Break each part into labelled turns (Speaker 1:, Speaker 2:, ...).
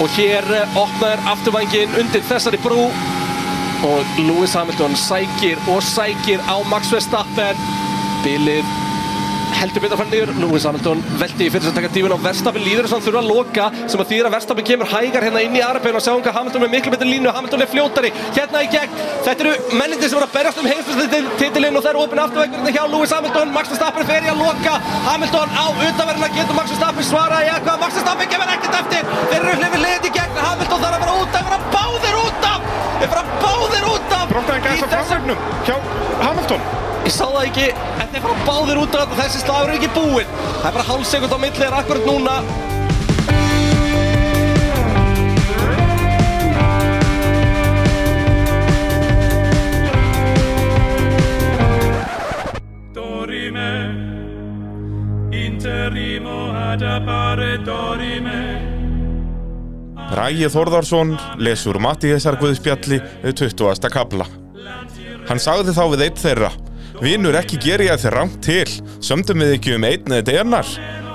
Speaker 1: og hér eh, opnar afturvængin undir þessari brú og Lewis Hamilton sækir og sækir á Max Verstappen bilið heldur betur að fara niður Lewis Hamilton veldi í fyrir sem taka dífin á Verstappen líður þess að hann þurfa að loka sem að þýðir að Verstappen kemur hægar hérna inn í aðrabein og sjáum hvað Hamilton með miklu betur línu Hamilton er fljótari hérna í gegn þetta eru mennindi sem voru að berjast um heimsbyrstitilinn og það eru opin afturvængurinn hjá Lewis Hamilton Max Verstappen fer í að loka Hamilton á utanverðina getur Max Verstappen svaraði eitthvað Max Verstappen kemur ekkert eftir þeir eru hlifið liðið í gegn Hamilton þarf að vera út af vera báðir út af þeir fara báðir út af
Speaker 2: Brotnaði
Speaker 1: Í
Speaker 2: gæs á
Speaker 1: þessum-
Speaker 2: framögnum hjá Hamilton.
Speaker 1: Ég sá það ekki, en þeir fara báðir út af þetta, þessi slagur er ekki búinn. Það er bara hálf sekund á milli, er akkurat núna.
Speaker 3: Dorime, interimo ad appare dorime,
Speaker 2: Rægi Þórðarsson lesur Mattíðisar Guðspjalli við 20. kapla. Hann sagði þá við eitt þeirra. Vinur ekki geri ég þeir rangt til, sömdum við ekki um einn eða denar.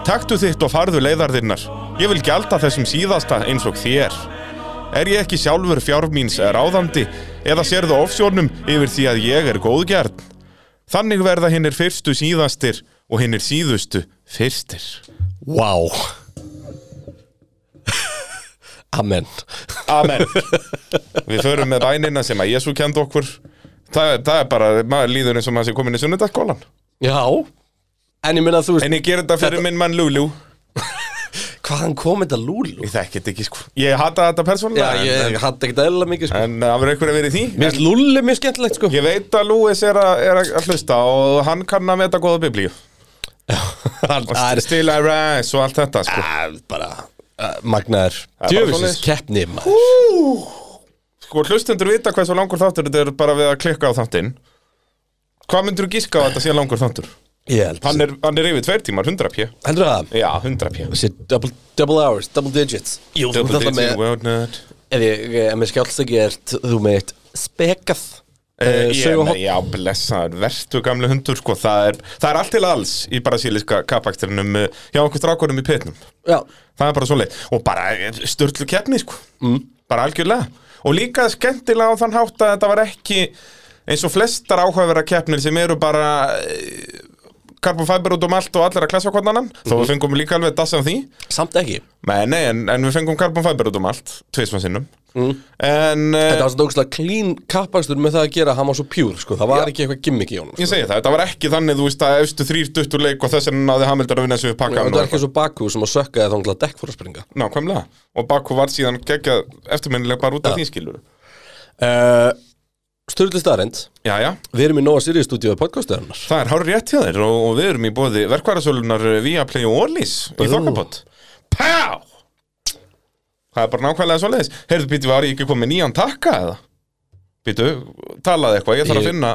Speaker 2: Taktu þitt og farðu leiðar þinnar. Ég vil gjalda þessum síðasta eins og þér. Er ég ekki sjálfur fjár míns ráðandi eða sérðu ofsjónum yfir því að ég er góðgjarn? Þannig verða hinnir fyrstu síðastir og hinnir síðustu fyrstir.
Speaker 4: Vá Amen
Speaker 2: Amen Við förum með bænina sem að Jésu kenda okkur það, er- það er bara, maður líður eins og maður sé komin í sunnudagskólan
Speaker 4: Já En ég minna þú veist
Speaker 2: En ég ger þetta fyrir minn mann Lúlú
Speaker 4: Hvaðan kom þetta lúlu?
Speaker 2: Ég þekki þetta ekki sko Ég hata þetta
Speaker 4: Já,
Speaker 2: persónulega
Speaker 4: ég
Speaker 2: en,
Speaker 4: hatt ekkert eðla mikið sko
Speaker 2: en það verður einhver að vera í því
Speaker 4: Mér finnst lúli mjög skemmtilegt sko
Speaker 2: Ég veit að Lúis er, að- er að hlusta og hann kann að meta góða biblíu
Speaker 4: Hann-
Speaker 2: Og
Speaker 4: Það er
Speaker 2: Still I rise og allt þetta sko
Speaker 4: Það er bara uh, Magnaður
Speaker 2: Það er bara
Speaker 4: Djöfisins
Speaker 2: svoleiðis.
Speaker 4: keppni maður
Speaker 2: Sko hlustendur vita hvað svo langur þáttur þetta er bara við að klikka á þáttinn Hvað myndur þú gíska á að þetta sé langur þáttur?
Speaker 4: Ég held
Speaker 2: Hann er, hann er yfir tveir tímar, 100 pjö
Speaker 4: Heldur það?
Speaker 2: Já, 100 pjö
Speaker 4: Þessi double, double hours, double digits Jú, þú
Speaker 2: Double
Speaker 4: ert alltaf
Speaker 2: digit
Speaker 4: með
Speaker 2: world nerd
Speaker 4: Ef ég, ef mér skjálst ekki er þú með eitt spekað Eh,
Speaker 2: Uh, ég,
Speaker 4: söguhorn.
Speaker 2: nei, já, blessaður, vertu gamli hundur sko, það er, það er allt til alls í brasíliska kapakstrinum uh, hjá okkur strákurum í petnum,
Speaker 4: Já
Speaker 2: það er bara svo leið og bara störtlu keppni sko mm. bara algjörlega, og líka skemmtilega á þann hátt að þetta var ekki eins og flestar áhugavera keppnir sem eru bara karbonfæber út um allt og allir að klessa hvort annan þó við fengum líka alveg dassan því
Speaker 4: Samt ekki
Speaker 2: nei, nei, en, en við fengum karbonfæber út um allt tvisman sinnum en, uh,
Speaker 4: Þetta var svona ógustlega clean kappakstur með það að gera að hann var svo pjúr sko. Það var
Speaker 2: Já.
Speaker 4: ekki eitthvað gimmick í honum sko.
Speaker 2: Ég segi það, þetta var ekki þannig, þú veist, að efstu þrýr duttur leik og þess vegna náði Hamilton að vinna þessu upp pakkan
Speaker 4: Þetta
Speaker 2: og
Speaker 4: var ekki svo baku sem að sökka eða þangla dekk fór að springa
Speaker 2: Nákvæmlega, og Baku var síðan geggjað eftirminnileg bara út af því skilur Eh.
Speaker 4: uh, Sturli staðarind
Speaker 2: Jæja,
Speaker 4: Við erum í Nóa Sirius stúdíu podcastöðunar
Speaker 2: það er hár rétt hjá þér og, og við erum í bóði verkvarasölunar Viaplay og Orlís í Þokkabot Pá! Það er bara nákvæmlega svo leiðis Heyrðu, býtu, var ég ekki komið nýjan takka eða? Býtu, talaði eitthvað, ég þarf að finna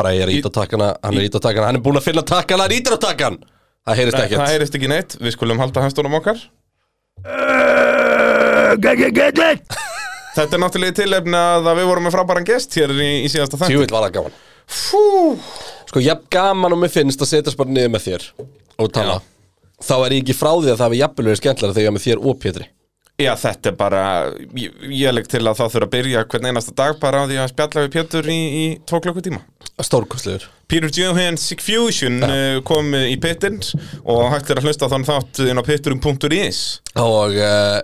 Speaker 4: Bara ég er ít á takkana Hann er ít á takkana Hann er búinn að finna takkana Hann er ítir á takkan Það heyrist
Speaker 2: Það
Speaker 4: ekkert
Speaker 2: heyrist ekki neitt, við skulum halda hæstunum okkar Þetta er náttúrulega í tilefni að að við vorum með frábæran gest hér í, í síðasta þengt.
Speaker 4: Tjúvill var það gaman
Speaker 2: Fú!
Speaker 4: Sko, jafn gaman og mér finnst að setjast bara niður með þér Og tala Þá er ég ekki frá því að það hefur jafnvel verið skemmtlar Þegar ég er með þér og Pétri
Speaker 2: Já, þetta er bara, ég, ég legg til að það þurfa að byrja hvern einasta dag bara á því að spjalla við Pétur í, í tvo klukkutíma.
Speaker 4: Stórkostlegur
Speaker 2: Peter Johans Fusion uh, kom í pitinn og hægt er að hlusta á þann þátt inn á pitturum.is.
Speaker 4: Og uh,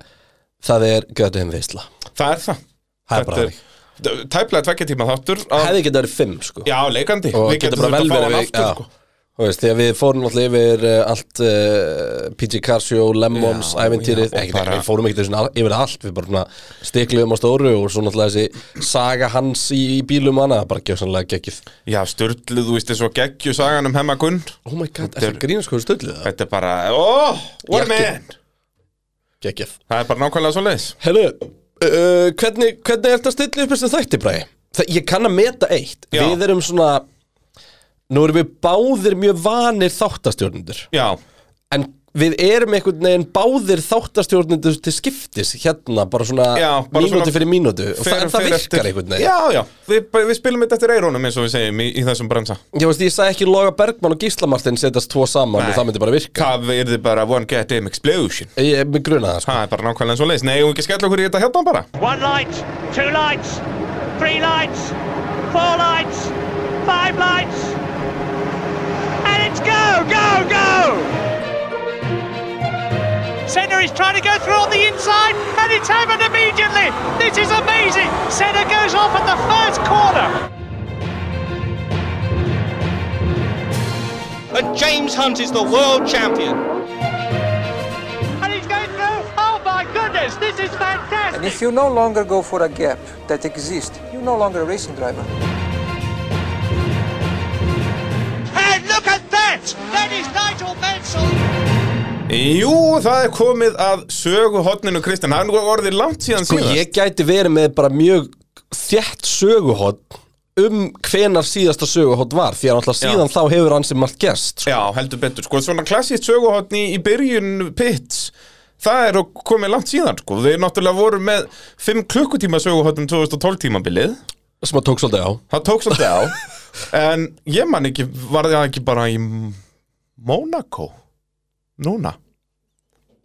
Speaker 4: það er Götum veistla
Speaker 2: Það er það.
Speaker 4: Það er bara
Speaker 2: Þetta d- Tæplega tvekja tíma þáttur. Að,
Speaker 4: Hefði getað verið fimm, sko
Speaker 2: já, leikandi.
Speaker 4: og
Speaker 2: Við
Speaker 4: getur
Speaker 2: getum
Speaker 4: bara
Speaker 2: þurft að
Speaker 4: vel
Speaker 2: fá hann
Speaker 4: verið við- já.
Speaker 2: aftur, sko.
Speaker 4: Þú veist, þegar við fórum alltaf yfir uh, allt uh, PG Carsio, Lemons,
Speaker 2: Já,
Speaker 4: æventýrið
Speaker 2: já, og
Speaker 4: ekki,
Speaker 2: bara-
Speaker 4: við fórum ekkert svona al- yfir allt við bara svona stikluðum á stóru og svona alltaf þessi saga hans í, í bílum og annað, bara gjöfsanlega geggjuð
Speaker 2: Já, störtlu, þú veist, þessu geggju sagan um hemma Gunn.
Speaker 4: Oh my god, er það grínast hvað þú stöldið það?
Speaker 2: Þetta er bara, oh, what a
Speaker 4: Jakki.
Speaker 2: man.
Speaker 4: Geggjuð
Speaker 2: Það er bara nákvæmlega svo leiðis.
Speaker 4: Herru, uh, hvernig, hvernig er þetta að stilla upp þessum þætti, Bræði? Það, ég kann að meta eitt
Speaker 2: Já.
Speaker 4: Við erum svona Nú erum við báðir mjög vanir þáttastjórnundur
Speaker 2: Já,
Speaker 4: En við erum einhvern veginn báðir þáttastjórnendur til skiptis hérna, bara svona
Speaker 2: Já, bara
Speaker 4: mínúti
Speaker 2: svona
Speaker 4: fyrir mínútu og það,
Speaker 2: Fer-
Speaker 4: en það
Speaker 2: fer
Speaker 4: virkar
Speaker 2: eftir-
Speaker 4: einhvern veginn
Speaker 2: Já, já, við, við spilum þetta eftir eirónum eins og við segjum í, í þessum bransa
Speaker 4: Ég veist, ég sagði ekki Loga Bergmann og Gísla Martin setjast tvo saman og það myndi bara virka
Speaker 2: Hvað er þið bara one goddamn explosion?
Speaker 4: Ég er með grunað það, sko
Speaker 2: Það er bara nákvæmlega svo leis Nei, og ekki skella okkur í þetta hérna bara
Speaker 5: One light, two lights, three lights, four lights, five lights. And it's go, go, go! Senna is trying to go through on the inside and it's happened immediately. This is amazing. Senna goes off at the first corner.
Speaker 6: and James Hunt is the world champion.
Speaker 5: And he's going through. Oh my goodness, this is fantastic.
Speaker 7: And if you no longer go for a gap that exists, you're no longer a racing driver.
Speaker 5: And look at that! That is Nigel Mansell.
Speaker 2: Jú, það er komið að sögu hotninu Kristján Það er nú orðið langt síðan
Speaker 4: Sko,
Speaker 2: síðast
Speaker 4: ég gæti verið með bara mjög þjætt söguhótt um hvenar síðasta söguhótt var því að alltaf síðan þá hefur hann sem allt gerst sko.
Speaker 2: Já, heldur betur, sko, svona klassíkt söguhotn í, í byrjun pits Það er komið langt síðan, sko Þeir náttúrulega voru með 5 klukkutíma um söguhotnum 2012 tímabilið
Speaker 4: sem að tók svolítið á
Speaker 2: Það tók svolítið á En ég man ekki, var það ekki bara í Monaco Núna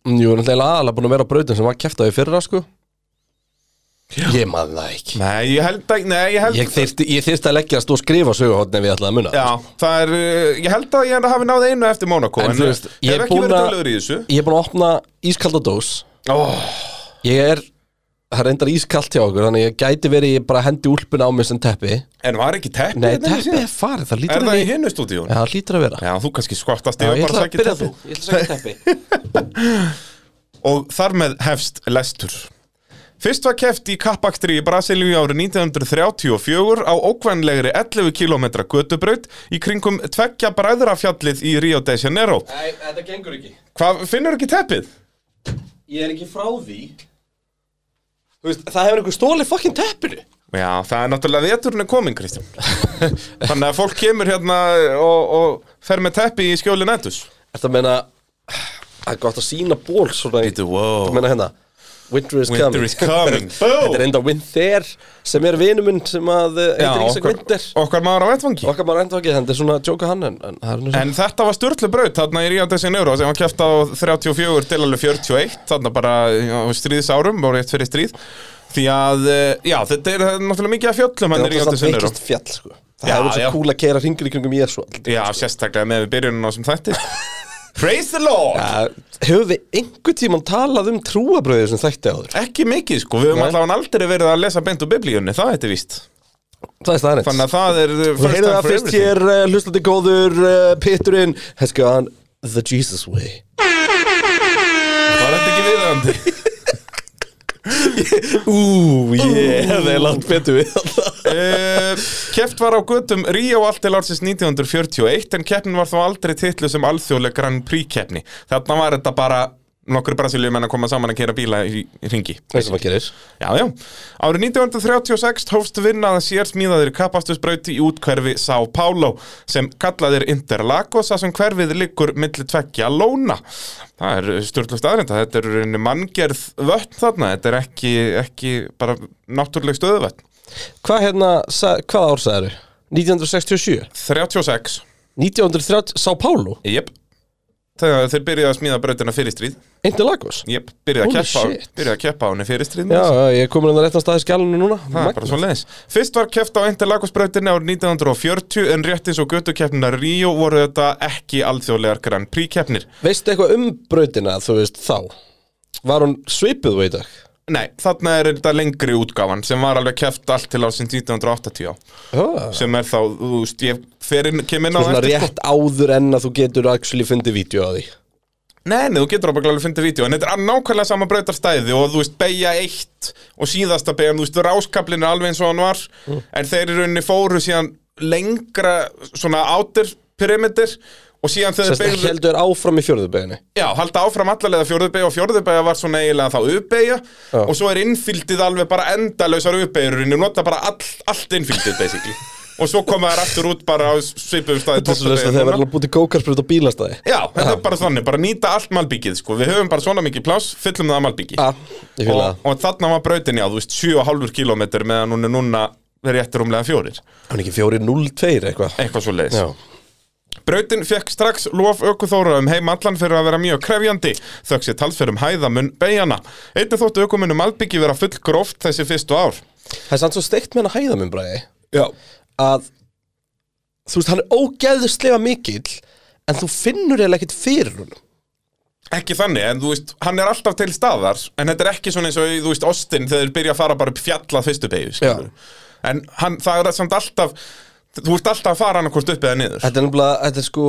Speaker 4: Mm, Jú, er náttúrulega aðalega búin að vera á brautin sem var keftaði fyrra sko Ég maður það ekki
Speaker 2: Nei, ég held að, nei, ég held
Speaker 4: Ég þyrst, ég þyrst að leggja að stóð skrifa söguhótt ef ég ætlaði að muna
Speaker 2: Já, það er, uh, ég held að ég hafi náð einu eftir Monaco
Speaker 4: En
Speaker 2: En, eh,
Speaker 4: þú veist, ég
Speaker 2: hef
Speaker 4: er
Speaker 2: ekki
Speaker 4: búin
Speaker 2: verið
Speaker 4: að-
Speaker 2: dölur í þessu
Speaker 4: Ég er búin að opna ískaldadós
Speaker 2: oh,
Speaker 4: Ég er, það er endar ískalt hjá okkur þannig ég gæti verið, ég bara hendi úlpun á mig sem teppi
Speaker 2: En var ekki teppi
Speaker 4: Nei,
Speaker 2: hérna inni
Speaker 4: teppi
Speaker 2: síðan?
Speaker 4: er farið, það lítur
Speaker 2: Er
Speaker 4: að
Speaker 2: það í
Speaker 4: við-
Speaker 2: hinu stúdíun?
Speaker 4: Já, það lítur að vera
Speaker 2: Já, þú kannski skvartast
Speaker 4: Já,
Speaker 2: yfir
Speaker 4: ég
Speaker 2: bara að
Speaker 4: ætla að
Speaker 2: sækja
Speaker 4: byrja
Speaker 2: teppi
Speaker 4: þú Ég ætla að segja teppi
Speaker 2: Og þar með hefst lestur Fyrst var keft í kappakstri í Brasilíu árið 1934 á ókvænlegri 11 km götubraut í kringum tveggja bræðrafjallið í Rio de Janeiro.
Speaker 4: Nei, þetta gengur ekki
Speaker 2: Hvað, finnur ekki teppið?
Speaker 4: Ég er ekki frá því Þú veist, það hefur einhver stólið fokkin teppinu
Speaker 2: Já, það er náttúrulega veturinn er komin, Kristján. Þannig að fólk kemur hérna og, og fer með teppi í skjóli nættus.
Speaker 4: Þetta meina Það er gott að sína ból svona í- Þetta
Speaker 2: wow.
Speaker 4: meina hérna Winter is coming
Speaker 2: Winter is coming.
Speaker 4: Þetta er enda Winther sem er vinuminn sem að eh,
Speaker 2: Já,
Speaker 4: heitir Ísak
Speaker 2: okkar,
Speaker 4: Winter
Speaker 2: okkar maður á vettvangi.
Speaker 4: Okkar maður enda ekki, þetta er svona að jóka hann en, en það er nú svo
Speaker 2: En þetta var störtlu braut þarna í Rio de Janeiro sem var kæft á 34 til alveg 41 þarna bara já, á stríðsárum og rétt fyrir stríð því að, eh, já, þetta er náttúrulega mikið af fjöllum hann í Rio de
Speaker 4: samt
Speaker 2: Janeiro
Speaker 4: veiklist fjall sko Það
Speaker 2: Já,
Speaker 4: hefur
Speaker 2: já.
Speaker 4: svo kúl að keira ringir í kringum ég svo
Speaker 2: Já, sérstaklega með við byrjunum á sem þætti Praise the Lord!
Speaker 4: Hefur við einhver tíman talað um trúabröðið sem þætti áður?
Speaker 2: Ekki mikið sko, við höfum
Speaker 4: Nei.
Speaker 2: allavega aldrei verið að lesa beint úr biblíunni, það þetta er víst
Speaker 4: Það er staðarins
Speaker 2: Þannig að það er eh,
Speaker 4: Þú
Speaker 2: first
Speaker 4: heyrðu
Speaker 2: time
Speaker 4: það
Speaker 2: for
Speaker 4: fyrst
Speaker 2: everything.
Speaker 4: hér, uh, hlustandi góður, uh, Pitturinn Has gone the Jesus way
Speaker 2: Var þetta ekki viðandi?
Speaker 4: Ú, ég hefði langt betur við alltaf
Speaker 2: Uh, keft var á götum Ríó allt til ársins 1941 en keppnin var þá aldrei titlu sem alþjóðleg Grand Prix keppni þarna var þetta bara nokkur brasilíumenn að koma saman að kera bíla í, í ringi
Speaker 4: Það sem að gerir
Speaker 2: Já, já. Árið 1936 hófst vinna að sér smíðaðir kappastusbrauti í útkverfi São Paulo sem kallaðir Interlagos að sem hverfið liggur milli tveggja lóna. Það er stjórnlega staðrind að þetta er í rauninni manngerð vötn þarna, þetta er ekki, ekki bara náttúruleg stöðuvötn.
Speaker 4: Hvað hérna, sa, hvað ár sagði 1967
Speaker 2: 36.
Speaker 4: 1930, São Paulo
Speaker 2: Jep. Þegar þeir byrjaði að smíða brautina fyrir stríð.
Speaker 4: Interlagos
Speaker 2: Jep, byrjaði að
Speaker 4: Holy
Speaker 2: keppa,
Speaker 4: shit.
Speaker 2: byrjaði að keppa á henni fyrir stríð.
Speaker 4: Já, já, ég er komin að réttan stað í skjálunni núna
Speaker 2: Það er bara svo leiðis. Fyrst var keft á Interlagos-brautinni árið 1940 en rétt eins og göttukeppnina Ríó voru þetta ekki alþjóðlegar Grand Prix-keppnir.
Speaker 4: Veistu eitthvað um brautina, þú veist, þá? Var hún svipuð veit dag?
Speaker 2: Nei, þarna er þetta lengri útgáfan sem var alveg keft allt til ársins 1980 á.
Speaker 4: Já
Speaker 2: sem er þá, þú veist, ég fer inn, kem inn á
Speaker 4: Svona
Speaker 2: eftir, sko.
Speaker 4: rétt áður en að þú getur actually fundið vídeo að því
Speaker 2: Nei, nei, þú getur ábyggilega alveg fundið vídeo en þetta er að nákvæmlega sama brautarstæði og þú veist beigja eitt og síðasta beigjan þú veist ráskablin er alveg eins og hann var en þeir í rauninni fóru síðan lengra svona átir perimeter og síðan þegar
Speaker 4: Sérst
Speaker 2: þeir
Speaker 4: ekki
Speaker 2: beigðu
Speaker 4: heldur áfram í fjörðubeginni
Speaker 2: Já, halda áfram allalega fjórðubeigja og fjórðubeigja var svona eiginlega þá uppbeigja og svo er innfyldið alveg bara endalausar uppbeigjur og nota bara all, allt innfyldið basically og svo koma þær aftur út bara á svipum staði
Speaker 4: Þetta er svo að þeir verður að búti kókarsprut á bílastæði
Speaker 2: Já, þetta er bara þannig, bara nýta allt malbyggið sko. Við höfum bara svona mikið pláss, fyllum það að malbyggi
Speaker 4: Já, ég fíla
Speaker 2: og,
Speaker 4: það
Speaker 2: og þarna var brautin já, þú veist, 7,5 km meðan hún er núna rétt rúmlega fjórir,
Speaker 4: Hann er ekki 4-0-2 eitthvað
Speaker 2: eitthvað svo leiðis
Speaker 4: Já,
Speaker 2: Brautin fekk strax lof ökuþóra um heim allan fyrir að vera mjög krefjandi, þökk sér talsverðum hæðamun beigjana. Einnig þóttu ökumunum albyggi vera full gróft þessi fyrstu ár.
Speaker 4: það er sann svo steikt með hann að hæða minn bræði
Speaker 2: Já.
Speaker 4: að þú veist, hann er ógeðuslega mikill en þú finnur eða ekkert fyrir hún
Speaker 2: Ekki þannig, en þú veist, hann er alltaf til staðar, en þetta er ekki svona eins og, þú veist, Austin þegar þeir byrja að fara bara upp fjalla fyrstu beigju, skilur. En hann, það er samt alltaf, þú ert alltaf að fara hann hvort upp eða niður.
Speaker 4: Þetta er nefnilega, þetta er sko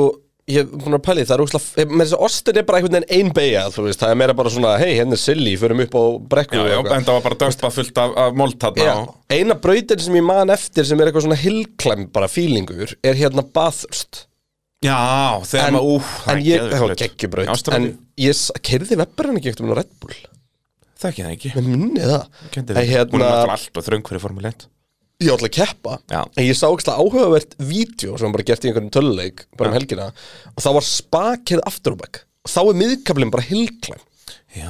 Speaker 4: ég er búin að pæli, það er úrslega með þess að Austin er bara einhvern veginn ein beigja þú veist, það er meira bara svona, hei, henn er silly förum upp á brekku
Speaker 2: Já,
Speaker 4: og
Speaker 2: já,
Speaker 4: eitthvað.
Speaker 2: en það var bara dömpa fullt af, af mold þarna.
Speaker 4: Já,
Speaker 2: og-
Speaker 4: eina brautin sem ég man eftir sem er eitthvað svona hillclimb bara fílingur er hérna Bathurst
Speaker 2: Já, þegar
Speaker 4: en,
Speaker 2: maður, úf,
Speaker 4: en ég, það var geggjubraut en ég keirði vepparinn hann ekki ekkert um Red Bull
Speaker 2: það ekki það ekki.
Speaker 4: með minni það
Speaker 2: Kenndi
Speaker 4: en
Speaker 2: við. Hún er
Speaker 4: hérna,
Speaker 2: náttúrulega alltaf þröng fyrir Formule 1.
Speaker 4: ég ætla að keppa
Speaker 2: Já.
Speaker 4: en ég sá ekki áhugavert vídeo sem var bara gert í einhverjum töluleik bara um helgina og það var spakið aftur og back og þá er miðkablin bara hillclimb Já.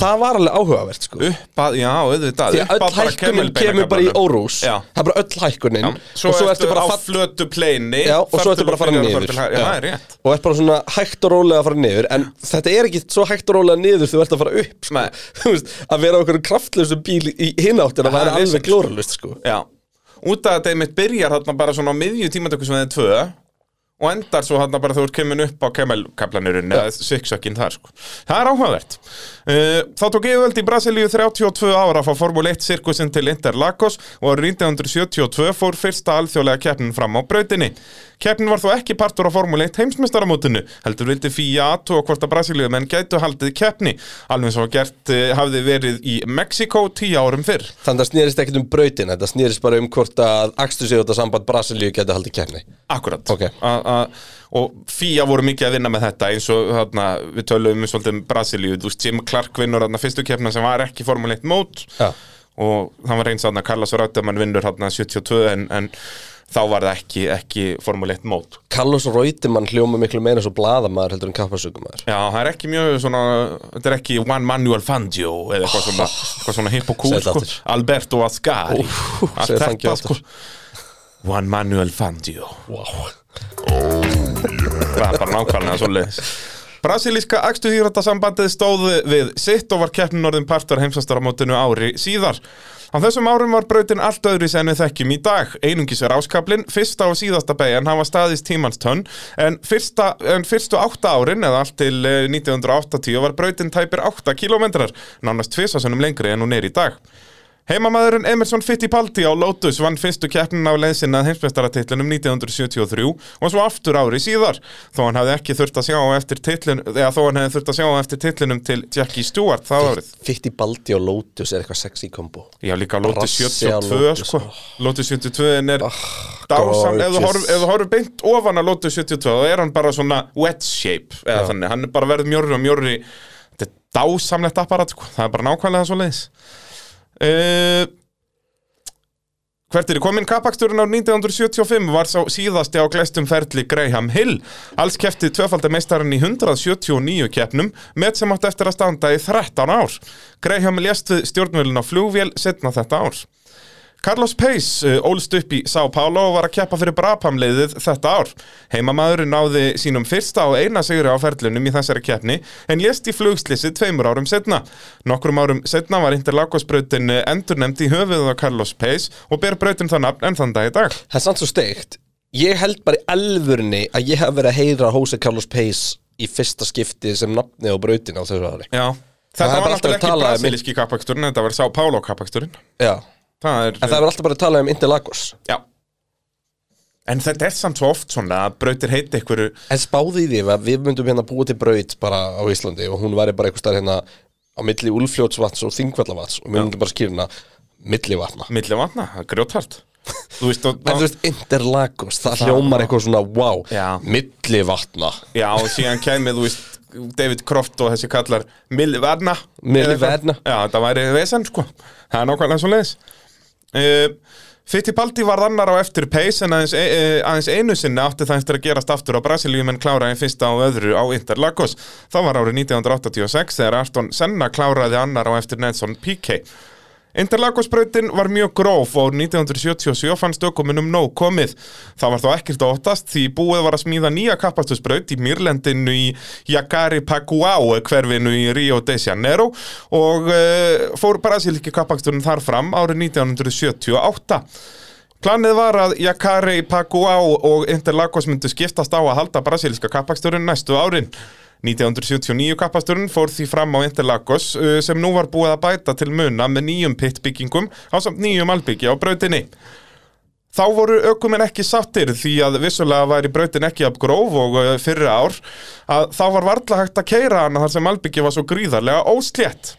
Speaker 4: það var alveg áhugavert sko.
Speaker 2: upp að, já, auðvitað
Speaker 4: því að
Speaker 2: upp
Speaker 4: öll
Speaker 2: að bara
Speaker 4: hækkunin
Speaker 2: kemmilbeinakaflanum.
Speaker 4: kemur bara í órós
Speaker 2: Já.
Speaker 4: það er bara öll hækkunin
Speaker 2: Já. Svo,
Speaker 4: og svo ertu bara
Speaker 2: á
Speaker 4: að fall-
Speaker 2: flötu pleini
Speaker 4: Já, og
Speaker 2: þar til
Speaker 4: svo ertu bara að fara
Speaker 2: byrjar
Speaker 4: niður
Speaker 2: til hæ- Já, það er rétt
Speaker 4: Og ert bara svona hægt og rólega að fara niður En þetta er ekki svo hægt og rólega niður þú ert að fara upp sko.
Speaker 2: Nei.
Speaker 4: Þú veist, Að vera okkur kraftlausu bíl í hináttina
Speaker 2: Það
Speaker 4: Það
Speaker 2: er
Speaker 4: er alveg
Speaker 2: vesen,
Speaker 4: glóralust sko.
Speaker 2: Já, út af að þetta einmitt byrjar þarna bara svona á miðju tímatöku sem þeir tvö og endar svo þarna bara þú ert kemur upp á kemmelkaplanurinn eða siksökinn þar sko. Það er áhugavert uh, Þá tók yfirvöld í Brasilíu 32 ára að fá Formule 1 sirkusinn til Interlagos og árið 1972 fór fyrsta alþjóðlega keppnin fram á brautinni Keppnin var þó ekki partur á Formule 1 heimsmyndstaramótinu heldur vildi FIA aðtúa hvort að Brasilíu menn gætu haldið keppni alveg svo gert uh, hafði verið í Mexiko 10 árum fyrr
Speaker 4: Þannig að það snýrist ekkert um brautin Þetta snýrist bara um hvort að Axtur sig út að samband Brasilíu geti haldið kemni
Speaker 2: Akkurat
Speaker 4: Ok.
Speaker 2: a, a, Og Fía voru mikið að vinna með þetta eins og þarna, við töluðum um svolítið um Brasilíu Þú veist, Jim Clark vinnur þarna fyrstu keppna sem var ekki formuleitt mót
Speaker 4: Já.
Speaker 2: Og það var eins þarna Carlos Rautemann vinnur þarna 72 en, en þá var það ekki, ekki formuleitt mót
Speaker 4: Carlos Reutemann hljóma miklu meira svo blaðamaður heldur en kappasökumaður
Speaker 2: Já, það er ekki mjög svona, þetta er ekki Juan Manuel Fangio eða eitthvað svona, eitthvað svona hipp og cool,
Speaker 4: Segðu
Speaker 2: sko,
Speaker 4: Oh. aftur.
Speaker 2: Alberto Ascari, allt
Speaker 4: segðu Fangio
Speaker 2: þetta
Speaker 4: aftur.
Speaker 2: sko. Juan Manuel Fangio.
Speaker 4: wow.
Speaker 2: Það er bara nákvæmlega svoleiðis Brasilíska akstuðýratasambandið stóð við sitt og var keppnin orðin partur heimsastaramótinu ári síðar. Á þessum árum var brautin allt öðru sem við þekkjum í dag. Einungis er áskablin, fyrsta og síðasta beigjan hafa staðist tímans tönn, en, fyrsta, en fyrstu átta árin, eða allt til eh, 1980, var brautin tæpir 8 kilometrar, nánast tvisasunum lengri en hún er í dag. Heimamaðurinn Emerson Fittipaldi á Lotus vann fyrstu keppnin af leiðsinn að heimsmestaratitlinum 1973 og svo aftur ári síðar þó hann hafði ekki þurft að sjá á eftir titlin eða þó hann hefði þurft að sjá á eftir titlinum til Jackie Stewart það árið
Speaker 4: Fitti Baldi og Lotus er eitthvað sexy kombo
Speaker 2: Já líka Lotus
Speaker 4: Brassi á
Speaker 2: 72
Speaker 4: Lotus,
Speaker 2: sko Lotus 72 en er dásam ef þú
Speaker 4: gorgeous.
Speaker 2: horf- ef þú horfur beint ofan að Lotus 72 þá er hann bara svona wet shape eða þannig hann er bara verið mjörri og mjörri þetta er dásamlegt apparat sko það er bara nákvæmlega svo leiðis uh, Hvert er í komin kapaksturinn á 1975 var sá síðasti á glæstum ferli Graham Hill. Alls kefti tvöfaldar meistarinn í 179 keppnum með sem átt eftir að standa í 13 ár. Graham lést við stjórnvölin á flugvél setna þetta ár. Carlos Pace uh, ólst upp í São Paulo og var að keppa fyrir Brabham-leiðið þetta ár. Heimamaðurinn náði sínum fyrsta og eina sigri á ferlunum í þessari keppni en lést í flugslissi tveimur árum setna. Nokkrum árum setna var Interlagosbrautin uh, endurnemd í höfuðið á Carlos Pace og ber brautin það nafn enn þann dag í dag.
Speaker 4: Það er samt svo steikt Ég held bara í alvörni að ég hef verið að heyra Jose Carlos Pace í fyrsta skipti sem nafni á brautin á þessu ári
Speaker 2: Já.
Speaker 4: Það
Speaker 2: Þetta
Speaker 4: er bara
Speaker 2: var náttúrulega
Speaker 4: alltaf að
Speaker 2: ekki
Speaker 4: tala um-
Speaker 2: brasilíski kappaksturinn, þetta var São Paulo kappaksturinn.
Speaker 4: Já
Speaker 2: Það er...
Speaker 4: En það er alltaf bara að tala um Interlagos
Speaker 2: Já. En þetta er samt svo oft svona að brautir heiti einhverju...
Speaker 4: En spáði í því að við myndum hérna búa til braut bara á Íslandi og hún væri bara eitthvað stær hérna á milli Úlfljótsvatns og Þingvallavatns og við myndum bara hérna skýrna milli vatna
Speaker 2: milli vatna, það er grjóthart Þú veist, og,
Speaker 4: En þú veist, Interlagos, það hljómar eitthvað svona, wow,
Speaker 2: Já.
Speaker 4: milli vatna
Speaker 2: Já, og síðan kæmið, þú veist, David Croft og þessi kallar Milli Verna
Speaker 4: Milli
Speaker 2: Eða eitthvað.
Speaker 4: Verna.
Speaker 2: Já, þetta væri vesen, sko Það er nákvæmlega svo leiðis uh, Fittipaldi varð annar á eftir Pace en aðeins, e, e, aðeins einu sinni átti það eftir að gerast aftur á Brasilíu menn kláraði fyrsta og öðru á Interlagos. Það var árið 1986 þegar Ayrton Senna kláraði annar á eftir Nelson Piquet. Interlagosbrautin var mjög gróf og árið 1977 fannst ökumunum nóg komið. Það var þó ekkert að óttast því búið var að smíða nýja kappastusbraut í Mýrlendinu í Jacari Paguau hverfinu í Rio de Janeiro og uh, fór Brasilíki kappastunum þar fram árið 1978. Planið var að Jacare, Paguau og Interlagos myndu skiptast á að halda brasilíska kappaksturinn næstu árin. 1979 kappasturinn fór því fram á Interlagos uh, sem nú var búið að bæta til muna með nýjum pittbyggingum á samt nýjum albyggi á brautinni. Þá voru ökumenn ekki sattir því að vissulega væri brautin ekki af gróf og uh, fyrra ár að þá var varla hægt að keira hana þar sem albyggi var svo gríðarlega óslétt.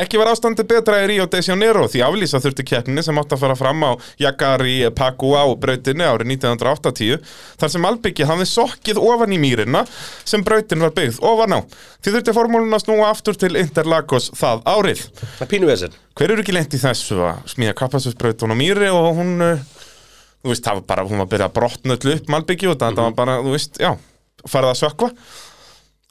Speaker 2: Ekki var ástandið betra í Rio de Janeiro því aflýsa þurfti keppninni sem átti að fara fram á Jagari Paguau brautinni árið 1980 þar sem Albyggi hafði sokkið ofan í mýrina sem brautin var byggð ofan á. Því þurfti formúlun að snúa aftur til Interlagos það árið.
Speaker 4: Það er pínu vesinn
Speaker 2: Hver eru ekki lent í þessu að smíða kappasusbrautun á mýri og hún, uh, þú veist, það var bara, hún var byrjað að brotna öll upp Malbyggi og þetta var bara, þú veist, já, farið að sökva.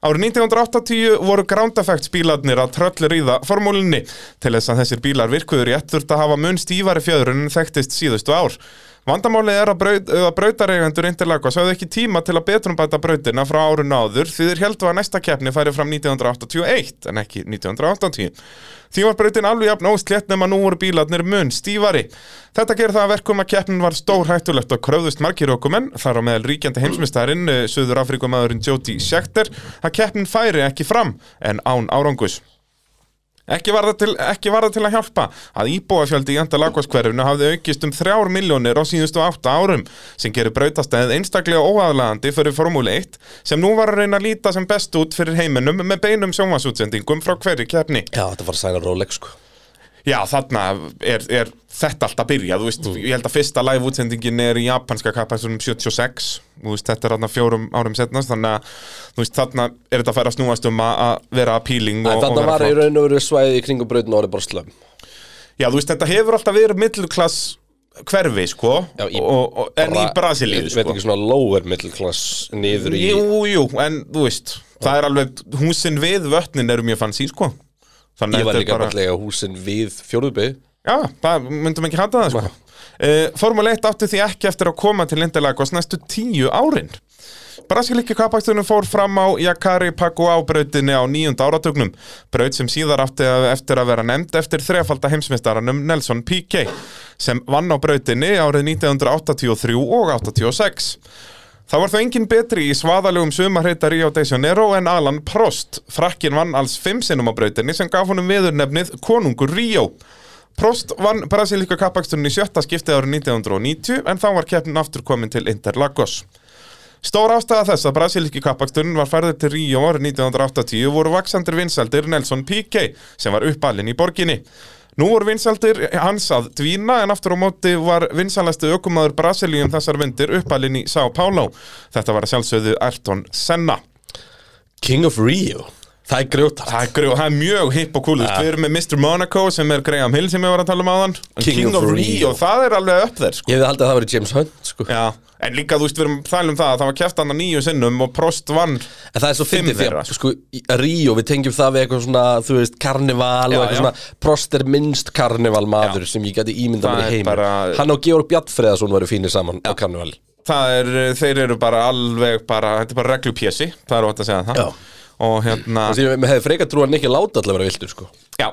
Speaker 2: Árið 1980 voru Ground Effects bílarnir að tröllriða formúlinni. Til þess að þessir bílar virkuður í ett þurft að hafa mun stífari fjöðrun en þekktist síðustu ár. Vandamálið er að, braut, að brautareigandur Interlagos hafði ekki tíma til að betrumbæta brautina frá árun áður því þeir heldur að næsta keppni færi fram 1981 en ekki 1980. Því var brautin alveg jafn óslétt nema nú voru bílarnir mun stífari. Þetta gerir það að verkum að keppnin var stór hættulegt og kröfðust margir okkumenn, þar á meðal ríkjandi eh, heimsmyndstærin, Suður Afrikumadurinn Jóti Sjekter, að keppnin færi ekki fram en án árangus. Ekki var, það til, ekki var það til að hjálpa að íbúafjöldi í Andalagvaskverfinu hafði aukist um 3 miljónir á síðustu 8 árum sem gerir brautastæðið einstaklega óaðlaðandi fyrir Formúli 1 sem nú var að reyna að líta sem best út fyrir heiminum með beinum sjónvasútsendingum frá hverju kjarni.
Speaker 4: Já, þetta var sæna Rolex sko
Speaker 2: Já, þarna er, er þetta allt að byrja, þú
Speaker 4: Mm.
Speaker 2: veist, ég held að fyrsta live útsendingin er í japanska kappasunum 76, þú veist, þetta er þarna fjórum árum setnast, þannig að, þú veist, þarna er þetta að færa að snúast um að, að vera appealing og, og
Speaker 4: Þetta
Speaker 2: vera
Speaker 4: var í
Speaker 2: flott.
Speaker 4: raun og veru svæðið í kringum brautin og orðið bara slömm
Speaker 2: Já, þú veist, þetta hefur alltaf verið middluklass hverfi, sko,
Speaker 4: Já, í-
Speaker 2: og, og, en í Brasilíu,
Speaker 4: Ég veit
Speaker 2: sko.
Speaker 4: ekki svona lower middle class niður í
Speaker 2: Jú, jú, en þú veist, það er alveg, húsin við vötnin eru mjög fanns í, sko. Þannig
Speaker 4: Ég var
Speaker 2: þetta er
Speaker 4: líka
Speaker 2: bara-
Speaker 4: fallega húsin við fjórðubið
Speaker 2: Já, það myndum ekki hata það sko. uh, Formule 1 átti því ekki eftir að koma til Interlagos næstu tíu árin Brasilíki kappaktunum fór fram á Jakari Paguau brautinni á nýjunda áratögnum braut sem síðar átti að- eftir að vera nefnd eftir þrefalda heimsmyndstaranum Nelson Piquet sem vann á brautinni árið 1983 og 86 Það var þó enginn betri í svaðalegum sumarheita Rio de Janeiro en Alan Prost. Frakkin vann alls fimm sinnum á brautinni sem gaf honum viðurnefnið Konungur Rio. Prost vann brasilíka kappaksturinn í sjötta skiptið árið 1990 en þá var keppnin aftur komin til Interlagos. Stór ástæða þess að brasilíki kappaksturinn var færður til Ríó árið 1980 voru vaksandir vinsaldir Nelson Piquet sem var uppalinn í borginni. Nú voru vinsaldir hans að dvína en aftur á móti var vinsalasti ökumadur Brasilíum um þessar vindir uppalinn í São Paulo. Þetta var að sjálfsögðu Ayrton Senna.
Speaker 4: King of Rio Það er grjótart
Speaker 2: Það er, grjó, það er mjög hipp og kúlust. Við erum með Mr. Monaco sem er Graham Hill sem ég var að tala um áðan. En
Speaker 4: King of Rio.
Speaker 2: það er alveg upp þér sko.
Speaker 4: Ég hefði haldið að það verið James Hunt sko.
Speaker 2: Já, en líka þú veist við erum að tala um það að það var kæft hann að nýju sinnum og Prost vann
Speaker 4: En það er svo
Speaker 2: Fimm
Speaker 4: fyndið því
Speaker 2: þeirra,
Speaker 4: að sko, í- að Ríó, við tengjum það við eitthvað svona, þú veist, karnival
Speaker 2: Já,
Speaker 4: og eitthvað
Speaker 2: já.
Speaker 4: svona Prost er minnst karnival maður sem ég gæti ímyndað
Speaker 2: Það
Speaker 4: mér
Speaker 2: er
Speaker 4: heim
Speaker 2: bara-
Speaker 4: Hann og Georg Bjartfreðarsson varu fínir saman á karnival
Speaker 2: það er, eh, þeir eru bara alveg bara, þetta er bara reglupjesi, það er ótt að segja það
Speaker 4: Já.
Speaker 2: og hérna,
Speaker 4: Þannig að ég hefði frekar trú að hann ekki láta alltaf vera viltur sko.
Speaker 2: já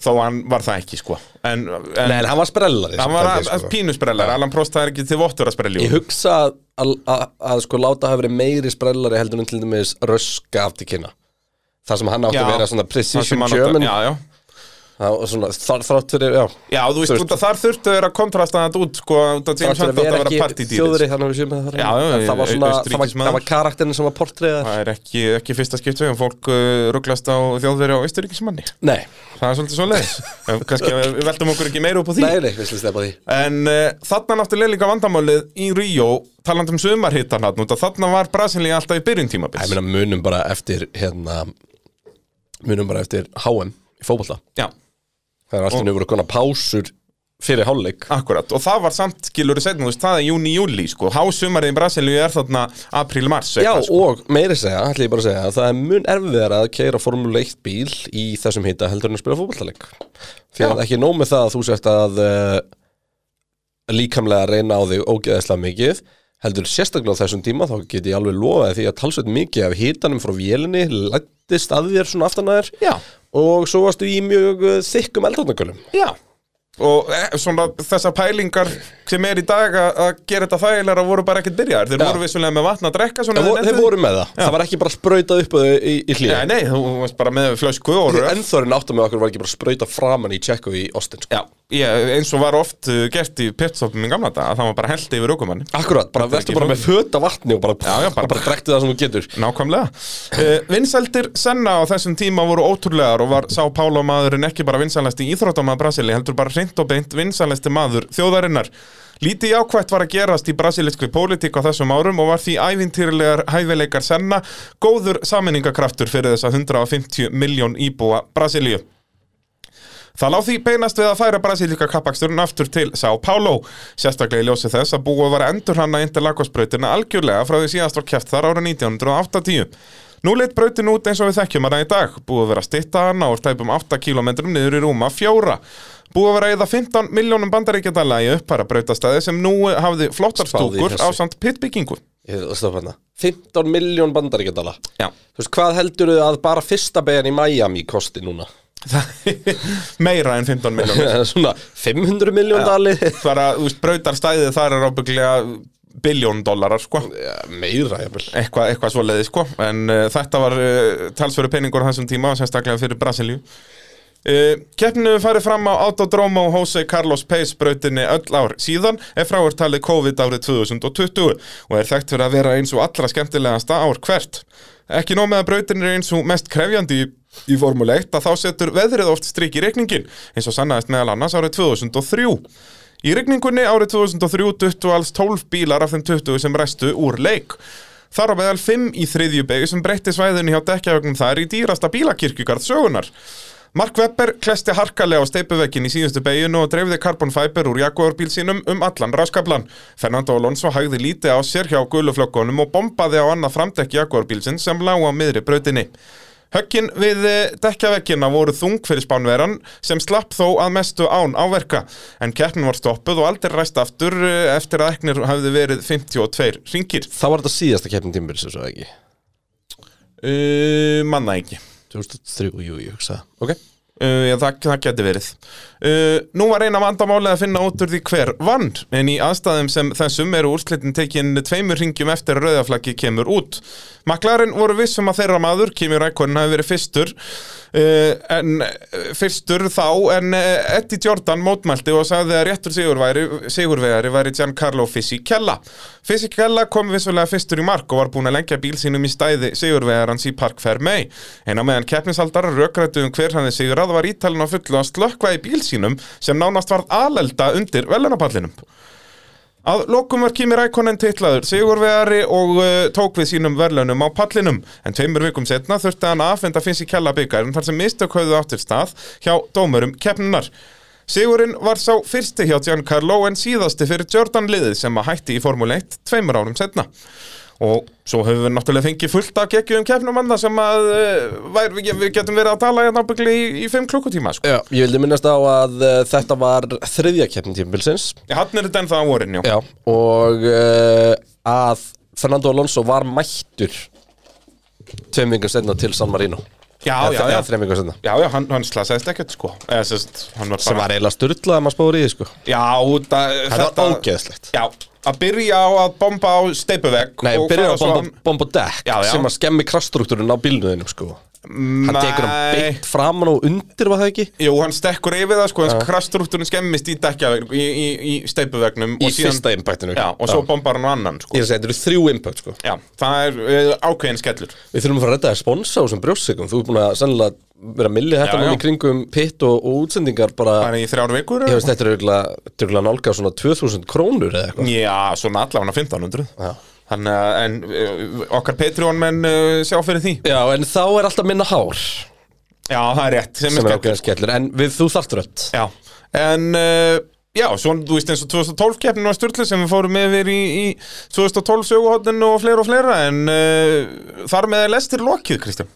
Speaker 2: þó hann var það ekki sko en, en
Speaker 4: Nei, en hann var sprellari
Speaker 2: hann
Speaker 4: sem
Speaker 2: var
Speaker 4: kallar
Speaker 2: að,
Speaker 4: ég, sko.
Speaker 2: að pínusbrellar, Alan Prost það er ekki til vottur að sprelli
Speaker 4: Ég
Speaker 2: úr.
Speaker 4: hugsa að, að, að, að sko, láta hafa verið meiri sprellari heldur en til dæmis röska aftur kynna Það sem hann átti að vera svona
Speaker 2: það sem
Speaker 4: precision
Speaker 2: hann átti-
Speaker 4: German
Speaker 2: já, já,
Speaker 4: Það var svona þar- þrátt fyrir, já
Speaker 2: já, þú veist,
Speaker 4: Þú veist-
Speaker 2: út að þar þurftu þeir að kontrasta þetta út sko, út að James
Speaker 4: þrátt
Speaker 2: Hunt átt að
Speaker 4: fyrir að vera
Speaker 2: vera
Speaker 4: ekki
Speaker 2: partydýr
Speaker 4: þjóðri þannig að við séum með það
Speaker 2: Já, já,
Speaker 4: en það var svona, það var,
Speaker 2: Austurríkismaður.
Speaker 4: það var karakterin sem var portreiðar
Speaker 2: það er ekki, ekki fyrsta skipt um fólk uh, rugglast á þjóðveri á Ísturíkismanni
Speaker 4: Nei,
Speaker 2: það er svolítið svoleiðis kannski að við veltum okkur ekki meira upp á því
Speaker 4: nei, nei, við slýst það bara því
Speaker 2: En uh, þarna náttúrulega líka vandamálið í Ríó taland um sumarhittan hann út að þarna var Brasilíu alltaf í byrjun
Speaker 4: Ég
Speaker 2: tímabils
Speaker 4: meina munum bara eftir hérna, munum bara eftir HM í fótbolta
Speaker 2: Já,
Speaker 4: Það er alltaf nú voru konar pásur fyrir hálfleik
Speaker 2: Akkurat, og það var samt skilur setna, þú veist, það er júni-júli, sko Hásumarið í Brasilíu er þarna apríl-mars
Speaker 4: Já,
Speaker 2: eitthvað, sko.
Speaker 4: og meiri segja, ætla ég bara að segja að það er mun erfiðar að keira Formule 1 bíl í þessum hita heldur en að spila fótballtaleik því að ekki nóg með það að þú sért að uh, líkamlega reyna á þig ógeðislega mikið heldur sérstaklega á þessum tíma þá get ég alveg lofaði því að talsveit mikið af hitanum frá vélinni lættist að þér svona aftan að þér
Speaker 2: Já.
Speaker 4: og svo varstu í mjög uh, þykkum eldhóttnakölum
Speaker 2: Já Og eh, svona þessar pælingar sem er í dag að að gera þetta þægilega voru bara ekkert byrjaðar Þeir
Speaker 4: Já.
Speaker 2: voru vissulega með vatn að drekka svona
Speaker 4: Þeir vo-
Speaker 2: en
Speaker 4: þeir
Speaker 2: enduðu-
Speaker 4: voru með það, það var ekki bara sprautað upp á þau í, í hlýja
Speaker 2: Já, nei, þú varst bara með flösku og röf
Speaker 4: Ennþorinn áttum með okkur var ekki bara sprauta framan í Tjekko í Austin sko.
Speaker 2: Já, ég, eins og var oft uh, gert í pitstopum í gamla dag að það var bara held yfir aukumanni
Speaker 4: Akkurat, bara
Speaker 2: Þetta er ekki
Speaker 4: verður bara með föta vatni og bara,
Speaker 2: Já, já, bara-
Speaker 4: og bara drektu það sem þú getur
Speaker 2: Nákvæmlega uh, Vinsældir Senna á þessum tíma voru ótrúlegar og var sá Pála maðurinn ekki bara vinsælasti íþróttamaður Brasili heldur bara hreint og beint vinsælasti maður þjóðarinnar Lítið jákvætt var að gerast í brasilisku pólitík á þessum árum og var því ævintýrlegar hæfileikar Senna góður saminningakraftur fyrir þessa 150 miljón íbúa Brasilíu Það láð því beinast við að færa brasilíka kappaksturinn aftur til São Paulo. Sérstaklega í ljósi þess að búið var að endur hanna interlagosbrautina algjörlega frá því síðast var kæft þar ára 1980. Nú leitt brautin út eins og við þekkjum hana í dag. Búið að vera að stytta hana og stæpum 8 km niður í rúma fjóra. Búið að vera að eða 15 miljónum bandaríkjadala í upphæra brautastæði sem nú hafði flottar
Speaker 4: Spáði í
Speaker 2: stúkur
Speaker 4: þessu.
Speaker 2: á samt pittbyggingu.
Speaker 4: Ég ætla að stoppa hérna. 15 miljón bandaríkjadala
Speaker 2: Já.
Speaker 4: Þú veist, hvað heldur þau að bara fyrsta beigjan í Miami kosti núna?
Speaker 2: Meira en 15 miljónum.
Speaker 4: Svona 500 miljón dali
Speaker 2: Bara, þú veist, brautarstæðið þar er ábygglega biljón dólarar, sko.
Speaker 4: Já, Meira, jafnvel
Speaker 2: eitthvað, eitthvað svoleiði sko en uh, þetta var uh, talsveru peningur á þessum tíma og sérstaklega fyrir Brasilíu Uh, keppninu farið fram á Autodromo og Jose Carlos Pace brautinni öll ár síðan ef frá er talið COVID árið 2020 og er þekkt fyrir að vera eins og allra skemmtilegasta ár hvert. Ekki nóg með að brautin er eins og mest krefjandi í, í Formule 1 að þá setur veðrið oft strik í reikningin eins og sannaðist meðal annars árið 2003. Í regningunni árið 2003 duttu alls 12 bílar af þeim 20 sem restu úr leik. Þar á meðal 5 í þriðju begu sem breytti svæðinu hjá dekkjavögnum þar í dýrasta bílakirkjugarð sögunar. Mark Webber klesti harkalega á steipuvekkin í síðustu beginu og dreifði carbon fiber úr jaguarbíl sínum um allan raskablan. Fernando Alonso hægði lítið á sér hjá guluflokkonum og bombaði á annað framdekki jaguarbílsinn sem lág á miðri brautinni. Höggin við dekjavekkina voru þung fyrir spánveran sem slapp þó að mestu án áverka en keppnin var stoppuð og aldrei ræst aftur eh, eftir að eknir hafði verið 52 ringir.
Speaker 4: Það var þetta síðasta keppnum tímur sem svo ekki
Speaker 2: Uh, manna ekki.
Speaker 4: 2003, jú, ég hugsa Ok
Speaker 2: Uh, já, það, það geti verið uh, Nú var eina vandamálið að finna út úr því hver vann En í aðstæðum sem þessum eru úrslitin tekin tveimur ringjum eftir að rauðaflaggi kemur út Maklarinn voru vissum að þeirra maður Kimi Rækonin hafi verið fyrstur uh, En uh, fyrstur þá En uh, Eddie Jordan mótmælti og sagði að réttur sigurværi, sigurvegari væri Giancarlo Fisichella Fisichella kom vissulega fyrstur í mark og var búin að lengja bíl sínum í stæði sigurvegarans í Park Fermei En á meðan keppnisaldar rökrættu um hver hann er sigurað var ítalinn á fullu að slökkva í bíl sínum sem nánast varð alelda undir velunapallinum. Að lokum var Kimi Rækonen titlaður sigurvegari og uh, tók við sínum verðlunum á pallinum en tveimur vikum setna þurfti hann að afhenda finns í kjalla byggarinn þar sem mistök höfðu áttir stað hjá dómurum keppnunar. Sigurinn var sá fyrsti hjá Giancarlo en síðasti fyrir Jordan liðið sem að hætti í Formule 1 tveimur árum setna og svo höfum við náttúrulega fengið fullt af geggjum keppnumanna sem að uh, vær, við, við getum verið að tala hérna ábyggli í, í fimm klukkutíma sko.
Speaker 4: Já, ég vildi minnast á að uh, þetta var þriðja keppnum tímbilsins
Speaker 2: Já, hann er þetta ennþá á vorin, já.
Speaker 4: Já, og uh, að Fernando Alonso var mættur tveim vingum setna til San Marino
Speaker 2: Já, já,
Speaker 4: Eða
Speaker 2: já.
Speaker 4: þreim vingum setna
Speaker 2: Já, já, hann, hann slasaðist ekkert, sko. Eða, sest, hann var bara...
Speaker 4: sem var eiginlega styrlað að maður spáður í því sko
Speaker 2: Já, það...
Speaker 4: Það var ógeðslegt
Speaker 2: Já, að byrja á að bomba á steipuvegg
Speaker 4: Nei,
Speaker 2: og
Speaker 4: byrjar
Speaker 2: fara
Speaker 4: að
Speaker 2: svo
Speaker 4: bomba, bomba dekk
Speaker 2: Já, já.
Speaker 4: sem að skemmi kraftstruktúrin á bílnuðinum sko Hann tekur hann
Speaker 2: Nei.
Speaker 4: beint framan og undir var það ekki
Speaker 2: Jú, hann stekkur yfir það, sko, hans kraftstruktúrin skemmist í dekkjavegg, í, í, í steipuvegnum
Speaker 4: Í fyrsta impactinu
Speaker 2: Já, og svo bombar hann á annan, sko.
Speaker 4: Ég er að segja, þetta eru þrjú impact sko
Speaker 2: Já, það er uh, ákveðin skellur.
Speaker 4: Við þurfum að fara að redda þér sponsa á þessum brjóssigum Þú er búin að sannlega vera að milli
Speaker 2: Já,
Speaker 4: þetta
Speaker 2: já.
Speaker 4: núna í kringum pitt og, og útsendingar bara
Speaker 2: Það er í þrjár vikur.
Speaker 4: Ég veist, þetta er örugglega- þetta er örugglega nálga svona 2000 krónur eða eitthvað
Speaker 2: Já, svona allavega 1500
Speaker 4: Já.
Speaker 2: Þannig að en, uh, okkar Patreon menn uh, sjá fyrir því
Speaker 4: Já, en þá er alltaf minna hár
Speaker 2: Já, það er rétt, sem,
Speaker 4: sem
Speaker 2: er
Speaker 4: er
Speaker 2: skemmt
Speaker 4: ákveðan skellur En við, þú þarft rödd
Speaker 2: Já, en uh, Já, svona, þú veist eins og 2012 keppnin var styrli sem við fórum með yfir í, í 2012 söguhotninu og fleira og fleira en uh, þar með er lestir lokið, Kristján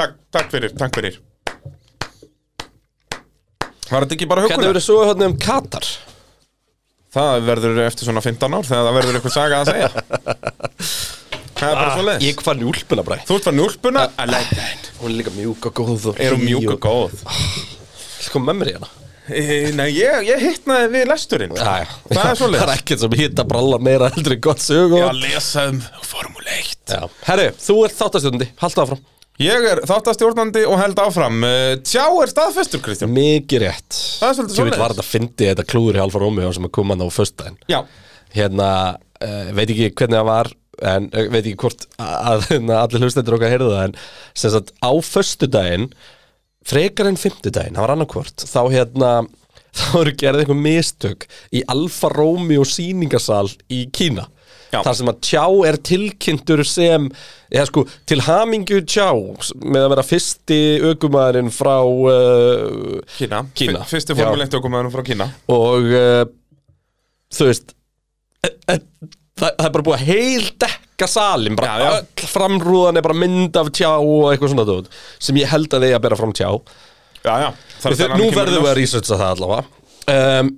Speaker 2: Takk, takk fyrir, takk fyrir Var þetta ekki bara
Speaker 4: Hvernig
Speaker 2: hugur?
Speaker 4: verður svo hérna um Katar?
Speaker 2: Það verður eftir svona 15 ár þegar það verður eitthvað saga að segja Það er bara svo leiðis
Speaker 4: Ah, Ég Ah, fann úlpuna bara
Speaker 2: Þú ert fann úlpuna? I like that
Speaker 4: Hún er líka mjúk og góð og
Speaker 2: Erum mjúk og góð
Speaker 4: Sko með mér í hana
Speaker 2: Eh, Nei, ég, ég hittnaði við lesturinn
Speaker 4: Ah, Já, já.
Speaker 2: Það er svo
Speaker 4: Það er ekkert sem hitta brallar meira heldur en gott sög
Speaker 2: Ég
Speaker 4: og
Speaker 2: að lesa um Formule 1
Speaker 4: Já. Herri, þú ert þáttastjóðandi, halda áfram
Speaker 2: Ég er þáttastjórnandi og held áfram Eh, Tjá er staðfestur, Kristján
Speaker 4: Mikið rétt
Speaker 2: Það er svolítið
Speaker 4: Ég vil
Speaker 2: svoleiðis.
Speaker 4: var þetta að fyndi þetta klúður í Alfa Romeo sem er komin á föstudaginn
Speaker 2: Já,
Speaker 4: Hérna, uh, veit ekki hvernig það var en uh, veit ekki hvort að, að hérna, allir hlustendur okkar heyrðu það en sem sagt á föstudaginn frekar en fimmtudaginn, það var annarkvort þá hérna, þá eru gerðið einhver mistök í Alfa Romeo sýningasal í Kína
Speaker 2: Já.
Speaker 4: þar sem að tjá er tilkynntur sem, já sko, til hamingju tjá með að vera fyrsti ökumæðurinn frá uh,
Speaker 2: Kína,
Speaker 4: Kína.
Speaker 2: F- Fyrsti
Speaker 4: Já.
Speaker 2: Formule 1 okkur frá Kína
Speaker 4: og uh, þú veist e, e, það, það er bara búið að heildekka salin bara
Speaker 2: Já, já.
Speaker 4: öll framrúðan er bara mynd af tjá og eitthvað svona dót sem ég held að eigi að bera fram tjá
Speaker 2: Já, já þar er
Speaker 4: Við,
Speaker 2: þennan
Speaker 4: nú
Speaker 2: kemur
Speaker 4: verðum
Speaker 2: ljós.
Speaker 4: við að researcha það allavega um,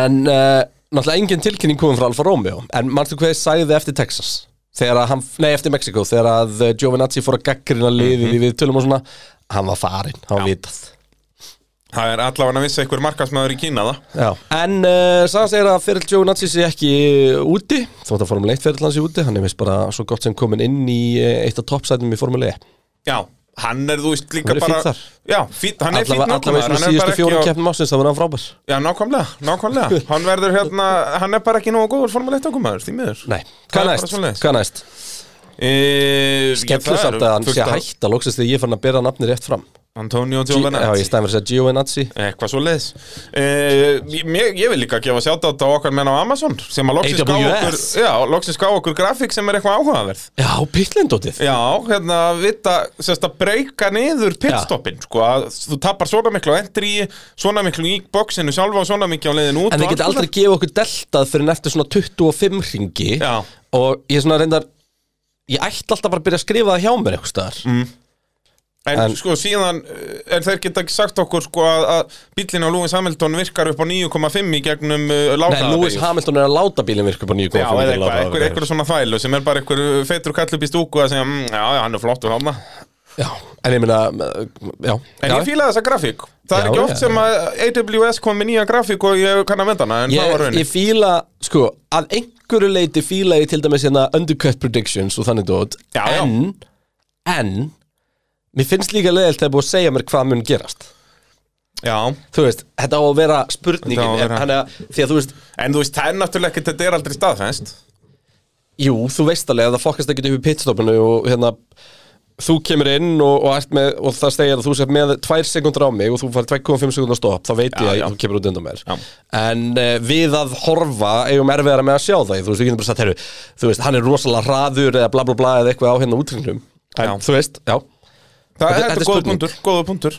Speaker 4: en uh, náttúrulega engin tilkynning komum frá Alfa Romeo en mannstu hvað ég sagði eftir Texas þegar að hann, nei eftir Mexiko þegar að eh, Giovinazzi fór að gaggrina liðið
Speaker 2: Mhm.
Speaker 4: í viðtölum og svona hann var farinn, hann var vitað
Speaker 2: Það er allavega að vissi einhver markasmaður í Kína það
Speaker 4: Já. En uh, Sagan segir að fyrir Joe Natsi sé ekki eh, úti, þótt að Formule 1 fyrir hans sé úti, hann er vist bara svo gott sem komin inn í eh, eitt af toppsætum í Formule E. 1.
Speaker 2: Já, hann er þú veist líka
Speaker 4: Hann er
Speaker 2: bara
Speaker 4: fínn þar.
Speaker 2: Já, fít, hann er fínt
Speaker 4: Allavega allavega
Speaker 2: nákvæmlega
Speaker 4: svona síðustu fjórum keppnum ásins, það var hann frábær.
Speaker 2: Já, nákvæmlega, nákvæmlega Hann verður hérna, hann er bara ekki nógu góður Formule 1 okkur því miður
Speaker 4: Nei,
Speaker 2: Það er
Speaker 4: hvað
Speaker 2: bara
Speaker 4: næst?
Speaker 2: svoleiðis.
Speaker 4: Hvað næst?
Speaker 2: e,
Speaker 4: Skellur samt að hann sé að hætta loksist þegar ég fann að bera nafni rétt fram.
Speaker 2: Antonio
Speaker 4: G- Já,
Speaker 2: Giovinazzi
Speaker 4: ég stæði verið að segja Gio Natsi.
Speaker 2: Eitthvað svo leiðis ég, ég vil líka gefa sjátt á okkar menn á Amazon sem að loksins gá okkur,
Speaker 4: AWS.
Speaker 2: já, loksins gá okkur grafík sem er eitthvað áhugaverð
Speaker 4: Já, pittlindótið.
Speaker 2: Já, hérna, vita, sérst að breyka niður pitstoppin, sko, að þú tapar svona miklu á entry, svona miklu í boxinu sjálfa og svona miklu á leiðin út
Speaker 4: En
Speaker 2: og
Speaker 4: þið geti
Speaker 2: allt
Speaker 4: aldrei gefið okkur deltað fyrir eftir svona 25 ringi
Speaker 2: Já.
Speaker 4: og ég svona reyndar, ég ætti alltaf bara að byrja að skrifa það hjá mér eitthvað staðar.
Speaker 2: Mm. En,
Speaker 4: En-
Speaker 2: sko síðan eh, en þeir geta ekki sagt okkur sko að, að bíllinn á Lewis Hamilton virkar upp á 9,5 í gegnum uh,
Speaker 4: Nei, Lewis
Speaker 2: látaðabegið
Speaker 4: Hamilton er að láta bílinn virka upp á 9,5
Speaker 2: Já, eða eitthvað, eitthvað,
Speaker 4: eitthvað
Speaker 2: eitthvað svona þvælu sem er bara eitthvað feitur kall upp í stúku að segja, mm, já, já, hann er flott og hana
Speaker 4: Já, en ég meina, uh, já
Speaker 2: En
Speaker 4: já.
Speaker 2: ég fílaði þessa grafík Það er
Speaker 4: Já,
Speaker 2: ekki oft
Speaker 4: já.
Speaker 2: sem að AWS kom með nýja grafík og ég kann að venda hana en það var
Speaker 4: Ég,
Speaker 2: raunin
Speaker 4: ég fíla, sko, að einhverju leiti fíla ég til dæmis hérna undercut predictions og þannig dót
Speaker 2: Já, já.
Speaker 4: En, en, mér finnst líka leðilt þegar búið að segja mér hvað mun gerast
Speaker 2: Já,
Speaker 4: Þú veist, þetta á að vera
Speaker 2: Þetta á
Speaker 4: spurningin
Speaker 2: að vera-
Speaker 4: Þannig að, því að þú veist,
Speaker 2: en þú veist, það er náttúrulega ekki þetta er aldrei staðfest
Speaker 4: jú, þú veist alveg að það fokkast ekkert upp í pitstopinu og hérna Þú kemur inn og, og, ert með, og það segir að þú sér með 2 sekundar á mig og þú fær 2,5 sekundar stopp þá veit ég
Speaker 2: Já,
Speaker 4: að
Speaker 2: já.
Speaker 4: þú kemur út undan mér
Speaker 2: Já.
Speaker 4: en uh, við að horfa eigum erfiðara með að sjá það þú veist, við getum bara sagt, heyrðu, þú veist, hann er rosalega hraður eða bla bla bla eða eitthvað á hérna útringnum
Speaker 2: Já.
Speaker 4: en þú veist, já,
Speaker 2: Það
Speaker 4: Þetta-
Speaker 2: þetta er
Speaker 4: þetta er
Speaker 2: góða
Speaker 4: spurning.
Speaker 2: punktur, góða punktur.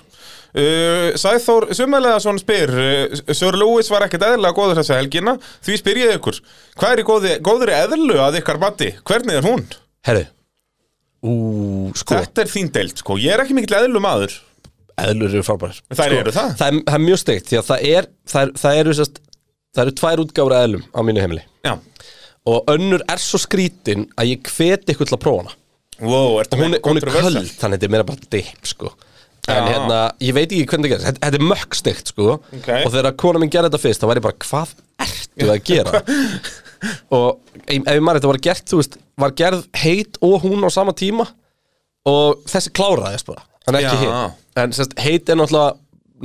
Speaker 2: Uh, Sæþór Sumalegason spyr uh, Sir Lewis var ekkert eðlilega góður þessa helgina Því spyr ég ykkur Hvað er í góði, góðri eðlu að ykkar mati? Hvernig er hún?
Speaker 4: herru ú, sko,
Speaker 2: Þetta er þín deild sko Ég er ekki mikill eðlu maður
Speaker 4: eðlur eru frábærir
Speaker 2: Þær eru það?
Speaker 4: það er, það er mjög steikt, því að það er það, er, það eru, sérst, það eru tvær útgáfra eðlum á mínu heimili
Speaker 2: Já
Speaker 4: og önnur er svo skrítin að ég hveti ykkur til að prófa hana
Speaker 2: Wow, ertu
Speaker 4: hún,
Speaker 2: með
Speaker 4: er- hún er
Speaker 2: kontroversial?
Speaker 4: köld, þannig þetta er meira bara dip sko. En
Speaker 2: Já.
Speaker 4: hérna, ég veit ekki hvernig það gerist Þetta, þetta er mökkstikt sko
Speaker 2: Ok.
Speaker 4: Og þegar kona minn gerði þetta fyrst, þá var ég bara Hvað ertu að gera? og ef ef ég maður þetta var gert, þú veist Var gerð heit og hún á sama tíma Og þessi kláraðist bara En ekki
Speaker 2: Já.
Speaker 4: heit En sérst, heit er náttúrulega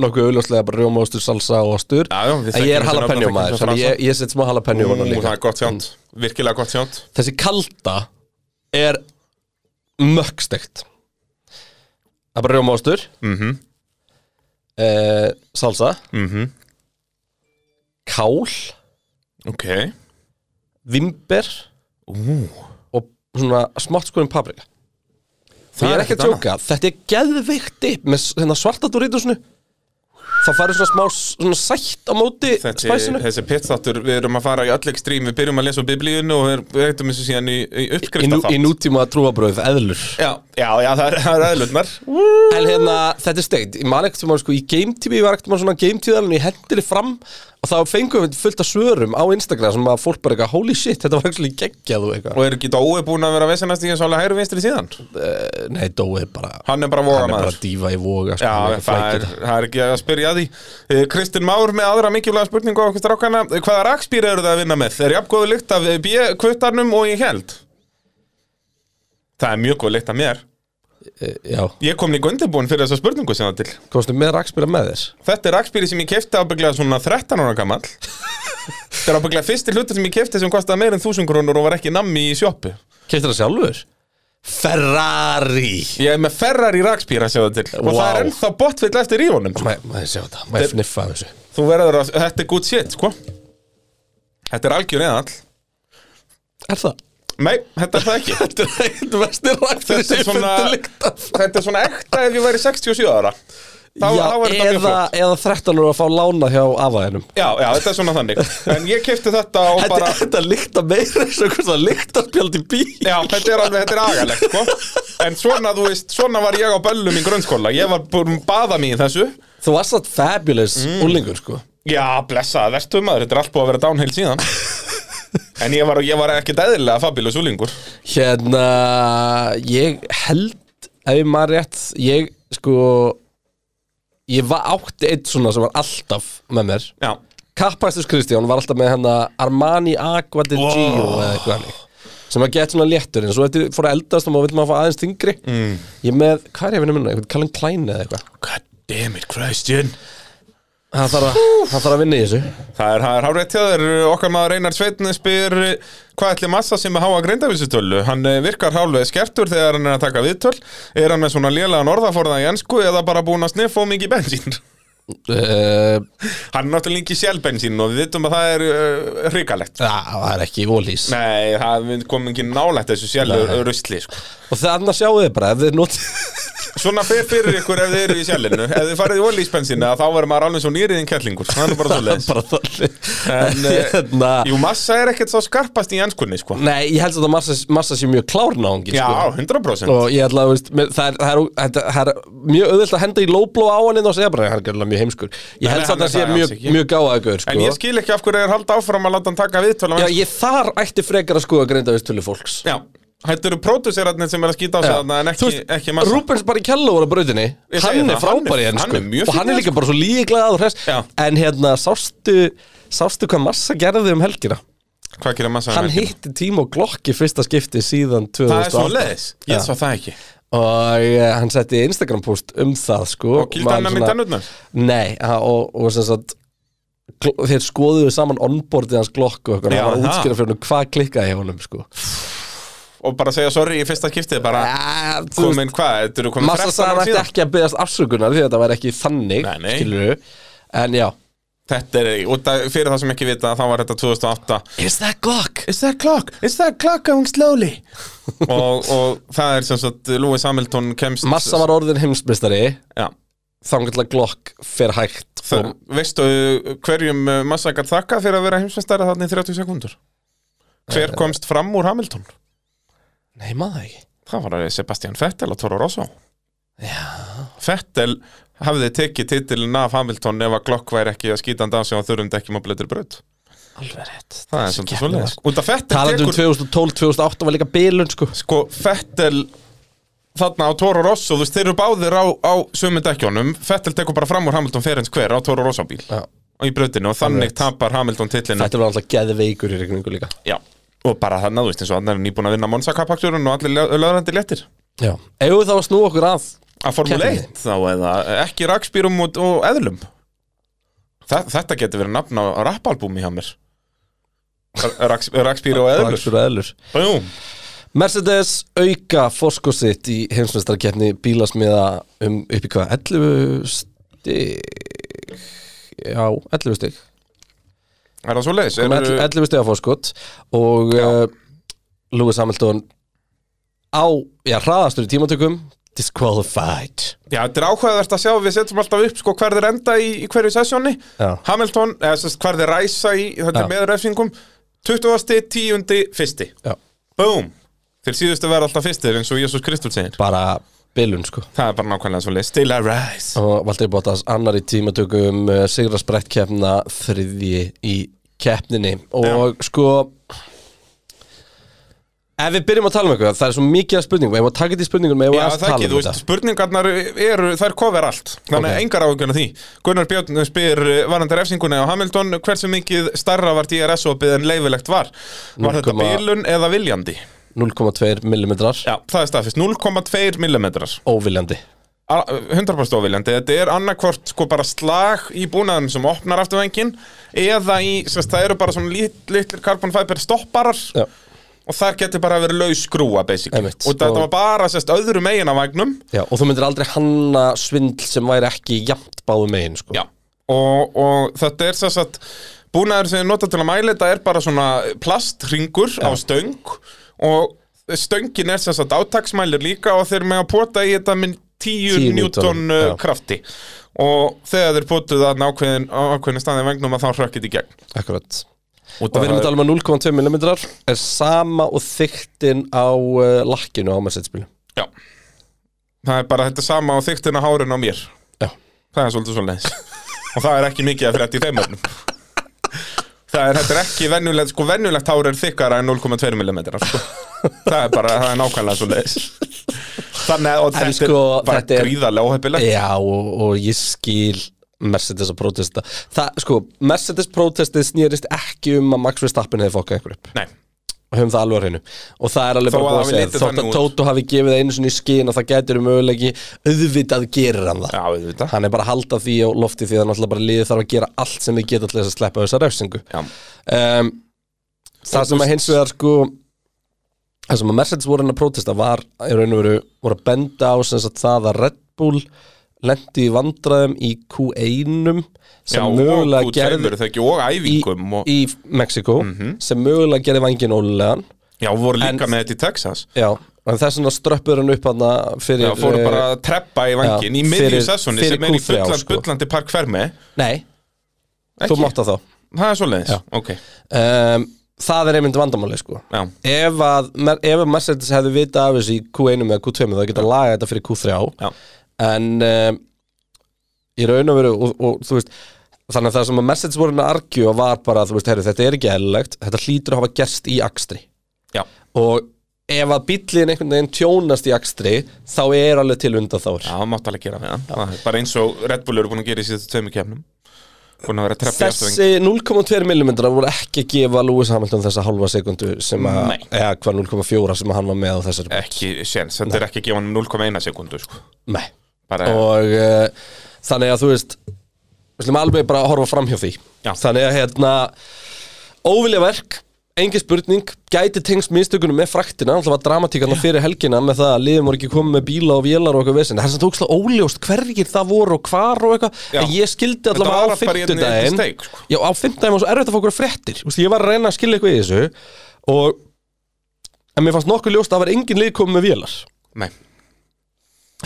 Speaker 4: nokkuð auðljóslega bara rjómaostur, salsa og ostur
Speaker 2: Já, já, við
Speaker 4: En ég
Speaker 2: þekkjum
Speaker 4: er
Speaker 2: þetta nafn,
Speaker 4: jalapeno
Speaker 2: þekkjum
Speaker 4: maður
Speaker 2: þetta
Speaker 4: Þannig
Speaker 2: frasa.
Speaker 4: ég, ég set smá jalapeno
Speaker 2: Ú,
Speaker 4: á hana líka. Mm.
Speaker 2: Það er gott sjánt Virkilega gott sjánt
Speaker 4: þessi kalda er mökkstekt það er bara rjómaostur mm
Speaker 2: Mhm.
Speaker 4: Eh, salsa mm kál
Speaker 2: Ok
Speaker 4: vimber og svona smátt skoðum paprika og ég er ekki að
Speaker 2: ekkert
Speaker 4: tjóka, þetta er geðveikt dip með s- hérna, svarta doritosnu það farið svona smá s- svona sætt á móti
Speaker 2: Þetta,
Speaker 4: spæsinu
Speaker 2: þessi pitstáttur, við erum að fara í öll ekstrím, við byrjum að lesa úr biblíunni og við reytum þessu síðan í, í
Speaker 4: í, nú,
Speaker 2: uppskrifta
Speaker 4: í nútíma trúabröð, eðlur
Speaker 2: Já, já, já, það er, það er aðlutnar.
Speaker 4: En hérna, þetta er steigt Ég man ekkert sem að sko í gametími Ég var ekkert maður svona gametíðalinn Ég hendir þið fram Og þá fengum við fullt af svörum á Instagram Sem að fólk bara eitthvað, holy shit, þetta var ekki geggjað og eitthvað
Speaker 2: Og er ekki Dói búin að vera vesenast í eins og alveg hægri vinstri síðan?
Speaker 4: Eh, Nei, Dói er bara
Speaker 2: Hann er bara
Speaker 4: Hann er bara
Speaker 2: vogamaður.
Speaker 4: dífa í voga sko, hann
Speaker 2: Já,
Speaker 4: er ekki
Speaker 2: það
Speaker 4: flækir
Speaker 2: er, það er ekki að spyrja að því. Eh, Kristinn Már með aðra mikilvæga spurningu á okkur strákana. Eh, Hvaða rakspýr eru það að vinna með? Er jafngóðu lykt af B-kvuttarnum og ég held? Það er mjög góð lykt af mér.
Speaker 4: Eh, Já,
Speaker 2: Ég kom líka undirbúin fyrir þessa spurningu sem það til.
Speaker 4: komstu með rakspila með þér
Speaker 2: Þetta er rakspýri sem ég kefti ábygglega svona 13 ára gamall. Þetta er ábygglega fyrsti hlutur sem ég kefti sem kostaði meir en 1000 krónur og var ekki nammi í sjoppu.
Speaker 4: Keftir það sjálfur? Ferrari
Speaker 2: Ég er með Ferrari rakspýra sem það til. Og það
Speaker 4: Vá.
Speaker 2: er ennþá botvill eftir í honum.
Speaker 4: Má má ég sjá þetta, má ég fniffa af þessu
Speaker 2: Þú verður að, þetta er good shit, sko Þetta er algjör eðall
Speaker 4: Er það?
Speaker 2: Nei, þetta er það ekki
Speaker 4: Þetta er eitthvað vestir rakspila
Speaker 2: Þetta
Speaker 4: sem
Speaker 2: er
Speaker 4: ég
Speaker 2: svona,
Speaker 4: fundi líkt af
Speaker 2: þetta er svona ekta ef ég væri 67 ára Þá,
Speaker 4: Já,
Speaker 2: þá er þetta mjög
Speaker 4: eða,
Speaker 2: flott
Speaker 4: eða 13 ára að fá lána hjá afaðinum
Speaker 2: Já, já, þetta er svona þannig En ég kefti þetta og
Speaker 4: Þetta,
Speaker 2: bara
Speaker 4: bara... þetta lykta meira eins og hvort það lykta spjald í bíl
Speaker 2: Já, þetta er alveg, þetta er agalegt, sko En svona, þú veist, svona var ég á böllum í grunnskóla Ég var búin að baða mig í þessu
Speaker 4: Þú varst það fabulous mm. úlingur sko
Speaker 2: Já, blessa, verðstu maður, þetta er allt búið að vera downhill síðan En ég var, ég var ekki dæðilega fabulous úlingur
Speaker 4: Hérna, ég held ef ég maður rétt, ég sko ég var átti einn svona sem var alltaf með mér
Speaker 2: Já,
Speaker 4: Kappastus Kristján var alltaf með hérna Armani Aqua de Gio eða eitthvað hannig sem að geta svona léttur en svo eftir fór að eldast og maður vill maður fá aðeins þingri mm. ég með, hvað er ég að vinna minna, eitthvað Callum Klein eða eitthvað
Speaker 2: God damn it, Christian
Speaker 4: hann þarf að, hann þarf að vinna í þessu
Speaker 2: Það er, það er hárétt hjá þér, okkar maður Einar Sveitn spyr eh, hvað ætli massa sem að háa grindavísutölu, hann eh, virkar hálflega skertur þegar hann er að taka viðtöl er hann með svona lélegan orðaforða í ennsku eða bara búin að sniffa of mikið bensín
Speaker 4: uh,
Speaker 2: hann er náttúrulega ekki sjálfbensín og við vitum að það er uh, hrikalegt
Speaker 4: Já, það er ekki ólís
Speaker 2: Nei, það við komum ekki nálægt þessu sjálfur rusli sko.
Speaker 4: Og þannig að sjáu þið bara ef þið notið
Speaker 2: Svona fer fyrir ykkur ef þið eru í sjálfinu ef þið farið í olísbensinu þá verður maður alveg svo nýriðin kjallingur það er bara svo leis
Speaker 4: bara þannig
Speaker 2: En,
Speaker 4: En
Speaker 2: eh,
Speaker 4: hérna
Speaker 2: Jú, massa er ekkert svo skarpast í ennskunni sko.
Speaker 4: Nei, ég held að massa, massa sé mjög klárna ángi
Speaker 2: Já,
Speaker 4: sko.
Speaker 2: 100%
Speaker 4: Og ég held að, veist, með- það er, það er, það er, það er mjög auðvilt að henda í lóbló á hann og segja bara, hann er gerðilega mjög heimskur Ég
Speaker 2: nei,
Speaker 4: held
Speaker 2: hann er
Speaker 4: samt að það sé
Speaker 2: það alls
Speaker 4: mjög,
Speaker 2: ekki.
Speaker 4: mjög
Speaker 2: En
Speaker 4: gáðagur sko.
Speaker 2: ég skil ekki af hverju er halda áfram að láta hann taka viðtöl á
Speaker 4: Já,
Speaker 2: ensku.
Speaker 4: ég þar ætti frekar að skoða greindavistölu fólks
Speaker 2: Já, þetta eru pródusserarnir sem er að skýta á sig þarna en
Speaker 4: Þú
Speaker 2: ekki, ekki massa
Speaker 4: Rúbens bara í kellu voru á brautinni
Speaker 2: Ég segi
Speaker 4: Hann
Speaker 2: það,
Speaker 4: er frábær í
Speaker 2: hann er-
Speaker 4: ennsku
Speaker 2: hann er mjög
Speaker 4: Og
Speaker 2: fínn
Speaker 4: hann
Speaker 2: í
Speaker 4: er líka bara svo líklegað og hress
Speaker 2: Já.
Speaker 4: En hérna, sástu, sástu hvað massa gerði um helgina?
Speaker 2: Hvað gerir massa
Speaker 4: Hann
Speaker 2: hérna?
Speaker 4: hitti Tímo Glokk í fyrsta skipti síðan 2008
Speaker 2: Það er svo leiðis, ég
Speaker 4: Já.
Speaker 2: svo það ekki
Speaker 4: Og eh, hann setti Instagram post um það sko
Speaker 2: Og kýldi
Speaker 4: maður
Speaker 2: hann að
Speaker 4: svona-
Speaker 2: mynda nutnar
Speaker 4: Nei, ha- og, og sem sagt gl- Þeir skoðuðu saman onboardið hans Glokk og eitthvað
Speaker 2: Já,
Speaker 4: Hann var að
Speaker 2: það.
Speaker 4: útskýra fyrir hann hvað klikkaði hjá honum sko
Speaker 2: Og bara segja sorry í fyrsta skiptið bara
Speaker 4: Ja, Eh, þú veist,
Speaker 2: Komin hvað, þetta eru komin
Speaker 4: Massa
Speaker 2: 13
Speaker 4: sagði hann
Speaker 2: ára
Speaker 4: ætti
Speaker 2: síðan
Speaker 4: ekki að beðast afsökunar því þetta væri ekki þannig,
Speaker 2: Nei, nei.
Speaker 4: skilurðu En já
Speaker 2: Þetta er, út af, fyrir það sem ekki vita, þá var þetta 2008
Speaker 4: Is that Glock?
Speaker 2: Is that clock? Is that clock going slowly? og, og það er sem sagt Lewis Hamilton kemst
Speaker 4: Massa var orðin heimsbyrstari
Speaker 2: Já
Speaker 4: Þannig að Glock fer hægt
Speaker 2: Það, veistu hverjum uh, Massa gætt þakkað fyrir að vera heimsveistari þannig í 30 sekundur? Hver komst fram úr Hamilton?
Speaker 4: Nei, maður það ekki
Speaker 2: Það var eh, Sebastian Vettel og Toro Rosso. Já. Vettel hafði tekið titilin af Hamilton ef að Glock væri ekki að skýta hann af sig og þurfum dekkjum á blöður braut.
Speaker 4: Alveg rétt
Speaker 2: Það er sem það svoleiðis. Út af Vettel
Speaker 4: Talandi um
Speaker 2: tekur,
Speaker 4: 2012-2008 var líka bilun sko
Speaker 2: sko, Vettel þarna á Toro Rosso, þú veist, þeir eru báðir á, á sömu dekkjónum. Vettel tekur bara fram úr Hamilton fyrir hans hver á Toro Rosso bíl.
Speaker 4: Já.
Speaker 2: Í brautinu og þannig tapar Hamilton titlinu.
Speaker 4: Þetta var alltaf geðveikur í regningu líka
Speaker 2: Já Og bara þannig, þú veist, eins og hann er nýbúin að vinna Monsa kappakturinn og allir löðrandi léttir
Speaker 4: Já Ef við þá að snúa okkur að
Speaker 2: Að Formule
Speaker 4: Keppni.
Speaker 2: 1 þá eða ekki rakspýrum og, og eðlum Þa, Þetta getur verið nafn á rappalbúmi hjá mér Rakspýru og eðlur
Speaker 4: Raksur og eðlur
Speaker 2: Búm
Speaker 4: Mercedes auka fórskot sitt í heimsmeistarkeppni bílasmiða um upp í hvað 11 stig Já, 11 stig Um
Speaker 2: Er það svo leiðis?
Speaker 4: Kom með 11 stig að fórskot eh, og uh, Lewis Hamilton á, já, hraðastur í tímatökum Disqualified
Speaker 2: Já, þetta er áhugavert að sjá, við setjum alltaf upp sko, hver þeir enda í, í hverju sessjóni
Speaker 4: Já.
Speaker 2: Hamilton, eða sérst, hver þeir ræsa í þetta
Speaker 4: Já.
Speaker 2: er með refsingum 20. 10. 1.
Speaker 4: Já.
Speaker 2: Búm, þeir síðustu verða alltaf fyrstir eins og Jésús Kristur segir
Speaker 4: Bara bilun sko
Speaker 2: Það er bara nákvæmlega svo leið, still arise
Speaker 4: Og Valdir Bottas annar í tímatökum uh, Sigra sprett keppna þriðji í keppninni Og sko Ef við byrjum að tala um eitthvað Það er svo mikið að spurningum Ef við taka þetta í spurningum Ef við
Speaker 2: Já,
Speaker 4: að
Speaker 2: það
Speaker 4: tala
Speaker 2: ekki,
Speaker 4: um
Speaker 2: þú veist,
Speaker 4: þetta
Speaker 2: spurningarnar eru, þær kofir allt Þannig
Speaker 4: Ok.
Speaker 2: okay. engar áhugjörn af því Gunnar Björn spyr eh, varandi refsinguna á Hamilton Hversu mikið starra var DRS-opið en leifilegt var? Var þetta
Speaker 4: 0,1
Speaker 2: bílun eða viljandi?
Speaker 4: 0,2 millimetrar
Speaker 2: Já, það er staðfist, 0,2 millimetrar
Speaker 4: Óviljandi
Speaker 2: A- 100% óviljandi, þetta er annarkvort sko bara slag í búnaðum sem opnar afturvængin eða í, sérst, það eru bara svona lit, litlir carbon fiber stopparar
Speaker 4: Já.
Speaker 2: og þar getur bara verið laus skrúa basically
Speaker 4: Einmitt.
Speaker 2: og þetta
Speaker 4: Og-
Speaker 2: var bara sérst, öðru megin af vagnum
Speaker 4: Já, og þú myndir aldrei hanna svindl sem væri ekki jafnt báðu megin sko.
Speaker 2: Já. og, og þetta er sérst að búnaður sem er notað til að mæla þetta er bara svona plastringur á stöng og stöngin er sérst að átaksmælir líka og þeir með að pota í þetta með 10
Speaker 4: 10
Speaker 2: newton
Speaker 4: newton,
Speaker 2: uh,
Speaker 4: já.
Speaker 2: krafti og þegar þeir potuð að nákvæðin ákveðin staðið vagnum að þá hrökkit í gegn
Speaker 4: Akkurat
Speaker 2: og
Speaker 4: Og við erum að tala um að 0,2 mm er sama og þyktin á uh, lakkinu á Mercedes-bílum.
Speaker 2: já. það er bara þetta sama og þyktin að hárun á mér
Speaker 4: Já.
Speaker 2: það er svolítið svolítið og það er ekki mikið að frétta í þeim öfnum það er, þetta er ekki venjulegt sko venjulegt hár er þykkara en 0,2 mm sko. það er bara, það er nákvæmlega svolítið þannig að og
Speaker 4: En
Speaker 2: þetta
Speaker 4: sko,
Speaker 2: er bara
Speaker 4: þetta er-
Speaker 2: gríðarlega óhefilegt
Speaker 4: Já, og, og ég skil Mercedes að prótesta. Það, sko, Mercedes prótestið snýrist ekki um að Max Verstappen hefði fokkað ykkur upp.
Speaker 2: nei,
Speaker 4: Höfum það alveg á hreinu. Og það er
Speaker 2: Þó
Speaker 4: alveg bara
Speaker 2: að
Speaker 4: búið að
Speaker 2: hafi
Speaker 4: segja.
Speaker 2: litið
Speaker 4: Þótt
Speaker 2: þannig
Speaker 4: að
Speaker 2: út.
Speaker 4: Tóto hafi gefið einu sinni í skinn að það gætir um möguleiki, auðvitað gerir hann það.
Speaker 2: já, við veit
Speaker 4: Hann er bara að halda því á lofti því að náttúrulega bara liðið þarf að gera allt sem við geta til þess að sleppa þessa refsingu.
Speaker 2: það
Speaker 4: um, Það sem að hins vegar sko Það sem að Mercedes voru hann að prótesta var í raun og veru voru að benda á sem sagt það að Red Bull lendi í vandræðum í Q1
Speaker 2: Já,
Speaker 4: sem mögulega
Speaker 2: og
Speaker 4: gerði
Speaker 2: gerði ekki, og
Speaker 4: í,
Speaker 2: æfingum og, Mhm.
Speaker 4: í Mexiko sem mögulega gerði vangin ólegan
Speaker 2: já, voru líka
Speaker 4: en-
Speaker 2: með þetta í Texas
Speaker 4: Já, en þess vegna ströppur hann upp hann fyrir
Speaker 2: Já, fóru
Speaker 4: eh,
Speaker 2: bara að treppa í vangin
Speaker 4: já,
Speaker 2: í miðjum
Speaker 4: fyrir-
Speaker 2: sessóni
Speaker 4: fyrir
Speaker 2: sem er í
Speaker 4: Q3
Speaker 2: fullan,
Speaker 4: sko.
Speaker 2: bullandi parkvermi
Speaker 4: Nei, þú
Speaker 2: Ekki,
Speaker 4: mátt að þá
Speaker 2: það er svoleiðis,
Speaker 4: Já.
Speaker 2: ok
Speaker 4: um, Það er einmitt vandamáli sko
Speaker 2: Já,
Speaker 4: ef að, mer- ef að Mercedes hefði vitað af þessu í Q1 eða Q2 þá geta að laga þetta fyrir Q3
Speaker 2: Já.
Speaker 4: en um, í raun og veru og, og þú veist þannig að það sem að Mercedes voru að argju var bara þú veist, herri, þetta er ekki eðlilegt, þetta hlýtur að hafa gerst í akstri
Speaker 2: já,
Speaker 4: og ef að bíllinn einhvern veginn tjónast í akstri þá er alveg til undan þá
Speaker 2: já, mátt alveg gera við það Það er Bara eins og Red Bull eru búin að gera í síðustu tveimur kefnum Búin að vera að treppa í afturveng
Speaker 4: Þessi 0,2 mm voru ekki að gefa Lewis Hamilton þessa hálfa sekundu sem að,
Speaker 2: Nei.
Speaker 4: eða hvað 0,4 sem að hann var með á þessari
Speaker 2: Ekki séns, þetta er ekki að gefa hann 0,1 sekundu sko.
Speaker 4: Nei
Speaker 2: Bara,
Speaker 4: og uh, þannig að þú veist við slum alveg bara að horfa fram hjá því
Speaker 2: Já.
Speaker 4: þannig að hérna óvilja verk, engin spurning gæti tengst mistökunum með fraktina alltaf var dramatíkarna fyrir helgina með það að liðum voru ekki komið með bíla og vélar og eitthvað vesinn það er sem tókslega óljóst hverjir það voru og hvar og eitthvað
Speaker 2: Já.
Speaker 4: en ég skildi
Speaker 2: Þetta
Speaker 4: allavega á
Speaker 2: var bara í einni- einni
Speaker 4: fimmtudaginn
Speaker 2: steik, sko.
Speaker 4: já á fimmtudaginn var svo erfitt að fá okkur fréttir Þú veist, ég var að reyna að skilja eitthvað í þessu og en mér fannst nokkuð ljóst að það var engin lið komið með vélar
Speaker 2: Nei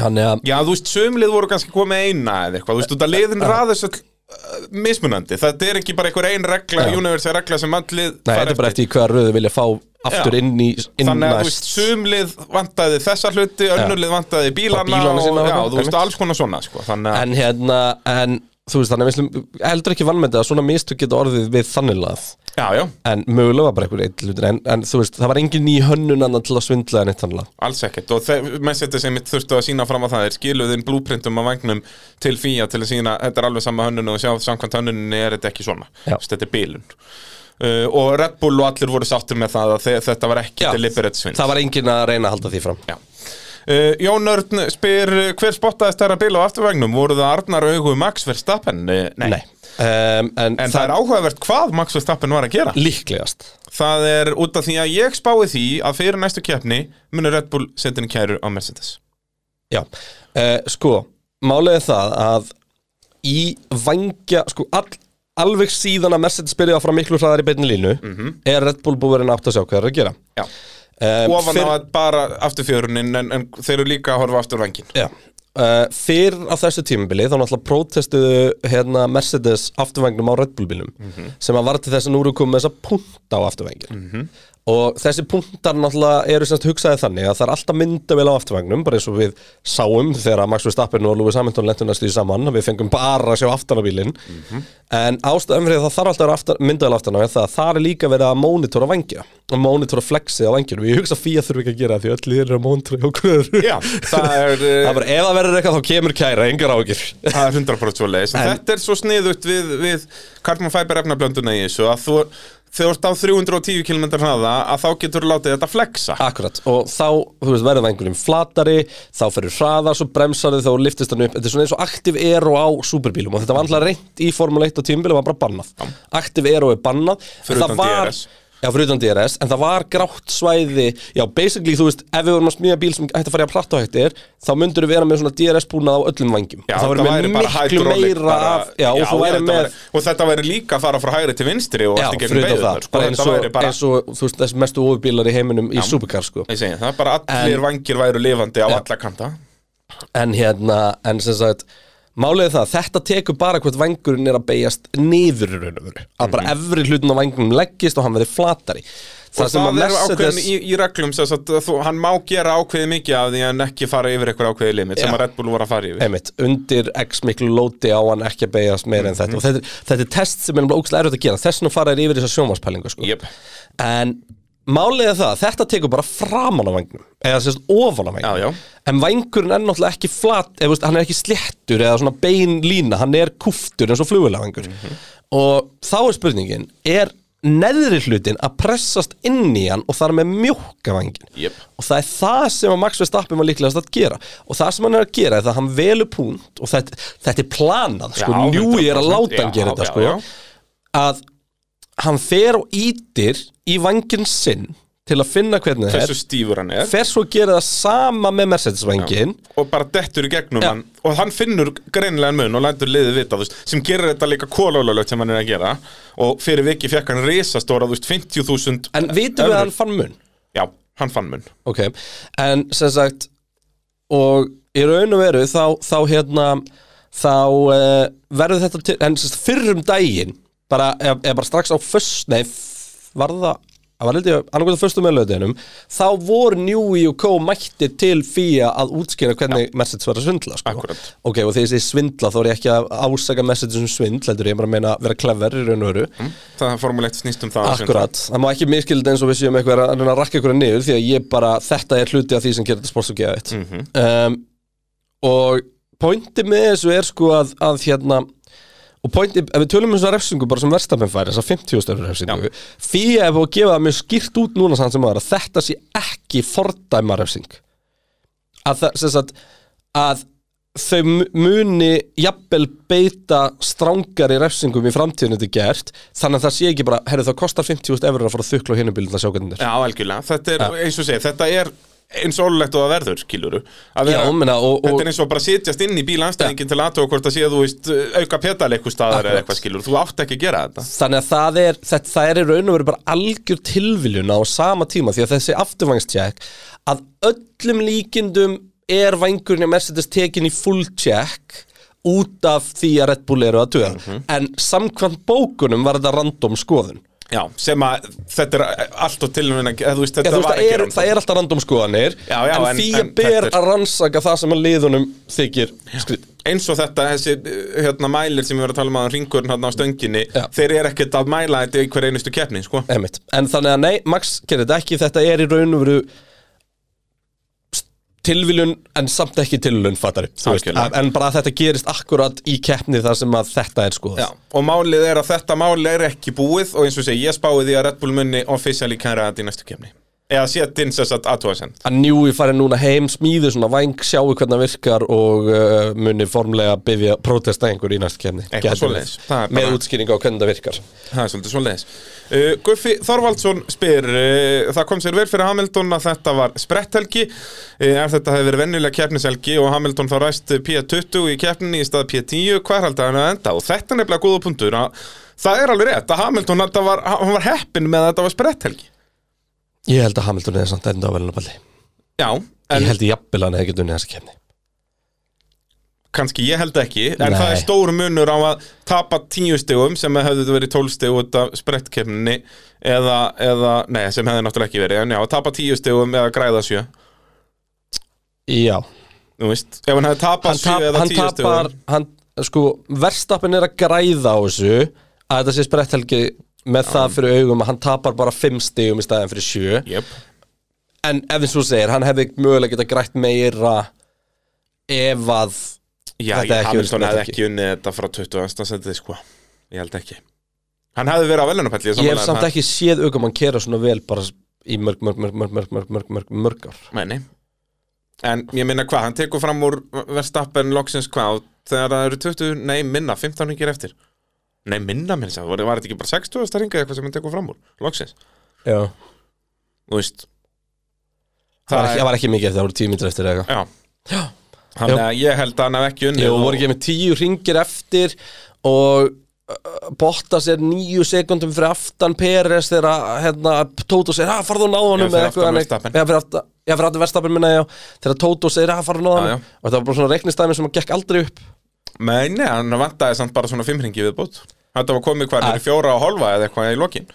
Speaker 4: þannig að
Speaker 2: Já, þú veist, sömlið voru kannski komið eina eða eitthvað, þú veist, út að liðin raðis all uh, mismunandi, þetta er ekki bara einhver ein regla,
Speaker 4: Já.
Speaker 2: universal regla sem allir
Speaker 4: Nei, þetta er bara eftir hvaða röðu vilja fá aftur
Speaker 2: Já.
Speaker 4: inn í inn
Speaker 2: Þannig að þú
Speaker 4: næst
Speaker 2: veist, sumlið vantaði þessa hluti, önnurlið vantaði bílana,
Speaker 4: Bara bílana
Speaker 2: og,
Speaker 4: sína
Speaker 2: já,
Speaker 4: og eitthvað,
Speaker 2: þú veist,
Speaker 4: einmitt.
Speaker 2: alls konar svona sko. Þannig að,
Speaker 4: En hérna, en þú veist þannig að við slum heldur ekki vannmyndið að svona mistök geta orðið við þannig lað
Speaker 2: já, já,
Speaker 4: En mögulega var bara einhver eitt hlutur en, en þú veist, það var engin ný hönnun annan til að svindla en eitt þannig lað
Speaker 2: alls ekkert og message sem mitt þurftu að sína fram að það er skiluðin blúprintum á vagnum til fíja til að sína, þetta er alveg sama hönnun og sjá samkvæmt hönnuninni er þetta ekki svona
Speaker 4: Já.
Speaker 2: Þess, þetta er bílun uh, og Red Bull og allir voru sáttir með það að þe- þetta var ekki
Speaker 4: Já.
Speaker 2: deliberate svindl
Speaker 4: Það var engin að reyna að halda því fram
Speaker 2: Já. Uh, Jón Örn spyr uh, hver spottaðist þærra bíl á afturvagnum voru það Arnar augu Max Verstappen? Uh, nei,
Speaker 4: Um, En,
Speaker 2: en það, er áhugavert hvað Max Verstappen var að gera
Speaker 4: líklegast
Speaker 2: Það er út af því að ég spái því að fyrir næstu keppni munur Red Bull setja inn kæru á Mercedes
Speaker 4: Já, uh, sko, málið er það að í vangja, sko, all, alveg
Speaker 2: Mhm.
Speaker 4: síðan að Mercedes byrjaði að fara miklu hraðar í beinni línu er Red Bull búin að átt að sjá hvað það er að gera
Speaker 2: Já,
Speaker 4: um,
Speaker 2: ofan á að bara afturfjörunin en, en þeir eru líka að horfa aftur vangin
Speaker 4: Já, uh, fyrr á þessu tímabili þá náttúrulega prótestuðu hérna Mercedes afturvengnum á Red Bull bílum sem að var til þess að nú eru komið þess að punta á afturvengin og þessi puntar náttúrulega eru semst hugsaði þannig að það er alltaf myndavél á afturvengnum bara eins og við sáum þegar að Max Verstappen og Lewis Hamilton lentu næstu í saman að við fengum bara að sjá aftana bílinn en ástæðum fyrir því að það þarf alltaf að vera aftan, myndavél aftana er það að það er líka verið að monitora vangja og monitora flexið á vangjunum ég hugsa að fía þurfi ekki að gera það, því öll lið eru að monitora og hverju
Speaker 2: Já, það er, eh,
Speaker 4: Það er bara, ef það verður eitthvað þá kemur kæra, engar ágjur
Speaker 2: það er 100% svo leiðis en,
Speaker 4: En-
Speaker 2: þetta er svo sniðugt við, við Carbon Fiber efnablönduna í þessu að þú þegar þú ert á 310 km hraða að þá getur þú látið þetta flexa
Speaker 4: Akkurat, og þá, þú veist, verður vengurinn flatari Þá ferur hraðar, svo bremsar þið, þá liftist hann upp Þetta er svona eins og Active Aero á superbílum Og þetta var alltaf reynt í Formule 1 á tímbil og var bara bannað Active Aero er bannað en
Speaker 2: Fyrir
Speaker 4: það
Speaker 2: utan
Speaker 4: var-
Speaker 2: DRS.
Speaker 4: Já, fyrir utan DRS, en það var grátt svæði Já, basically, þú veist, ef við vorum að smíða bíl sem ætti að fara í að platta hættir Þá myndur við vera með svona DRS búnað á öllum vangjum
Speaker 2: Já,
Speaker 4: Og það
Speaker 2: þetta
Speaker 4: væri
Speaker 2: væri bara
Speaker 4: miklu
Speaker 2: hydraulic,
Speaker 4: meira
Speaker 2: bara-
Speaker 4: af Já, og þú
Speaker 2: já,
Speaker 4: væri
Speaker 2: þetta
Speaker 4: með
Speaker 2: væri- og þetta væri líka að fara frá hægri til vinstri og
Speaker 4: Já,
Speaker 2: allt í
Speaker 4: fyrir
Speaker 2: gegnum
Speaker 4: utan það,
Speaker 2: beigðunar sko.
Speaker 4: bara eins
Speaker 2: Þetta
Speaker 4: og,
Speaker 2: væri bara,
Speaker 4: eins og þú veist, þessi mestu ofubílar í heiminum í supercar sko.
Speaker 2: ég segi, það er bara allir
Speaker 4: En-
Speaker 2: vangir væru lifandi á alla kanta
Speaker 4: en hérna, en sem sagt málið er það, þetta tekur bara hvort vangurinn er að beigjast niður í raun og veru að bara efri hlutin á vangurum leggist og hann verði flatari
Speaker 2: Mhm. og
Speaker 4: sem að
Speaker 2: það er ákveðin
Speaker 4: Mercedes
Speaker 2: í, í reglum sem sagt, að þú, hann má gera ákveðið mikið af því en ekki fara yfir eitthvað ákveðið limit sem
Speaker 4: Já.
Speaker 2: að Red Bull voru að fara yfir
Speaker 4: einmitt, undir x miklu lóti á hann ekki að beigjast meira en
Speaker 2: Mhm.
Speaker 4: þetta og þetta, er- þetta er test sem er nefnilega ógstlega erfitt að gera þess vegna fara þér yfir þessar sjónvarspælingu sko.
Speaker 2: Jep.
Speaker 4: en málið er það, þetta tekur bara framan á vangnum eða sérst ofan á vangnum
Speaker 2: Já, já.
Speaker 4: en vangurinn er náttúrulega ekki flat eða, þú veist, hann er ekki sléttur eða svona bein lína hann er kúftur eins og flugulega vangur
Speaker 2: Mhm.
Speaker 4: og þá er spurningin er neðri hlutin að pressast inn í hann og þar með mjóka vangin
Speaker 2: Jep.
Speaker 4: og það er það sem að Max Verstappen var líklegast að gera og það sem hann er að gera er það að hann velur punkt og þetta, þetta er planað sko,
Speaker 2: Já,
Speaker 4: njúi er að
Speaker 2: 100%,
Speaker 4: láta hann gera
Speaker 2: já,
Speaker 4: þetta
Speaker 2: já,
Speaker 4: sko
Speaker 2: já.
Speaker 4: að hann fer og ítir í vangin sinn til að finna hvernig það
Speaker 2: hversu
Speaker 4: er
Speaker 2: stífur hann er
Speaker 4: fer svo að gera það sama með Mercedes vangin
Speaker 2: og bara dettur í gegnum
Speaker 4: Já.
Speaker 2: hann og hann finnur greinilegan mun og lætur liðið vita þú veist, sem gerir þetta líka kólólögt sem hann er að gera og fyrir viki fekk hann risastóra þú veist, 50.000
Speaker 4: en vitum við að hann fann mun
Speaker 2: já, hann fann mun
Speaker 4: ok, en sem sagt og í raun og veru þá, þá hérna þá uh, verður þetta til en sem sagt fyrrum daginn bara, eða, eða bara strax á föst nei, f- var það Það var heldur ég annarkvæmt á föstu meðlöðinum Þá voru Newey og Co. mættir til fía að útskýra hvernig Mercedes var að svindla sko.
Speaker 2: Akkúrat.
Speaker 4: Ok, og þegar ég segi svindla þá er ég ekki að ásaka Mercedes um svindl Heldur ég bara að meina að vera clever í raun og veru
Speaker 2: það er formulegt snýst um það
Speaker 4: Akkurat, það má ekki miskildi eins og við séum eitthvað að reyna að rakka ykkur niður því að ég bara, þetta er hluti af því sem gerir þetta sport sem geða eitt um, og pointi með þessu er sko að, að hérna og pointi, ef við tölum um þessu refsingu bara sem verstafinn færi, þessar 50 stöður refsingu fyrir ef að gefa það mjög skýrt út núna samt sem aðra, þetta sé ekki fordæma refsing að það, sem sagt, að þau mu- muni jafnvel beita strángari refsingum í framtíðinu þetta er gert þannig að það sé ekki bara, herru það kostar 50.000 eurur að fara að þukla á hinnum bílun að sjá hvernig þetta er
Speaker 2: Já, algjörlega, þetta er, eins og segja, þetta er eins og ólulegt og það verður, skiluru að
Speaker 4: Já,
Speaker 2: vera-
Speaker 4: meina, og- og-
Speaker 2: þetta er eins og bara sitjast inn í bílanstæðingin til aðtóa hvort það sé að þú veist auka petal eitthvað staðar eða
Speaker 4: Akkurat.
Speaker 2: eitthvað skiluru, þú átt ekki að gera þetta
Speaker 4: þannig að það er, þetta, það er í raun og verið bara algjör tilviljun á sama tíma því að þessi afturvangstjekk að öllum líkindum er vangurinn í Mercedes tekin í full check út af því að Red Bull eru að duða en samkvæmt bókunum var þetta random skoðun
Speaker 2: Já, sem að þetta er allt og tilvíðan eða þú veist,
Speaker 4: Já,
Speaker 2: þetta
Speaker 4: þú veist,
Speaker 2: var um
Speaker 4: það
Speaker 2: ekki
Speaker 4: er,
Speaker 2: random.
Speaker 4: það er alltaf random skoðanir
Speaker 2: Já, já, en-
Speaker 4: En fíja
Speaker 2: en
Speaker 4: ber
Speaker 2: þetta er-
Speaker 4: að rannsaka það sem að liðunum þykir skrýt
Speaker 2: eins og þetta, þessi uh, hérna, mælir sem við verðum að tala um að ringurinn hérna á stönginni
Speaker 4: Já.
Speaker 2: þeir eru ekkert að mæla þetta í hver einustu keppni sko.
Speaker 4: Einmitt. En þannig að nei, Max gerir þetta ekki Þetta er í raun og veru s- tilviljun en samt ekki tilviljun fattari þú veist.
Speaker 2: Algjörlega.
Speaker 4: En en bara að þetta gerist akkurat í keppni þar sem að þetta er skoðað
Speaker 2: Já. og málið er að þetta mál er ekki búið og eins og segi, ég spáði því að Red Bull munni officially kæra þetta í næstu keppni eða setinn sér satt aðtóðasend
Speaker 4: að Njúi fari núna heim, smíðu svona væng, sjáu hvernig það virkar og uh, muni formlega byggja prótesta einhver í næst kemni
Speaker 2: Eitthvað svoleiðis. Það er
Speaker 4: með
Speaker 2: bara-
Speaker 4: útskýringa á hvernig það virkar
Speaker 2: Það er svolítið svoleiðis. Uh, Guffi Þorvaldsson spyr, uh, það kom sér vel fyrir Hamilton að þetta var spretthelgi, uh, ef þetta hefði verið vennilega keppnishelgi og Hamilton þá ræst P20 í keppninni í stað P10, hvað haldi hann að enda? Og þetta er nefnilega góða punktur að það er alveg rétt að Hamilton, þetta var, hann var heppin með að þetta var spretthelgi.
Speaker 4: Ég held að Hamilton hefði samt enda á velunarballi
Speaker 2: Já, en
Speaker 4: Ég held að jafnvel að hann hefði getið unnið þessa kefni
Speaker 2: kannski ég held ekki En
Speaker 4: Nei.
Speaker 2: það er stór munur á að tapa tíu stegum sem hefðu verið tólf stegu út af sprettkefninni eða, eða, nei, sem hefði náttúrulega ekki verið En já, að tapa tíu stegum eða græða sjö
Speaker 4: Já,
Speaker 2: Þú veist, ef hann hefði tapað
Speaker 4: hann,
Speaker 2: sjö
Speaker 4: tap,
Speaker 2: eða
Speaker 4: hann
Speaker 2: tíu
Speaker 4: tapar
Speaker 2: stegum
Speaker 4: hann, sko, verstappin er að græða á þessu að þetta sé spretthelgi með það fyrir augum að hann tapar bara 5 stigum í staðin fyrir 7
Speaker 2: Jöp,
Speaker 4: en ef eins og þú segir, hann hefði mögulega geta grætt meira ef að
Speaker 2: já,
Speaker 4: Þetta
Speaker 2: ég,
Speaker 4: er ekki
Speaker 2: Hamilton hefði
Speaker 4: verið sprethelgi.
Speaker 2: ekki unnið þetta frá 20. setið, sko Ég held ekki Hann hefði verið á velunapalli
Speaker 4: ég hef samt ekki séð augum hann kera svona vel bara í mörg, mörg, mörg, mörg, mörg, mörg, mörg, mörg, mörg ár
Speaker 2: Mæni. En ég minna hvað, hann tekur fram úr Verstappen loksins hvað þegar það eru 20, nei minna, 15 ringir eftir Nei minna minns að, var, var þetta ekki bara 60 ringa eitthvað sem hann tekur fram úr, loksins
Speaker 4: Já,
Speaker 2: Þú veist
Speaker 4: það var ekki,
Speaker 2: er-
Speaker 4: það var ekki mikið eftir, það voru 10 mínútur eftir eða eitthvað
Speaker 2: Já, þannig að ég held að hann hef ekki unnið
Speaker 4: Jú,
Speaker 2: og-
Speaker 4: voru ekki með tíu ringir eftir og uh, Bottas er níu sekundum fyrir aftan Peres þegar að, hérna, Tóto segir, að farðu og náðu honum
Speaker 2: Já, fyrir
Speaker 4: eða
Speaker 2: aftan Verstappen.
Speaker 4: eitthvað, en- Já, fyrir aftan Já, fyrir aftan verðstapin minna, já Þegar Tóto segir, að farðu og náðu
Speaker 2: Já,
Speaker 4: honum Og það var bara svona reiknistæmi sem að gekk aldrei upp
Speaker 2: Nei, nei, hann vantaði samt bara svona 5 ringi viðbútt Þetta var komið hvað, hann er fjóra og hálfa eða eitthvað í lokin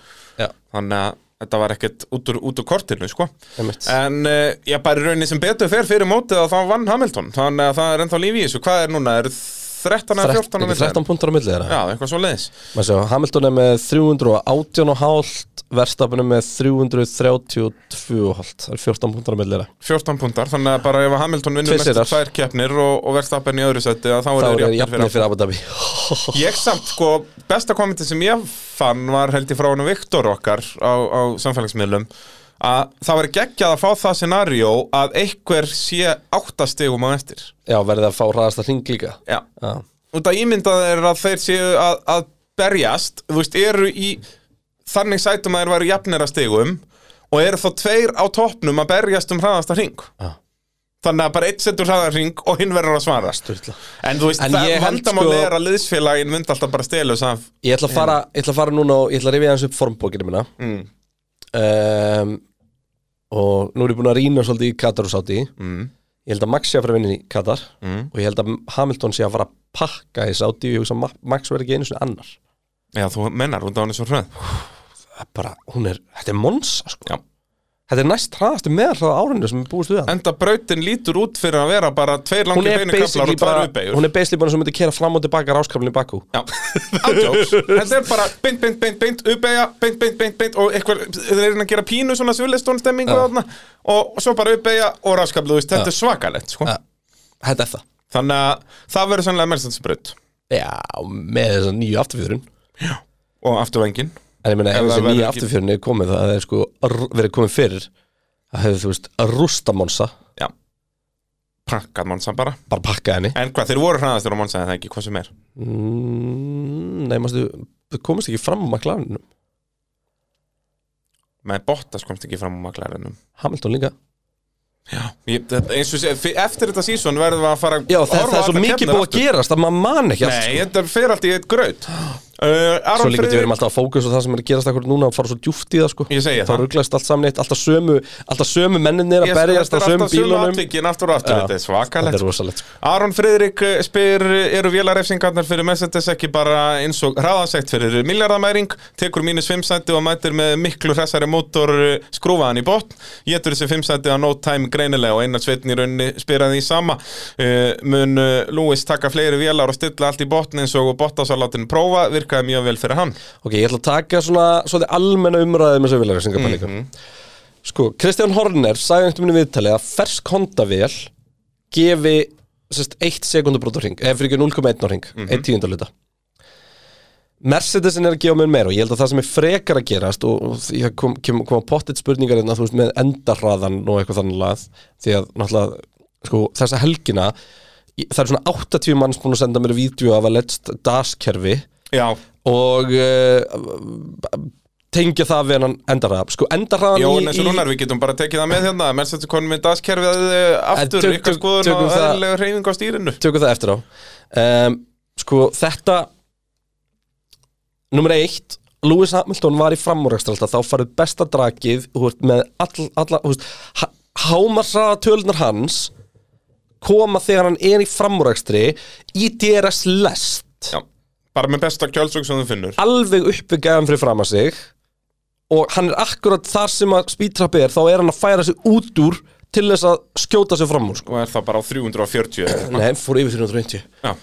Speaker 4: Já,
Speaker 2: Þannig að þetta var ekkert út úr, út úr kortinu, sko
Speaker 4: einmitt
Speaker 2: En uh, ég bara í rauninni sem betur fer fyrir mótið að þá vann Hamilton Þannig að það er ennþá lífi í þessu Hvað er núna? Er 13 eða 14 á
Speaker 4: Þrett-
Speaker 2: milli?
Speaker 4: ekki 13 punktar á milli
Speaker 2: Já,
Speaker 4: þeirra
Speaker 2: eitthvað svo leiðis
Speaker 4: Maður sjá, Hamilton er með 318,5 Verstapin er með 332,5 Það er 14 punktar á milli þeirra
Speaker 2: 14 puntar, þannig að bara ef að Hamilton vinnur
Speaker 4: Tveir
Speaker 2: næstu
Speaker 4: sigrar.
Speaker 2: tvær keppnir og, og verðst appen í öðru seti þá
Speaker 4: Þá
Speaker 2: eru
Speaker 4: er
Speaker 2: þeir
Speaker 4: jafnir fyrir Abu Dhabi
Speaker 2: Abu Ég samt, sko, besta kommentið sem ég fann var held ég frá hann Viktor okkar á, á samfélagsmiðlum að það var geggjað að fá það scenario að einhver sé áttastegum á eftir
Speaker 4: Já, verðið að fá ræðast að hring líka
Speaker 2: Já,
Speaker 4: Já
Speaker 2: út að ímyndað er að þeir séu að, að berjast, þú veist, eru í þannig sætum að þeir væri jafnir að stigum og eru þá tveir á toppnum að berjast um hraðasta hring
Speaker 4: Já.
Speaker 2: þannig að bara eitt setur hraðan hring og hinn verður að svara
Speaker 4: Sturla.
Speaker 2: en þú veist,
Speaker 4: En
Speaker 2: það
Speaker 4: ég held
Speaker 2: vandamáli
Speaker 4: sko-
Speaker 2: er að liðsfélagin mynd alltaf bara stelus af
Speaker 4: Ég ætla að fara, ég ætla að fara núna og ég ætla að rifja aðeins upp formbókinu minna
Speaker 2: mm,
Speaker 4: um, og nú er ég búin að rýna svolítið í Katar og Sáti
Speaker 2: mm,
Speaker 4: ég held að Max sé að fara að vinna í Katar
Speaker 2: mm.
Speaker 4: og ég held að Hamilton sé að fara að pakka í Sáti og ég hugsa að Ma- Max verði ekki einu sinni annar
Speaker 2: Já, þú mennar, hún dánu svo hröð
Speaker 4: það er bara, hún er, þetta er monsa sko
Speaker 2: Já.
Speaker 4: þetta er næst hraðastu meðarhraða árinu sem er búist við hann
Speaker 2: Enda brautin lítur út fyrir að vera bara tveir
Speaker 4: hún
Speaker 2: langi
Speaker 4: er
Speaker 2: beinu kaplar
Speaker 4: basically
Speaker 2: og tvær
Speaker 4: bara,
Speaker 2: uppeigur
Speaker 4: hún er basically bara sem myndi kera fram og tilbaka ráskaflin í bakku
Speaker 2: Já, ándjóks Þetta er bara beint, beint, beint, beint, uppeyja beint, beint, beint, beint og eitthvað, þeir eru að gera pínu svona svillestónstemmingu
Speaker 4: Já.
Speaker 2: þarna og, og svo bara uppeyja og raskablu, þú veist, þetta er svakalett sko.
Speaker 4: Já. þetta er það
Speaker 2: Þannig að það verður sannlega Mercedes braut
Speaker 4: Já, með þessa nýju afturfjörun
Speaker 2: og afturvengin
Speaker 4: En ég meina,
Speaker 2: Ef
Speaker 4: ef
Speaker 2: það
Speaker 4: þessi
Speaker 2: verður
Speaker 4: nýja
Speaker 2: ekki-
Speaker 4: afturfjörni er komið það er sko r- verið komið fyrir það hefur, þú veist, að rústa Monsa
Speaker 2: Já, prakkað Monsa bara
Speaker 4: bara pakka henni
Speaker 2: En hvað, þeir voru hraðastur á Monsa eða ekki, hvað sem er
Speaker 4: mm, Nei, mástu, þau komist ekki fram á maklarinu
Speaker 2: Með Bottas komst ekki fram á maklærinum
Speaker 4: Hamilton líka
Speaker 2: Já, ég, þetta- eins og sé, fyr- eftir þetta sísón verðum við að fara að
Speaker 4: Já, það,
Speaker 2: horfa
Speaker 4: það er
Speaker 2: allar
Speaker 4: svo mikið
Speaker 2: keppnir
Speaker 4: búið að
Speaker 2: aftur.
Speaker 4: gerast að maður man ekki allt,
Speaker 2: Nei, þetta fer allt í eitt graut uh,
Speaker 4: sko. Svo
Speaker 2: Aron
Speaker 4: líka við
Speaker 2: Friðrik
Speaker 4: erum alltaf að fókus og það sem er að gerast akkur núna og fara svo djúft í það, sko
Speaker 2: Ég segi
Speaker 4: Þá
Speaker 2: það.
Speaker 4: rugglast allt saman eitt, alltaf sömu, alltaf sömu menninir að
Speaker 2: Ég-
Speaker 4: berjast á sömu bílunum
Speaker 2: atvikin aftur og aftur,
Speaker 4: Já.
Speaker 2: þetta er
Speaker 4: Þetta
Speaker 2: svakalegt
Speaker 4: er rosalegt, sko
Speaker 2: Aron Friðrik eh, spyr eh, eru vélarefsingarnar fyrir Mercedes ekki bara eins og hraðasegt fyrir miljardamæring tekur mínus 5 sæti og mætir með miklu hressari mótor eh, skrúfaðan í botn getur þessi 5 sæti að no time greinilega og einar sveitn í rauninni spyr að því sama Eh, mun eh, Lewis taka fleiri vélar og stilla allt í botn eins og bottasalatin prófa virkaði mjög vel fyrir hann
Speaker 4: Ok, ég ætla að taka svona, svona almenna umræðið með sögulegarsingarpælingum mm Sko, Kristján Horner sagði einhvern minni viðtali að fersk hondavél gefi sérst, 1 sekundubrót á ring eða fyrir ekki 0,1 á ring, 1 tíundaluta Mercedesin er að gefa mér meira og ég held að það sem er frekar að gerast og, og því það kom, kom, kom að pottit spurningar einna, þú veist, með endarhraðan og eitthvað þannig lað því að náttúrulega, sko, þessa helgina ég- það er svona 80 manns búin að senda mér vídeo af að letst daskerfi
Speaker 2: Já,
Speaker 4: og uh, tengja það við hann endarraðan sko endarraðan
Speaker 2: Jón eins og núna við getum bara tekið það með hérna Mercedes konum með daskerfið eh, aftur
Speaker 4: tökum-
Speaker 2: ykkar skoðun
Speaker 4: tökum
Speaker 2: og
Speaker 4: það-
Speaker 2: öðlega hreyfing á stýrinu
Speaker 4: tökum það eftir á um, sko þetta nummer eitt Lewis Hamilton var í framúrækstur alltaf þá farið besta drakið þú veist, með all, alla þú veist, hámarsraða tölunar hans koma þegar hann er í framúrækstri í DRS lest
Speaker 2: Já. Bara með besta kjölsók sem þú finnur.
Speaker 4: alveg upp við gæðan fyrir fram að sig og hann er akkurat þar sem að speedtrappi er þá er hann að færa sig út úr til þess að skjóta sig fram úr sko.
Speaker 2: Og er það bara á 340 eða eitthvað.
Speaker 4: Nei, fór yfir 320
Speaker 2: Já.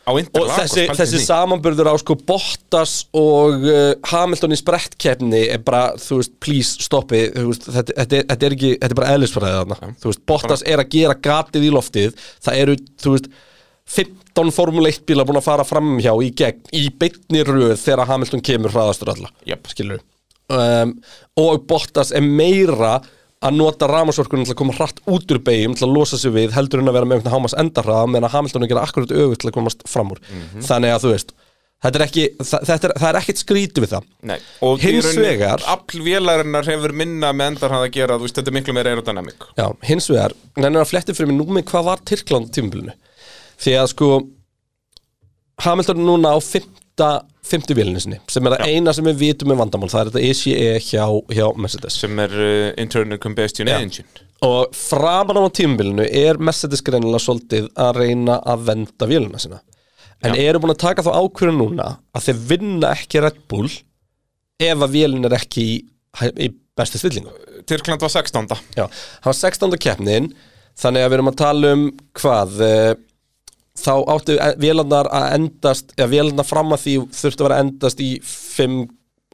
Speaker 2: Á
Speaker 4: og
Speaker 2: Interlagos.
Speaker 4: þessi,
Speaker 2: pældu
Speaker 4: þessi
Speaker 2: því.
Speaker 4: samanburður á sko Bottas og uh, Hamilton í sprettkeppni er bara, þú veist, please stoppi þú veist, þetta, þetta, er- þetta er ekki, þetta er bara eðlisfræðið þarna, þú veist, Bottas er að gera gatið í loftið, það eru, þú veist 15 Formule 1 bíla búin að fara framhjá í gegn, í beinni röð þegar Hamilton kemur hraðastur alla
Speaker 2: Jöp.
Speaker 4: skilur um, og Bottas er meira að nota ramasvorkunum til að koma hratt út úr beigjum til að losa sig við heldur en að vera með einhvern hámas endarhraða meðan að Hamilton er að gera akkurat öfugt til að komast fram úr þannig að þú veist þetta er ekki, það, þetta er, það er ekkert skrítið við það
Speaker 2: Nei. Og
Speaker 4: hins vegar
Speaker 2: Appvélarinnar hefur minna með endar hann að gera, þú veist, þetta er miklu meira aerodynamic.
Speaker 4: já, hins vegar, nennir að fletti fyrir mig númi hvað var Tyrkland á tímabilinu því að sko Hamilton er núna á fymta fymti vélinu sinni, sem er það eina sem við vitum með vandamál, það er þetta ECE hjá, hjá Mercedes
Speaker 2: Sem er uh, internal combustion
Speaker 4: Já.
Speaker 2: engine.
Speaker 4: Og framan á tímbilinu er Mercedes greinilega svolítið að reyna að venda vélina sína En
Speaker 2: Já.
Speaker 4: eru búin að taka þá ákvörðu núna að þeir vinna ekki Red Bull ef að vélin er ekki í, í bestu stillingu
Speaker 2: Tyrkland var 16.
Speaker 4: Já, það var 16. keppnin Þannig að við erum að tala um hvað eh, Þá áttu eh, vélarnar að endast Já, vélarnar fram að því þurftu að vera að endast í 5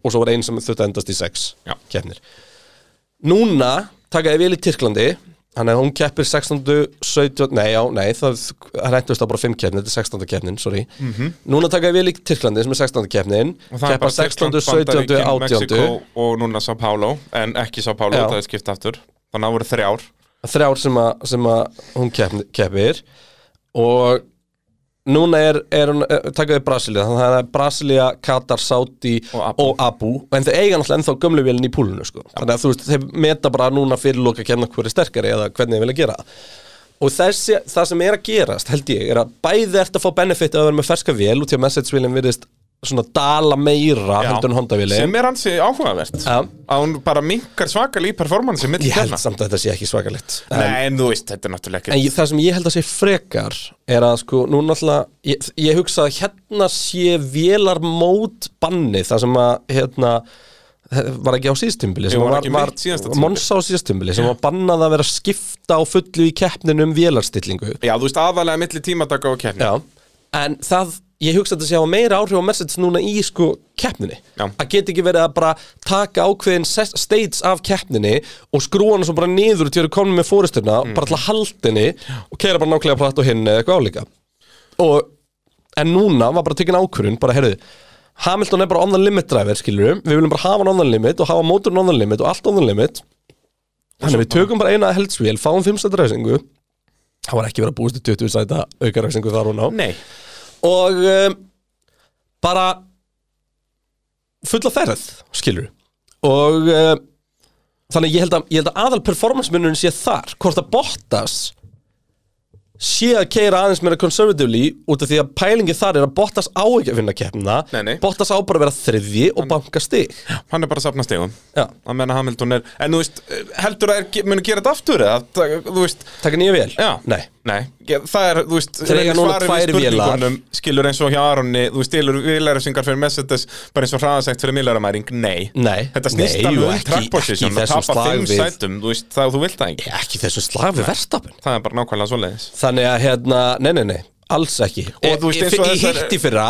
Speaker 4: Og svo var einn sem þurftu að endast í 6
Speaker 2: Já.
Speaker 4: keppnir Núna takaði vél í Tyrklandi Þannig að hún keppir 16. 17. Nei, já, nei, það reyndust á bara 5 keppnir Þetta er 16. keppnin, sorry Núna takaði vél í Tyrklandi sem er 16. keppnin
Speaker 2: Mhm. Og það er
Speaker 4: Keppa
Speaker 2: bara
Speaker 4: 16., 17.,
Speaker 2: Bandaríkin,
Speaker 4: 18.
Speaker 2: Mexíkó og núna São Paulo, en ekki São Paulo,
Speaker 4: Já.
Speaker 2: það er skipt aftur. Þannig að það voru þrjár.
Speaker 4: þrjár sem að, sem að hún keppni, keppir og núna er, er hún eh, takaði Brasilia, þannig að það er Brasilia, Katar, Saudi
Speaker 2: Og Abu.
Speaker 4: en þau eiga náttúrulega ennþá gömlu vélinn í púlinu sko. þannig að þú veist, þeir meta bara núna fyrir loka kemna hver er sterkari eða hvernig þeir vilja gera það. og þessi, það sem er að gerast held ég, er að bæði ert að fá benefit að vera með ferska vél út í að message-vélinn virðist svona dala meira
Speaker 2: Já.
Speaker 4: heldur en Honda-vélinn
Speaker 2: Sem er hansi áhugavert
Speaker 4: Já.
Speaker 2: Að hún bara minkar svakal í performansi milli
Speaker 4: ég held
Speaker 2: kvenna.
Speaker 4: samt að þetta sé ekki svakalegt
Speaker 2: Nei, en þú veist, þetta er náttúrulega
Speaker 4: En
Speaker 2: ekki
Speaker 4: ég, það sem ég held að sé frekar er að sko, nú náttúrulega ég, ég hugsa að hérna sé vélar mót banni það sem að hérna, var ekki á síðstumbili sem
Speaker 2: Jú, var
Speaker 4: var,
Speaker 2: ekki
Speaker 4: var,
Speaker 2: mitt síðasta
Speaker 4: var
Speaker 2: tímabil.
Speaker 4: Monsa á síðstumbili sem var bannað að vera að skipta á fullu í keppninu um vélarstillingu
Speaker 2: Já, þú veist, aðalega milli tímataka og keppni
Speaker 4: Já, en það ég hugsa að þetta sé hafa meira áhrif á Mercedes núna í sko keppninni
Speaker 2: Já.
Speaker 4: að geta ekki verið að bara taka ákveðin ses- states af keppninni og skrúa hana svo bara niður til að koma með fóristuna bara til að halda henni og keira bara nákvæmlega platt og hinn eða eitthvað álíka og en núna var bara tekin ákvörun bara heyrðu Hamilton er bara on the limit driver skilur við viljum bara hafa hann on the limit og hafa mótorinn on the limit og allt on the limit þannig við tökum bara eina heldsvél fáum 5 sæta ræsingu það var ekki verið að búist í 20 sæta auka ræsingu þar og ná
Speaker 2: Nei,
Speaker 4: og um, bara fulla ferð skilur og um, þannig að ég held að, ég held að aðal performance munurinn sé þar hvort að Bottas sé að keira aðeins meira conservatively út af því að pælingi þar er að Bottas á ekki að vinna keppna
Speaker 2: Nei, nei.
Speaker 4: Bottas á bara að vera þriðji og banka stig
Speaker 2: hann er bara að safna stegum
Speaker 4: Já.
Speaker 2: Að menna Hamilton er En þú veist, heldur að er, muni gera þetta aftur eða? Það- Þú veist,
Speaker 4: taka nýja vel
Speaker 2: já
Speaker 4: nei
Speaker 2: Nei, Ég- það er, þú veist
Speaker 4: Þeir eiga núna
Speaker 2: svarið
Speaker 4: tvær
Speaker 2: við spurningunum Skilur eins og hjá Aronni Þú veist, stilur vilærisingar fyrir Mercedes Bara eins og hraðasegt fyrir milæramæring Nei
Speaker 4: Nei.
Speaker 2: Þetta snýst
Speaker 4: Nei, jú,
Speaker 2: alveg um
Speaker 4: ekki-
Speaker 2: track
Speaker 4: ekki í
Speaker 2: position Að
Speaker 4: þessum
Speaker 2: tapa
Speaker 4: slag
Speaker 2: fimm
Speaker 4: við-
Speaker 2: sætum, þú veist, það þú vilt það ekki
Speaker 4: ekki þessu slag við verðstapin
Speaker 2: Það er bara nákvæmlega svoleiðis
Speaker 4: Þannig að hérna, nei, nei, nei, alls ekki Og
Speaker 2: þú veist, eins og
Speaker 4: Í
Speaker 2: þessar-
Speaker 4: hitt í fyrra,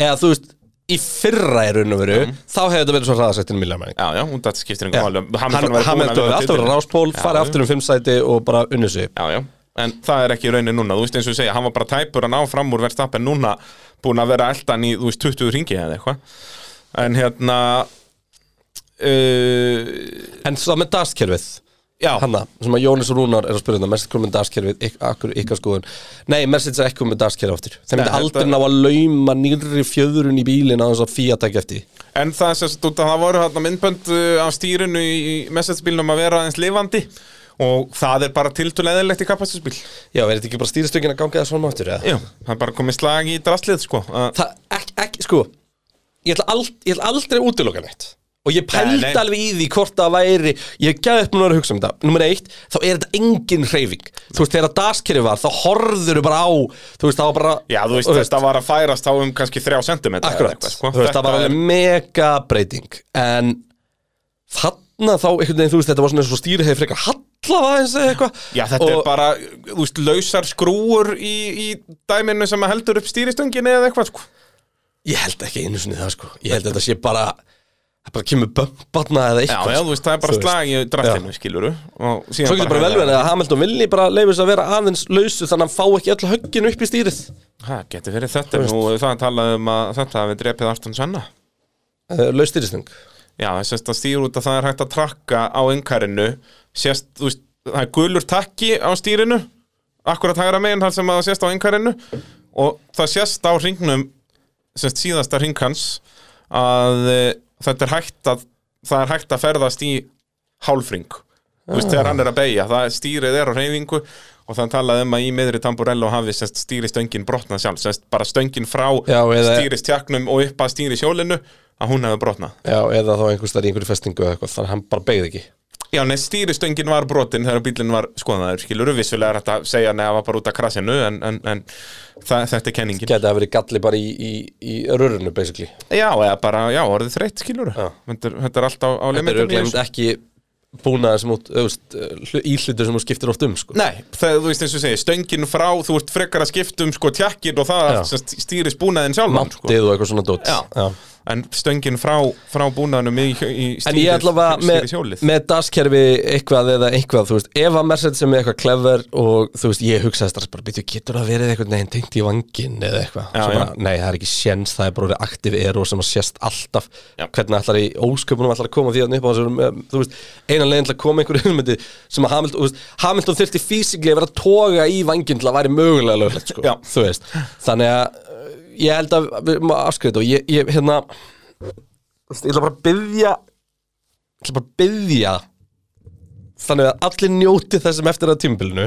Speaker 4: eða þú veist, í fyrra í raun og veru Þá hefði þetta verið svo hraðasættinu miljarmæring
Speaker 2: Já, já, hún dætti skiptir
Speaker 4: Já,
Speaker 2: einhver máli
Speaker 4: hann hefði alltaf verið ráspól, farið aftur um fimm sæti og bara unnið sig
Speaker 2: Já, já, en það er ekki raunin núna Þú veist eins og ég segja, hann var bara tæpur að ná fram úr Verstappen núna búin að vera eldan í, þú veist, 20 ringi eða eitthvað En hérna uh,
Speaker 4: En svo með dastkerfið
Speaker 2: Já,
Speaker 4: Hanna, sem að Jónis Rúnar er að spyrja þetta Mercedes komið með dastkerfið, ikk- akkur ykkar skoðun Nei, Mercedes er ekki komið með dastkerfið aftur Þeim
Speaker 2: Nei,
Speaker 4: myndi aldrei
Speaker 2: þetta-
Speaker 4: ná að lauma nýrri fjöðurinn í bílinn að þess að fíja tækja eftir því.
Speaker 2: en það er sérst út að það voru hérna myndbönd uh, á stýrinu í, í messagespílnum að vera aðeins lifandi og það er bara tiltulega eðlilegt í kapastusbíl
Speaker 4: Já, verður þetta ekki bara stýristökin að ganga það svona áttur, eða?
Speaker 2: Já, það er bara komið slag í draslið sko uh,
Speaker 4: það, ekki, ekki, sko ég ætla, ald, ég ætla aldrei að útiloka neitt og ég pældi
Speaker 2: nei.
Speaker 4: alveg í því hvort það væri ég gæði upp núna að hugsa um þetta nummer eitt, þá er þetta engin hreyfing þú veist, þegar daskerið var, þá horður bara á, þú veist, það var bara
Speaker 2: Já, þú veist,
Speaker 4: og
Speaker 2: þetta var að færast á um kannski þrjá sentimetra eða
Speaker 4: Akkurat,
Speaker 2: eitthvað, sko.
Speaker 4: þú veist, það var
Speaker 2: Þetta
Speaker 4: alveg
Speaker 2: er-
Speaker 4: mega breyting En þarna þá, einhvern veginn, þú veist, þetta var svona eins og stýri hefði frekar hallað aðeins eða eitthvað
Speaker 2: Já, þetta
Speaker 4: og,
Speaker 2: er bara, þú veist, lausar skrúur í, í dæminu sem að heldur upp stýristönginni eða eitthvað, sko.
Speaker 4: Ég held ekki einu sinni það, sko Ég held að þetta sé bara, það bara kemur bömbarna eða
Speaker 2: Já,
Speaker 4: eitthvað
Speaker 2: já, þú veist, það er bara
Speaker 4: Þú veist.
Speaker 2: slag í drattinu, skiluru. Svo
Speaker 4: Svo getur bara vel verið að Hamilton vilji bara leifis að vera aðeins lausu þannig að hann fá ekki öll höggin upp í stýrið
Speaker 2: Ha, geti verið þetta, nú það er talað um að þetta hafi drepið Aston Senna.
Speaker 4: uh, Laustýrisning
Speaker 2: Já, það sést að stýr út að það er hægt að trakka á einkarinu, sést, þú veist, það er gulur takki á stýrinu, akkurat hægra meginn þar sem að það sést á einkarinu og það sést á hringnum, sést síðasta hring hans að e, þetta er hægt að, það er hægt að ferðast í hálfring, þú veist,
Speaker 4: Ah.
Speaker 2: þegar hann er að beigja, það er- stýrið er á hreyfingu og þannig talaði um að í miðri tamburello hafi sérst stýri stöngin brotnað sjálf sérst bara stöngin frá
Speaker 4: Já, eða-
Speaker 2: stýristjaknum og upp að stýri sjólinu að hún hefði brotnað
Speaker 4: Já, eða þá einhvers þar í einhverju festingu eða eitthvað þannig að hann bara beigði ekki
Speaker 2: Já, nei, stýristöngin var brotin þegar bílinn var skoðaður, skilur vissulega er þetta að segja neða var bara út af krasinu en, en, en það, þetta er kenningin
Speaker 4: Gæti að verið galli bara í, í, í rörunu, basically
Speaker 2: Já, eða bara, já, orðið þreytt, skilur þetta, er- þetta er allt á, á
Speaker 4: Þetta eru
Speaker 2: limitinu
Speaker 4: glemt ekki búnaðar sem út, eh, auðvist, íhlutur sem þú skiptir oft um, sko.
Speaker 2: Nei, það, þú veist eins og segja, stöngin frá þú ert frekar að skipta um sko tjakkin og það
Speaker 4: Já.
Speaker 2: sem stýris búnaðin sjálfan sko.
Speaker 4: Máttið og eitthvað svona dót.
Speaker 2: Já. en stöngin frá, frá búnaðinum í, í
Speaker 4: En ég
Speaker 2: stýris,
Speaker 4: allavega með,
Speaker 2: stýrishjólið
Speaker 4: með daskerfi eitthvað eða eitthvað, þú veist, ef að Mercedes sem er eitthvað clever og þú veist, ég hugsaði strax bara, býttu, getur það verið eitthvað neginn tengt í vangin eða eitthvað,
Speaker 2: Já,
Speaker 4: Svo
Speaker 2: já.
Speaker 4: bara, nei, það er ekki séns, það er bara orðið aktiv eru sem að sést alltaf,
Speaker 2: Já.
Speaker 4: hvernig ætlar í ósköpunum ætlar að koma því að upp á þessu, um, þú veist, einan leiðin til að koma einhverju hugmyndi sem að Hamilton, þú veist, Hamilton þyrfti físikli að vera að toga í vangin til að væri mögulega löglegt, sko,
Speaker 2: Já.
Speaker 4: þú veist, þannig að uh, ég held að við maður afskriðu þetta og ég, ég, hérna, þú veist, ég ætla bara að byggja ætla bara að byggja þannig að allir njóti þessum eftir að tímbilinu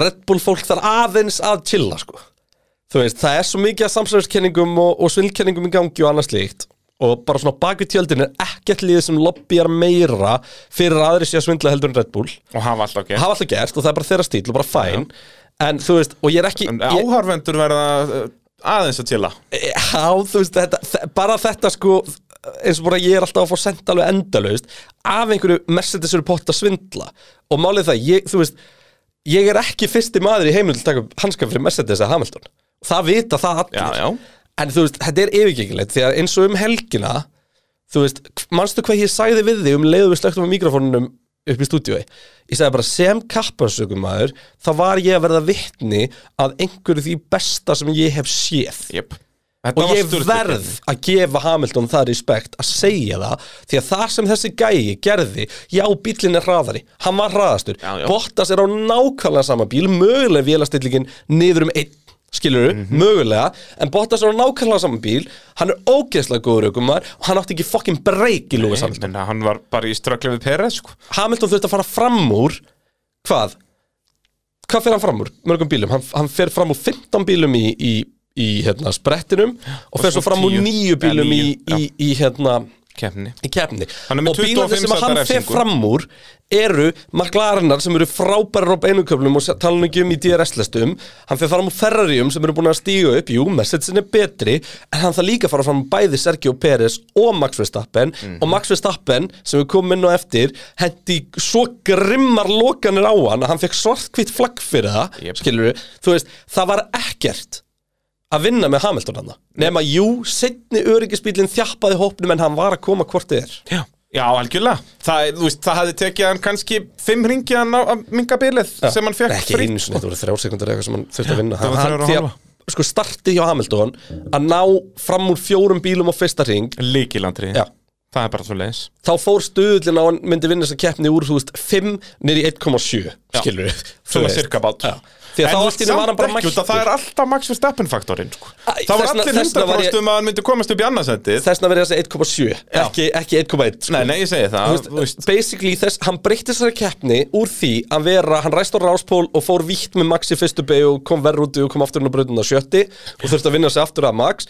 Speaker 4: Red Bull fólk þar aðeins að chilla sko. þú veist, það er svo mikið að samsæðiskenningum og, og svindkenningum í gangi og annars líkt og bara svona baku tjöldin er ekkert liðið sem lobbyar meira fyrir að aðri sé að svindla heldur en Red Bull
Speaker 2: og hafa alltaf ekki
Speaker 4: hafa alltaf gert og það er bara þeirra stíl og bara fæn en þú veist, og ég er ekki
Speaker 2: En
Speaker 4: ég,
Speaker 2: áhörvendur verða uh, aðeins að tila
Speaker 4: Já, Eh, þú veist, þetta, þe- bara þetta sko eins og bara ég er alltaf að fá senda alveg endalaust af einhverju Mercedes eru pott að svindla og málið það, ég, þú veist ég er ekki fyrsti maður í heimil til að taka upp hanska fyrir Mercedes eða Hamilton það vita það allir
Speaker 2: Já, já.
Speaker 4: en þú veist, þetta er yfirgengilegt því að eins og um helgina þú veist, manstu hvað ég sagði við þig um leiðu við slögtum á mikrofónunum upp í stúdíói ég sagði bara sem kappansökumæður þá var ég að verða vitni að einhverju því besta sem ég hef séð
Speaker 2: yep.
Speaker 4: og ég verð að gefa Hamilton það respekt að segja það því að það sem þessi gæi gerði já, bílinn er hraðari, hann var hraðastur
Speaker 2: Já, já.
Speaker 4: Bottas er á nákvæmlega sama bíl mögulega vélastillingin niður um einn skilur
Speaker 2: Mhm.
Speaker 4: mögulega en Bottas er á nákvæmlega sama bíl hann er ógeðslega góður aukumar og hann átti ekki fucking breyk í Lúi Hamilton
Speaker 2: Nei, hann var bara í strögglega við Peres sko.
Speaker 4: Hamilton þurfti að fara fram úr hvað? Hvað fer hann fram úr? Mörgum bílum, hann, hann fer fram úr 15 bílum í, í, í hérna, sprettinum og fer
Speaker 2: svo
Speaker 4: svo fram úr
Speaker 2: 10.
Speaker 4: 9
Speaker 2: Ja,
Speaker 4: bílum í,
Speaker 2: níu,
Speaker 4: í, í hérna
Speaker 2: keppni
Speaker 4: í keppni
Speaker 2: Hann er með
Speaker 4: og bílarnir
Speaker 2: 25
Speaker 4: sem að hann
Speaker 2: sæta
Speaker 4: fer
Speaker 2: refsingu.
Speaker 4: fram úr eru maklarinnar sem eru frábærar á beinuköflum og talan ekki um í DRS-lestum hann fer fram úr Ferrarium sem eru búin að stíga upp jú, Mercedesin er betri en hann þarf líka að fara fram úr bæði Sergio Pérez og Max Verstappen
Speaker 2: Mhm.
Speaker 4: og Max Verstappen sem við komum inn á eftir hendi svo grimmar lokanir á hann að hann fekk svartkvitt flagg fyrir það
Speaker 2: Jep.
Speaker 4: skilur við, þú veist, það var ekkert að vinna með Hamilton hann nema jú, setni öryggisbílinn þjappaði hópnum en hann var að koma hvort þið er
Speaker 2: Já, já algjörlega það, þú veist, það hafði tekið hann kannski fimm ringi hann á að minga bilið sem hann fekk
Speaker 4: ekki einu sinni, þetta voru þrjár sekundur eitthvað sem hann þurfti að vinna
Speaker 2: það var
Speaker 4: Hann-
Speaker 2: þrjár og
Speaker 4: því
Speaker 2: hálfa.
Speaker 4: að sko startið hjá Hamilton að ná fram úr fjórum bílum á fyrsta ring
Speaker 2: Líkilandri
Speaker 4: Já.
Speaker 2: Það er bara svo leiðis
Speaker 4: þá fór stöðullin á hann myndi vinna þess að keppni úr þú veist 5 niður í 1,7 skilur við
Speaker 2: Svona sirkabát
Speaker 4: Því að þá allt í einu var hann bara mættur.
Speaker 2: Það er alltaf Max Verstappen faktorinn sko.
Speaker 4: Æ,
Speaker 2: Það var
Speaker 4: þessna-
Speaker 2: allir
Speaker 4: þessna var ég-
Speaker 2: 100% um að hann myndi komast upp í annarsættið
Speaker 4: þessna verið þessi 1,7
Speaker 2: Já.
Speaker 4: ekki, ekki 1,1 sko.
Speaker 2: Nei, nei, ég segi það
Speaker 4: Þú veist, basically þess, hann breytti þessari keppni úr því að vera, hann ræst á ráspól og fór vítt með Max í fyrstu beig og kom verð úti og kom aftur inn á bröndin á sjötti og þurfti að vinna sig aftur að Max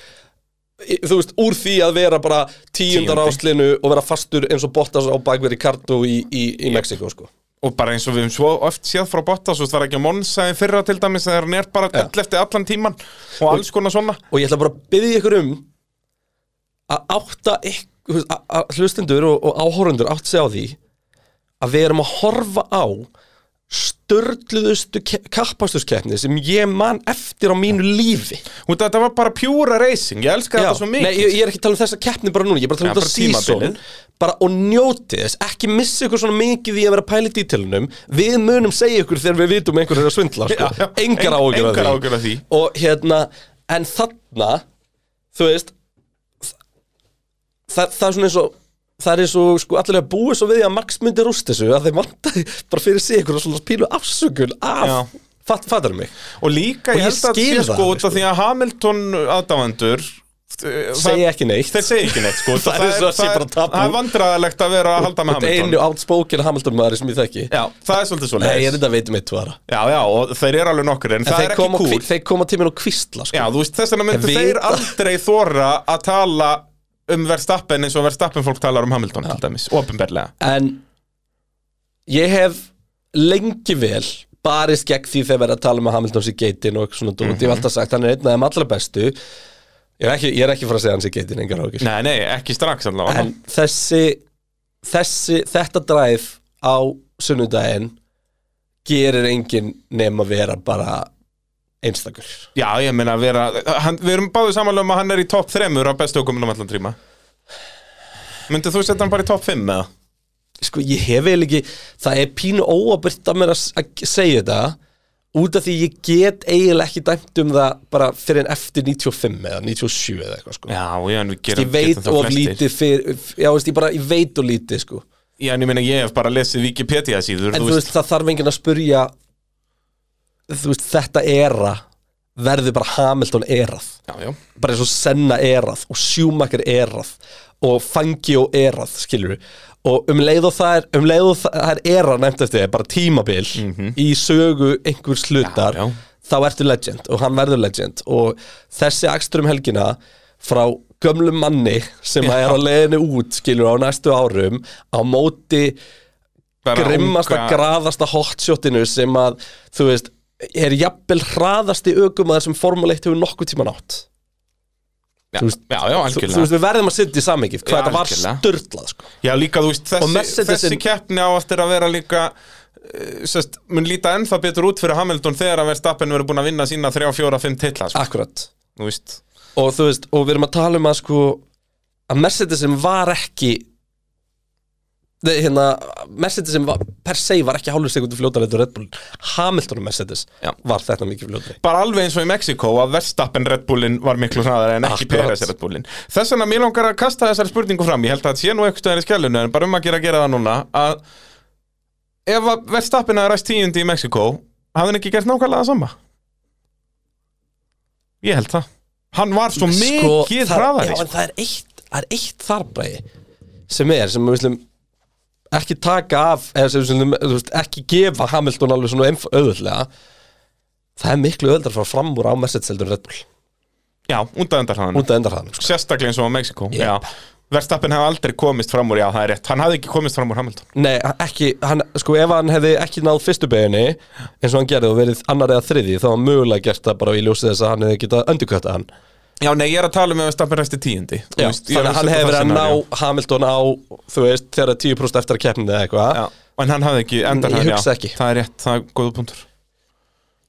Speaker 4: í- þú veist, úr því að vera bara tíundar
Speaker 2: Tíundi.
Speaker 4: áslinu og vera fastur eins og Bottas á bakveri Ricardo í, í, í Mexiko sko.
Speaker 2: og bara eins og við höfum svo oft séð frá Bottas og það var ekki að Monsa í fyrra til dæmis þegar hann er bara
Speaker 4: Já.
Speaker 2: öll eftir allan tíman og alls konar svona
Speaker 4: og ég ætla bara að byggja ykkur um að átta ykk- þú veist, að- að hlustendur og, og áhorundur átt sig á því að við erum að horfa á störluðustu kappastuskeppni sem ég man eftir á mínu lífi
Speaker 2: og þetta var bara pjúra racing, ég elska þetta svo mikið
Speaker 4: Nei, ég, ég er ekki að tala um þessa keppni bara núna, ég er bara
Speaker 2: Já,
Speaker 4: að tala um
Speaker 2: bara
Speaker 4: þetta season
Speaker 2: tímabilið.
Speaker 4: bara og njóti þess, ekki missi ykkur svona mikið í að vera að pæla í dítilunum við munum segja ykkur þegar við vitum að einhver er að svindla, sko,
Speaker 2: Já, já.
Speaker 4: engar
Speaker 2: Eng-
Speaker 4: ágjur
Speaker 2: engar áhyggjur af því.
Speaker 4: og hérna, en þarna þú veist það, það er svona eins og það er eins og sko allir að búið svo við því að Max myndi rúst þessu að þeir vantaði bara fyrir sig ykkur og svona pílu afsökun af,
Speaker 2: Já.
Speaker 4: fatt, fattar mig
Speaker 2: og líka
Speaker 4: Og
Speaker 2: ég
Speaker 4: ég
Speaker 2: held að
Speaker 4: skil
Speaker 2: sé
Speaker 4: það
Speaker 2: sko
Speaker 4: alveg,
Speaker 2: út af
Speaker 4: sko.
Speaker 2: því að Hamilton aðdáendur eh,
Speaker 4: segja ekki neitt
Speaker 2: þeir segja ekki neitt sko
Speaker 4: Það er svo að sé bara tabú.
Speaker 2: það er vandræðalegt að vera að halda með
Speaker 4: einu
Speaker 2: Hamilton
Speaker 4: átspoken Hamilton maður sem ég þekki
Speaker 2: Já, það er svolítið svo
Speaker 4: Nei, ég er þetta veitum eitt tvara
Speaker 2: Já, já, og þeir eru alveg nokkur, en,
Speaker 4: En
Speaker 2: það
Speaker 4: þeir
Speaker 2: er ekki
Speaker 4: koma,
Speaker 2: cool
Speaker 4: kví, þeir koma til mér og kvistla sko.
Speaker 2: Já, þú veist, þess vegna myndu
Speaker 4: Við-
Speaker 2: þeir aldrei þóra að tala um Verstappen eins og Verstappen fólk talar um Hamilton til dæmis, ofinberlega
Speaker 4: En ég hef lengi vel barist gegn því þegar verið að tala með Hamilton sér geitin og eitthvað svona dót
Speaker 2: Mhm.
Speaker 4: Ég hef alltaf sagt hann er einn af þeim allra bestu Ég er ekki, ég er ekki fara að segja hann sér geitin engar ákir
Speaker 2: Nei, nei, ekki strax allavega
Speaker 4: En þessi, þessi, þetta dræf á sunnudaginn gerir enginn nema vera bara einstakur
Speaker 2: Já, ég meina að vera hann, Við erum báðið samanlega um að hann er í topp þremur á bestu okkur um allan tríma Myndið þú setja hann bara í topp 5 eða?
Speaker 4: sko ég hef eiginlega ekki það er pínu óabyrt að mér að s- að segja þetta út af því ég get eiginlega ekki dæmt um það bara fyrir en eftir 95 eða 97 eða eitthvað sko
Speaker 2: Já, já, en við gerum
Speaker 4: ég veit
Speaker 2: getum það
Speaker 4: of
Speaker 2: flestir.
Speaker 4: lítið fyrir, f- já veist ég bara, ég veit of lítið sko
Speaker 2: Já, en ég meina ég hef bara lesið Wikipedia síður
Speaker 4: en þú veist það þarf enginn að spurja þú veist þetta era verður bara Hamilton erað
Speaker 2: Já, já,
Speaker 4: bara eins og Senna erað og Schumacher erað og Fangio erað, skilur við og um leið og það er, um leið og það er era nefnt eftir þér, bara tímabil í sögu einhvers
Speaker 2: Mhm.
Speaker 4: hlutar
Speaker 2: Já, já.
Speaker 4: þá ertu legend og hann verður legend og þessi akstur um helgina frá gömlum manni sem er á leiðinu út, skilur við, á næstu árum á móti
Speaker 2: bara
Speaker 4: grimmasta,
Speaker 2: unga-
Speaker 4: graðasta hotshotinu sem að, þú veist er jafnvel hraðasti ökumaður sem formuleitt hefur nokkuð tíman átt
Speaker 2: Já,
Speaker 4: þú veist-
Speaker 2: já, já,
Speaker 4: þú,
Speaker 2: algjörlega
Speaker 4: þú veist, við verðum að setja í samhengi hvað
Speaker 2: Já,
Speaker 4: þetta var
Speaker 2: algjörlega.
Speaker 4: störtlað sko.
Speaker 2: Já, líka, þú veist,
Speaker 4: Og
Speaker 2: þessi,
Speaker 4: Mercedesin-
Speaker 2: þessi keppni á eftir að vera líka eh, sest, mun líta ennþá betur út fyrir Hamilton þegar að Verstappen verður búin að vinna sína 3, 4, 5 titla, sko,
Speaker 4: akkurat
Speaker 2: þú veist
Speaker 4: og þú veist, og við erum að tala um að sko að Mercedes sem var ekki Nei, hérna, Mercedes sem var, per se var ekki hálfur sekundu fljótari þetta Red Bull Hamilton og Mercedes
Speaker 2: Já.
Speaker 4: var þetta mikið fljótari
Speaker 2: bara alveg eins og í Mexiko að Verstappen Red Bullin var miklu hraðar en ekki
Speaker 4: Akkurat.
Speaker 2: Peres Red Bullin þess vegna mér langar að kasta þessari spurningu fram ég held að það sé nú eitthvað stöðar í skjælunni en bara um að gera að gera það núna að ef að Verstappen að ræst tíundi í Mexiko hafði hann ekki gert nákvæmlega það sama ég held það hann var svo mikið
Speaker 4: Sko, það-
Speaker 2: hraðari
Speaker 4: já, en það er eitt, það er eitt þarbæði sem er, sem við slum ekki taka af eða sem við slum, þú veist, ekki gefa Hamilton alveg svona einf- auðvöldlega það er miklu auðvöldar að fara fram úr á Mercedes heldur en Red Bull,
Speaker 2: já, undaðendarhraðan
Speaker 4: út af endarhraðanum sko.
Speaker 2: sérstaklega eins og á Mexiko
Speaker 4: Yep.
Speaker 2: Verstappen hefði aldrei komist fram úr, já það er rétt hann hafði ekki komist fram úr Hamilton
Speaker 4: Nei, ekki, hann, sko ef hann hefði ekki náð fyrstu beginni eins og hann gerði og verið annar eða þriði þá var mögulega gert það bara í ljósið þess að hann hefði getað öndurkvætta hann
Speaker 2: Já, nei, ég er að tala um ef Verstappen resti tíundi Þú
Speaker 4: Já,
Speaker 2: veist, ég er
Speaker 4: Þannig að hann
Speaker 2: setja
Speaker 4: hefði verið
Speaker 2: það
Speaker 4: að
Speaker 2: scenario.
Speaker 4: ná Hamilton á, þú veist, þegar 10% eftir að keppni eða eitthvað
Speaker 2: Já, en hann hafði ekki endar
Speaker 4: Ég
Speaker 2: hann,
Speaker 4: hugsa
Speaker 2: já,
Speaker 4: ekki.
Speaker 2: það er rétt, það er góða punktur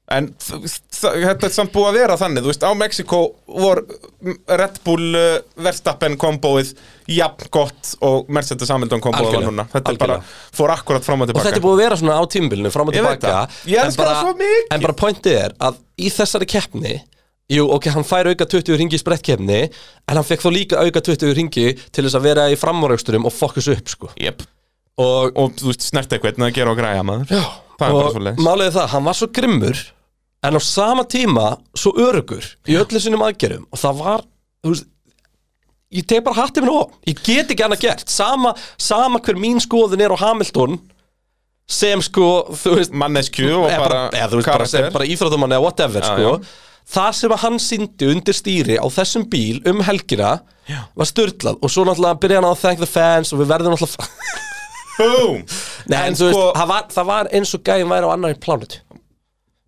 Speaker 2: En þ- þ- þetta er samt búið að vera þannig, þú veist, á Mexiko vor m, Red Bull uh, Verstappen kombóið jafn gott og Mercedes Hamilton kombóið var
Speaker 4: Algjörlega,
Speaker 2: núna Þetta er
Speaker 4: algjörlega.
Speaker 2: bara, fór akkurat fram og
Speaker 4: og
Speaker 2: tilbaka
Speaker 4: þetta er búið að vera svona á tímbilinu fram og
Speaker 2: Ég veit
Speaker 4: tilbaka
Speaker 2: það. Ég elska það svo mikið.
Speaker 4: en bara pointið er að í þessari keppni Jú, ok, hann fær auka 20 ringi í sprettkeppni en hann fekk þó líka auka 20 ringi til þess að vera í framvarausturum og fokkus upp, sko
Speaker 2: Jep,
Speaker 4: og,
Speaker 2: og þú veist, snert eitthvað, en það gera og græja maður Já, það er bara
Speaker 4: og
Speaker 2: svoleiðis
Speaker 4: málið er það, hann var svo grimmur en á sama tíma svo örugur í öllu sinum aðgerum og það var, þú veist ég teg bara hattið minn á, ég get ekki annað gert sama, sama hver mín skoðun er á Hamilton sem sko, þú veist
Speaker 2: manneskju og
Speaker 4: eða
Speaker 2: bara,
Speaker 4: bara, eða, þú veist, bara, sem,
Speaker 2: Sko, karakter.
Speaker 4: bara íþróttamann eða whatever
Speaker 2: Já,
Speaker 4: sko. það sem að hann síndi undir stýri á þessum bíl um helgina var störtlað og svo náttúrulega byrja hann á að thank the fans og við verðum náttúrulega
Speaker 2: Boom!
Speaker 4: Nei, en, þú
Speaker 2: sko-
Speaker 4: veist, það var, það var eins og gæðin væri á annari plánutu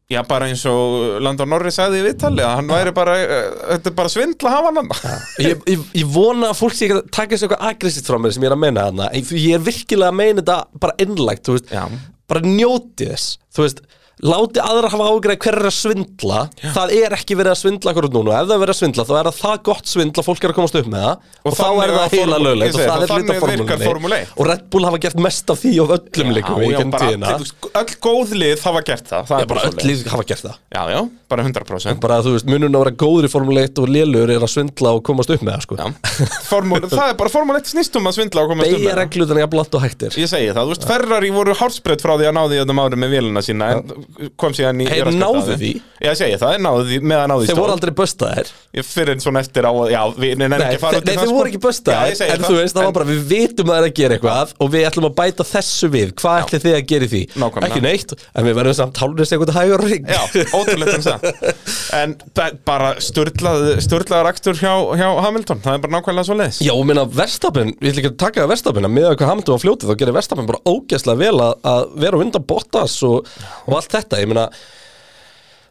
Speaker 2: Já, bara eins og Landon Norris sagði í viðtali að hann væri bara, eh, þetta er bara svindla að hafa hann hann.
Speaker 4: ég, ég, ég vona að fólk sé ekki að taka þessu eitthvað aggressivt frá mér sem ég er að meina þarna En því ég er virkilega að meina þetta bara innlægt, þú veist
Speaker 2: Já.
Speaker 4: bara njóti þess, þú veist láti aðra hafa ágreð hver er að svindla það er ekki verið að svindla akkur núna og ef það er verið að svindla þá er það það gott svindla fólk er að komast upp með það og, þá
Speaker 2: þannig
Speaker 4: er
Speaker 2: var
Speaker 4: það heila
Speaker 2: formúla- ég
Speaker 4: löglegt og
Speaker 2: segi
Speaker 4: það
Speaker 2: það,
Speaker 4: er hluti
Speaker 2: þannig
Speaker 4: af
Speaker 2: virkar Formúla
Speaker 4: formúlunni
Speaker 2: eitt.
Speaker 4: og Red Bull hafa gert mest af því og öllum líkum í
Speaker 2: Já, já,
Speaker 4: genn
Speaker 2: bara
Speaker 4: tíðina
Speaker 2: allir, þú- öll góð lið hafa gert það, það
Speaker 4: Ég
Speaker 2: er
Speaker 4: bara
Speaker 2: bara
Speaker 4: öll
Speaker 2: svoleiðis.
Speaker 4: lið hafa gert það
Speaker 2: Já, já, bara 100%
Speaker 4: bara þú veist, munun að vera góður í Formule 1 og lélur er að svindla og komast upp með það sko.
Speaker 2: Formúl, það er bara formúl 1 snýst um að svindla og komast um
Speaker 4: beigja
Speaker 2: með það.
Speaker 4: reglutina jafn blátt og hættir
Speaker 2: Ég segi það, þú veist, Ferrari voru hálfsbreytt frá því að náði þeim ári með vélina sína en kom síðan í
Speaker 4: Hey,
Speaker 2: í rassgat á
Speaker 4: náðu
Speaker 2: þeim.
Speaker 4: því?
Speaker 2: Já, ég segi það, náðu því, með að náðu því
Speaker 4: þeir voru aldrei böstaðir
Speaker 2: Fyrir en svona eftir á, að- já, við nefnum
Speaker 4: Nei,
Speaker 2: ekki að fara
Speaker 4: þe-
Speaker 2: út í
Speaker 4: nei
Speaker 2: það
Speaker 4: þeir
Speaker 2: sko.
Speaker 4: voru ekki
Speaker 2: Já,
Speaker 4: böstaðir
Speaker 2: ég segi
Speaker 4: En þú veist, það var bara, við vitum að það er að gera eitthvað Og við ætlum að bæta þessu við Hvað ætlið þið að gera í því?
Speaker 2: Nákvæmlega.
Speaker 4: Ekki neitt, en við verðum samt hálfnir sekund hægur ring
Speaker 2: Já, ótrúlegt um það En ba- bara störlaður aktur hjá, hjá Hamilton Það er bara nákvæmlega svo leiðis
Speaker 4: Já, og minna Verstapin, við ætlum ekki að taka Verstapin að miða hvað Hamilton var fljótið, þá gerir Verstapin bara ógeðslega vel að, að vera á undan Bottas og, og allt þetta, ég meina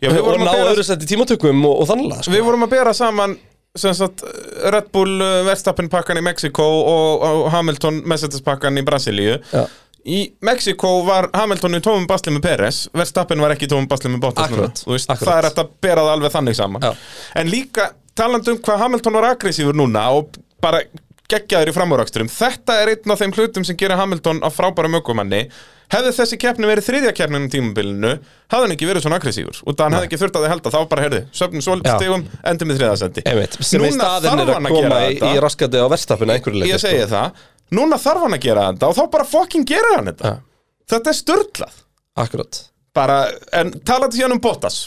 Speaker 2: Já, við
Speaker 4: og
Speaker 2: vorum
Speaker 4: ná
Speaker 2: að
Speaker 4: öðru
Speaker 2: bera,
Speaker 4: sett í tímatökum og, og þannlega sko.
Speaker 2: við vorum að bera saman sem sagt, Red Bull uh, Verstappen pakkan í Mexiko og, og Hamilton Mercedes pakkan í Brasilíu
Speaker 4: Já.
Speaker 2: Í Mexiko var Hamilton í tómum basli með Peres Verstappen var ekki í tómum basli með Bottas núna.
Speaker 4: Akkurat,
Speaker 2: Þú veist,
Speaker 4: akkurat.
Speaker 2: Það er hægt að bera það alveg þannig saman
Speaker 4: Já.
Speaker 2: En líka talandi um hvað Hamilton var aggressífur núna og bara geggjaður í framúraksturum Þetta er einn af þeim hlutum sem gerir Hamilton að frábæra mögumanni Hefði þessi keppni verið þriðja keppnin um tímabilinu hafði hann ekki verið svona aggressífur og það hann hefði ekki þurft að þið helda þá bara heyrði söfnum svolítið
Speaker 4: Já.
Speaker 2: stigum, endum í þriðasendi
Speaker 4: Einmitt, sem í staðinn er að koma í, í raskandi á Verstapin að einhverju
Speaker 2: Ég
Speaker 4: leyti, sko.
Speaker 2: segi það, núna þarf hann að gera þetta og þá bara fucking gera hann þetta
Speaker 4: Já.
Speaker 2: Þetta er störtlað
Speaker 4: Akkurat
Speaker 2: bara, En talandi síðan um Bottas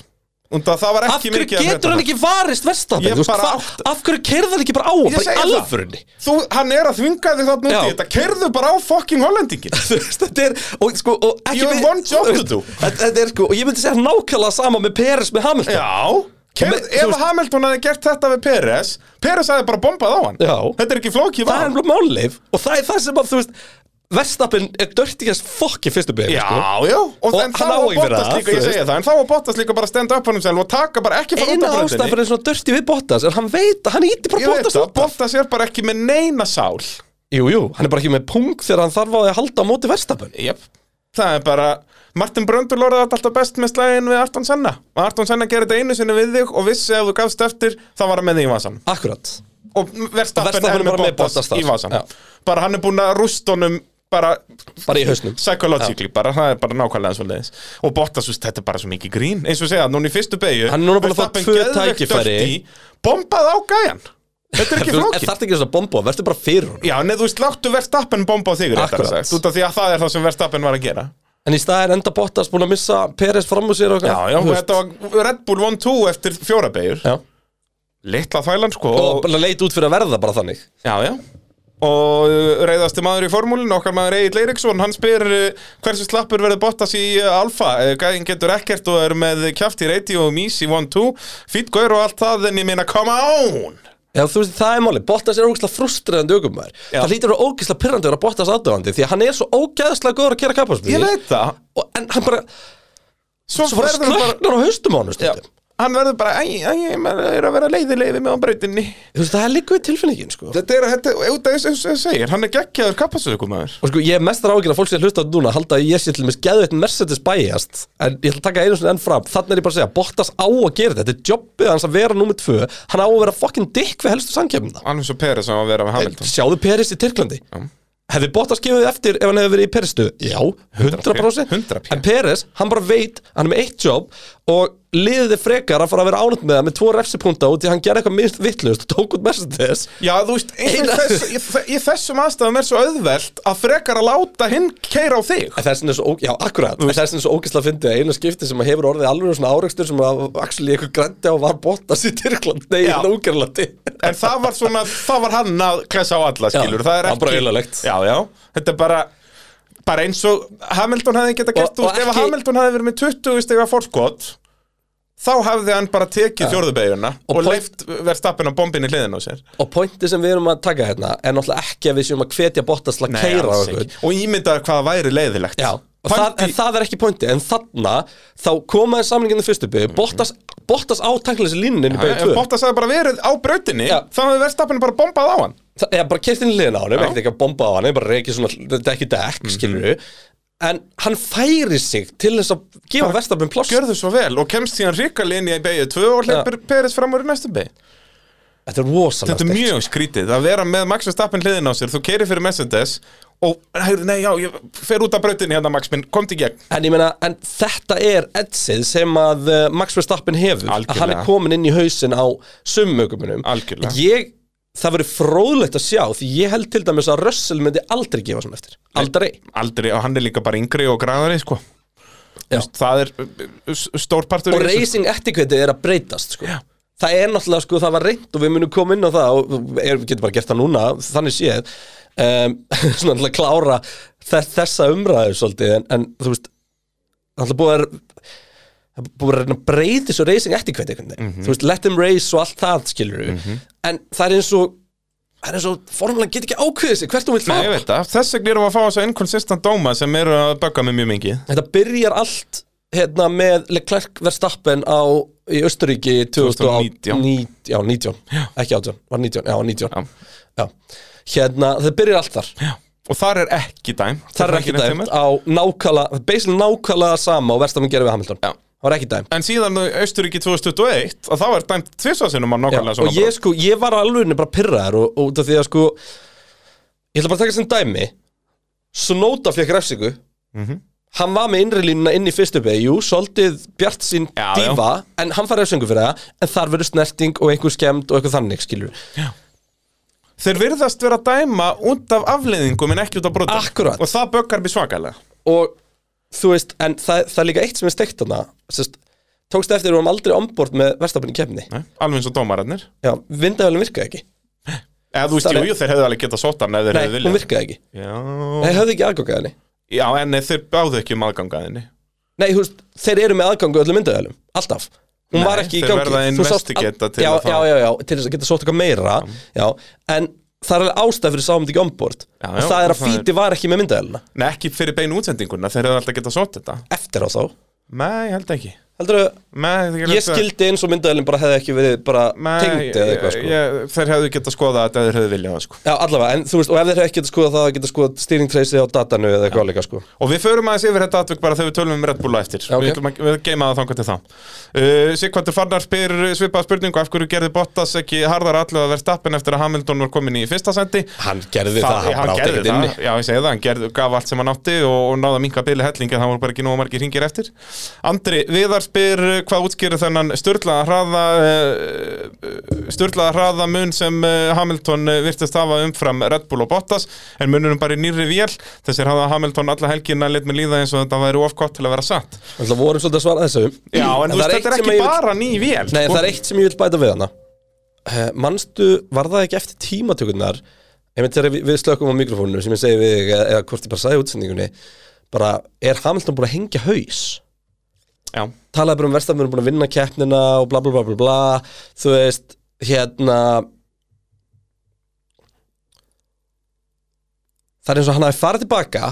Speaker 2: Unda, Það var
Speaker 4: Af
Speaker 2: ekki
Speaker 4: hverju
Speaker 2: mikið að
Speaker 4: getur
Speaker 2: meta
Speaker 4: hann ekki varist Verstapin?
Speaker 2: Ég
Speaker 4: Þú veist,
Speaker 2: bara
Speaker 4: hvað-
Speaker 2: átt-
Speaker 4: Af hverju kerði hann ekki bara á hann,
Speaker 2: Ég
Speaker 4: bara í
Speaker 2: segi það.
Speaker 4: alvörunni?
Speaker 2: Þú, hann er að þvinga þig þarna út í
Speaker 4: Já.
Speaker 2: þetta Kerðu bara á fucking hollendingin
Speaker 4: Þú veist, þetta er, og sko, og ekki
Speaker 2: You have
Speaker 4: við-
Speaker 2: one job to do.
Speaker 4: Þetta þetta er sko, og ég myndi segja nákvæmlega sama með Peres með Hamilton
Speaker 2: Já Kerð,
Speaker 4: Men, þú
Speaker 2: ef
Speaker 4: veist-
Speaker 2: Hamilton hefði gert þetta við Peres Peres hefði bara bombað á hann
Speaker 4: Já.
Speaker 2: Þetta er ekki flókið
Speaker 4: Það er
Speaker 2: val.
Speaker 4: nefnilega málið og það er það sem að, þú veist Verstappen er dörtingast fokki fyrstu byggjum,
Speaker 2: Já,
Speaker 4: sko
Speaker 2: já, og,
Speaker 4: Og
Speaker 2: en þá
Speaker 4: hann á
Speaker 2: var
Speaker 4: ekki verið
Speaker 2: Bottas
Speaker 4: að,
Speaker 2: líka,
Speaker 4: þú
Speaker 2: ég
Speaker 4: veist.
Speaker 2: segja það En þá var Bottas líka bara að stenda upp honum selv og taka bara ekki fara út
Speaker 4: Eina
Speaker 2: af
Speaker 4: ástæðan
Speaker 2: bröndinni
Speaker 4: fyrir svona dörti við Bottas er að hann veit að hann íti bara
Speaker 2: Ég veit
Speaker 4: Bottas
Speaker 2: það,
Speaker 4: út af.
Speaker 2: Bottas er bara ekki með neina sál
Speaker 4: Jú, jú, hann er bara ekki með punkt þegar hann þarf á því að halda á móti Verstappen
Speaker 2: Jep Það er bara, Martin Bröndul orðaði þetta alltaf best með slægin við Arton Senna og Arton Senna gerði þetta einu sinni við þig og vissi ef þú gafst eftir, það var að með þig í vasan
Speaker 4: Akkurat
Speaker 2: og Verstappen er
Speaker 4: Verstappen er bara
Speaker 2: með
Speaker 4: með Bottas
Speaker 2: Bottas
Speaker 4: þar.
Speaker 2: í vasan
Speaker 4: Já.
Speaker 2: bara hann er búin að rúst honum bara
Speaker 4: Bara í hausnum
Speaker 2: psychologically, bara, það er bara nákvæmlega svo leiðis og Bottas, þú veist, þetta er bara svo mikið grín eins og segja, núna í fyrstu beigju
Speaker 4: Hann er núna búin að fá tvö tækifæri.
Speaker 2: bombað á gæjan, þetta er
Speaker 4: Þú
Speaker 2: ekki
Speaker 4: veist, en
Speaker 2: flókið
Speaker 4: þarf ekki þess að bomba, verður bara fyrir hún
Speaker 2: Já, en þú veist, láttu Verstappen bomba á þig réttara
Speaker 4: Akkurat.
Speaker 2: sagt, út af því að það er það sem Verstappen var að gera
Speaker 4: En í staðin enda Bottas búin að missa Peres fram úr sér og
Speaker 2: Já, já,
Speaker 4: þú
Speaker 2: og
Speaker 4: veist.
Speaker 2: þetta var Red Bull 1-2 eftir fjóra beigur
Speaker 4: Já.
Speaker 2: Litla þvælan, sko
Speaker 4: Og bara leit út fyrir að verða bara þannig
Speaker 2: Já, já Og uh, reyðasti maður í formúlinu, okkar maður Egil Eiriksson, hann spyr uh, hversu slappur verður Bottas í uh, Alfa, Uh, gæðin getur ekkert og er með kjaft í reyti og mís í 1-2, fýtt gaur og allt það, en ég meina, come on!
Speaker 4: Já, þú veist, það er máli, Bottas er ógeðslega frustrerandi ökumæður
Speaker 2: Já.
Speaker 4: Það lítur að vera ógeðslega pirrandi að vera Bottas aðdöfandi Því að hann er svo ógeðslega góður að kera kapparsmið
Speaker 2: Ég veit það,
Speaker 4: En hann bara,
Speaker 2: svo,
Speaker 4: svo bara
Speaker 2: verður hann bara,
Speaker 4: slöknar á haustum á hann
Speaker 2: Já.
Speaker 4: stundum
Speaker 2: hann verður bara, æ, æ, æ, maður er að vera leiðilegði með á brautinni.
Speaker 4: Þú veist, það er líka við tilfinningin, sko
Speaker 2: Þetta er, þetta, þetta er, eins og ég segir, hann er geggjaður kappasökumæður.
Speaker 4: Og sko, ég er mestar ágjörn að fólk sé að hlusta á þetta núna Halda að ég sé til mér geðveitt Mercedes bæjast En ég ætla að taka einu svona enn fram Þannig er ég bara að segja, Bottas á að gera þetta Þetta er jobbið hans að vera númer tvö Hann á að vera fucking dick við helstu samkefnina
Speaker 2: Alveg svo Peres sem að vera með Hamilton.
Speaker 4: Sjáðu Peris í Tyrklandi Hefði Bottas gefið eftir ef hann hefði verið í Peris stöðu? Já, 100%,
Speaker 2: 100%.
Speaker 4: En Peris, hann bara veit, hann er með eitt job og liðið er frekar að fara að vera ánætt með það með tvo refsipunta út því hann gerði eitthvað mist vittlust og tók út Mercedes
Speaker 2: Já, þú veist, einu,
Speaker 4: Eina-
Speaker 2: þess, í, þe- í þessum aðstæðum er svo auðvelt að frekar að láta hinn keira á þig.
Speaker 4: En það er svona svo, ó- já, akkurat, en það er svona svo ógæslega fyndið að eina skipti sem hefur orðið alveg svona áreikstur sem að actually eitthvað grændi á var Bottas í Tyrkland, nei,
Speaker 2: Já.
Speaker 4: í Nógerlandi
Speaker 2: En það var svona, það var hann að klesa á alla, skilur. það er
Speaker 4: það var
Speaker 2: ekki...
Speaker 4: bara auðvitað.
Speaker 2: Já, já, þetta er bara... Bara eins og Hamilton hefði geta gert,
Speaker 4: Og-
Speaker 2: þú veist,
Speaker 4: og
Speaker 2: ef
Speaker 4: ekki-
Speaker 2: Hamilton hefði verið með 20 stiga fórskot, þá hafði hann bara tekið fjórðubegjuna
Speaker 4: Og
Speaker 2: og, og
Speaker 4: point-
Speaker 2: leift verðstappin á bombinni hliðin á sér
Speaker 4: Og pointi sem við erum að taka hérna er náttúrulega ekki að við séum að hvetja Bottas til að keira á
Speaker 2: alls
Speaker 4: okkur
Speaker 2: ekki. og ímyndaði hvað væri leiðilegt
Speaker 4: Já, og það, en
Speaker 2: Pointi-
Speaker 4: það er ekki pointi En þarna, þá komaði samlingin í fyrstu byggu Bottas, Bottas á tankleysi línunni í
Speaker 2: Ef
Speaker 4: byggu 2
Speaker 2: Mhm. Bottas hefði bara verið á brautinni
Speaker 4: Já.
Speaker 2: þá hefði verðstappin bara bombað á hann
Speaker 4: Það er bara keitt inn í liðina á hann, ekkert ekki að bomba á hann Bara reikið svona dekki dekk,
Speaker 2: Mhm.
Speaker 4: skilur við En hann færi sig til þess að gefa verstafnum pláss
Speaker 2: gjörðu svo vel og kemst síðan ríkalinni í beigju 2 og hleypir Peres fram úr í næstu beig
Speaker 4: Þetta er rosalega
Speaker 2: Þetta er
Speaker 4: steikt.
Speaker 2: mjög skrítið að vera með Max Verstappen hliðin á sér, þú keirir fyrir Mercedes og, heyrðu, nei, já, ég fer út af brautinni hérna Max minn, komdu í gegn
Speaker 4: En ég meina, en þetta er edsið sem að uh, Max Verstappen hefur
Speaker 2: Algjörlega.
Speaker 4: að hann er komin inn í hausin á summögumunum
Speaker 2: Algjörlega.
Speaker 4: ég, Það verður fróðlegt að sjá því ég held til dæmis að Russell myndi aldrei gefa svona eftir Aldrei
Speaker 2: Aldrei, og hann er líka bara yngri og græðari, sko
Speaker 4: Já.
Speaker 2: Það er uh, uh, stór partur
Speaker 4: Og
Speaker 2: í þessu.
Speaker 4: racing etikveiti er að breytast sko. Það er náttúrulega, sko, það var reynd og við munum koma inn á það og er, við getum bara gert það núna, þannig séð um, svona alltaf klára þess, þessa umræðu svolítið en, en þú veist, alltaf búið að það er búið að reyna að breyta þessu racing etikveiti einhvern veginn,
Speaker 2: Mhm.
Speaker 4: þú veist, let them race og allt það skilur við, en það er eins og það er eins og formulega get ekki ákveðið sig hvert þú vilt
Speaker 2: Nei, ég
Speaker 4: fara,
Speaker 2: veit það, þess vegna erum við að fá þess að inconsistent dóma sem eru að bögga mig mjög mingi
Speaker 4: þetta byrjar allt hérna með Leclerc Verstappen á í Östuríki
Speaker 2: 2019.
Speaker 4: 2019 já, 19, ekki 18, var 19 já, 19
Speaker 2: Já.
Speaker 4: Já. hérna, það byrjar allt þar
Speaker 2: Og þar er ekki dæm
Speaker 4: það er ekki dæmt á nákala basically nákala sama og Verstappen gerir við Hamilton
Speaker 2: Já.
Speaker 4: það var ekki dæmt
Speaker 2: En síðan Austuríki 2021, að þá er dæmt tvisvarsinum að
Speaker 4: Já,
Speaker 2: nákvæmlega svona
Speaker 4: og ég sko, ég var alveg henni bara pirraðar og, og út af því að sko ég ætla bara að taka sem dæmi Snóta fekk refsingu
Speaker 2: Mhm.
Speaker 4: hann var með innri línuna inn í fyrstu beig jú, soldið Bjart sín
Speaker 2: Já, já.
Speaker 4: dífa, en hann fær refsingu fyrir það en þar verður snerting og einhver skemmt og eitthvað þannig skilur,
Speaker 2: Þeir virðast vera að dæma út af afleiðingum en ekki út af brotum
Speaker 4: Akkurat.
Speaker 2: Og það böggar mér svakalega
Speaker 4: og þú veist, en það, það er líka eitt sem er steikt þarna, sérst tókstu eftir að við varum aldrei ombord með verstafnum í kemni
Speaker 2: Nei, alveg eins og dómararnir
Speaker 4: já, vindavælum virkaði ekki
Speaker 2: Eða þú veist,
Speaker 4: Það
Speaker 2: jú,
Speaker 4: er-
Speaker 2: jú, þeir hefðu alveg getað sótt hann eða þeir
Speaker 4: nei,
Speaker 2: hefðu
Speaker 4: hún
Speaker 2: viljað
Speaker 4: virkaði ekki,
Speaker 2: Já,
Speaker 4: þeir höfðu ekki aðgókað henni
Speaker 2: já en þeir báðu ekki um aðgangaðinni
Speaker 4: Nei, þú veist, þeir eru með aðgangu öllum myndavælum, alltaf Hún
Speaker 2: Nei,
Speaker 4: var ekki í
Speaker 2: þeir
Speaker 4: gangi
Speaker 2: verða að
Speaker 4: Þú sást-
Speaker 2: investigata til
Speaker 4: já,
Speaker 2: að
Speaker 4: já,
Speaker 2: það-
Speaker 4: já, já, til þess að geta sótt eitthvað meira já. En það er alveg ástæð fyrir sáum þetta ekki ombord
Speaker 2: Já,
Speaker 4: Og
Speaker 2: já,
Speaker 4: það er að
Speaker 2: það er-
Speaker 4: fíti var ekki með myndavæluna
Speaker 2: Nei, ekki fyrir beinu útsendinguna, þeir hefðu alltaf getað sótt þetta
Speaker 4: Eftir á þá
Speaker 2: Nei, ég held ekki
Speaker 4: Heldur
Speaker 2: Nei, þeir
Speaker 4: ég skildi eins og myndavælin bara hefði ekki verið bara
Speaker 2: Nei,
Speaker 4: tengd eða eitthvað sko
Speaker 2: ég, Þeir hefðu getað skoðað þetta eða þeir hefðu viljað það, sko
Speaker 4: Já, allavega, en þú veist, og ef þeir hefði ekki skoða það, geta skoða stýringtreysi á datanu eða eitthvað líka, sko.
Speaker 2: Og við förum aðeins yfir þetta atvik bara þegar við tölum um Red Bull á eftir
Speaker 4: Já, ok.
Speaker 2: Við ætlum að við geima það þangar til þá uh, Sigvartur Farnar spyr svipaða spurningu af hverju gerði Bottas ekki harðar allu að verðstappin eftir að Hamilton var komin í fyrsta sendi
Speaker 4: Hann gerði það, hann bara átti
Speaker 2: gerði
Speaker 4: ekkert inni.
Speaker 2: það, já ég segi það, hann gerði, gaf allt sem hann átti og, og náða minka byli hellingi það voru bara ekki nógu margir hringir eftir Andri Viðar spyr uh, hvað útskýrir þennan störlaða hraða uh, störlaða hraða mun sem uh, Hamilton uh, virtist hafa umfram Red Bull og Bottas en mununum bara í nýrri vél þessir hafa Hamilton alla helgina lit með líða eins og þetta væri ofgott til að vera satt
Speaker 4: Alltaf vorum svolítið að svara þessu.
Speaker 2: Já, en, þú
Speaker 4: það
Speaker 2: veist,
Speaker 4: eitt
Speaker 2: þetta er
Speaker 4: sem
Speaker 2: ekki
Speaker 4: ég vil-
Speaker 2: bara ný vél
Speaker 4: Nei,
Speaker 2: sko.
Speaker 4: það er eitt sem ég vil bæta við hana uh, Manstu, var það ekki eftir tímatökurnar Ég myndi þegar við- við slökum á mikrofóninu sem ég segi við, þig, eða, eða hvort ég bara sagði í útsendingunni bara, er Hamilton búin að hengja haus?
Speaker 2: Já,
Speaker 4: Talaði bara um verstafnum búin að vinna keppnina og bla bla bla bla bla Þú veist, hérna Það er eins og hann hafi farið tilbaka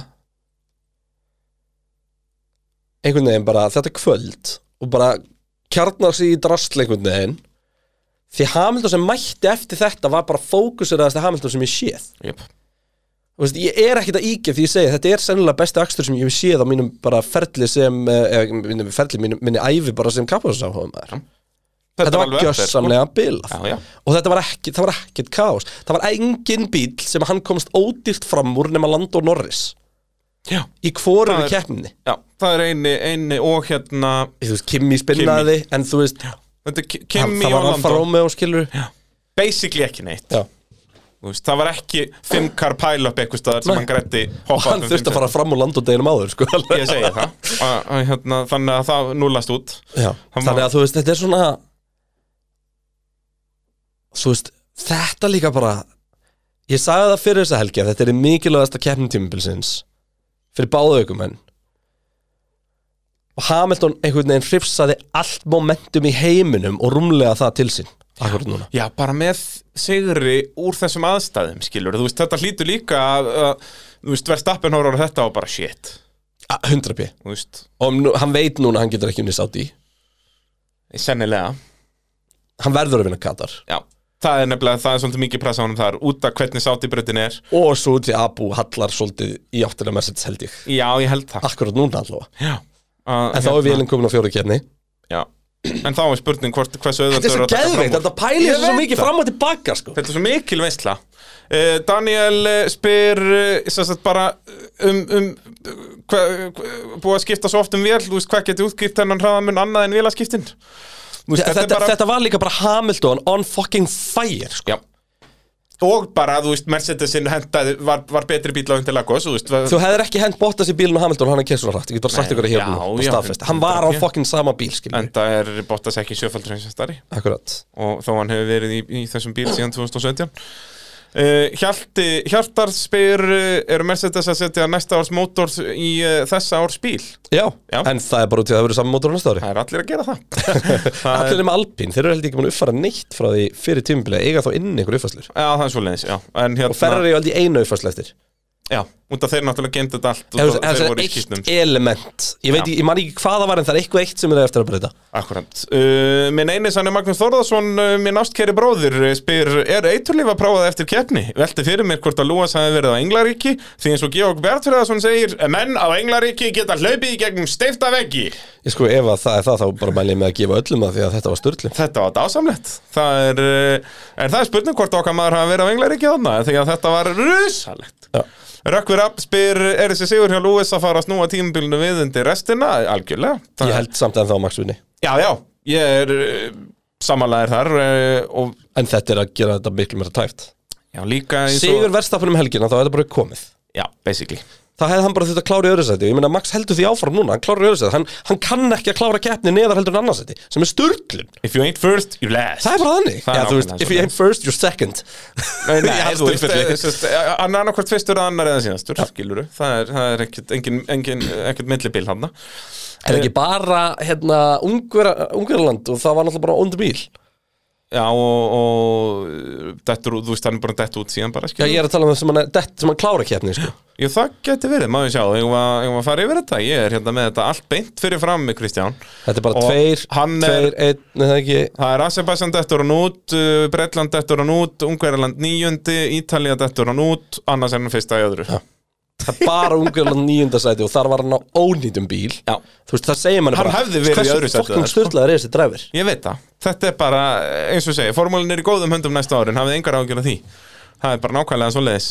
Speaker 4: einhvern veginn bara þetta kvöld og bara kjarnar sig í drasl einhvern veginn því Hamilton sem mætti eftir þetta var bara fókuseraðasti Hamilton sem ég séð
Speaker 2: jöp
Speaker 4: Þú veist, ég er ekkert að ígja því ég segi þetta er sennilega besti akstur sem ég hef séð á mínum bara ferli sem eh, eða mínum ferli, mínum, minni æfi bara sem kappaðsáhóðum þetta, þetta var
Speaker 2: alveg eftir, sko.
Speaker 4: gjössamlega bilað
Speaker 2: Já, já.
Speaker 4: og þetta var ekki, það var ekkert kaos það var engin bíl sem hann komst ódýrt fram úr nema Landó Norris
Speaker 2: Já.
Speaker 4: í hvorum
Speaker 2: Það er-
Speaker 4: keppninni
Speaker 2: Já, það er eini, eini og hérna
Speaker 4: þú veist, Kimi spinnaði en þú veist,
Speaker 2: Þetta er Ki-
Speaker 4: hann,
Speaker 2: Kimi
Speaker 4: það
Speaker 2: og
Speaker 4: var Alfa
Speaker 2: Lando
Speaker 4: Romeo skilur
Speaker 2: Basically ekki neitt
Speaker 4: Já.
Speaker 2: Þú veist, Það var ekki fimm car pile-up eitthvað staðar sem
Speaker 4: Nei.
Speaker 2: hann grætti
Speaker 4: og hann þurfti að fara fram úr land og deginum áður sko.
Speaker 2: Ég segi það Að- að hérna, Þannig að það núlast út
Speaker 4: Já,
Speaker 2: Hann
Speaker 4: þannig
Speaker 2: var-
Speaker 4: að þú veist, þetta er svona þú veist, þetta líka bara ég sagði það fyrir þessa helgi að þetta er mikilvægasta keppnum tímabilsins fyrir báðu aukumenn og Hamilton einhvern veginn hrifsaði allt momentum í heiminum og rúmlega það til sín akkurat núna
Speaker 2: Já, bara með sigri úr þessum aðstæðum, skilur, þú veist, þetta hlýtur líka að, að þú veist, verðstappin horfður á þetta og bara shit,
Speaker 4: Ah, 100 p
Speaker 2: þú veist,
Speaker 4: og nú, hann veit núna að hann getur ekki unnið sátt í
Speaker 2: sennilega,
Speaker 4: hann verður að vinna Katar
Speaker 2: já, það er nefnilega, það er svolítið mikið pressa á honum þar, út af hvernig sátibrautin er,
Speaker 4: og svo til Abu hallar svolítið í áttina Mercedes held ég
Speaker 2: já, ég held það,
Speaker 4: akkurat núna allavega
Speaker 2: já,
Speaker 4: Ah.
Speaker 2: hérna-
Speaker 4: en þá er vélinn komin á fjóru kérni
Speaker 2: já, en þá er spurning hvort, hversu auðvöld
Speaker 4: þetta er svo geðveikt, þetta pælir þessu svo mikið fram og tilbaka sko.
Speaker 2: Þetta er svo mikil veistla uh, Daniel eh, spyr uh, sagt, bara um, um hva, hva, búið að skipta svo oft um vél þú veist hvað geti útgift hennan hraðamun annað en vélaskiptin Þú veist,
Speaker 4: þetta, þetta, þetta var líka bara Hamilton on fucking fire sko.
Speaker 2: Já Og bara, þú veist, Mercedesin hendaði, var, var betri bíl á undir Lagos, þú veist, var,
Speaker 4: þú hefðir ekki hent Bottas í bílinu Hamilton hann er kesur hrætt, ég get bara sagt
Speaker 2: Nei,
Speaker 4: ykkur að
Speaker 2: já,
Speaker 4: hér nú, og
Speaker 2: já,
Speaker 4: staðfest, hann
Speaker 2: 100%.
Speaker 4: var á fucking sama bíl skilur,
Speaker 2: enda er Bottas ekki sjöfaldur heimsastari
Speaker 4: akkurat
Speaker 2: og þó hann hefur verið í, í þessum bíl síðan 2017 uh, Hjalti, Hjaltar spyr, uh, eru Mercedes að setja næsta árs mótor í uh, þessa árs bíl?
Speaker 4: já,
Speaker 2: Já.
Speaker 4: en það er bara út í að það verður saman mótor á næsta ári
Speaker 2: Það er allir að gera það Það er-
Speaker 4: allir nema Alpín, þeir eru held ég ekki búin að uppfara neitt frá því fyrir tímubilið, eiga þá inn einhver uppfæslur
Speaker 2: Já, það er svo leiðis, já en hérna,
Speaker 4: og Ferrari er held ég einu uppfæslu eftir
Speaker 2: Já, út af þeir náttúrulega geimt þetta allt
Speaker 4: Ef
Speaker 2: og
Speaker 4: þú- ef
Speaker 2: þeir
Speaker 4: það
Speaker 2: voru
Speaker 4: er
Speaker 2: í skýtnum
Speaker 4: eitt element ég veit,
Speaker 2: Já.
Speaker 4: ég, ég man ekki hvað það var en það er eitthvað eitt sem er eftir að breyta
Speaker 2: Akkurat uh, Minn einis hann er Magnús Þórðarsson, uh, minn ástkæri bróðir uh, spyr, er eiturlíf að prófa það eftir keppni? Velti fyrir mér hvort að Lúas hafi verið á Englaríki því eins og Georg Bertfriðarsson segir menn á Englaríki geta hlaupið í gegnum steifta veggi
Speaker 4: ég sko, ef að það er það, þá bara mæli ég með að gefa öllum það því að þetta var störtlu
Speaker 2: Þetta var dásamlegt Það er, uh, er það er spurning hvort okkar maður hafi verið á Englaríki þarna því að þetta var rusalegt
Speaker 4: Já.
Speaker 2: Rökkvir App spyr, er þessi sigur hjá Lúis að fara að snúa tímabilinu við undir restina? Algjörlega Það-
Speaker 4: ég held samt en þá Max vinni
Speaker 2: Já, já, ég er uh, samanlegaðir þar uh, og
Speaker 4: en þetta er að gera þetta miklu meira tæft
Speaker 2: já, líka eins og
Speaker 4: Sigur verðstappunum helgina, þá er þetta bara komið
Speaker 2: Já, basically
Speaker 4: Það hefði hann bara þurft að klára í öðru sæti og Ég meina, Max heldur því áfram núna, hann klára í öðru sæti Hann, hann kann ekki að klára keppni neðar heldur en annarsæti Sem er sturglun
Speaker 2: If you ain't first, you last
Speaker 4: Það er bara þannig
Speaker 2: Það er
Speaker 4: Já, þú veist,
Speaker 2: nákvæmlega
Speaker 4: If you ain't first, you're second
Speaker 2: Nei,
Speaker 4: Í
Speaker 2: nei,
Speaker 4: hans
Speaker 2: þú veist,
Speaker 4: tilfelli.
Speaker 2: eh, sest, eh, hann er annarkvært fyrstur að annar eða síðastur, skilur Það er, það er ekkert, engin, engin, ekkert millibil hann
Speaker 4: Er ekki bara hérna, Ungverja- Ungverjaland og það var náttúrulega bara on the bíl
Speaker 2: Já, og, og uh, dettur, út- þú veist, hann er bara dett út síðan bara,
Speaker 4: Já,
Speaker 2: skilur
Speaker 4: ég er að tala um það sem hann, er- dett, sem hann klára keppni sko.
Speaker 2: Jú, það geti verið, maður sjá, ég var, ég var að fara yfir þetta Ég er hérna með þetta allt beint fyrir fram með Kristján
Speaker 4: Þetta er bara
Speaker 2: Og
Speaker 4: tveir,
Speaker 2: hann er-
Speaker 4: tveir, einn, neða ekki
Speaker 2: Það er Azerbaijan dettur hann út, uh, Bretland dettur hann út, Ungverjaland nýjöndi, Ítalía dettur hann út, annars er hann fyrsta í öðru.
Speaker 4: Það er bara Ungverjaland nýjunda sæti og þar var hann á ónýtum bíl
Speaker 2: Já.
Speaker 4: Þú veist, það segir manni
Speaker 2: Hann
Speaker 4: bara
Speaker 2: hefði verið í öðru sæti þar,
Speaker 4: Fokkin
Speaker 2: sko.
Speaker 4: störtlaður er þessi dræfur
Speaker 2: Ég veit það. Þetta er bara, eh, eins og ég segi, formúlin er í góðum höndum næsta árin, hafið engar ágjörð af því. Það er bara nákvæmlega svo leiðis.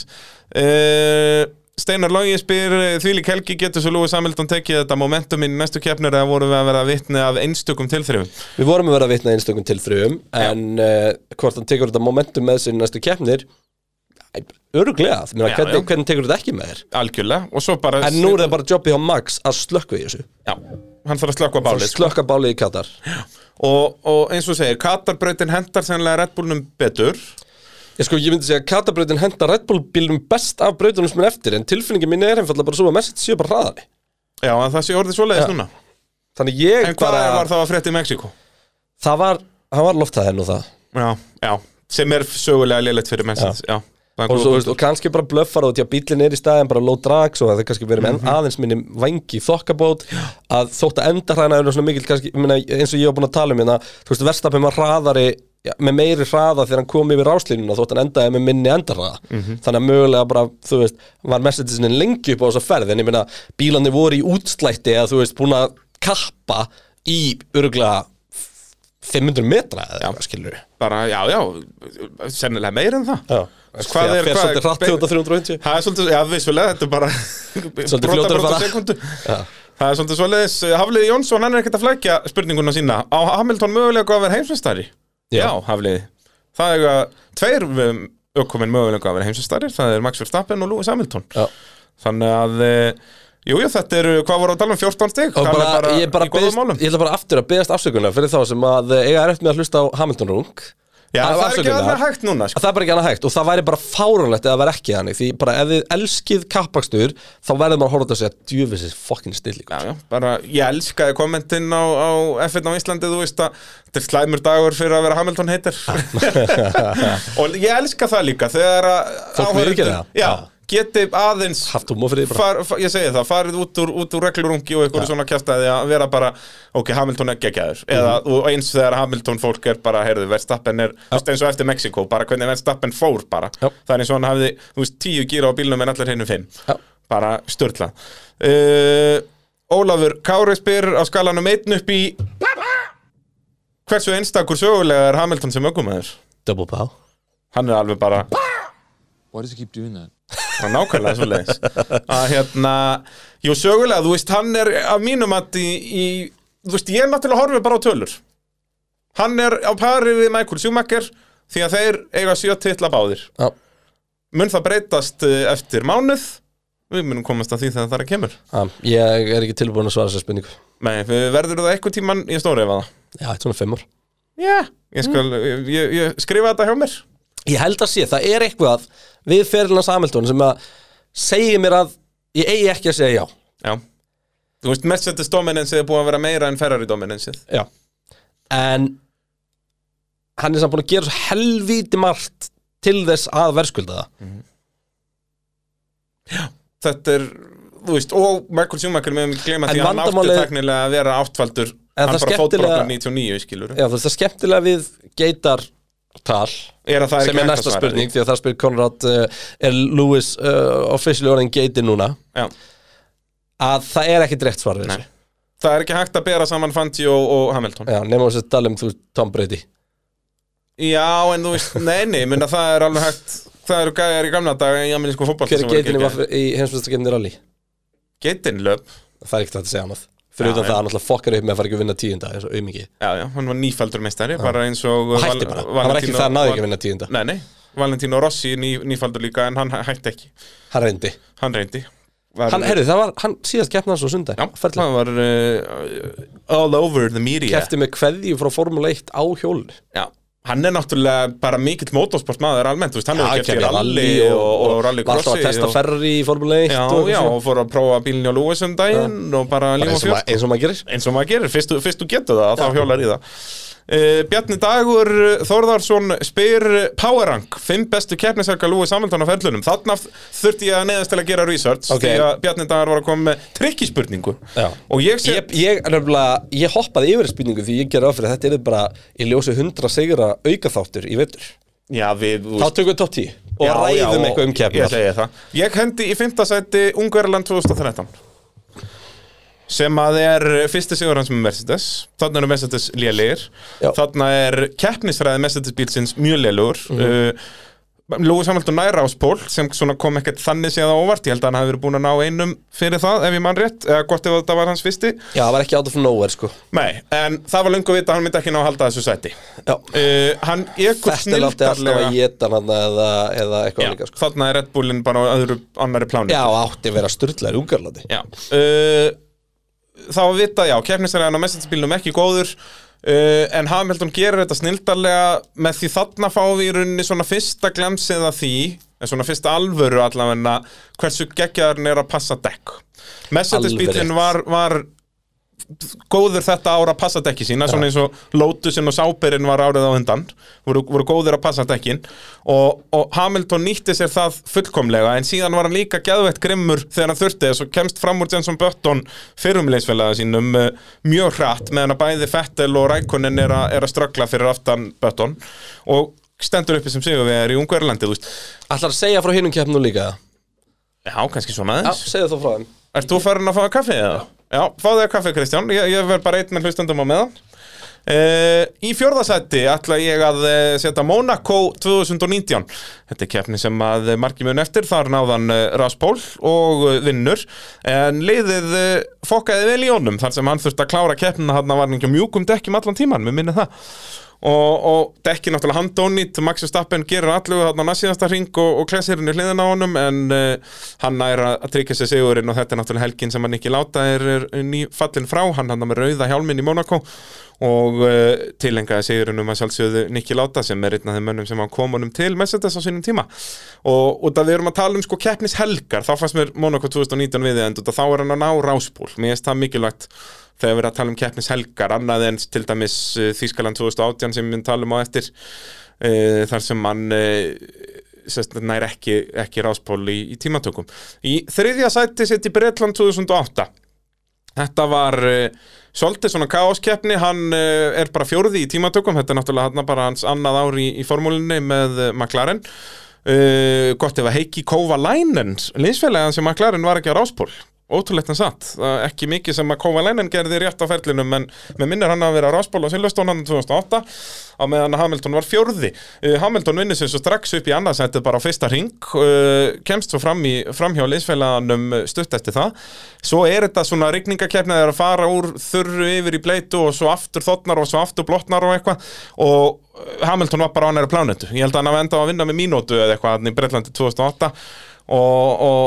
Speaker 2: Uh, Steinar Logi spyr, eh, þvílík helgi getur svo Lúi Samildon tekið þetta momentum í næstu keppnir eða voru við að vera vitni af einstugum tilþrifum?
Speaker 4: Við vorum að vera að vitna einstökum til þrjum en uh, hvort hann tekur þetta momentum með sér í næstu keppnir æ, öruglega, Ég meina,
Speaker 2: Já,
Speaker 4: hvernig,
Speaker 2: já.
Speaker 4: hvernig tekur þetta ekki með þér
Speaker 2: Algjörlega, og svo bara...
Speaker 4: En nú er það bara jobbið hjá Max að slökka í þessu
Speaker 2: Já, hann þarf að slökka bálið. sko.
Speaker 4: Slökka bálið í Katar
Speaker 2: Og, og eins og ég segir, Katarbrautin hendar sennilega Red Bullnum betur.
Speaker 4: Ég sko, ég myndi segja að Katarbrautin henda Red Bull bílum best af brautunum sem er eftir en tilfinningin mín er einfallega bara svo að Messi séu bara hraðari
Speaker 2: Já, en það sé orðið svo leiðis
Speaker 4: Já.
Speaker 2: núna.
Speaker 4: Þannig ég
Speaker 2: En hvað
Speaker 4: bara,
Speaker 2: var það að frétta í Mexiko?
Speaker 4: það var, hann var loftaðið nú það
Speaker 2: Já, já, sem er sögulega lélegt fyrir mennsins Já, já.
Speaker 4: og, svo, veist, og kannski bara blöffar á því að bílinn er í staðin bara low drag svo að það kannski verið með aðeins minni vangi þokkabót að þótt að enda hræna er svona mikil kannski, minna, eins og ég var búin að tala um hérna þú veist, verstapin var hraðari ja, með meiri hraða þegar hann kom yfir ráslínuna þótt hann endaði með minni endarhraða þannig að mögulega bara, þú veist, var messageinn lengi upp á þessa ferð en ég meina bílarnir voru í útslætti eða þú veist, búin að kappa í öruglega 500 metra eða eitthvað skilur
Speaker 2: bara, já, já, sennilega meir en það Hvað er-
Speaker 4: Fer
Speaker 2: hvað er-
Speaker 4: svolítið hratt út á 350
Speaker 2: Það er svolítið, já, vissulega, þetta er bara
Speaker 4: Svolítið fljótar að fara.
Speaker 2: sekundu
Speaker 4: Já.
Speaker 2: Það er svolítið svoleiðis eh, Hafliði Jónsson, hann er ekkert að flækja spurninguna sína Á Hamilton mögulega að vera heimsvistari?
Speaker 4: Já.
Speaker 2: já Hafliði Það er að tveir um, ökumenn mögulega að vera heimsvistari Það er Max Verstappen og Lewis Hamilton
Speaker 4: Já.
Speaker 2: Þannig að, eh, jú, jú, þetta eru, hvað voru að tala um 14 stig?
Speaker 4: og
Speaker 2: Hann
Speaker 4: bara,
Speaker 2: er
Speaker 4: ég, bara
Speaker 2: í góðum
Speaker 4: byrst,
Speaker 2: málum
Speaker 4: ég ætla bara aftur að beðast afsökunar fyrir þá sem að eh, eiga erft með að hlusta á Hamilton Rung
Speaker 2: Já,
Speaker 4: Það
Speaker 2: það
Speaker 4: var
Speaker 2: er ekki
Speaker 4: afsökunar.
Speaker 2: annað hægt núna
Speaker 4: að
Speaker 2: sko.
Speaker 4: það er bara ekki annað hægt og það væri bara fáránlegt eða það væri ekki þannig því bara ef þið elskið kappakstur þá verður maður að horfa á þetta og segja djöfis er fokkin stilling
Speaker 2: Já, já, bara ég elskaði kommentin á, á F1 á Íslandi, þú veist að þetta er slæmur dagur fyrir að vera Hamilton heitir og ég elska það líka þegar að
Speaker 4: Fólk
Speaker 2: áhorfendur-
Speaker 4: viðurkennir það.
Speaker 2: Já,
Speaker 4: Já.
Speaker 2: geti aðeins
Speaker 4: haft húmó fyrir því bara
Speaker 2: far, far, ég segi það, farið út úr, út úr reglurungi og einhverju svona kjæftæði að vera bara ok, Hamilton er geggjaður
Speaker 4: Mhm.
Speaker 2: eða og eins þegar Hamilton fólk er bara, heyrðu, Verstappen er, þú veist, eins og eftir Mexiko bara hvernig Verstappen fór bara
Speaker 4: Já.
Speaker 2: það er eins og hann hafði, þú veist, tíu gíra á bílnum en allar hinu fimm,
Speaker 4: Já.
Speaker 2: bara störtla uh, Ólafur Kári spyr á skalanum einn upp í hversu einstakur sögulega er Hamilton sem ökumæður
Speaker 4: double pow
Speaker 2: hann er alveg bara
Speaker 8: Why does he keep doing that?
Speaker 2: Það er nákvæmlega svo leiðis að hérna, jú sögulega þú veist, hann er af mínum að í, í, þú veist, ég náttúrulega horfi bara á tölur hann er á pari við Michael Schumacher því að þeir eiga sjö titla báðir
Speaker 4: Já.
Speaker 2: mun það breytast eh, eftir mánuð við munum komast að því þegar það kemur
Speaker 4: Já, ég er ekki tilbúin að svara þessar spurningu
Speaker 2: Nei, við- verður það eitthvað tíman í stóriða það
Speaker 4: já, þetta er svona fimm ár
Speaker 2: Já, ég, skal, ég, ég, ég skrifa þetta hjá mér
Speaker 4: ég held að sé, það er eitthvað við fyrirlans Hamilton sem að segir mér að ég eigi ekki að segja já
Speaker 2: Já Þú veist, Mercedes dominansið er búið að vera meira en Ferrari dominansið
Speaker 4: Já En hann er samt búin að gera svo helvíti margt til þess að verðskulda það
Speaker 2: Mm. þetta er þú veist, og Michael Schumacher meðum við glema
Speaker 4: En
Speaker 2: því að hann átti
Speaker 4: vandamálið-
Speaker 2: teknilega að vera áttfaldur
Speaker 4: En
Speaker 2: hann
Speaker 4: það
Speaker 2: bara
Speaker 4: skemmtilega-
Speaker 2: fótbrotnar 99 skilur
Speaker 4: Já, þú veist það skemmtilega við geitar tal
Speaker 2: er að það er
Speaker 4: sem
Speaker 2: ekki
Speaker 4: er
Speaker 2: hægt að
Speaker 4: næsta
Speaker 2: svara
Speaker 4: spurning því að það spyr Konrad uh, er Lewis uh, officially orðin geiti núna
Speaker 2: því. Já.
Speaker 4: að það er ekki dreitt svar við
Speaker 2: Nei.
Speaker 4: þessu
Speaker 2: það er ekki hægt að bera saman Fanti og, og Hamilton
Speaker 4: Já, nema þess að tala um þú veist, Tom Brady
Speaker 2: já, en þú veist, nei, nei, menna það er alveg hægt það eru gæjar í gamla dag í amerísku fótbolta
Speaker 4: Hver
Speaker 2: sem
Speaker 4: er
Speaker 2: voru
Speaker 4: geitin í,
Speaker 2: geggjaðir.
Speaker 4: vaff- í heimsmyndstakefni rally?
Speaker 2: Geitin löp,
Speaker 4: Það er ekkert hægt að segja annað Fyrir
Speaker 2: Já,
Speaker 4: utan
Speaker 2: en-
Speaker 4: það, hann alltaf fokkar upp með að fara ekki að vinna tíunda Það er svo auðmikið
Speaker 2: já, já, hann var nýfaldur meistari bara eins og
Speaker 4: Og hætti bara, hann var ekki það, náði ekki að vinna tíunda
Speaker 2: nei, nei, Valentino Rossi ný, nýfaldur líka en hann hætti ekki,
Speaker 4: Hann reyndi
Speaker 2: hann reyndi Var-
Speaker 4: Hann, heyrðu, það var, hann síðast keppna hans á sundag
Speaker 2: Já,
Speaker 4: Ferli.
Speaker 2: það var uh,
Speaker 4: eh,
Speaker 2: all over the media
Speaker 4: Keppti með kveðju frá Formule 1 á hjólinu
Speaker 2: Já, hann er náttúrulega bara mikill motorsport maður almennt, þú veist, hann hefur keppt í
Speaker 4: keppti
Speaker 2: rally og, og, og
Speaker 4: Alltaf
Speaker 2: rallycrossi
Speaker 4: að testa
Speaker 2: og-
Speaker 4: ferri í Formule 1
Speaker 2: Já,
Speaker 4: og
Speaker 2: já,
Speaker 4: svona.
Speaker 2: og fór að prófa bílinni á Lewis um daginn og bara
Speaker 4: Bara
Speaker 2: líf og
Speaker 4: eins og,
Speaker 2: fjörst
Speaker 4: maður, eins og maður gerir
Speaker 2: eins og maður gerir, fyrst, þú- fyrst þú getur það þá hjólar í það uh, Bjarni Dagur Þórðarsson spyr Powerrank, fimm bestu keppnisverka Lúi Samhaldun á ferlunum, þarna f- þurfti ég að neðast til að gera research
Speaker 4: Ok.
Speaker 2: því að Bjarni Dagur var að koma með trikkispurningu
Speaker 4: Já.
Speaker 2: og ég sé
Speaker 4: Ég, ég, nefnilega, ég hoppaði yfir spurningu því ég gerði af fyrir að þetta er bara ég ljósi 100 sigra aukaþáttur í vettur
Speaker 2: Já, við, þú
Speaker 4: Þá tökum við top 10 og ræðum eitthvað um
Speaker 2: Ég
Speaker 4: keppnar
Speaker 2: segi það. Ég hendi í fymtasæti Ungverland 2013 sem að er fyrsti sigur hans með Mercedes þarna eru Mercedes lélegir
Speaker 4: Já.
Speaker 2: þarna er keppnisfræði Mercedes bílsins mjög lélegur mm
Speaker 4: Mhm.
Speaker 2: uh, Lúi samhaldur næra á spól sem svona kom ekkert þannig séð á óvart ég held að hann hafi verið búin að ná einum fyrir það ef ég mann rétt, eða gott ef þetta var hans fyrsti
Speaker 4: Já, það var ekki out of nowhere sko
Speaker 2: Nei, en það var löngu vita að hann myndi ekki ná að halda þessu sæti
Speaker 4: Já.
Speaker 2: uh, Hann ekkur
Speaker 4: Þetta er alltaf
Speaker 2: snilldarlega
Speaker 4: að geta hann eða, eða eitthvað
Speaker 2: Já,
Speaker 4: líka sko
Speaker 2: þarna er Red Bullin bara á öðru annari plánu
Speaker 4: Já, átti að vera styrlaður ungarlandi
Speaker 2: Já. Uh, þá að vita, já, keppnisverðan á messagespílnum ekki góður uh, en Hamilton gerir þetta snildarlega með því þarna fáum við í rauninni svona fyrsta glemsið að því en svona fyrsta alvöru allavegna hversu geggjaðarinn er að passa dekk Mercedes-bílinn
Speaker 4: Alveg
Speaker 2: var, var góður þetta ára að passa dekki sína svona eins og Lotusin og Sáberinn var árið á undan voru, voru góður að passa dekkin og, og Hamilton nýtti sér það fullkomlega en síðan var hann líka geðveitt grimmur þegar hann þurfti þess og kemst fram úr Jenson Button fyrrumleisfélaga sínum eh, mjög hratt meðan að bæði Fettel og Rækonin er, a, er að ströggla fyrir aftan Button og stendur uppi sem sigur við er í Ungverlandi þú veist,
Speaker 4: Ætlar að segja frá hinum keppnum líka
Speaker 2: já kannski svona
Speaker 4: Já,
Speaker 2: aðeins
Speaker 4: segðu þá frá þeim
Speaker 2: Ert þú farin að fá kaffi eða? Já, fá þér kaffi Kristján, ég, ég verð bara einn með hlustendum á meðan uh, Í fjórðasætti ætla ég að eh, setja Monaco 2019 Þetta er keppni sem að eh, margir mun eftir, þar náðan uh, Raspól og uh, vinnur En liðið uh, fokkaði vel í honum, þar sem hann þurfti að klára keppnina hann var hann ekki á mjúkum dekkjum allan tíman, mér minni það og, og dekki náttúrulega handónýtt Max Verstappen gerir allu þarna næstíðasta ring og, og klessir henni hliðin á honum en uh, hann nær að að tryggja sér sigurinn og þetta er náttúrulega helgin sem hann ekki láta er, er nýfallin frá, hann hann með rauða hjálminn í Monaco og uh, tilengaði sigurinn um að sjálfsögðu Nikki Láta sem er einn af þeim mönnum sem hann kom honum til Mercedes á sínum tíma og, og það við erum að tala um sko keppnishelgar þá fannst mér Monaco 2019 við end og þá er hann að ná ráspól, mér finnst það mikilvægt þegar við erum að tala um keppnishelgar annað en til dæmis uh, Þískaland 2018 sem við mun tala um á eftir uh, þar sem hann uh, sest, nær ekki, ekki ráspól í, í tímatökum. Í þriðja sæti sitt í Bretland 2008 Þetta var uh, svolítið svona kaoskeppni, hann uh, er bara fjórði í tímatökum, þetta er náttúrulega hann bara hans annað ár í, í formúlinni með uh, McLaren. Uh, gott ef að Heikki Kóva Lænen, linsfélagan sem McLaren var ekki á ráspól. Ótrúlegt en satt, Það er ekki mikið sem að Kóva Lænen gerði rétt á ferlinum en með minnir hann að vera á ráspól á Silvestón hann 2008 á meðan að Hamilton var fjórði. Uh, Hamilton vinnur sér svo strax upp í annarsætið bara á fyrsta ring, uh, kemst svo fram, í, fram hjá linsfélaganum stutt eftir það. Svo er þetta svona rigningakeppna þegar að fara úr þurru yfir í bleitu og svo aftur þotnar og svo aftur blotnar og eitthvað og uh, Hamilton var bara á næra plánetu. Ég held að hann hafi endað á að vinna með mínútu eða eitthvað hann í Bretlandi 2008 og, og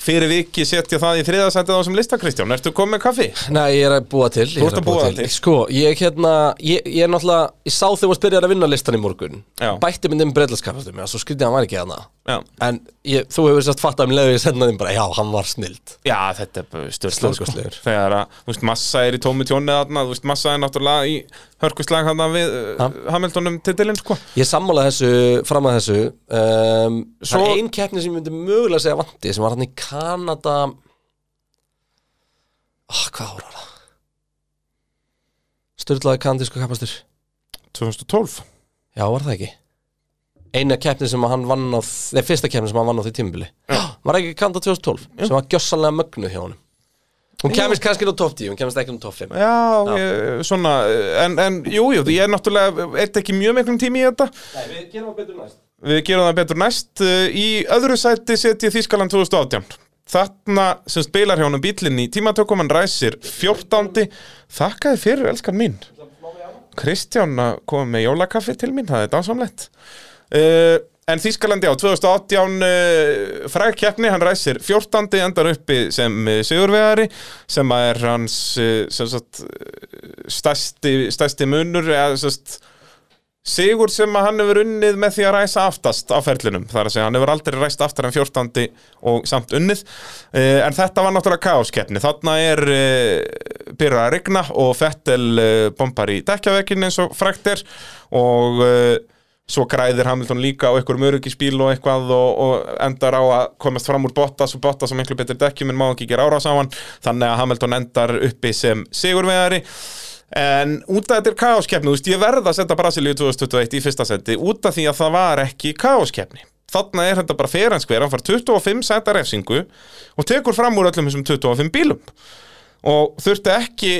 Speaker 2: fyrir viki setja það í þriðasætið á sem lista Kristján. Ertu komið með kaffi?
Speaker 4: Nei, ég er að búa til Þú
Speaker 2: ert að búa til.
Speaker 4: Sko, ég hérna, ég, ég er náttúrulega Ég sá þegar að byrjaði að vinna listan í morgun
Speaker 2: Já.
Speaker 4: Bætti myndin breyðlaskapastum Svo skrítið hann var ekki hana
Speaker 2: Já.
Speaker 4: En ég, þú hefur sérst fatt að mér leiði ég senda þeim bara Já, hann var snild
Speaker 2: Já, þetta er stjórnlega sko.
Speaker 4: Stórkostlegur.
Speaker 2: Þegar að, þú veist, massa er í tómi tjónið þarna, þú veist, massa er náttúrulega í hörkuslag hann við
Speaker 4: Ha?
Speaker 2: uh, Hamiltonum titilinn, sko.
Speaker 4: Ég sammála þessu, fram að þessu um, Það
Speaker 2: Svo-
Speaker 4: er ein keppni sem ég myndi mögulega segja vandi Sem var hann í Kanada Ah, hvað ára það? Sturlaði kandísku kapastur
Speaker 2: 2012.
Speaker 4: Já, var það ekki? Eina keppni sem hann vann á Nei, fyrsta keppni sem hann vann á því tímbili Var ekki Kanda 2012 sem var gjössanlega mögnuð hjá honum Hún kemist kannski á top 10, hún kemist ekki um top 5
Speaker 2: Já, Ég, svona, en, en jú, jú, ég er náttúrulega, eitt ekki mjög miklum tími í þetta.
Speaker 4: Nei, við gerum betur næst
Speaker 2: Við gerum það betur næst. Uh, Í öðru sæti set ég Þískaland 2018. Þarna sem spilar hjá honum bílinn í tímatökum, hann ræsir 14. Þakkaði fyrir, elskan mín. Kristján að koma með jólakaffi til mín, það er dásamlegt. Uh, en Þískalandi á 2018 uh, frækkeppni, hann ræsir 14. endar uppi sem uh, Sigurvegari sem að er hans uh, sem sagt, uh, stærsti, stærsti munur eða, sem sagt, Sigur sem að hann hefur unnið með því að ræsa aftast á ferlinum, þar að segja hann hefur aldrei ræst aftar en 14. og samt unnið uh, en þetta var náttúrulega kaoskeppni, þarna er uh, byrjað að rigna og Fettel uh, bombar í dekkjavekkin eins og frækt er og uh, svo græðir Hamilton líka á einhverjum öryggisbíl og eitthvað og, og endar á að komast fram úr Bottas og Bottas sem einhver betur dekkjum en má ekki gera árás á hann þannig að Hamilton endar uppi sem sigurvegari En út af þetta er kaoskeppni, þú veist, ég verð að setja Brasilíu 2021 í fyrsta seti út af því að það var ekki kaoskeppni. Þarna er þetta bara ferenskver, hann far 25 seta refsingu og tekur fram úr öllum þessum 25 bílum. Og þurfti ekki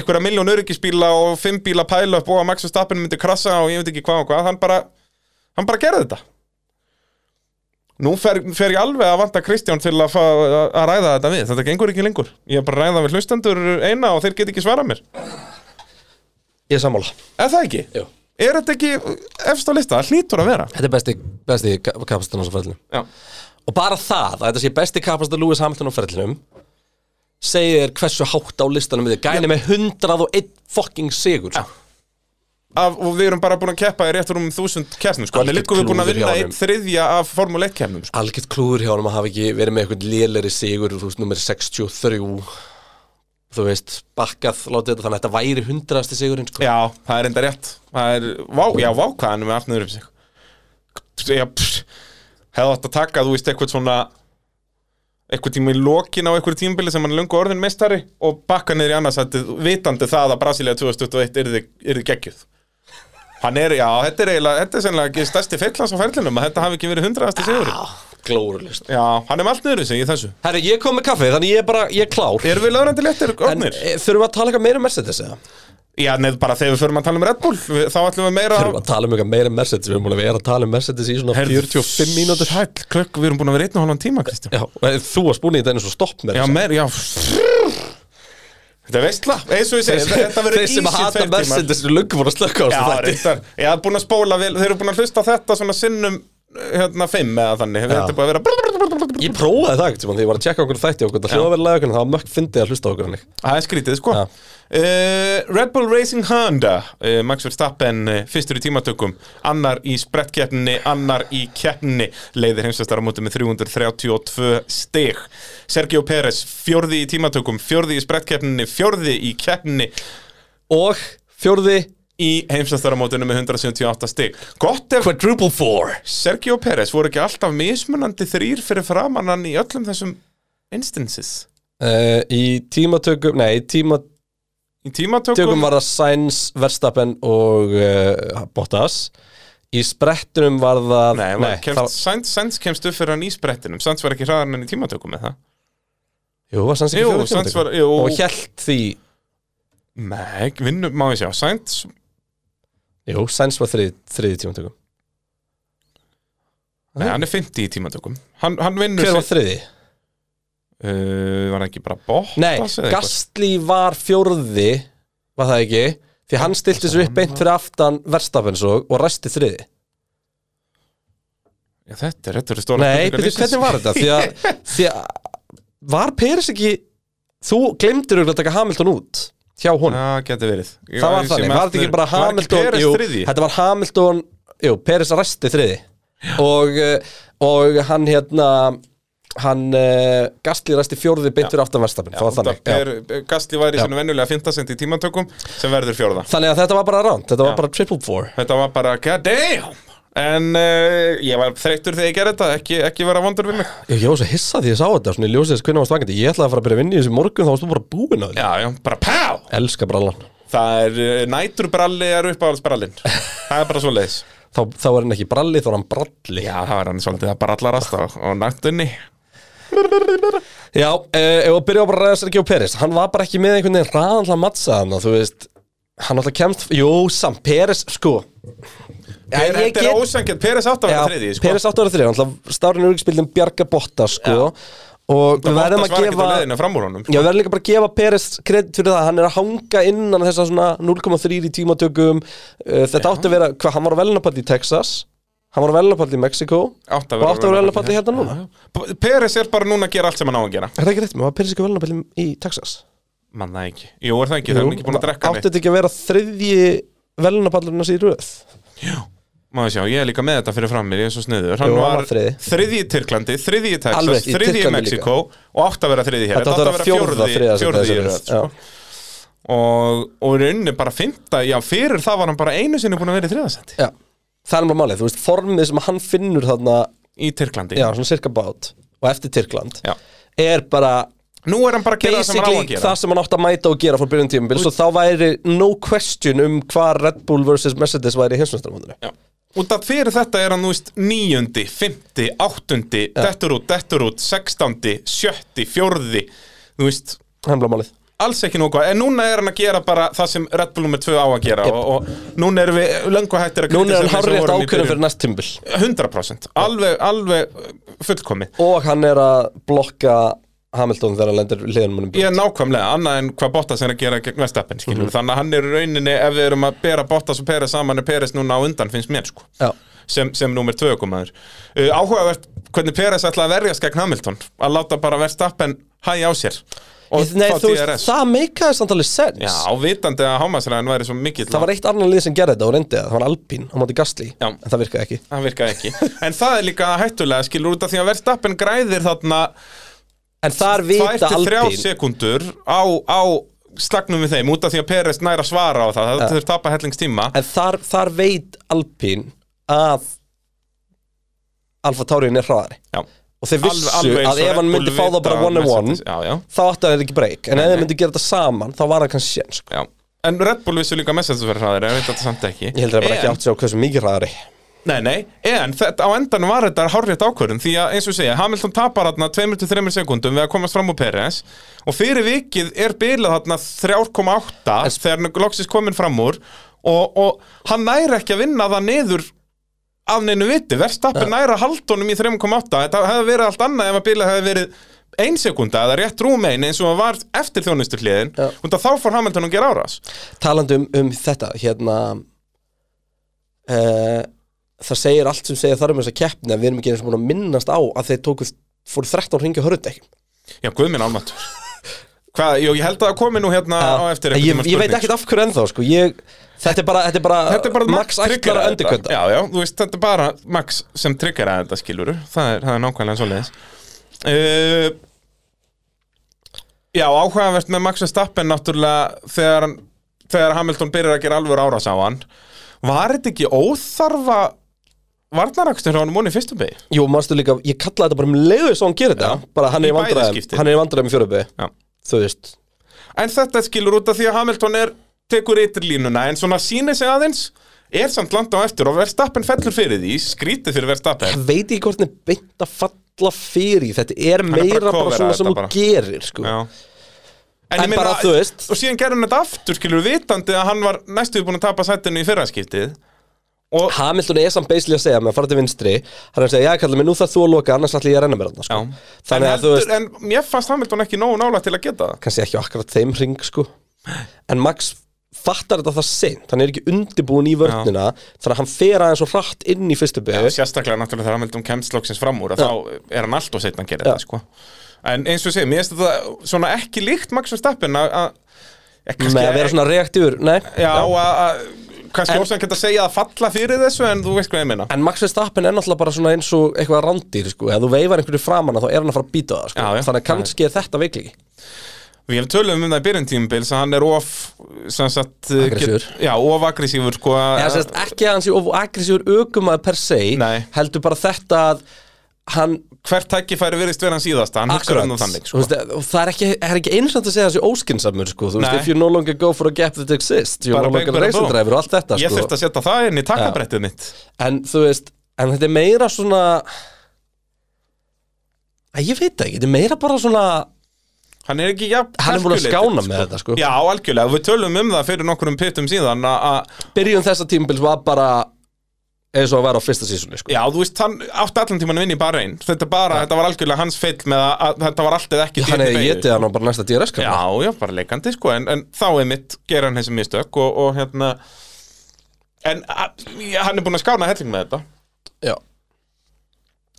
Speaker 2: einhverja miljón öryggisbíla og fimm bíla pæla upp og að Max Verstappen myndi krassa og ég veit ekki hvað og hvað, hann bara, hann bara gerði þetta. Nú fer, fer ég alveg að vanta Kristján til að, fá, að að ræða þetta við, þetta gengur ekki lengur. Ég er bara að ræða við hlustendur eina og þeir get ekki svarað mér.
Speaker 4: Ég er sammála
Speaker 2: Er það ekki?
Speaker 4: Jú.
Speaker 2: Er þetta ekki efst á lista? Það hlýtur að vera.
Speaker 4: Þetta er besti, besti kapastur hans á ferðlunum
Speaker 2: Já.
Speaker 4: Og bara það, að þetta sé besti kapastur Lewis Hamilton á ferðlunum segir þér hversu hátt á listanum við þig. Gæni með 101 fucking sigur sko. Já.
Speaker 2: Af, og við erum bara búin að keppa í réttur um þúsund keppnum, sko. Þannig
Speaker 4: Algjört
Speaker 2: líka við búin að
Speaker 4: klúður hjá
Speaker 2: vinna
Speaker 4: honum.
Speaker 2: eitt þriðja af Formule 1 keppnum, sko.
Speaker 4: Algjört klúður hjá hann að hafa ekki verið með eitthvað léleri sigur, þú veist, nummer 63 þú veist, bakkað látið þetta, þannig að þetta væri hundraðasti sigurinn sko.
Speaker 2: Já, það er enda rétt. Það er, vá, já, vá, hvað hann er með allt niður um sig. Já, pff, hefði átt að taka, þú veist, eitthvað svona eitthvað tíma í lokin á eitthvað tímabili sem hann er löngu orðin meistari og bakka niður í annarsættið vitandi það að Brasilia 2021 yrði, yrði geggjuð. Hann er, já, þetta er eiginlega, þetta er sennilega ekki stærsti feillans á ferlinum að þetta hafi ekki verið hundraðasti sigur.
Speaker 4: glórulist
Speaker 2: Já, hann er með allt niður um sig í þessu.
Speaker 4: Herri, ég kom með kaffi, þannig ég er bara, ég er klár
Speaker 2: Erum við lögrandi léttir
Speaker 4: En
Speaker 2: orðnir?
Speaker 4: e, þurfum við að tala eitthvað meira um Mercedes eða?
Speaker 2: Já, neð bara þegar við förum að tala um Red Bull, við, þá ætlum við meira...
Speaker 4: Þurfum við að tala um eitthvað meira um Mercedes Við erum múin að vera að tala um Mercedes í svona 45 mínútur Eh,
Speaker 2: Hæll, klökk, við erum búin að vera einn og halvan tíma, Kristján
Speaker 4: Já, og þú varst búin í þetta einu svo stopp með
Speaker 2: Já,
Speaker 4: þess
Speaker 2: meir, já Þetta er veistla, eins og ég segi, þetta verður
Speaker 4: Þeir
Speaker 2: easy
Speaker 4: sem að hata
Speaker 2: tveir tímar.
Speaker 4: Mercedes eru löngu voru að slökka á
Speaker 2: Já,
Speaker 4: þessu þætti
Speaker 2: reyndar, ég hafði búin að spóla vel, þeir eru búin að hlusta á þetta svona sinnum hérna fimm eða þannig, hefur
Speaker 4: Já.
Speaker 2: þetta búin að vera
Speaker 4: Ég prófaði það ekkert, þegar ég var að tjekka okkur þætti okkur, það hljóða verið laga okkur, það var mökk fyndið að hlusta á okkur hannig
Speaker 2: Það er skrítið, sko
Speaker 4: Já.
Speaker 2: uh, Red Bull Racing Honda uh, Max Verstappen uh, fyrstur í tímatökum annar í sprettkeppninni, annar í keppninni leiðir heimsvæstar á móti með 332 stig Sergio Pérez, fjórði í tímatökum fjórði í sprettkeppninni, fjórði í keppninni
Speaker 4: Og fjórði
Speaker 2: í heimsvæstar á mótinu með 178 stig Gott ef
Speaker 4: Quadruple Four
Speaker 2: Sergio Pérez voru ekki alltaf mismunandi þrýr fyrir framannan í öllum þessum instances
Speaker 4: uh, Í tímatökum, nei, í tímatökum
Speaker 2: í tímatökum
Speaker 4: var það Sainz, Verstappen og uh, Bottas Í sprettunum var það
Speaker 2: Nei, nei kemst,
Speaker 4: það,
Speaker 2: Sainz, Sainz kemst upp fyrir hann í sprettinum Sainz var ekki hraðar enn í tímatökum með það
Speaker 4: Jú, var Sainz ekki
Speaker 2: Jú,
Speaker 4: fjórði í
Speaker 2: Sainz var-
Speaker 4: tímatökum?
Speaker 2: jú.
Speaker 4: Og hjælt því,
Speaker 2: Nei, vinnum má ég sjá Sainz,
Speaker 4: jú, Sainz var þrið, þriði tímatökum
Speaker 2: nei, hann er 50 í tímatökum Hann, hann vinnur
Speaker 4: Hver var þriðji?
Speaker 2: uh, Var hann ekki bara bótt
Speaker 4: Nei, Gastli var fjórði Var það ekki? Því hann stilti sér upp beint fyrir aftan Verstappen svo og ræsti þriði
Speaker 2: Já, þetta er þetta eru stóra
Speaker 4: Nei,
Speaker 2: spurningar
Speaker 4: betur,
Speaker 2: lífsins.
Speaker 4: hvernig var þetta? Því að, því að var Peris ekki Þú glemdir auðvitað að taka Hamilton út hjá hún
Speaker 2: Já, geti verið Ég
Speaker 4: Það var
Speaker 2: ég sé
Speaker 4: þannig,
Speaker 2: með
Speaker 4: var þetta ekki
Speaker 2: eftir-
Speaker 4: bara Hamilton
Speaker 2: Var ekki
Speaker 4: jú,
Speaker 2: Peres þriði?
Speaker 4: Þetta var Hamilton, jú, Peris ræsti þriði og, eh, og hann hérna hann uh, Gastli ræsti fjórði beint fyrir aftan Verstappen Það var þannig já.
Speaker 2: Per, Gastli var í sinu venjulega 15 cent í tímatökum sem verður fjórða
Speaker 4: Þannig að þetta var bara ránt, þetta var bara triple four
Speaker 2: Þetta var bara, god damn En uh, ég var þreyttur þegar ég gerði þetta Ekki, ekki vera vondur við mig
Speaker 4: Ég, ég var svo hissað því ég sá þetta, svona ég ljósið þess hvernig varst vakandi Ég ætlaði að fara að byrja að vinna í þessu morgun, þá varst þú bara búin að því
Speaker 2: Já, já, bara pá
Speaker 4: Elska brallan
Speaker 2: Það er, uh, næturbralli er uppáhaldsbrallin Það er bara svo leiðis
Speaker 4: Þá, þá er hann ekki bralli, þá er hann bralli
Speaker 2: Já, það er hann svolítið að brallarast á, á nættunni
Speaker 4: Já, eh, ef að byrja á bara að ræða Sergio Peris Hann var bara ekki með einhvern veginn raðanlega mattsaðan Þú veist, hann alltaf kemst Jú, samt, Peris, sko Já,
Speaker 2: Þetta
Speaker 4: ég
Speaker 2: er get... ósangjönd, Peres átt að vera þriði sko.
Speaker 4: Peris átt að vera þriði, hann alltaf stárinn úrvíkspildin Bjarga Botta, sko Og
Speaker 2: Bottas
Speaker 4: við verðum að
Speaker 2: var ekkert
Speaker 4: gefa
Speaker 2: á leiðinu fram úr honum
Speaker 4: Já, við verðum líka bara að gefa Peres kredit fyrir það, hann er að hanga innan þessa svona 0,3 í tímatökum Uh, þetta átti að vera, hvað, hann var á velnapalli í Texas hann var á velnapalli í Mexiko
Speaker 2: Átti að
Speaker 4: og
Speaker 2: vera á
Speaker 4: átti að vera velnapalli
Speaker 2: velnapalli
Speaker 4: hérna núna
Speaker 2: P- Peres er bara núna að gera allt sem hann á að gera
Speaker 4: Er það ekki rétt með, var Peres ekki á velnapalli í Texas?
Speaker 2: Mann það ekki, jú er það ekki, það er hann ekki búin að drekka
Speaker 4: átti
Speaker 2: átti...
Speaker 4: þetta ekki að vera þriðji velnapallurinn hans í röð
Speaker 2: Má ég sjá, ég er líka með þetta fyrir fram mér, ég er svo sniður Hann
Speaker 4: Jú, hann
Speaker 2: var
Speaker 4: var þriðji.
Speaker 2: þriðji í Tyrklandi, þriðji í Texas,
Speaker 4: Alveg ekki, í
Speaker 2: þriðji í
Speaker 4: Tyrklandi
Speaker 2: Mexiko og átti að vera þriðji hér
Speaker 4: Þetta átti að vera fjórða þriðja sem
Speaker 2: fjórði í
Speaker 4: þessari
Speaker 2: röð
Speaker 4: röð,
Speaker 2: sko. og, og í rauninni bara fymta, já fyrir það var hann bara einu sinni búin að vera í þriðasendi
Speaker 4: Já, það er bara málið, þú veist, formið sem hann finnur þarna,
Speaker 2: í Tyrklandi
Speaker 4: já, svona cirka bát og eftir Tyrkland
Speaker 2: Já.
Speaker 4: er bara
Speaker 2: Nú er hann bara að gera það sem hann á að
Speaker 4: basically
Speaker 2: gera
Speaker 4: það sem hann átti að mæta og gera frá byrjun tímabil svo þá væri no question um hvað Red Bull vs. Mercedes væri í hinsmjöndstramóndinu
Speaker 2: Já. Út af fyrir þetta er hann, þú veist, níundi, fymti, áttundi, dettur út, dettur út, sextándi, sjötti, fjórði, þú veist,
Speaker 4: hemla málið
Speaker 2: alls ekki nógu En núna er hann að gera bara það sem Red Bull nummer 2 á að gera og, og núna erum við löngu hættir að
Speaker 4: núna er hann
Speaker 2: kritisera eins og vorum
Speaker 4: hárrétt
Speaker 2: í
Speaker 4: ákvörðum
Speaker 2: byrjun.
Speaker 4: fyrir næst tímabil
Speaker 2: 100%, alveg, alveg uh, fullkomi
Speaker 4: og hann er að blokka Hamilton þegar hann lendir hliðan munum
Speaker 2: Ég er nákvæmlega, annað en hvað Bottas er að gera gegn Vestappen, skilur,
Speaker 4: Mhm.
Speaker 2: þannig að hann er í rauninni ef við erum að bera Bottas og Peres saman er Peres núna á undan, finnst mér, sko
Speaker 4: Já.
Speaker 2: sem, sem nummer tvö komaður uh, áhugavert hvernig Peres ætla að verjast gegn Hamilton að láta bara Verstappen hægja á sér og
Speaker 4: Ég- Nei,
Speaker 2: fá
Speaker 4: þú
Speaker 2: DRS.
Speaker 4: veist, það meikaði samt alveg sens
Speaker 2: já, vitandi að hámasræðan væri svo mikill
Speaker 4: það var eitt annan lið sem gerði þetta og reyndi það það var Alpín á móti Gastli
Speaker 2: Já.
Speaker 4: en það virkaði ekki
Speaker 2: það virkaði ekki, en það er líka hættulega skilur út af því að Verstappen græðir þarna
Speaker 4: en þar
Speaker 2: 2
Speaker 4: vita
Speaker 2: til 3
Speaker 4: Alpín
Speaker 2: sekundur á, á slagnum við þeim út af því að Peres næra svara á það það þurft tapa hellingstíma
Speaker 4: en þar, þar veit Alpín að Alfa Taurin er hraðari
Speaker 2: já.
Speaker 4: og þeir vissu
Speaker 2: Alveg- alveg eins
Speaker 4: að
Speaker 2: og
Speaker 4: ef hann
Speaker 2: Red
Speaker 4: myndi
Speaker 2: Bull
Speaker 4: fá það
Speaker 2: vita
Speaker 4: bara one on one
Speaker 2: Mercedes. Já, já.
Speaker 4: þá ætti hann ekki breyk en ef þeir myndi gera þetta saman þá var það kannski sén sko.
Speaker 2: Já. en Red Bull vissu líka message verið hraðir en veit þetta samt ekki
Speaker 4: ég held að það bara ekki
Speaker 2: En-
Speaker 4: átt sér á hversu mikið hraðari
Speaker 2: Nei, nei, en þetta, á endanum var þetta hárrétt ákvörðun því að eins og ég segja, Hamilton tapar hérna 2-3 sekundum við að komast fram úr Peres og fyrir vikið er bilað hérna 3,8 þegar hann loksist komin fram úr og, og hann næri ekki að vinna það niður af neinu viti, verðstappin næri að halda honum í 3,8 þetta hefði verið allt annað ef að bilað hefði verið ein sekunda eða rétt rúm ein eins og hann var eftir þjónustufliðin
Speaker 4: Já.
Speaker 2: og þá fór Hamilton að gera árás
Speaker 4: talandi um, um þetta hérna uh, það segir allt sem segir þar um þessa keppni en við erum ekki eins og búin að minnast á að þeir tóku fóru 13 ringi hörðdekk
Speaker 2: Já, guð minn almatur Hvað, jú, ég held að það komi nú hérna á eftir einhvern
Speaker 4: ég,
Speaker 2: tímann
Speaker 4: ég veit
Speaker 2: spurning.
Speaker 4: ekkert af hverju ennþá sko. ég, þetta, er bara, þetta er bara
Speaker 2: Þetta er bara Max
Speaker 4: Max ætlar að
Speaker 2: triggeraði þetta.
Speaker 4: öndikönda
Speaker 2: Já, já, þú veist, þetta er bara Max sem triggeraði þetta skiluru Það er, það er nákvæmlega svoleiðis uh, Já, áhugavert með Max Verstappen náttúrulega þegar, hann- þegar Hamilton byrjar að gera alvöru árás á hann Var þetta ekki óþarfa varnarakstur á hann múni fyrstu beig?
Speaker 4: Jú, manstu líka, ég kallaði þetta bara um leiðu svo hann gerir þetta,
Speaker 2: Já.
Speaker 4: bara hann
Speaker 2: Í
Speaker 4: er í
Speaker 2: bæði
Speaker 4: vandræðum
Speaker 2: skiptin.
Speaker 4: hann er í vandræðum í fjöröpi,
Speaker 2: Já
Speaker 4: þú veist
Speaker 2: En þetta skilur út af því að Hamilton er tekur ytterlínuna en svona sýnir sig aðeins er samt landa á eftir og Verstappen fellur fyrir því skrítið fyrir Verstappen
Speaker 4: ég veit ekki hvort hann er beint að falla fyrir í, þetta er
Speaker 2: bara
Speaker 4: meira bara,
Speaker 2: covera
Speaker 4: svona sem
Speaker 2: þetta
Speaker 4: þú
Speaker 2: bara.
Speaker 4: gerir sko.
Speaker 2: Já.
Speaker 4: En
Speaker 2: ég meina-
Speaker 4: bara, þú veist.
Speaker 2: Og síðan gerði hann þetta aftur skilur vitandi að hann var næstuði búin að tapa sættinu í fyrraskiptið Og
Speaker 4: Hamilton er samt beisli að segja með að fara til vinstri hann er að segja, já kallar mig, nú þarf þú að loka annars ætla ég að renna mér þarna sko.
Speaker 2: Já. en,
Speaker 4: þannig að þú
Speaker 2: heldur,
Speaker 4: veist,
Speaker 2: en mér fannst Hamilton ekki nógu nála til að geta það
Speaker 4: kannski ekki akkurat þeim ring sko. en Max fattar þetta það seint, hann er ekki undibúin í vörnina þannig að hann fer aðeins og hratt inn í fyrstu byggu
Speaker 2: Sérstaklega náttúrulega þegar Hamilton kemst loksins fram úr að
Speaker 4: Já.
Speaker 2: þá er hann allt og setna að gera
Speaker 4: Já.
Speaker 2: þetta sko En eins og ég segi, mér finnst þetta svona ekki líkt Max Verstappen að- að eh, kannski
Speaker 4: með að vera svona reaktífur, nei
Speaker 2: Já, að að- kannski
Speaker 4: En-
Speaker 2: ósæðan geta að segja að falla fyrir þessu en þú veist hvað ég meina
Speaker 4: En Max Verstappen er náttúrulega bara svona eins og eitthvað randýr sko. Ef þú veifar einhverju framanna þá er hann að fara að býta það sko.
Speaker 2: Já, já.
Speaker 4: Þannig að kannski er þetta veikli
Speaker 2: Við hefum tölum um það í byrjun tímubils að hann er of sem sagt, uh,
Speaker 4: Aggressífur.
Speaker 2: get- Já, of aggressífur sko
Speaker 4: Eða sem sagt, ekki að hann sé of aggressífur ökumaður per se
Speaker 2: Nei.
Speaker 4: Heldur bara þetta að hann
Speaker 2: Hvert tækifæri virðist vera hann síðasta hann hugsaður um það þannig
Speaker 4: Þú
Speaker 2: sko.
Speaker 4: veist, eh, og Það er ekki, er ekki einsvæmt að segja hans í óskinsamur sko. Þú veist,
Speaker 2: Nei.
Speaker 4: If you no longer go for a gap that exists You're
Speaker 2: Bara
Speaker 4: no longer
Speaker 2: bang,
Speaker 4: a
Speaker 2: bara
Speaker 4: racing
Speaker 2: boom.
Speaker 4: driver og allt þetta
Speaker 2: Ég
Speaker 4: sko.
Speaker 2: þurfti að setja það inn í takkabrettið mitt
Speaker 4: En þú veist, en þetta er meira svona Æ, Ég veit það ekki, þetta er meira bara svona
Speaker 2: Hann er ekki, já,
Speaker 4: Hann er búin að skána með þetta sko.
Speaker 2: Já, algjörlega, við tölum um það fyrir nokkur um pittum síðan að- að
Speaker 4: byrjun þessa tímabils var bara eins og að vera á fyrsta sísunni sko.
Speaker 2: Já, þú veist, hann átti allan tíman að vinna í Bahrein Þetta bara, þetta var algjörlega hans feill með að, að þetta var allt eða ekki
Speaker 4: hann
Speaker 2: dýrni
Speaker 4: hefði
Speaker 2: vegið,
Speaker 4: getið hann á bara næsta DRS
Speaker 2: Já,
Speaker 4: kanna
Speaker 2: já, bara leikandi sko En, en þá er mitt gera hann þessi mistök og, og hérna En a, ég- hann er búin að skána helling með þetta
Speaker 4: já.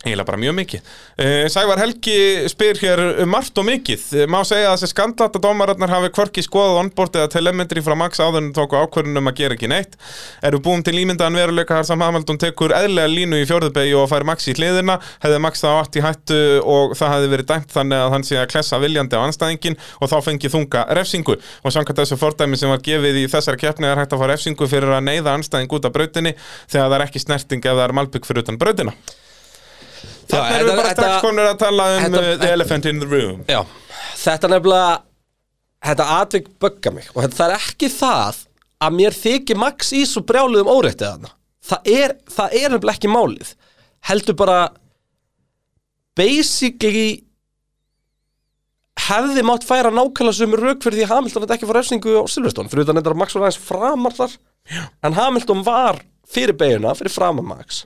Speaker 2: Eiginlega bara mjög mikið uh, Sævar Helgi spyr hér um margt og mikið Eh, Má segja að þessi skandlata dómararnar hafi hvorki skoðað onboard eða telemetri frá Max áður en tóku ákvörðun um að gera ekki neitt Eru búum til ímyndaðan veruleika þar sem Hamilton tekur eðlega línu í fjórðubegi og fær Max í hliðina Hefði Max þá átt í hættu og það hefði verið dæmt þannig að hann sé að klessa viljandi á anstæðingin og þá fengi þunga refsingu og samkvæmt þessu fordæmi sem var gefið í þessari keppni er hægt að fá refsingu fyrir að neyða anstæðing út af brautinni þegar það er ekki snerting ef það er malbygg fyrir utan brautina Þannig erum við bara strax konur að tala um
Speaker 4: þetta-
Speaker 2: uh, The Elephant in the Room
Speaker 4: já. þetta nefnilega þetta atvik bögga mig og þetta, það er ekki það að mér þykir Max í svo brjáluðum óréttið hann það er, það er nefnilega ekki málið heldur bara basically hefði mátt færa nákvæmlega sömu rauk fyrir því að Hamilton þetta ekki fór refsingu á Silverstone fyrir utan þetta að Max var aðeins framar þar Já. en Hamilton var fyrir beiguna fyrir framar Max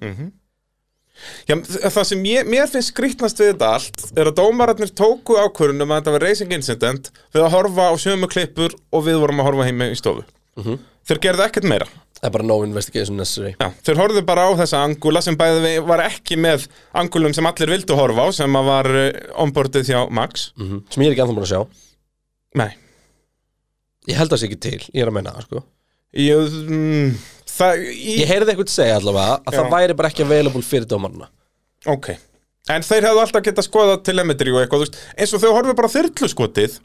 Speaker 2: Já, þ- Það sem ég, mér finnst skrýtnast við þetta allt er að dómararnir tóku ákvörunum að þetta var racing incident við að horfa á sömu klippur og við vorum að horfa heimi í stofu
Speaker 4: Mhm.
Speaker 2: Þeir gerðu ekkert meira
Speaker 4: Það er bara no investigation necessary
Speaker 2: Já, þeir horfðu bara á þessa angula sem bæði við var ekki með angulum sem allir vildu horfa á sem að var uh, onboardið hjá Max
Speaker 4: Mhm. Sem ég er ekki anþá búin að sjá
Speaker 2: Nei,
Speaker 4: Ég held að það sé ekki til, ég er að menna það sko
Speaker 2: ég, mm, það, í,
Speaker 4: Ég heyrði eitthvað segja allavega að það
Speaker 2: Já.
Speaker 4: væri bara ekki available fyrir dómarna
Speaker 2: Ok, en þeir hefðu alltaf getað skoðað telemetri og eitthvað, þú veist, eins og þau horfið bara þyrlu skotið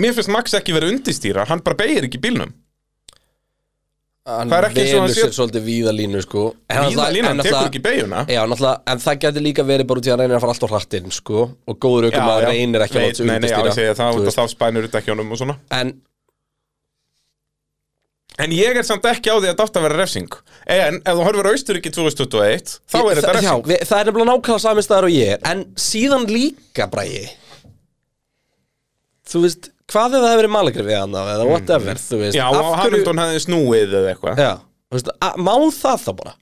Speaker 2: Mér finnst Max ekki verið undistýra, hann bara beigir ekki bílnum
Speaker 4: Hann
Speaker 2: Það er ekki eins og hann
Speaker 4: velur sér
Speaker 2: sé-
Speaker 4: svolítið víðalínu sko En
Speaker 2: Víða
Speaker 4: náttúrulega- en
Speaker 2: línan tekur
Speaker 4: náttúrulega-
Speaker 2: ekki beiguna
Speaker 4: Já, náttúrulega, en það gæti líka verið bara út í að hann reynir að fara allt á hrattinn sko Og góður aukum að reynir ekki að láta sig
Speaker 2: Nei, nei, já, ég segja það,
Speaker 4: þú
Speaker 2: út af
Speaker 4: veist.
Speaker 2: þá spænur þetta ekki honum og svona
Speaker 4: En
Speaker 2: En ég er samt ekki á því að þetta átt að vera refsing En ef þú horfir á Austuríki 2021, þá er þetta
Speaker 4: það, já,
Speaker 2: refsing
Speaker 4: við, það er nefnilega nákvæmlega saminstæðar og ég er En síðan líka bræði Þú veist, hvað ef það hefur verið malagrifið hann Eða whatever, þú veist
Speaker 2: Mm. Já,
Speaker 4: af
Speaker 2: og
Speaker 4: hverju-
Speaker 2: Hamilton hefði snúið eða eitthvað
Speaker 4: Já, þú veist, að- má það þá bara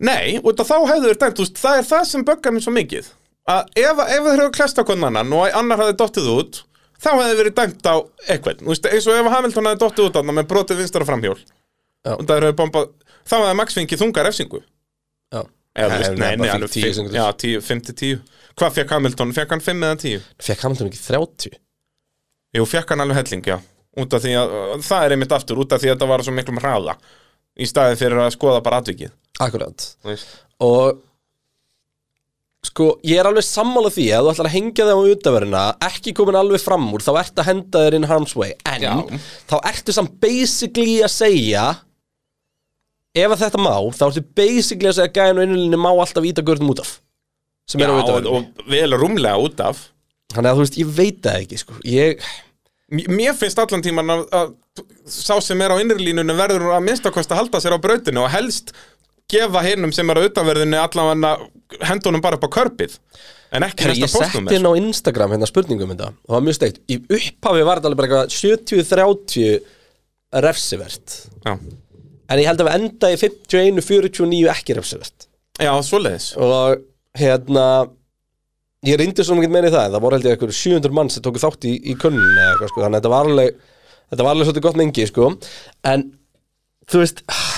Speaker 2: Nei, út af þá hefðu verið dæmt, þú veist, það er það sem böggar mér svo mikið að ef, ef þeir hefur klest á hvern annan og annar hafði dottið út þá hefði verið dæmt á eitthvað Þú veist, eins og ef Hamilton hafði dottið út annar með brotið vinstara framhjól
Speaker 4: Já.
Speaker 2: og það hefur bombað þá hefði Max fengið þunga refsingu
Speaker 4: Já.
Speaker 2: eða þú
Speaker 4: Nei,
Speaker 2: veist, nei,
Speaker 4: nei, bara
Speaker 2: nei, hann
Speaker 4: 5-10
Speaker 2: fekk-
Speaker 4: sekúndur.
Speaker 2: já, 10, 5-10 hvað fekk Hamilton, fekk hann 5 eða 10
Speaker 4: Fekk Hamilton ekki 30?
Speaker 2: jú, fekk hann alveg helling, já út af því að, það er einmitt aftur, út af því að þetta var á svo miklum hraða í staði fyrir að skoða bara atvikið
Speaker 4: Akkurát
Speaker 2: Veist.
Speaker 4: Og Sko, ég er alveg sammála því að þú ætlar að hengja þeim á utavörina ekki komin alveg fram úr, þá ertu að henda þér in harm's way en
Speaker 2: Já.
Speaker 4: þá ertu samt basically að segja ef að þetta má, þá ertu basically að segja að gæðin og innulinni má alltaf íta gurnum út af sem
Speaker 2: já,
Speaker 4: er á
Speaker 2: og,
Speaker 4: utavörina
Speaker 2: og vel rúmlega út af
Speaker 4: Þannig að þú veist, ég veit það ekki, sko Ég,
Speaker 2: M- Mér finnst allan tíman að, að sá sem er á innrýlínunni verður að minnstakost að halda sér á brautinu og helst gefa hinnum sem er á utanverðinu allan að hendunum bara upp á körpið en ekki
Speaker 4: Herra,
Speaker 2: næsta
Speaker 4: ég
Speaker 2: postnúmer
Speaker 4: setti inn á Instagram hérna spurningum þetta og það var mjög steikt í upphafi var þetta alveg bara eitthvað 70-30 refsivert
Speaker 2: Já,
Speaker 4: en ég held að við enda í 51-49 ekki refsivert
Speaker 2: Já svoleiðis
Speaker 4: og hérna ég reyndi svo mikið meira í það en það voru held ég eitthvað 700 mann sem tóku þátt í, í könnun eða eitthvað sko, þannig að þetta var alveg þetta var alveg svolítið gott mengi sko en þú veist ah,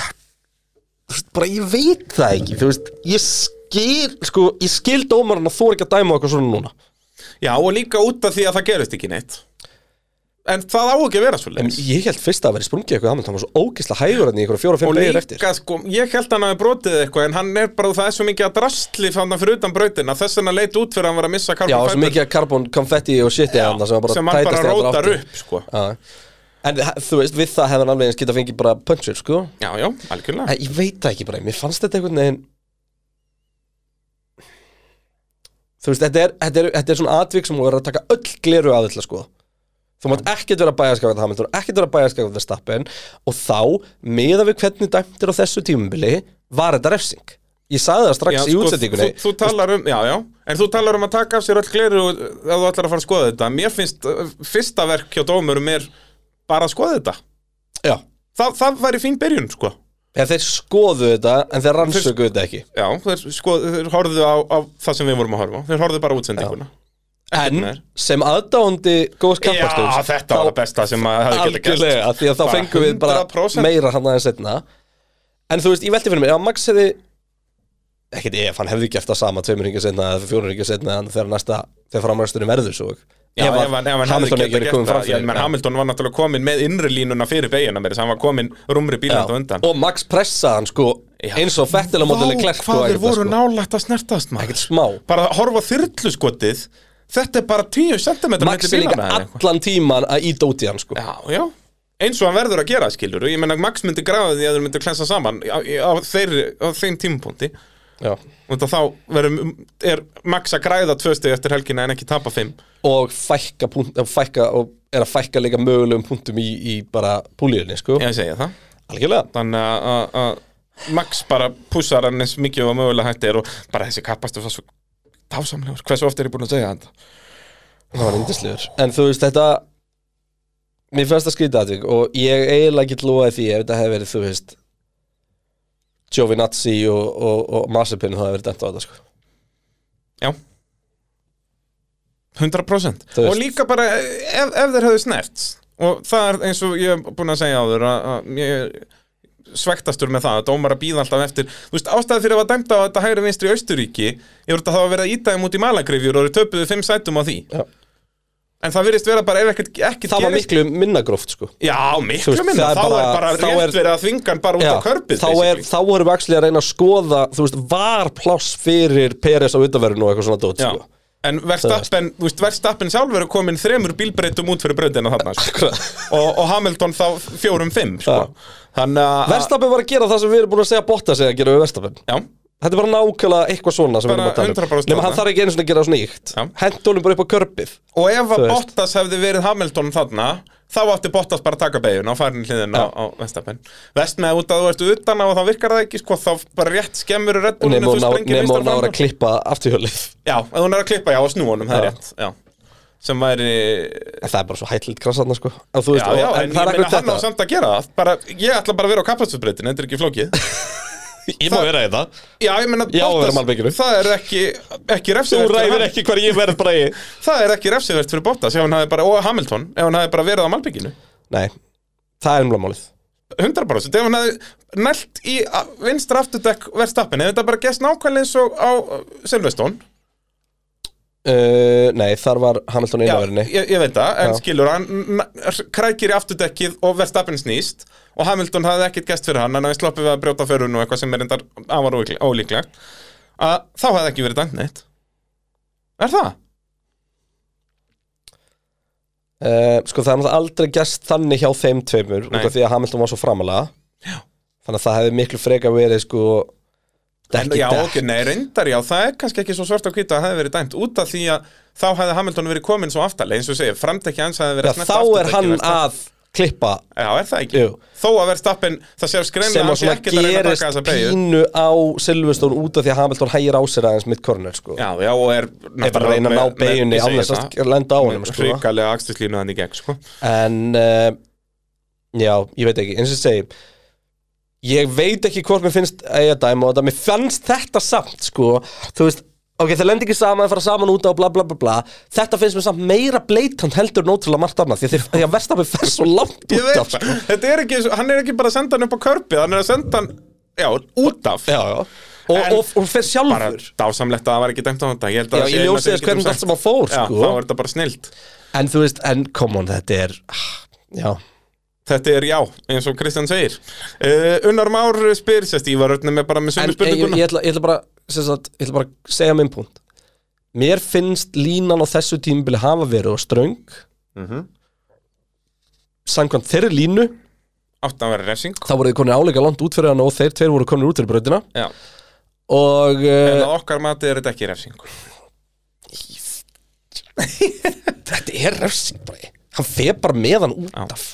Speaker 4: þú veist, bara ég veit það ekki þú veist, ég skil sko, ég skil dómarinn að þú er ekki að dæma okkur svona núna
Speaker 2: Já, og líka út af því að það gerist ekki neitt En það á ekki að vera
Speaker 4: En
Speaker 2: svoleiðis
Speaker 4: ég held fyrst að það væri sprungið eitthvað Hamilton var svo ógeðslega hægur hann í einhverja fjóra og
Speaker 2: Og
Speaker 4: fimm degir eftir
Speaker 2: líka, sko, ég held hann að hafi brotið eitthvað en hann er bara, það er svo mikið að drastli fann hann fyrir utan brautina, þess vegna leit út fyrir að hann var að missa
Speaker 4: Já,
Speaker 2: carbon
Speaker 4: svo
Speaker 2: fiber
Speaker 4: mikið að karbon konfetti og shiti hann sem, var bara
Speaker 2: sem hann bara
Speaker 4: tætast í allar
Speaker 2: rótar
Speaker 4: áttir.
Speaker 2: upp, sko
Speaker 4: Já. En þa- þú veist, við það hefði hann alveg eins getað fengið bara punchur, sko
Speaker 2: Já, já, algjörlega
Speaker 4: En ég veit það ekki bara, mér fannst þetta einhvern veginn Þú veist, þetta er, þetta er, þetta er svona atvik sem þú verður að taka öll gleru að ætla, sko Þú mátt ekkert vera bæjarskakvæða Hamilton, ekkert vera bæjarskakvæða Stappen og þá, miða við hvernig dæmtir á þessu tímubili, var þetta refsing Ég sagði það strax í útsendingunni
Speaker 2: sko, þú, þú talar um, já, já, en þú talar um að taka af sér öll gleru og- ef þú ætlar að fara að skoða þetta mér finnst uh, fyrsta verk hjá dómurum er bara að skoða þetta
Speaker 4: Já,
Speaker 2: Þa, það væri fín byrjun, sko
Speaker 4: eða þeir skoðu þetta en þeir rannsökuðu þetta ekki
Speaker 2: já, þeir, sko, þeir horfðu á, á það sem við vorum að horfa á. þeir horfðu bara á útsendinguna
Speaker 4: En
Speaker 2: meir.
Speaker 4: sem aðdáandi góðs kappakstöðs
Speaker 2: þetta var það besta sem að hefði getið gert.
Speaker 4: Algjörlega, af því að þá
Speaker 2: Bara
Speaker 4: fengum við bara
Speaker 2: 100%.
Speaker 4: meira hann aðeins setna En þú veist, ég velti fyrir mér, ef Max hefði ekkert ef hann hefði gert það sama tveimur ringi setna eða fjónur ringi setna en þegar næsta, þegar framræstunum verður svo
Speaker 2: Já, ef, ef, ef hann hefði
Speaker 4: Hamilton
Speaker 2: getið
Speaker 4: ekki verið
Speaker 2: gert
Speaker 4: komið fram
Speaker 2: það, já, menn
Speaker 4: fyrir
Speaker 2: Hamilton var náttúrulega komin með innri línuna fyrir beginna mér, þess að hann var komin rúmri bíland á
Speaker 4: Já,
Speaker 2: undan.
Speaker 4: og Max pressa hann sko
Speaker 2: Já.
Speaker 4: eins og fettilega mótileg klert
Speaker 2: Vá, hvað þeir voru nálægt að snertast maður
Speaker 4: sko, Ekkert smá.
Speaker 2: Bara að horfa þyrluskotið Þetta er bara 10 cm
Speaker 4: Max er líka allan tíman að íta út í hann sko
Speaker 2: Já, já Eins og hann verður að gera skilur Ég menna Max myndi gráða því að þeir myndi klensa saman á, á, þeirri, á þeim tímapunkti
Speaker 4: Já.
Speaker 2: Og þá verður, er Max að græða tvö stegi eftir helgina en ekki tapa fimm
Speaker 4: og fækka, punt, eh, fækka og er að fækka líka mögulegum punktum í, í bara púlíðinni, sko
Speaker 2: Ég segja það
Speaker 4: Algjörlega
Speaker 2: Þannig að- að- að Max bara pússar hann eins mikið og mögulega hætti er og bara þessi kappastur var svo dásamlegur Hversu oft er ég búin að segja þetta?
Speaker 4: Það var yndislegur En þú veist, þetta Mér fannst það skrýta aðvík og ég eiginlega get lofaði því ef þetta hefði verið, þú veist Giovinazzi og, og, og Masipin þá hefði verið dæmt á þetta, sko
Speaker 2: Já 100%
Speaker 4: Þú veist.
Speaker 2: Og líka bara eh, ef, ef þeir höfðu snert Og það er eins og ég er búin að segja áður að, að ég er svektastur með það að dómar að býða alltaf eftir Þú veist, ástæða fyrir að var dæmt á þetta hægri vinstri í Austuríki Ég voru þetta þá að vera að íta þeim út í malagrifjur og þeir töpuðu fimm sætum á því
Speaker 4: Já.
Speaker 2: En það virðist vera bara ef ekkert ekki
Speaker 4: Það var miklu minna gróft, sko
Speaker 2: Já,
Speaker 4: Þú
Speaker 2: miklu
Speaker 4: veist,
Speaker 2: minna,
Speaker 4: það er
Speaker 2: þá er
Speaker 4: bara-
Speaker 2: bara
Speaker 4: þá
Speaker 2: rétt
Speaker 4: er-
Speaker 2: verið að þvinga hann bara út á körpið
Speaker 4: þá, er,
Speaker 2: basically.
Speaker 4: þá erum við actually að reyna að skoða þú veist, var pláss fyrir Peres á utanverðinu og eitthvað svona dót,
Speaker 2: Já.
Speaker 4: sko
Speaker 2: En Verstappen, þú veist, Verstappen sjálfur er komin þremur bílbreytum út fyrir brautina þarna sko. og, og Hamilton þá fjórum-fimm sko. Þannig að
Speaker 4: Verstafin var að gera það sem við erum búin að segja Bottas eða að gera við Verstafin
Speaker 2: Já,
Speaker 4: Þetta er bara nákvæmlega eitthvað svona sem við
Speaker 2: Bara
Speaker 4: erum að tala
Speaker 2: 100%
Speaker 4: um Nefnum hann
Speaker 2: þarna.
Speaker 4: þarf ekki einu svona að gera svona íkt
Speaker 2: Já.
Speaker 4: Hendólum bara upp á körpið
Speaker 2: og ef
Speaker 4: Þú
Speaker 2: að
Speaker 4: veist.
Speaker 2: Bottas hefði verið Hamilton þarna þá átti Bottas bara að taka beiguna og farin hliðin á, á Verstappen Vest með út að þú ertu utan á og þá virkar það ekki sko, þá bara rétt skemmur Red Bullinu
Speaker 4: Nefnum
Speaker 2: þú
Speaker 4: hún ná-
Speaker 2: sprengir
Speaker 4: nema
Speaker 2: vinstra
Speaker 4: hún náður
Speaker 2: framhjól.
Speaker 4: að klippa afturhjólið
Speaker 2: Já, ef hún er að klippa, já, og snúanum, það er
Speaker 4: Já.
Speaker 2: rétt Já, sem væri
Speaker 4: En það er bara svo hætlilt kransarna sko En þú
Speaker 2: Já,
Speaker 4: veist, og-
Speaker 2: já,
Speaker 4: en
Speaker 2: en
Speaker 4: það
Speaker 2: ég
Speaker 4: er
Speaker 2: meina hann á
Speaker 4: akkur þetta
Speaker 2: samt að gera það bara, Ég ætla bara að vera á kapastusbreytin, þetta er ekki flókið
Speaker 4: Ég má vera í það
Speaker 2: Já, ég meina,
Speaker 4: Já, að vera
Speaker 2: Bottas,
Speaker 4: malbikinu.
Speaker 2: það er ekki, ekki
Speaker 4: Þú
Speaker 2: refsivert
Speaker 4: ræðir ekki hvar ég verð bara í
Speaker 2: Það er ekki refsivert fyrir Bottas ef hann hafði bara, og Hamilton, ef hann hafði bara verið á Malbygginu
Speaker 4: Nei, það er umlega málið
Speaker 2: 100% ef hann hafði nælt í a- vinstra afturdekk verðstappin ef þetta bara gæst nákvæmlega eins og á uh, Silverstone
Speaker 4: uh, Nei, þar var Hamilton
Speaker 2: Já,
Speaker 4: einaverinni
Speaker 2: ég, ég veit það, en
Speaker 4: Já.
Speaker 2: skilur hann n- n- krækir í afturdekkið og verðstappin snýst og Hamilton hafði ekkert gæst fyrir hann en við sloppum við að brjóta förun og eitthvað sem er endar afar ólíkle- ólíklegt að þá hafði ekki verið dæmt neitt Er það?
Speaker 4: uh, Sko, það er náttúrulega aldrei gerst þannig hjá þeim tveimur
Speaker 2: Nei.
Speaker 4: út af því að Hamilton var svo framalega Já. Þannig að það hefði miklu freka verið sko
Speaker 2: En,
Speaker 4: Dekki
Speaker 2: já,
Speaker 4: dekk
Speaker 2: ok, nei, reyndar, já, það er kannski ekki svo svart og hvíta að það hefði verið dæmt út af því að þá hefði Hamilton verið komin svo aftarlega, eins og segja, framtekki hans hefði verið
Speaker 4: Já,
Speaker 2: að snerta
Speaker 4: Þá er
Speaker 2: afturdekkið
Speaker 4: hann
Speaker 2: versta-
Speaker 4: að klippa
Speaker 2: Já, er það ekki?
Speaker 4: Jú.
Speaker 2: Þó að Verstappen, það séu skreinlega að
Speaker 4: sem
Speaker 2: hann
Speaker 4: að
Speaker 2: sé
Speaker 4: svona
Speaker 2: ekkert að reyna að baka
Speaker 4: gerist
Speaker 2: þessa beigju
Speaker 4: pínu á Silveston út af því að Hamilton hægir á sér aðeins mitt corner sko
Speaker 2: Já, já, og er
Speaker 4: Ég bara að reyna að ná beigjunni án þess að lenda á honum sko.
Speaker 2: Ríkalega axtislínu hann í gegn, sko
Speaker 4: En uh, Já, ég veit ekki, eins og ég segi Ég veit ekki hvort mér finnst að ég dæma á þetta, mér fannst þetta samt sko, þú veist Ok, það lendi ekki saman, fara saman út á bla bla bla bla Þetta finnst mér samt meira bleitant heldur nótrúlega margt annað Því að, því að verstafið fer svo langt
Speaker 2: Ég
Speaker 4: út
Speaker 2: veit
Speaker 4: af sko.
Speaker 2: það, þetta er ekki, hann er ekki bara að senda hann upp á körpið, hann er að senda hann, já, út af
Speaker 4: Já, já Og,
Speaker 2: En-
Speaker 4: og, og fer
Speaker 2: Bara
Speaker 4: sjálfur
Speaker 2: dásamlegt að það var ekki dæmt á þetta Ég held að
Speaker 4: Já,
Speaker 2: það sé
Speaker 4: ég
Speaker 2: eina
Speaker 4: ljósi
Speaker 2: sem
Speaker 4: þess
Speaker 2: við getum
Speaker 4: hvernig
Speaker 2: sagt.
Speaker 4: allt sem hann fór
Speaker 2: Já,
Speaker 4: sko
Speaker 2: þá er þetta bara snilt
Speaker 4: En þú veist, en come on, þetta er ah, Já,
Speaker 2: Þetta er já, eins og Kristján segir uh, Unnar Már spyr sérst Ívar Örnum er bara með
Speaker 4: en
Speaker 2: sömu
Speaker 4: ég, ég,
Speaker 2: um spurninguna
Speaker 4: ætla, ég, ætla bara, sem sagt, ég ætla bara að segja minn punkt Mér finnst línan á þessu tímabili hafa verið og ströng
Speaker 2: Mhm.
Speaker 4: Samkvæmt þeirri línu
Speaker 2: Átt að vera refsing
Speaker 4: Þá voru þið konir áleika langt út fyrir hana og þeir tveir voru konir út fyrir brautina
Speaker 2: Já,
Speaker 4: Og
Speaker 2: en
Speaker 4: uh,
Speaker 2: að okkar mati er þetta ekki refsing
Speaker 4: þetta er refsing bara Hann fer bara með hann út
Speaker 2: Já.
Speaker 4: af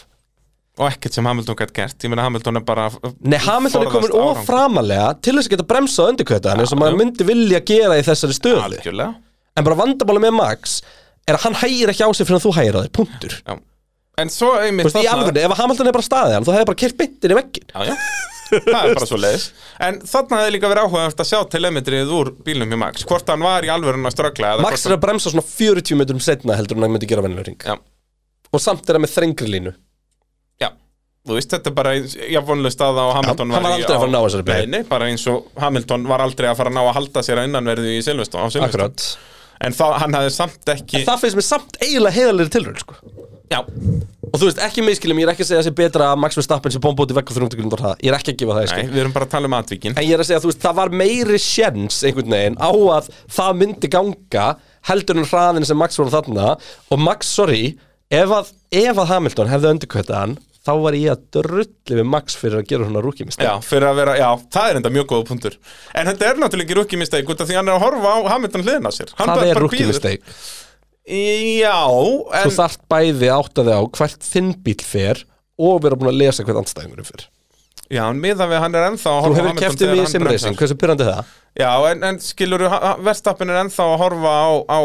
Speaker 2: Og ekkert sem Hamilton gætt gert Ég meina Hamilton er bara
Speaker 4: Nei, Hamilton er
Speaker 2: forðast
Speaker 4: komin of
Speaker 2: árangur.
Speaker 4: framalega til þess að geta bremsað undirkvæta hann eins og maður myndi vilja gera í þessari stöðu
Speaker 2: Algjörlega
Speaker 4: En bara vandamáli með Max er að hann hægir ekki á sig fyrir að þú hægir að þér, punktur
Speaker 2: já. En svo
Speaker 4: Þú
Speaker 2: einmitt
Speaker 4: veist, í
Speaker 2: þarna-
Speaker 4: alveg, ef Hamilton er bara staðið hann, þú hefði bara kert byttin í veggin
Speaker 2: Já, já Það er bara svo leiðis En þarna hefði líka verið áhugavert að sjá telemetrið úr bílnum hjá Max Hvort hann var í alvörun að ströggla eða
Speaker 4: Max
Speaker 2: hvort
Speaker 4: er að bremsa svona 40 metrum setna heldur en hann myndi gera vennilega ring
Speaker 2: hann-
Speaker 4: Og samt er hann með þrengri línu
Speaker 2: Já, já Þú veist, þetta er bara jafnvonlega staða og Hamilton
Speaker 4: hann var
Speaker 2: í-
Speaker 4: aldrei að fara að ná þessari beygju.
Speaker 2: Nei, nei, bara eins og Hamilton var aldrei að fara að ná að halda sér að innanverðu í Silveston, á Silveston
Speaker 4: Akkurat
Speaker 2: En það, hann hafði samt ekki
Speaker 4: Það finnst mér samt eiginlega heiðalegri tilraun sko.
Speaker 2: Já,
Speaker 4: Og þú veist, ekki miskilum, ég er ekki að segja þessi betra að Max Verstappen sem bomba út í vegg og 300 grunnar það Ég er ekki að gefa það í
Speaker 2: nei,
Speaker 4: skil
Speaker 2: við erum bara að tala um atvíkin
Speaker 4: En ég er að segja, þú veist, það var meiri sjens einhvern veginn á að það myndi ganga heldur en hraðin sem Max voru þarna og Max, sorry, ef að, ef að Hamilton hefði undirkvæta hann þá var ég að drulli við Max fyrir að gera svona rúkimist
Speaker 2: Já, fyrir að vera, já, það er enda mjög góða punktur En þetta er náttúrulega ekki rúkkimistæk út af því hann er að horfa á Hamilton hliðin á sér Hann
Speaker 4: Það
Speaker 2: bara-
Speaker 4: er
Speaker 2: bara
Speaker 4: rookie
Speaker 2: bíður.
Speaker 4: mistake
Speaker 2: Já,
Speaker 4: Þú
Speaker 2: en
Speaker 4: þarft bæði áttaði á hvert þinn bíl fer og vera búin að lesa hvert andstæðingurum fer
Speaker 2: Já, en miðan við hann er ennþá að horfa
Speaker 4: Þú
Speaker 2: á
Speaker 4: hefur
Speaker 2: Hamilton
Speaker 4: keftið
Speaker 2: þegar
Speaker 4: við í
Speaker 2: hann
Speaker 4: simracing,
Speaker 2: bremsar.
Speaker 4: hversu pyrrandi það?
Speaker 2: Já, en, en skilur þú, verðstappin er ennþá að horfa á, á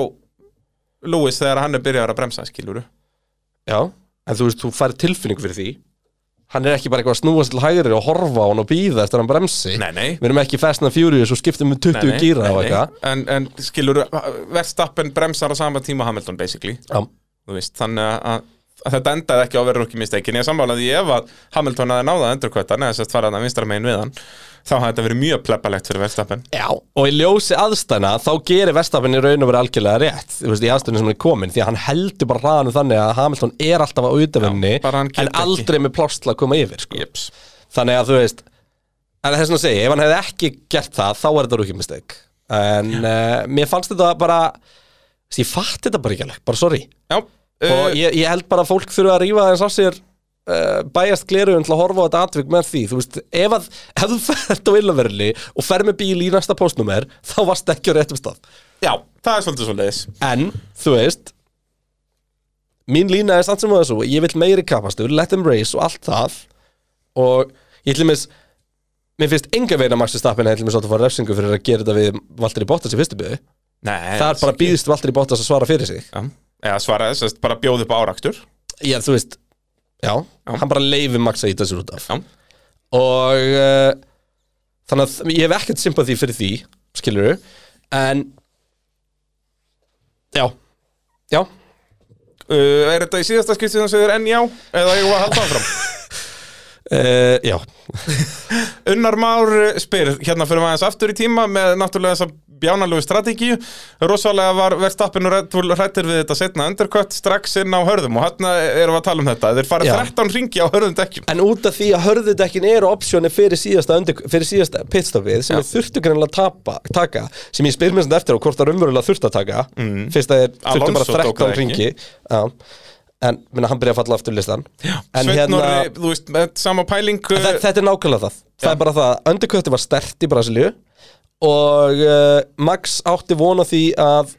Speaker 2: Lewis þegar hann er byrjaður að bremsa, skilur
Speaker 4: Já En þú veist, þú fær tilfinning fyrir því Hann er ekki bara eitthvað að snúast til hægri og horfa á hann og býða eftir að hann bremsi
Speaker 2: Nei, nei.
Speaker 4: Við erum ekki Fast and Furious og skiptum með 20 gíra og eitthvað
Speaker 2: En, en skilur þú, verðstappin bremsar á sama tíma og Hamilton, basically
Speaker 4: Já,
Speaker 2: þú veist, þannig að, að þetta endaði ekki á að vera rúkki misteikin ég sammálaði ég ef að Hamilton hafði náða endurkvættan eða sérst farað að vinstra megin við hann þá hafði þetta verið mjög pleppalegt fyrir Verstappen
Speaker 4: Já, og í ljósi aðstæna þá gerir Vestafinn í raun og verið algjörlega rétt Þú veist, í aðstæna sem hann er komin Því að hann heldur bara hraðanum þannig að Hamilton er alltaf á auðafinni
Speaker 2: Já, bara hann getur
Speaker 4: En
Speaker 2: ekki.
Speaker 4: aldrei með pláss til að koma yfir sko.
Speaker 2: Jeps.
Speaker 4: Þannig að þú veist En þess að segja, ef hann hefði ekki gert það Þá er þetta rúkið mistök En uh, mér fannst þetta bara þú veist, Ég fatt þetta bara ekki alveg, bara sorry
Speaker 2: Já, uh,
Speaker 4: Og ég, ég held bara að fólk þurfa að rífa þess af sér uh, bæjast gleruðum til að horfa á þetta atvik með því Þú veist, ef, að, ef þú ferð á illaverli og fer með bíl í næsta postnúmer þá varst ekki á réttum stað
Speaker 2: já, það er svolítið svolítið
Speaker 4: En, þú veist Mín lína er samt sem að þessu Ég vil meiri kapastur, let them race og allt það Og ég til mis Mér finnst enga veginn að Max Verstappen hefði til mis átt að fá refsingu fyrir að gera þetta við Valtteri Bottas í fyrstu byrðu
Speaker 2: Nei,
Speaker 4: Það er bara býðist Valtteri Bottas að svara fyrir sig
Speaker 2: Já, eða svaraði, sérst, bara bjóð upp á árakstur
Speaker 4: Já, þú veist Já, hann bara leifir Max að íta sér út af
Speaker 2: Já.
Speaker 4: Og uh, þannig að ég hef ekkert sympathy fyrir því skilur en já já,
Speaker 2: Uh, er þetta í síðasta skiptið sem segir enn já? Eða ég var að halda áfram?
Speaker 4: uh, já
Speaker 2: Unnar Már spyr, hérna fyrir maður aðeins aftur í tíma með náttúrulega þessa bjánalögu strategíu rosalega var verðstappin og Red Bull hrættir við þetta setna undercut strax inn á hörðum og hérna erum við að tala um þetta þeir farið
Speaker 4: Já.
Speaker 2: 13 ringi á hörðum dekkjum
Speaker 4: en út af því að hörðudekkin eru opsjóni fyrir síðasta, undir, fyrir síðasta pitstopið sem
Speaker 2: Já.
Speaker 4: ég þurftu greinlega tapa, taka sem ég spyr mér sem eftir á hvort það raunverulega þurft að taka mm. fyrst að ég þurftu
Speaker 2: Alonso
Speaker 4: bara
Speaker 2: tók það ekki.
Speaker 4: 13 ringi já. en minna, hann byrja að falla aftur listan já, en
Speaker 2: Sveinn
Speaker 4: hérna
Speaker 2: Orri, þú veist, með sama pæling
Speaker 4: Þa,
Speaker 2: uh,
Speaker 4: þetta er nákvæmlega það Það er bara það að undercutti var stert í Brasilíu og uh, Max átti vona því að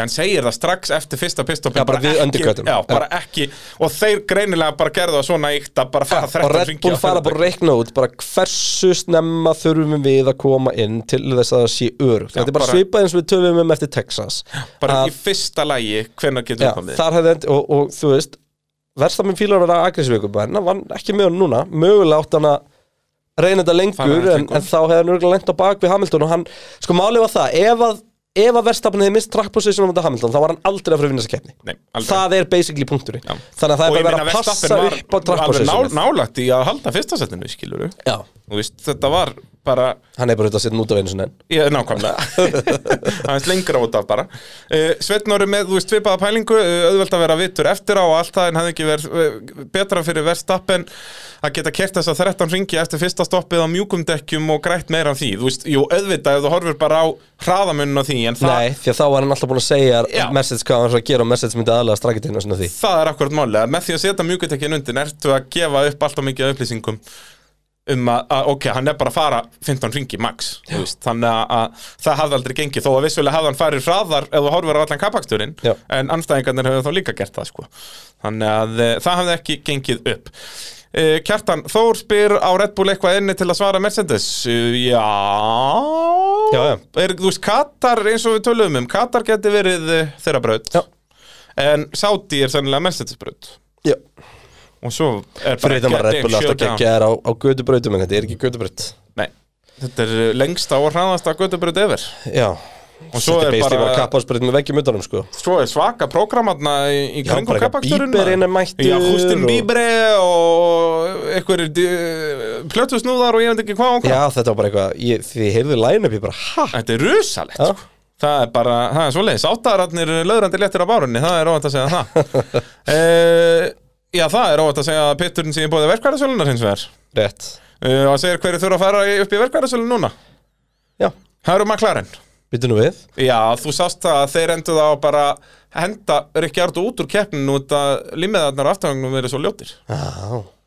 Speaker 2: hann segir það strax eftir fyrsta pistopin
Speaker 4: Já, bara við undercuttum.
Speaker 2: já, bara ekki og þeir greinilega bara gerðu það svona eitt að bara fara
Speaker 4: og
Speaker 2: 13
Speaker 4: Red
Speaker 2: ringi
Speaker 4: Bull fara bara að reikna út bara hversu snemma þurfum við að koma inn til þess að það sé örugt Þetta er bara,
Speaker 2: bara-
Speaker 4: svipað eins og við töfum um eftir Texas
Speaker 2: bara
Speaker 4: að-
Speaker 2: í fyrsta lagi hvenær getur
Speaker 4: Já,
Speaker 2: við komið
Speaker 4: þar hefði endi, og, og þú veist Verstamenn fílar að vera aggressívíku en hann var ekki með hann núna mögulega átt hann að reyna
Speaker 2: Fara
Speaker 4: þetta lengur
Speaker 2: aðeins
Speaker 4: en,
Speaker 2: lengur.
Speaker 4: en þá hefði hann örgulega lengt á bak við Hamilton og hann, sko málið var það ef að, ef að Verstamenn hefði mist track position á móti Hamilton þá var hann aldrei að fyrir að vinna þessa keppni
Speaker 2: Nei, aldrei.
Speaker 4: það er basically punkturinn
Speaker 2: Já.
Speaker 4: þannig að það
Speaker 2: og
Speaker 4: er
Speaker 2: ég
Speaker 4: bara
Speaker 2: meina
Speaker 4: verið að
Speaker 2: Verstappen
Speaker 4: passa
Speaker 2: var
Speaker 4: upp á track
Speaker 2: alveg
Speaker 4: position
Speaker 2: nál, nálægt í að halda fyrsta setinu skilur við
Speaker 4: Já,
Speaker 2: veist, þetta var bara
Speaker 4: hann er bara auðvitað að setja hann út af einu sinni
Speaker 2: ég, nákvæmlega aðeins lengra út af bara uh, Sveinn orði með, þú veist, svipaða pælingu uh, auðvelt að vera vittur eftir á og allt það en hafði ekki verið uh, betra fyrir verðstappen að geta kert þess að 13 ringi eftir fyrsta stoppið á mjúkum dekkjum og grætt meira af því, þú veist, jú, auðvitað ef þú horfir bara á hraðamunna því en það,
Speaker 4: Nei, því að þá var hann alltaf búin að segja
Speaker 2: Já.
Speaker 4: message hvað hann var að gera og message myndi aðlega strakitinn og svona því
Speaker 2: það er akkurat máli að með því að setja mjúkutekkin undir ertu að gefa upp alltaf mikið af upplýsingum um að, að ok, hann er bara að fara 15 ringi max, þú veist, þannig að, að það hafði aldrei gengið, þó að vissulega hafði hann farið hraðar ef þú horfir á allan kapaksturinn
Speaker 4: Já.
Speaker 2: en anstæðingarnir hefur þá líka gert það sko. þannig að e, það hafði ekki gengið upp Uh, Kjartan, Þór spyr á Red Bull eitthvað inni til að svara Mercedes uh, Já
Speaker 4: Já, já.
Speaker 2: Er, Þú veist, Katar eins og við töluðum um Katar geti verið uh, þeirra braut
Speaker 4: Já.
Speaker 2: En Saudi er sennilega Mercedes braut
Speaker 4: Já,
Speaker 2: Og svo er
Speaker 4: fyrir þetta
Speaker 2: getting
Speaker 4: var Red Bull alltaf
Speaker 2: showdown.
Speaker 4: geggjaðar á, á gödubrautum en þetta er ekki gödubraut
Speaker 2: Nei, þetta er uh, lengsta og hraðasta göttubraut yfir
Speaker 4: Já,
Speaker 2: Og svo
Speaker 4: þetta
Speaker 2: er
Speaker 4: er basically
Speaker 2: bara-
Speaker 4: bara kappaðsbraut með veggjum utanum sko
Speaker 2: Svo er svaka prógramatna í, í
Speaker 4: Já,
Speaker 2: kringum
Speaker 4: bara eitthvað
Speaker 2: kapakturinn
Speaker 4: Bieber inn er mættur
Speaker 2: Já, Hústin
Speaker 4: og-
Speaker 2: Bíbre og einhverjir plötusnúðar og ég veit ekki hvað og hvað
Speaker 4: Já, þetta var bara eitthvað, ég, því ég heyrði line-up ég bara, ha?
Speaker 2: Þetta er rusalegt
Speaker 4: Já.
Speaker 2: sko. Það er bara, það er svoleiðis Áttaðararnir löðrandi léttir á bárunni, það er óvænt að segja það e, Já, það er óvænt að segja að pitturinn sem ég bóði verkvæðarsölunar hins vegar
Speaker 4: Rétt
Speaker 2: e, Og segir hverju þurfa að fara í- upp í verkvæðarsölun núna
Speaker 4: Já,
Speaker 2: Það eru McLaren
Speaker 4: býtu nú við
Speaker 2: Já, þú sást það að þeir endur á bara að henda Rikjardu út úr keppnin út að limmiðarnar aftangangnum verið svo ljótir
Speaker 4: Já,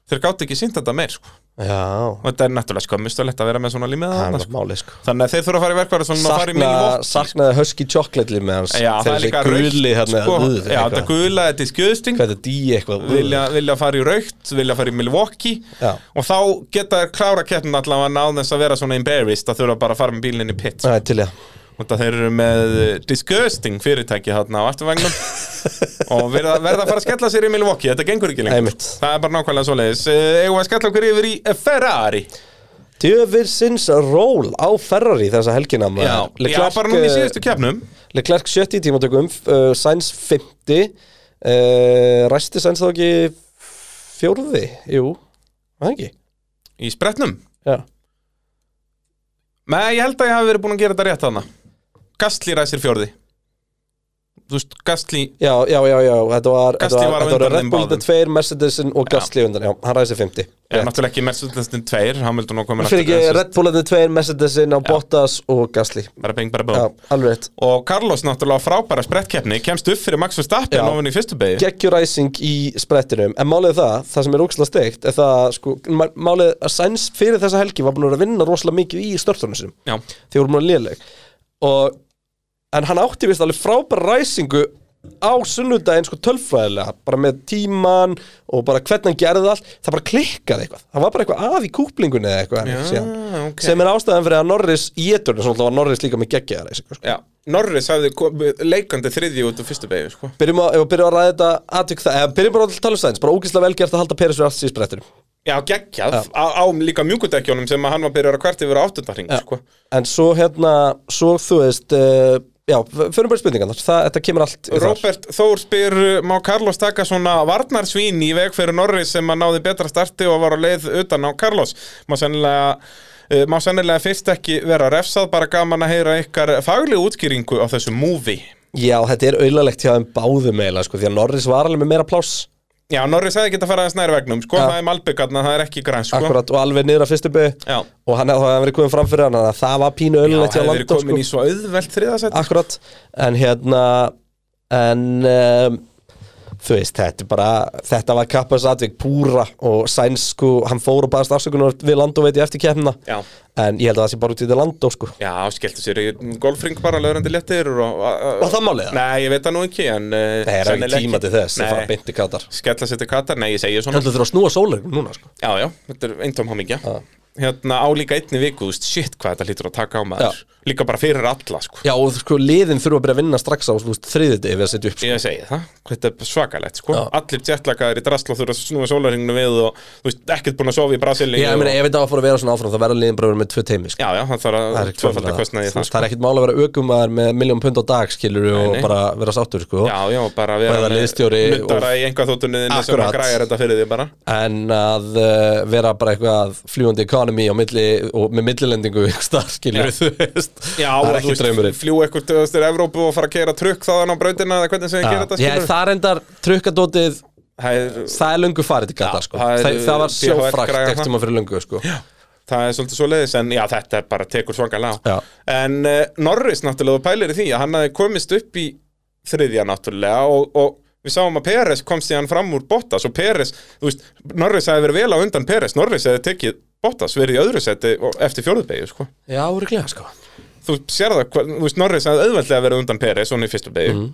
Speaker 2: Þeir gátt ekki sínt þetta meir sko.
Speaker 4: já,
Speaker 2: Og þetta er náttúrulega skömmustulegt að vera með svona
Speaker 4: það
Speaker 2: limmiðarnar
Speaker 4: var
Speaker 2: sko.
Speaker 4: málið sko
Speaker 2: Þannig að þeir þurfa að fara í verkvæðarsölun og fara í
Speaker 4: Sakna,
Speaker 2: minivott
Speaker 4: Saknaði husky chocolate með hans
Speaker 2: Já, það er líka
Speaker 4: raukt guli,
Speaker 2: raukt
Speaker 4: hérna,
Speaker 2: sko,
Speaker 4: uh,
Speaker 2: Já, þetta
Speaker 4: eitthvað.
Speaker 2: gula, þetta er skjöðsting
Speaker 4: Hvað er þetta, dí eitthvað uh.
Speaker 2: vilja, vilja fara í raukt, vilja fara í Milwaukee
Speaker 4: Já.
Speaker 2: og þá geta þeir klára keppnin allavega náðum þess að vera svona embarrassed að þurfa bara að fara með bílinn í pit
Speaker 4: Það er til ég
Speaker 2: og það þeir eru með eh, disgusting fyrirtæki þarna á afturvagnum og verða, verða að fara að skella sér í Milwaukee þetta gengur ekki lengur,
Speaker 4: Einmitt.
Speaker 2: það er bara nákvæmlega svoleiðis Eh, eigum við að skella okkur yfir í eh, Ferrari
Speaker 4: Djöfisins ról á Ferrari þessa helgina maður.
Speaker 2: Já, já,
Speaker 4: Leclerc,
Speaker 2: bara núna í
Speaker 4: eh,
Speaker 2: síðustu keppnum
Speaker 4: Leclerc 70 í tímatökum uh, Sainz 50 uh, Ræsti Sainz þá ekki fjórði, jú var það ekki,
Speaker 2: í spretnum
Speaker 4: já,
Speaker 2: Nei, ég held að ég hafi verið búin að gera þetta rétt þarna Gastli ræsir fjórði Þú veist, Gastli
Speaker 4: já, já, já, já þetta var, þetta
Speaker 2: Gasly var á
Speaker 4: þetta
Speaker 2: undan
Speaker 4: Red
Speaker 2: þeim
Speaker 4: Bull
Speaker 2: báðum.
Speaker 4: 2, Mercedesin og Gasly undan, já, hann ræsi 50
Speaker 2: er
Speaker 4: Rétt.
Speaker 2: náttúrulega ekki Mercedesin tveir Hamilton og komin
Speaker 4: fyrir ekki Red Bull 2, Mercedesin á Bottas og Gasly,
Speaker 2: Bara bing, bara
Speaker 4: já,
Speaker 2: bó
Speaker 4: alveg rétt
Speaker 2: Og Carlos náttúrulega á frábæra sprettkeppni Kemst upp fyrir Max Verstappen
Speaker 4: Já.
Speaker 2: ofin í fyrstu beigju
Speaker 4: geggjuræsing í sprettinum en málið er það, það sem er ókslega steikt er það, sko, ma- málið er að Sainz fyrir þessa helgi var búin að vera að vinna rosalega mikið í störtunum sinum
Speaker 2: Já,
Speaker 4: því voru maður léleg og, en hann átti vist alveg frábæra ræsingu á sunnudaginn sko tölfræðilega bara með tíman og bara hvernig hann gerði allt það bara klikkaði eitthvað, það var bara eitthvað að í kúplingunni eða eitthvað hann síðan
Speaker 2: ok.
Speaker 4: sem er ástæðan fyrir að Norris étur þess að Norris líka með geggjaða ræsingu sko.
Speaker 2: Já. Norris hafði komið leikandi þriðji út á fyrstu beigju sko.
Speaker 4: byrjum, að, ef við byrjum að ræða þetta atvik það, eða byrjum bara að tala um stæðins, bara ógeðslega velgert að halda Peres við allt síðan brettinu
Speaker 2: Já, geggjað, á, á líka mjúkudekjónum sem að hann var byrjar að hvert yfir á áttundahring,
Speaker 4: Já.
Speaker 2: sko.
Speaker 4: En svo hérna, svo þú veist uh, Já, fyrir bara spurningarnar Það, þetta kemur allt þar.
Speaker 2: Robert Þór spyr, uh, má Carlos taka svona varnarsvín í veg fyrir Norris sem að náði betra starti og var á leið utan á Carlos? Má sennilega, uh, má sennilega fyrst ekki vera refsað, bara gaman að heyra ykkar fagli útskýringu á þessu movie.
Speaker 4: Já, þetta er auðlalegt hjá þeim báðum eiginlega sko, Því að Norris var alveg með meira pláss
Speaker 2: Já, Norris hefði getað farið að snæri vegnum, sko,
Speaker 4: Já.
Speaker 2: það er malbyggarna, það er ekki græn, sko.
Speaker 4: Akkurat og alveg niður að fyrstu bygg
Speaker 2: Já.
Speaker 4: Og hann hefði verið komin fram fyrir hann þannig að Það var pínu
Speaker 2: Já,
Speaker 4: auðlalegt hjá sko.
Speaker 2: hefði verið
Speaker 4: landa
Speaker 2: komin í svo auðvelt þriðasett.
Speaker 4: Akkurat, en hérna En um, Þú veist, þetta er bara Þetta var kappas atvik púra Og Sainz sko, hann fór og baðast afsökunar Við landó veit ég eftir kemna
Speaker 2: Já.
Speaker 4: En ég held að það sé bara út í þetta landó sko
Speaker 2: Já, skelltu sér í golfring bara löðrandi léttir og...
Speaker 4: Og það málið það?
Speaker 2: Nei, ég veit það nú ekki, en... Uh,
Speaker 4: Nei, það er ekki tíma til þess Það fara
Speaker 2: Nei,
Speaker 4: beint í Katar
Speaker 2: skella sér til Katar, nei, ég segi svona
Speaker 4: Þannig að þú þurfa að snúa sólegum núna sko
Speaker 2: Já, já, þetta er eintóm hamingja Hérna á líka einni viku, þú veist, shit hvað þetta lítur að taka á maður Líka bara fyrir alla, sko
Speaker 4: Já, og þú- sko liðin þurfa að byrja að vinna strax á þriðið degi við að setja upp sko.
Speaker 2: Ég segi það, þetta er svakalegt, sko
Speaker 4: Já.
Speaker 2: Allir jetlakaðir í drasl og þurfa að snúa sólarhingnu við og, þú veist, ekkert búin að sofa í Brasilíu
Speaker 4: Já, ég meina, ef þetta var að fara að vera svona áfram þá verða liðin bara að vera með tvö teimi sko.
Speaker 2: Já, já, það þarf að
Speaker 4: ekkert
Speaker 2: tvöfalda
Speaker 4: vandamál.
Speaker 2: kostnaði í það,
Speaker 4: Þú veist,
Speaker 2: sko
Speaker 4: Það er ekkert mál að vera ökumæður með miljón pund á dag skilur og
Speaker 2: nei.
Speaker 4: bara vera sáttur sko.
Speaker 2: Já, já, bara
Speaker 4: Eða
Speaker 2: vera
Speaker 4: liðstjóri og-
Speaker 2: nuttara í einhvað þóttunniðinni sem
Speaker 4: Akkurat.
Speaker 2: að græja þetta fyrir því bara
Speaker 4: en að uh, vera bara eitthvað fljúandi economy á milli og með millilendingu einhvers staðar, skilur þú veist
Speaker 2: Já,
Speaker 4: það
Speaker 2: og
Speaker 4: er
Speaker 2: þú
Speaker 4: ekki
Speaker 2: veist,
Speaker 4: draumurinn
Speaker 2: fljú eitthvað til Evrópu og fara að keira trukk þaðan á brautina eða hvernig sem ég gera þetta
Speaker 4: Já,
Speaker 2: skilur
Speaker 4: það reyndar trukkadótið
Speaker 2: Það er
Speaker 4: það er löngu farið til gata sko.
Speaker 2: það er, eh,
Speaker 4: það, það var
Speaker 2: BHF
Speaker 4: sjófrakt
Speaker 2: græja
Speaker 4: eftir
Speaker 2: það.
Speaker 4: maður fyrir löngu sko.
Speaker 2: Það er svolítið svo leiðis en já þetta er bara tekur svangalega
Speaker 4: Já.
Speaker 2: á En uh, Norris náttúrulega þú pælir í því að hann hafði komist upp í þriðja náttúrulega og, og við sáum að Peres komst í hann fram úr Bottas og Peres, þú veist, Norris hafði verið vel á undan Peres, Norris hefði tekið Bottas verið í öðru seti og- eftir fjóruðbegju sko.
Speaker 4: Já, úrglega sko.
Speaker 2: þú sér það, hva, þú veist, Norris hafði auðveldlega verið undan Peres svona í fyrstu begju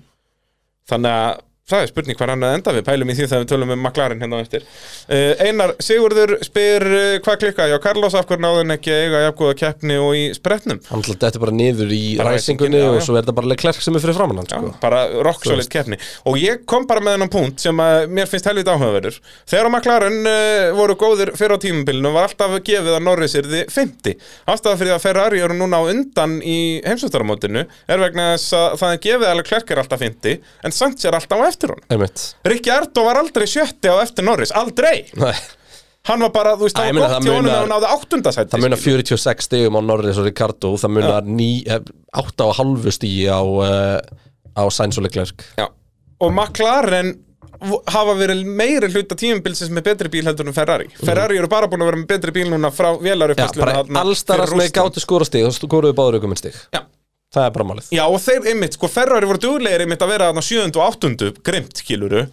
Speaker 2: þannig að það er spurning hvað hann að enda við pælum í því þegar við tölum um McLaren hérna á eftir uh, Einar Sigurður spyr uh, hvað klikkaði á Carlos af hverju náðun ekki að eiga jafngóða keppni og í spretnum
Speaker 4: Hann ætla þetta er bara niður í
Speaker 2: Bara
Speaker 4: ræsingunni
Speaker 2: ræsingunni, já,
Speaker 4: og
Speaker 2: já.
Speaker 4: svo er þetta bara Leclerc sem er fyrir framann hann
Speaker 2: Já,
Speaker 4: sko.
Speaker 2: bara rock solid keppni og ég kom bara með hennan punkt sem að mér finnst helvit áhugaverður þegar á McLaren uh, voru góðir fyrir á tímabilinu var alltaf gefið að Norris er þið 50 ástæða fyrir því að Ferrari eru núna á undan í heimsvöldaramótinu er vegna þess að það er gefið alveg klerkir alltaf 50 en Sainz er alltaf á eftir honum
Speaker 4: Einmitt
Speaker 2: Rikki Ardó var aldrei sjötti á eftir Norris aldrei,
Speaker 4: Nei,
Speaker 2: hann var bara, þú veist,
Speaker 4: Æ,
Speaker 2: það
Speaker 4: ég meina,
Speaker 2: var
Speaker 4: það
Speaker 2: gott í honum
Speaker 4: munar-
Speaker 2: að hann náði áttundasætti
Speaker 4: það munar 46 stigum á Norris og Ricardo Það munar eh, 8,5 stigi á, uh, á Sainz og Leclerc
Speaker 2: Já. og McLaren v- hafa verið meiri hluta tímabilsins með betri bíl heldur en Ferrari Ferrari eru bara búin að vera með betri bíl núna frá
Speaker 4: Mhm. Já,
Speaker 2: vélaruppfæslu
Speaker 4: bara allstar að með gátu skora stig þá skoruðu báður ykkur minn stig
Speaker 2: Já.
Speaker 4: Það er bara málið
Speaker 2: Já og þeir einmitt, sko Ferrari voru duglegir einmitt að vera þarna 7. og 8. grimt kiluru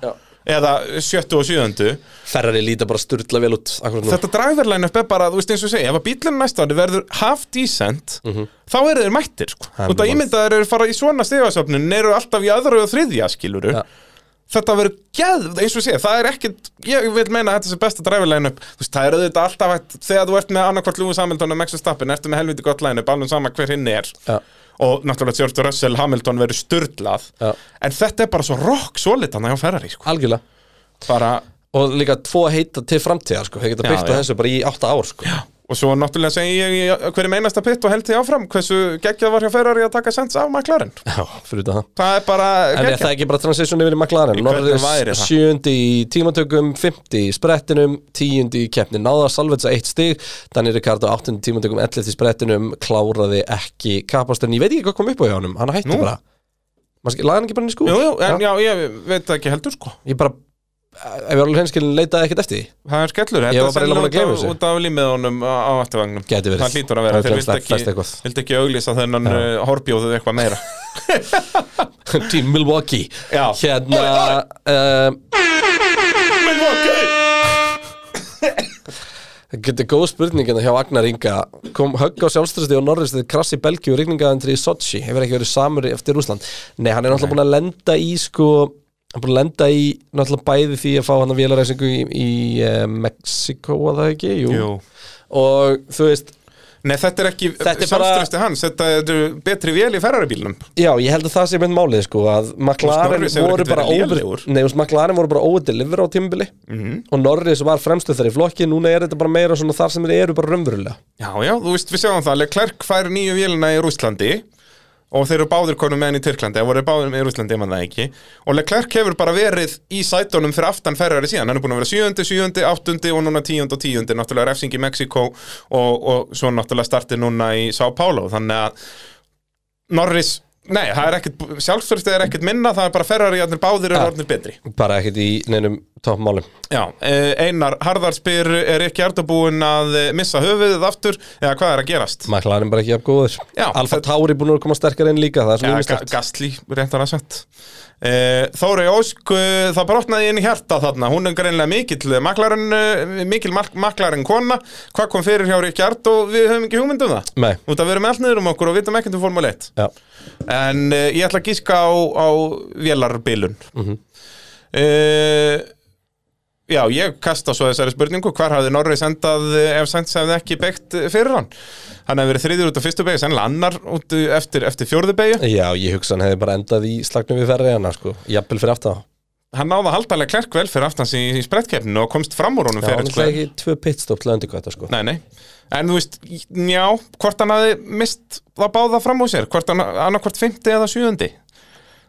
Speaker 2: eða 7. og 7.
Speaker 4: Ferrari líta bara sturla vel út akkurat nú
Speaker 2: Þetta driverline upp er bara, þú veist eins og ég segi ef að bílinn næsta ári verður half decent þá eru þeir mættir, sko
Speaker 4: Það Mhm. er
Speaker 2: Út að
Speaker 4: mjög
Speaker 2: ímyndaður eru fara í svona stegasöfnun eru alltaf í aðra og þriðja skiluru
Speaker 4: Já.
Speaker 2: Þetta verður geð, eins og ég segi, það er ekkit ég vil meina að þetta sé besta driverline upp þú veist, það er auðvitað alltaf hægt, þegar þú ert með annarkvort Lewis Hamilton og Max Verstappen, ertu með helviti gott line up, alveg sama hver hinn er
Speaker 4: Já.
Speaker 2: og náttúrulega George Russell Hamilton verður sturdlað
Speaker 4: Já.
Speaker 2: en þetta er bara svo rock solid hann að hjá Ferrari, sko
Speaker 4: Algjörlega
Speaker 2: bara
Speaker 4: Og líka tvo heita til framtíðar sko Þeir geta
Speaker 2: Já,
Speaker 4: byggt á
Speaker 2: já.
Speaker 4: þessu bara í 8 ár sko Já
Speaker 2: Og svo náttúrulega segi ég í hverjum einasta pitt og held því áfram hversu geggjað var hjá Ferrari að taka sens af McLaren.
Speaker 4: Já, fyrir utan það
Speaker 2: Það er bara
Speaker 4: En er
Speaker 2: geggjað.
Speaker 4: það ekki bara transition yfir í McLaren?
Speaker 2: Í hvernig væri
Speaker 4: Norris
Speaker 2: það?
Speaker 4: sjöndi í tímatökum, 50 í sprettinum, 10 í keppni náða, salvetsa eitt stig, Danny Ricardo 8 í tímatökum, 11 í sprettinum, kláraði ekki kapasturinn, ég veit ekki hvað kom upp á hjá honum, hann hætti
Speaker 2: Nú.
Speaker 4: bara. Maski, laði hann ekki bara henni skúr?
Speaker 2: Jú, jú, en já. ég veit það ekki heldur sko.
Speaker 4: Ég bara, ef ég var alveg hinskilin, leitaði ekkert eftir því.
Speaker 2: Það er skellur.
Speaker 4: Ég var bara eiginlega búin að gleyma
Speaker 2: út,
Speaker 4: þessu.
Speaker 2: út af límið honum á á afturvagnum.
Speaker 4: Gæti verið.
Speaker 2: Það hlýtur að
Speaker 4: Það
Speaker 2: vera.
Speaker 4: er
Speaker 2: Þeir
Speaker 4: glemst-
Speaker 2: vildi
Speaker 4: flest
Speaker 2: ekki,
Speaker 4: eitthvað.
Speaker 2: vildi ekki auglýsa þennan uh, horbjóðuð eitthvað meira.
Speaker 4: Team Milwaukee.
Speaker 2: Já.
Speaker 4: Hérna, um, Eh, Þetta er góð spurningina hjá Agnar Inga Kom högg á sjálfströsti og Norris Þetta krass í Belgíu og rigningaðandri í Sochi Hefur ekki verið samur eftir Rúsland Nei, hann er náttúrulega búin að lenda í sko Hann er búin að lenda í náttúrulega bæði því að fá hann að eh, vélaræsingu í, í uh, Mexiko að það ekki, jú.
Speaker 2: Jú.
Speaker 4: Og þú veist,
Speaker 2: Nei, þetta er ekki
Speaker 4: Þetta er bara-
Speaker 2: samstresti hans, þetta eru betri vél í ferraribílnum
Speaker 4: Já, ég held að það sé mynd málið sko að McLaren
Speaker 2: Norris hefur
Speaker 4: voru
Speaker 2: ekkert
Speaker 4: bara
Speaker 2: verið
Speaker 4: over,
Speaker 2: lélegur.
Speaker 4: nei, þú veist, McLaren voru bara ódeliver á tímabili og Norris var fremstu þeirri í flokki, núna er þetta bara meira svona þar sem þeir eru bara raunverulega
Speaker 2: Já, já, þú veist, við sjáum það, Leclerc fær nýju vélina í Rússlandi og þeir eru báðir konum með hann í Tyrklandi, það voru báðir með í Rússlandi, ég mann það ekki og Leclerc hefur bara verið í sætunum fyrir aftan ferrari síðan, hann er búin að vera sjöundi, sjöundi, áttundi og núna tíundi og tíundi, náttúrulega refsing í Mexiko og, og svo náttúrulega startið núna í São Paulo, þannig að Norris, nei, það er ekkit sjálfsvörstið er ekkit minna, það er bara ferrari að báðir eru
Speaker 4: Ja.
Speaker 2: orðnir betri
Speaker 4: bara ekkert í neinum toppmálum
Speaker 2: Já, eh, Einar Harðar spyr er ekki Ardabúin að eh, missa höfuðið aftur eða hvað er að gerast?
Speaker 4: McLaren bara ekki jafn góður
Speaker 2: Já,
Speaker 4: Alfa
Speaker 2: þetta-
Speaker 4: Tauri búin að koma sterkar inn líka, það
Speaker 2: Ja,
Speaker 4: er svona
Speaker 2: Ga-
Speaker 4: ymistætt
Speaker 2: Gastli, réttar að sett Þóri Ósk, eh, það brotnaði inn í hjarta þarna, hún er greinlega mikill maklarinn, eh, mikil mak maklarinn kona hvað kom fyrir hjá Ríkki Ard og við höfum ekki hugmynd um það
Speaker 4: Nei.
Speaker 2: út að við erum allniður um okkur og vitum ekkert um Formule 1
Speaker 4: Já,
Speaker 2: en uh, ég ætla að gíska á, á vélarbilun mm Já, ég kasta svo þessari spurningu hvar hafði Norris endað eh, ef Sainz hefði ekki beikt eh, fyrir hann hann hefði verið þriður út af fyrstu beigju, sennilega annar út eh, eftir, eftir fjórðu beigju
Speaker 4: já ég hugsa hann hefði bara endað í slagnum við ferri hana sko, jafnvel fyrir aftan á.
Speaker 2: hann náði að haldalega klerk vel fyrir aftans í, í sprettkeppninu og komst fram úr honum
Speaker 4: Já,
Speaker 2: fyrir
Speaker 4: hann er ekki tvö pitstop til að undirkvæta sko
Speaker 2: Nei, nei. En þú veist, já, hvort hann hafi mist það báða fram úr sér, hvort hann annarkvort 50 eða 70.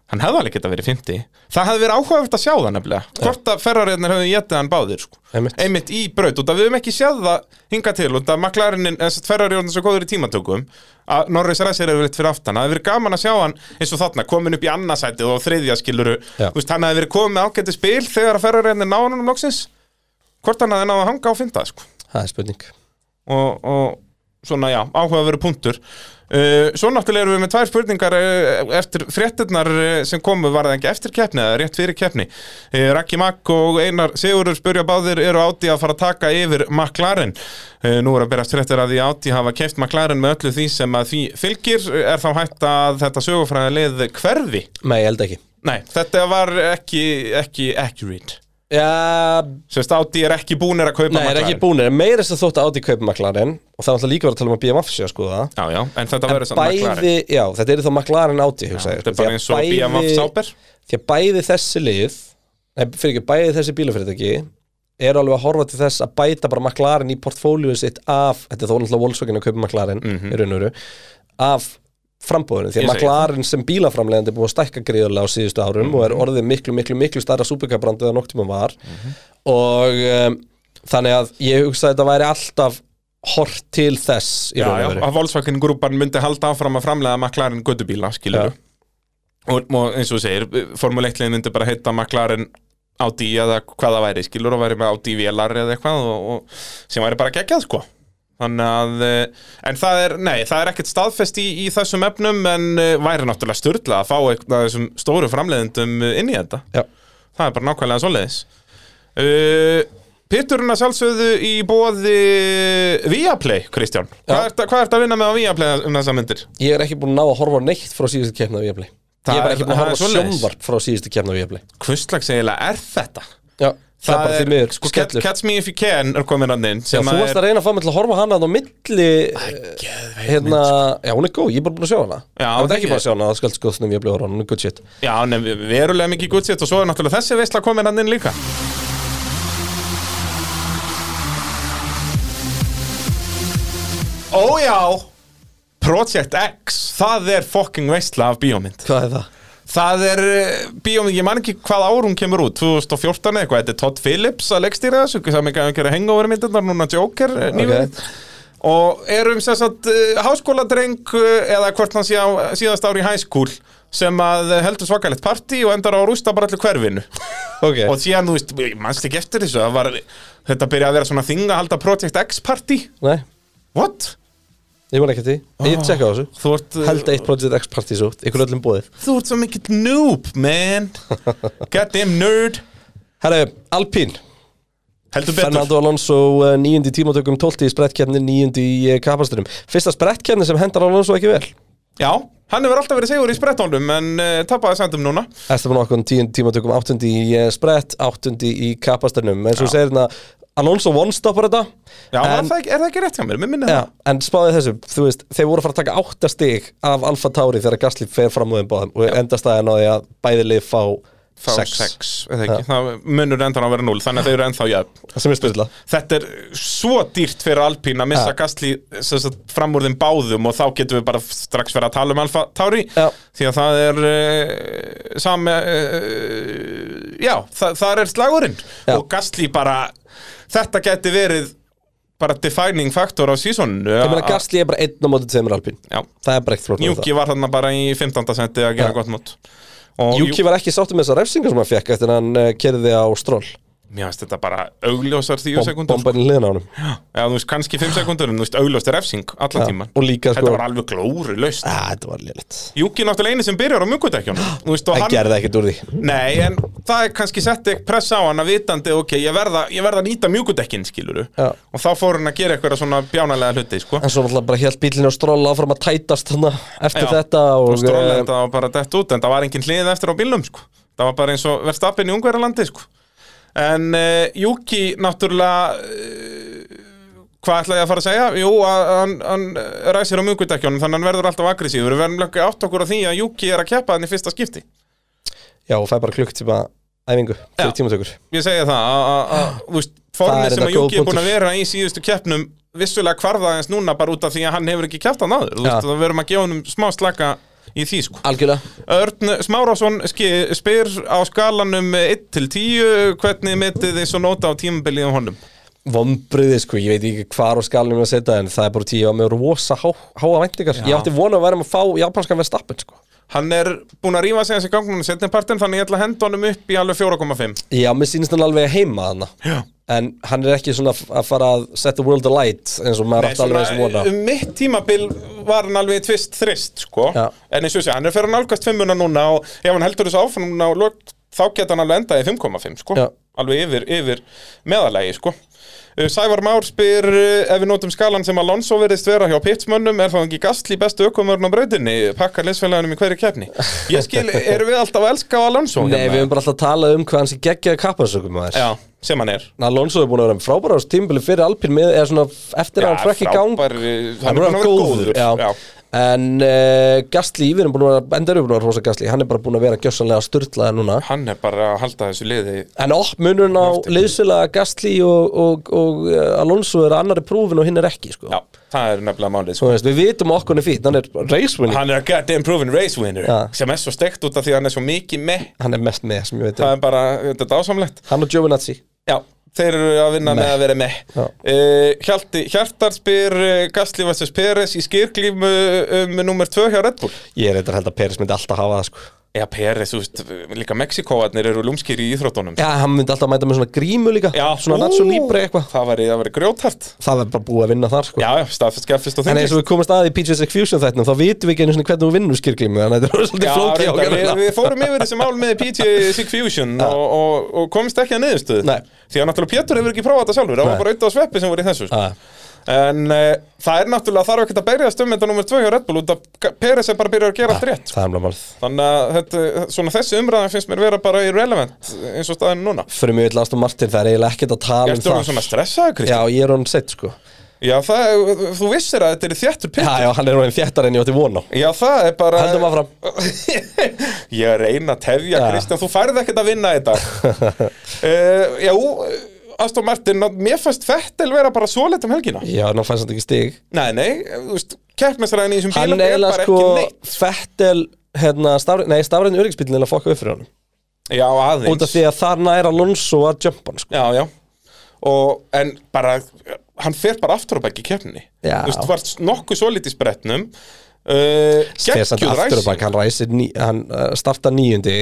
Speaker 2: Hann hefði alveg geta verið 50. Það hefði verið áhugavert að sjá það nefnilega. Hvort að ferrariðnir hefði getið hann báðir, sko.
Speaker 4: Einmitt.
Speaker 2: í braut, út að við höfum ekki séð það hinga til, út eh, að maklarinin, þess að ferrariðnir svo góður í tímatökum, að Norris Ræsir hefur verið fyrir aftan. Það hefði verið gaman að sjá hann eins og þarna, komin upp í annarsætið og þriðjaskiluru.
Speaker 4: Já.
Speaker 2: Þú veist, hann hefði verið komið með ágæti spil þegar að ferrariðnir náðan um loksins. Hvort hann hefði náða að hanga á fynda, sko
Speaker 4: Það er spurning
Speaker 2: og, og svona já, áhuga að vera punktur uh, Svo náttúrulega erum við með tvær spurningar uh, eftir fréttirnar uh, sem komu var það ekki eftir keppni eða rétt fyrir keppni uh, Raki Makk og Einar Sigurur spurja báðir eru átti að fara að taka yfir McLaren uh, Nú er að berast fréttir að því átti hafa keft McLaren með öllu því sem að því fylgir Eh, er þá hægt að þetta sögufræða lið hverfi?
Speaker 4: Nei, ég held ekki
Speaker 2: Nei, þetta var ekki, ekki accurate
Speaker 4: Já,
Speaker 2: Sérst átti er ekki búnir að kaupa
Speaker 4: nei, er ekki búinir, meira þess að þótt að átti kaupa McLaren og það er alltaf líka verið að tala um að BMF sé að skoða það
Speaker 2: Já, já, en þetta verður samt
Speaker 4: bæði,
Speaker 2: McLaren
Speaker 4: já, þetta er þá McLaren átti hugsa, ég, sko,
Speaker 2: Þetta er bara eins og BMF Sauber
Speaker 4: því að bæði þessi lið nei, fyrir ekki, bæði þessi bílafyrirtæki eru alveg að horfa til þess að bæta bara McLaren í portfóljóið sitt af þetta er þó náttúrulega Volkswagen að kaupa McLaren í raun og veru, af frambóðinu því
Speaker 2: Mhm. Ég
Speaker 4: að
Speaker 2: segi
Speaker 4: McLaren sem bílaframlegandi er búið að stækka gríðarlega á síðustu árum og
Speaker 2: Mhm.
Speaker 4: er orðið miklu, miklu, miklu starra súbyggabrandi en noktíma var og um, þannig að ég hugsa að þetta væri alltaf hort til þess í
Speaker 2: Já,
Speaker 4: raun
Speaker 2: já,
Speaker 4: og veru
Speaker 2: að Volkswagen grúpan myndi halda áfram að framlega McLaren gödubíla, skilur og, og eins og þú segir, Formule 1 liðin myndi bara heita McLaren Audi eða hvað það væri, skilur og væri með Audi VLR eða eitthvað og, og sem væri bara geggjað, sko Þannig að, eh, en það er, nei, það er ekkert staðfest í, í þessum efnum en eh, væri náttúrulega styrla að fá eitthvað þessum stóru framleiðendum eh, inn í þetta
Speaker 4: Já.
Speaker 2: Það er bara nákvæmlega svoleiðis uh, Pitturinn að sjálfsögðu í bóði Viaplay, Kristján Hvað
Speaker 4: Já.
Speaker 2: ert að- hvað ertu að vinna með á Viaplay um þessa myndir?
Speaker 4: Ég er ekki búin að ná að horfa á neitt frá síðustu keppna við Jafnli Ég
Speaker 2: Það
Speaker 4: er bara
Speaker 2: er-
Speaker 4: ekki búin að
Speaker 2: það er
Speaker 4: horfa á
Speaker 2: svoleiðis.
Speaker 4: sjónvarp frá síðustu keppna við Jafnli
Speaker 2: Hvurslags eiginlega er þetta?
Speaker 4: Já, það er bara því miður,
Speaker 2: sko, catch,
Speaker 4: skellur
Speaker 2: catch me if you can er komin hann inn
Speaker 4: Já,
Speaker 2: sem
Speaker 4: þú
Speaker 2: að
Speaker 4: varst að
Speaker 2: er,
Speaker 4: reyna að fá mig til að horfa á hana þannig á milli eh, hérna, já hún er góð, ég er bara búin að sjá hana
Speaker 2: Já,
Speaker 4: það er ekki
Speaker 2: ég-
Speaker 4: bara að sjá hana, það skal sko snum ég að horfa á hana, hún er good shit
Speaker 2: Já, nefn, verulega mikið gutt sitt og svo er náttúrulega þessi veistla komin hann inn líka Ó já Project X, það er fucking veistla af bíómynd
Speaker 4: Hvað er það?
Speaker 2: Það er eh, bíómynd, ég man ekki hvað ár hún kemur út 2014 eða eitthvað, þetta er Todd Phillips að leggstýra þessu, sem ekki að gera hangover myndirnar núna Joker eh, nýverið og erum sem sagt eh, háskóladreng eh, eða hvort hann sé á síðast ári í high school sem að eh, heldur svakalegt partí og endar á að rústa bara allir hverfinu
Speaker 4: Ok,
Speaker 2: og síðan, þú veist, ég manst ekki eftir þessu það var, þetta byrjaði að vera svona þing að halda Project X partí,
Speaker 4: nei,
Speaker 2: what?
Speaker 4: ég man ekki eftir því Ég tjekka á þessu,
Speaker 2: Þú ert, eh,
Speaker 4: held eitt Project X partís út, ykkur öllum bóðið
Speaker 2: þú ert svo mikill noob, man goddamn nerd
Speaker 4: Herru, Alpín,
Speaker 2: heldur betur
Speaker 4: Fernando Alonso eh, níundi í tímatökum, tólti í sprettkeppni, níundi í kapasturum Fyrsta sprettkeppni sem hendar Alonso ekki vel
Speaker 2: Já, hann hefur alltaf verið segur í sprettónum en uh, tapaði sendum núna
Speaker 4: Esteban Okkon tíundi tímatökum áttundi í eh, sprett, áttundi í kapastarnum en svo segir hérna Alonso one-stoppar þetta
Speaker 2: Já, var
Speaker 4: en,
Speaker 2: það ekki, er það ekki rétt hjá mér? Mér minna
Speaker 4: já,
Speaker 2: það.
Speaker 4: en spáði þessu, þú veist, þeir voru að fara að taka átta stig af Alfa Tauri þegar Gasly fer fram úr þeim báðum og endast aðeins á því að bæði lið fá,
Speaker 2: Fá sex, sex eða ekki. Það munur endan að vera 0, þannig að þeir eru ennþá jöfn.
Speaker 4: sem er spyrla
Speaker 2: Þetta er svo dýrt fyrir Alpín að missa
Speaker 4: Ja.
Speaker 2: Gasly sem sagt, fram úr þeim báðum og þá getum við bara strax verið að tala um Alfa Tauri
Speaker 4: Já.
Speaker 2: því að það er uh, sami uh, já, það, það er slagurinn
Speaker 4: Já.
Speaker 2: og Gasly bara þetta geti verið bara defining factor á sísoninu
Speaker 4: Ég meina Gasly er bara einn á móti tveimur Alpín
Speaker 2: Já.
Speaker 4: Það er bara ekkert flóknar en
Speaker 2: Júki var þarna bara í 15. senti að gera
Speaker 4: Já.
Speaker 2: gott mót og
Speaker 4: það Júki var ekki sáttur með þessar refsingar sem hann fekk eftir að hann kerði á stról
Speaker 2: mér finnst þetta bara augljósar 10 sekundur
Speaker 4: Bombarinn liðin á honum
Speaker 2: Já, þú veist, kannski 5 sekundur en þú veist, augljóst er refsing allan
Speaker 4: Já,
Speaker 2: tíman
Speaker 4: og líka,
Speaker 2: Þetta
Speaker 4: sko-
Speaker 2: var alveg glóru laust
Speaker 4: Ah, Þetta var liðlegt
Speaker 2: Júki er náttúrulega eini sem byrjar á mjögkvæðdekjunum Þú veist, og
Speaker 4: Það
Speaker 2: hann
Speaker 4: gerði ekkert úr því
Speaker 2: Nei, en það er kannski setti press á hann að vitandi, ok, ég verða, ég verða að nýta mjögkvæðdekkin, skiluru
Speaker 4: Já.
Speaker 2: Og þá fór hann að gera eitthvað svona bjánalega hluti, sko
Speaker 4: En svo náttúrulega bara helt bílinn á stról áfram að tætast hana eftir
Speaker 2: Já.
Speaker 4: þetta
Speaker 2: Og
Speaker 4: og, eh,
Speaker 2: strólenda það var bara dett út, en það var engin hlið eftir á bílnum, sko Það var bara eins og verðstappin í Ungverjalandi, sko En uh, Júki, náttúrulega uh, Hvað ætla ég að fara að segja? Jú, að að hann, hann eh, ræsir á mjögkvæðdekjunum, þannig að hann verður alltaf aggressífur Við verðum löggu átt okkur á því að Júki er að keppa hann í fyrsta skipti
Speaker 4: Já, og fæ bara klukktíma æfingu
Speaker 2: Já.
Speaker 4: fyrir tímatökur
Speaker 2: ég segja það að- að- að, þú veist,
Speaker 4: Það er
Speaker 2: formið sem
Speaker 4: enda
Speaker 2: að Júki
Speaker 4: góð
Speaker 2: er búin að
Speaker 4: punktur.
Speaker 2: vera í síðustu keppnum vissulega kvarða aðeins núna bara út af því að hann hefur ekki keppt hann áður þú veist,
Speaker 4: Já.
Speaker 2: það verðum að gefa honum smá slaka í því sko
Speaker 4: Algjörlega
Speaker 2: Örn Smárásson ski- spyr á skalanum 1 til 10 hvernig metið þið svo nota á tímabilið um honum
Speaker 4: Vombriði sko, ég veit ekki hvar á skalunum að setja en það er bara tíu að með rosa há, háa væntingar Ég átti vona að vera að fá japanskan verðstappin sko
Speaker 2: hann er búin að rífa sig hans í gangunum setnipartin þannig ég ætla að henda honum upp í alveg 4,5
Speaker 4: Já, mér sýnist hann alveg heima hana Já. En hann er ekki svona að fara að set the world alight eins og maður
Speaker 2: Nei,
Speaker 4: átti alveg eins og
Speaker 2: svona,
Speaker 4: vona
Speaker 2: um mitt tímabil var hann alveg tvist þrist sko.
Speaker 4: Já.
Speaker 2: en eins og sé, hann er fyrir nálgast fimmuna núna og ef hann heldur þessu áfram núna og lok, þá geta hann alveg endað í 5,5 sko.
Speaker 4: Já.
Speaker 2: alveg yfir, yfir meðalegi sko. Uh, Sævar Már spyr uh, ef við notum skalan sem Alonso verðist vera hjá pitsmönnum, er það ekki gasli bestu ökumörn á brautinni, pakkar leysfélagunum í hverju keppni? Ég skil, erum við alltaf að elska Alonso? Hérna?
Speaker 4: Nei, við höfum bara alltaf að tala um hvað hann sé geggjaði kapparsökum maður
Speaker 2: Já, sem hann er
Speaker 4: Alonso er búin að vera frábæra á tímbili fyrir Alpín með, eða svona eftir að hann frekk í gang
Speaker 2: frábær, uh, hann er
Speaker 4: búinn
Speaker 2: búin að vera góður,
Speaker 4: já. En uh, Gastli, við erum búin að vera, enda erum við búin að vera rosa Gastli Hann er bara búin að vera gjössanlega styrlaði núna
Speaker 2: Hann er bara að halda þessu liði
Speaker 4: En opmunun á liðsvila Gastli og, og, og eh, Alonso er að annari prófin og hinn er ekki sko.
Speaker 2: Já, það er nefnilega málið sko.
Speaker 4: Svo veist, Við vitum að okkur er fýtt, hann er race winning
Speaker 2: Hann er að goddamn proven race winner
Speaker 4: Já.
Speaker 2: sem er svo steikt út af því að hann er svo mikið með
Speaker 4: Hann er mest með sem ég veit
Speaker 2: það
Speaker 4: um.
Speaker 2: er bara, þetta er dásamlegt
Speaker 4: Hann og Giovinazzi
Speaker 2: Já, þeir eru að vinna með að vera með
Speaker 4: Já.
Speaker 2: uh, Hjalti, Hjartar spyr uh, Gasly Vassas Peres í skýrglímu um nummer 2 hjá Red Bull
Speaker 4: Ég er eitthvað held að Peris myndi alltaf hafa það sko.
Speaker 2: Já, Peres, þú veist, líka Mexikoarnir eru lúmskýri í íþróttunum
Speaker 4: Já, hann myndi alltaf mæta með svona grímu líka Svona nacho libre eitthvað
Speaker 2: Það var, það var grjóthart
Speaker 4: Það er bara búið að vinna þar sko.
Speaker 2: Já, já, staðfest, skeffist og
Speaker 4: En eins
Speaker 2: þengist
Speaker 4: og við komast að í PJ's Exfusion þættinum þá vitum við ekki einu sinni hvernig þú vinnur skýrglímu Þannig að þetta er
Speaker 2: Já,
Speaker 4: svolítið flókið hérna.
Speaker 2: reyndar, við,
Speaker 4: ákveðlega
Speaker 2: við fórum yfir þessi mál með PG Sig Fusion og, og, og komist ekki að niðurstöðu
Speaker 4: Nei.
Speaker 2: Því að náttúrulega Pétur hefur ekki prófað þetta sjálfur Það var
Speaker 4: Nei.
Speaker 2: bara auðvitað á sveppi sem voru í þessu sko.
Speaker 4: Ah.
Speaker 2: En uh, það er náttúrulega þarf ekkert að um berja stömmenda nummer 2 hjá Red Bull út að Peres er bara að byrja að gera allt rétt
Speaker 4: Það er alveg málið
Speaker 2: Þannig að þetta, svona þessi umræðan finnst mér vera bara irrelevant eins og staðin núna
Speaker 4: Fyrir mig vill Aston Martin, það er eiginlega ekkert að tala
Speaker 2: Ertu
Speaker 4: um
Speaker 2: orðin svona
Speaker 4: það
Speaker 2: stressaður, Kristi?
Speaker 4: Já, ég er honum sett sko
Speaker 2: Já, það, þú vissir að þetta er þjættur
Speaker 4: Já,
Speaker 2: pittur
Speaker 4: já, hann er honum þjættar en ég átti von á
Speaker 2: Já, það er bara
Speaker 4: Höldum áfram.
Speaker 2: Ég er að reyna að tefja
Speaker 4: Já.
Speaker 2: Kristján, þú færð ekkert að vinna þetta uh, Já, Aston Martin ná- Mér fannst Fettel vera bara svoleitt um helgina
Speaker 4: Já, en hann fæst hann ekki stig
Speaker 2: Nei, nei, þú veist Kjærtmestræðin í þessum
Speaker 4: Hann
Speaker 2: bílum er
Speaker 4: eiginlega
Speaker 2: bara
Speaker 4: sko
Speaker 2: ekki neitt
Speaker 4: Fettel, hérna, stafri, nei, stafræðin öryggsbílinn er að fokka upp fyrir honum
Speaker 2: Já, aðeins
Speaker 4: Út af því að þar næra Alonso að jumpa hann sko
Speaker 2: Já, já Og, en bara, hann fer bara aftur á bæk í keppninni
Speaker 4: Já.
Speaker 2: Þú veist, var nokkuð svolítið í spretnum uh,
Speaker 4: Fer samt
Speaker 2: Gekkjur
Speaker 4: aftur
Speaker 2: ræs
Speaker 4: og bak, hann ræsir, ní, hann uh, starta níundi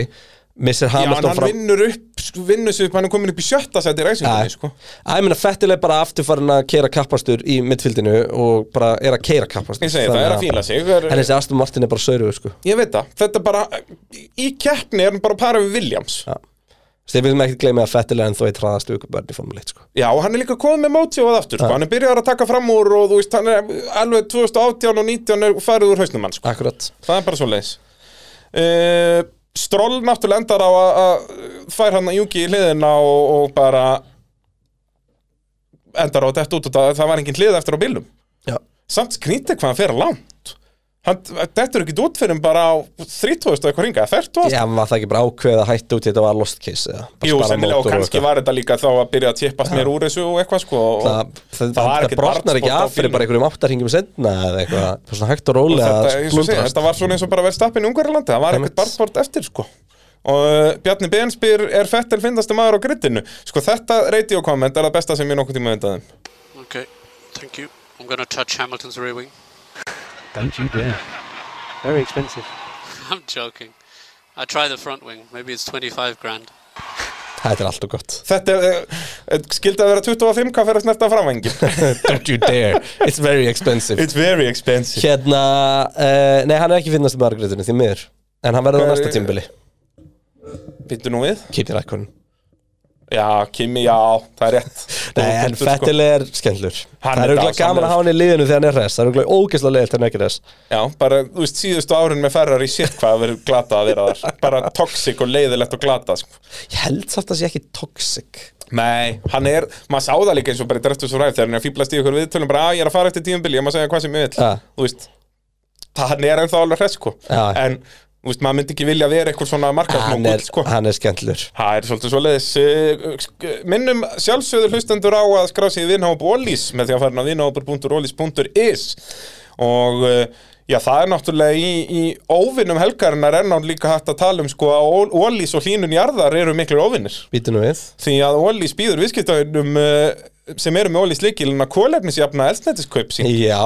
Speaker 4: Missir
Speaker 2: Já, en
Speaker 4: Hamilton
Speaker 2: hann
Speaker 4: fram
Speaker 2: vinnur upp, vinnur sig upp, hann er komin upp í sjötta sæti í ræsingunni, sko
Speaker 4: Æ, ég meina, Fettil er bara afturfarin að keira kappastur í mittfildinu og bara er að keira kappastur
Speaker 2: Ég segi það, er að fíla sig er,
Speaker 4: En þessi Aston Martin er bara saurugur, sko
Speaker 2: Ég veit það, þetta er bara Í keppni er hann bara að para við Williams Já,
Speaker 4: Þessi við ekki gleyma að Fettil er ennþá eitt hraðast aukubörn í Formule 1, sko
Speaker 2: og hann er líka komið með mótjóð aftur sko. Hann er byrjar að taka fram úr og þú veist Hann er alveg 2018 og 19 er farið úr hausnum hann sko.
Speaker 4: Akkurat
Speaker 2: Það er bara svo leis uh, Stroll náttúrulega endar á að að Fær hann að Júki í hliðina og, og bara endar á þetta út og það, það var engin hlið eftir á bílum
Speaker 4: Já.
Speaker 2: samt skrítið hvað hann fer langt hann, þetta er ekki út fyrir bara á 30 og eitthvað ringa, 40
Speaker 4: Já, var það ekki bara ákveðið að hætta út í þetta var lost case eða? Bara
Speaker 2: Jú,
Speaker 4: spara
Speaker 2: sennilega og
Speaker 4: mótor
Speaker 2: kannski
Speaker 4: eitthvað.
Speaker 2: var þetta líka þá að byrja að tippast mér úr þessu og eitthvað sko og,
Speaker 4: það, það, það,
Speaker 2: var ekkert
Speaker 4: brotnar ekki
Speaker 2: barnsbótt á
Speaker 4: af fyrir
Speaker 2: bílnum.
Speaker 4: bara einhverjum áttarhingjum senna eða eitthvað, bara svona hægt og
Speaker 2: og
Speaker 4: rólega
Speaker 2: þetta, eins
Speaker 4: að
Speaker 2: og segja,
Speaker 4: splundrast.
Speaker 2: þetta var svona eins og bara verið stappin í Ungarlandi, það var
Speaker 4: Einmitt.
Speaker 2: ekkert barnsport eftir sko og uh, Bjarni Ben spyr er Fettel finnastu maður á grittinu sko þetta radio comment er það besta sem ég nokkuð tíma undaði
Speaker 9: Okay, thank you. I'm going to touch Hamilton's rear wing.
Speaker 10: Don't you dare. Very expensive.
Speaker 9: I'm joking. I try the front wing. Maybe it's 25 grand.
Speaker 4: Þetta er alltaf gott
Speaker 2: þetta er, uh, skildi að vera 25 hvað fyrir að snerta framvangi
Speaker 4: Don't you dare, it's very expensive
Speaker 2: it's very expensive
Speaker 4: Hérna, uh, nei hann er ekki finnast með Margretinu því miður En hann verður á
Speaker 2: Hver-
Speaker 4: næsta tímbili,
Speaker 2: býttu nú við,
Speaker 4: Kimi Rækkonen
Speaker 2: já Kimi, já það er rétt
Speaker 4: Nei, en
Speaker 2: Sko,
Speaker 4: Fettil er skemmtlur
Speaker 2: Hann er
Speaker 4: Það er auðvitað gaman
Speaker 2: dásamlegur.
Speaker 4: að hafa hann í liðinu þegar hann er res Það er auðvitað ógeðslega leiðilt þegar hann er ekki res
Speaker 2: já, bara, þú veist, síðustu árin með Ferrari shit hvað verður glata að vera þar bara toxic og leiðilegt og glata sko
Speaker 4: Ég held samt að það sé ekki toxic
Speaker 2: Nei, hann er, maður sá það líka eins og bara í Drestus og Ræf þegar hann er að fýblast í ykkur viðtölum bara að ég er að fara eftir tíumbili, ég má segja hvað sem ég vil
Speaker 4: Ja.
Speaker 2: þú veist, það hann er ennþá alveg hress sko
Speaker 4: Ja.
Speaker 2: en, þú veist, maður myndi ekki vilja vera eitthvað svona
Speaker 4: Hann
Speaker 2: markaðsmókull
Speaker 4: er,
Speaker 2: sko
Speaker 4: hann er skemmtlur
Speaker 2: Það er svolítið svo leiðis Minnum sjálfsögður hlustendur á að skrá sig í vinhóp Ólís með því að fara á vinhópur.ólís.is og uh, já, það er náttúrulega í, í óvinnum helgarinnar er náttúrulega líka hægt að tala um sko að Ólís og hlínun jarðar eru miklir óvinnir
Speaker 4: Býtu nú við
Speaker 2: því að Ólís býður viðskiptaunum uh, sem eru með Ólís líkilin að kólefnisjafna eldsnættiskaup sín
Speaker 4: Já,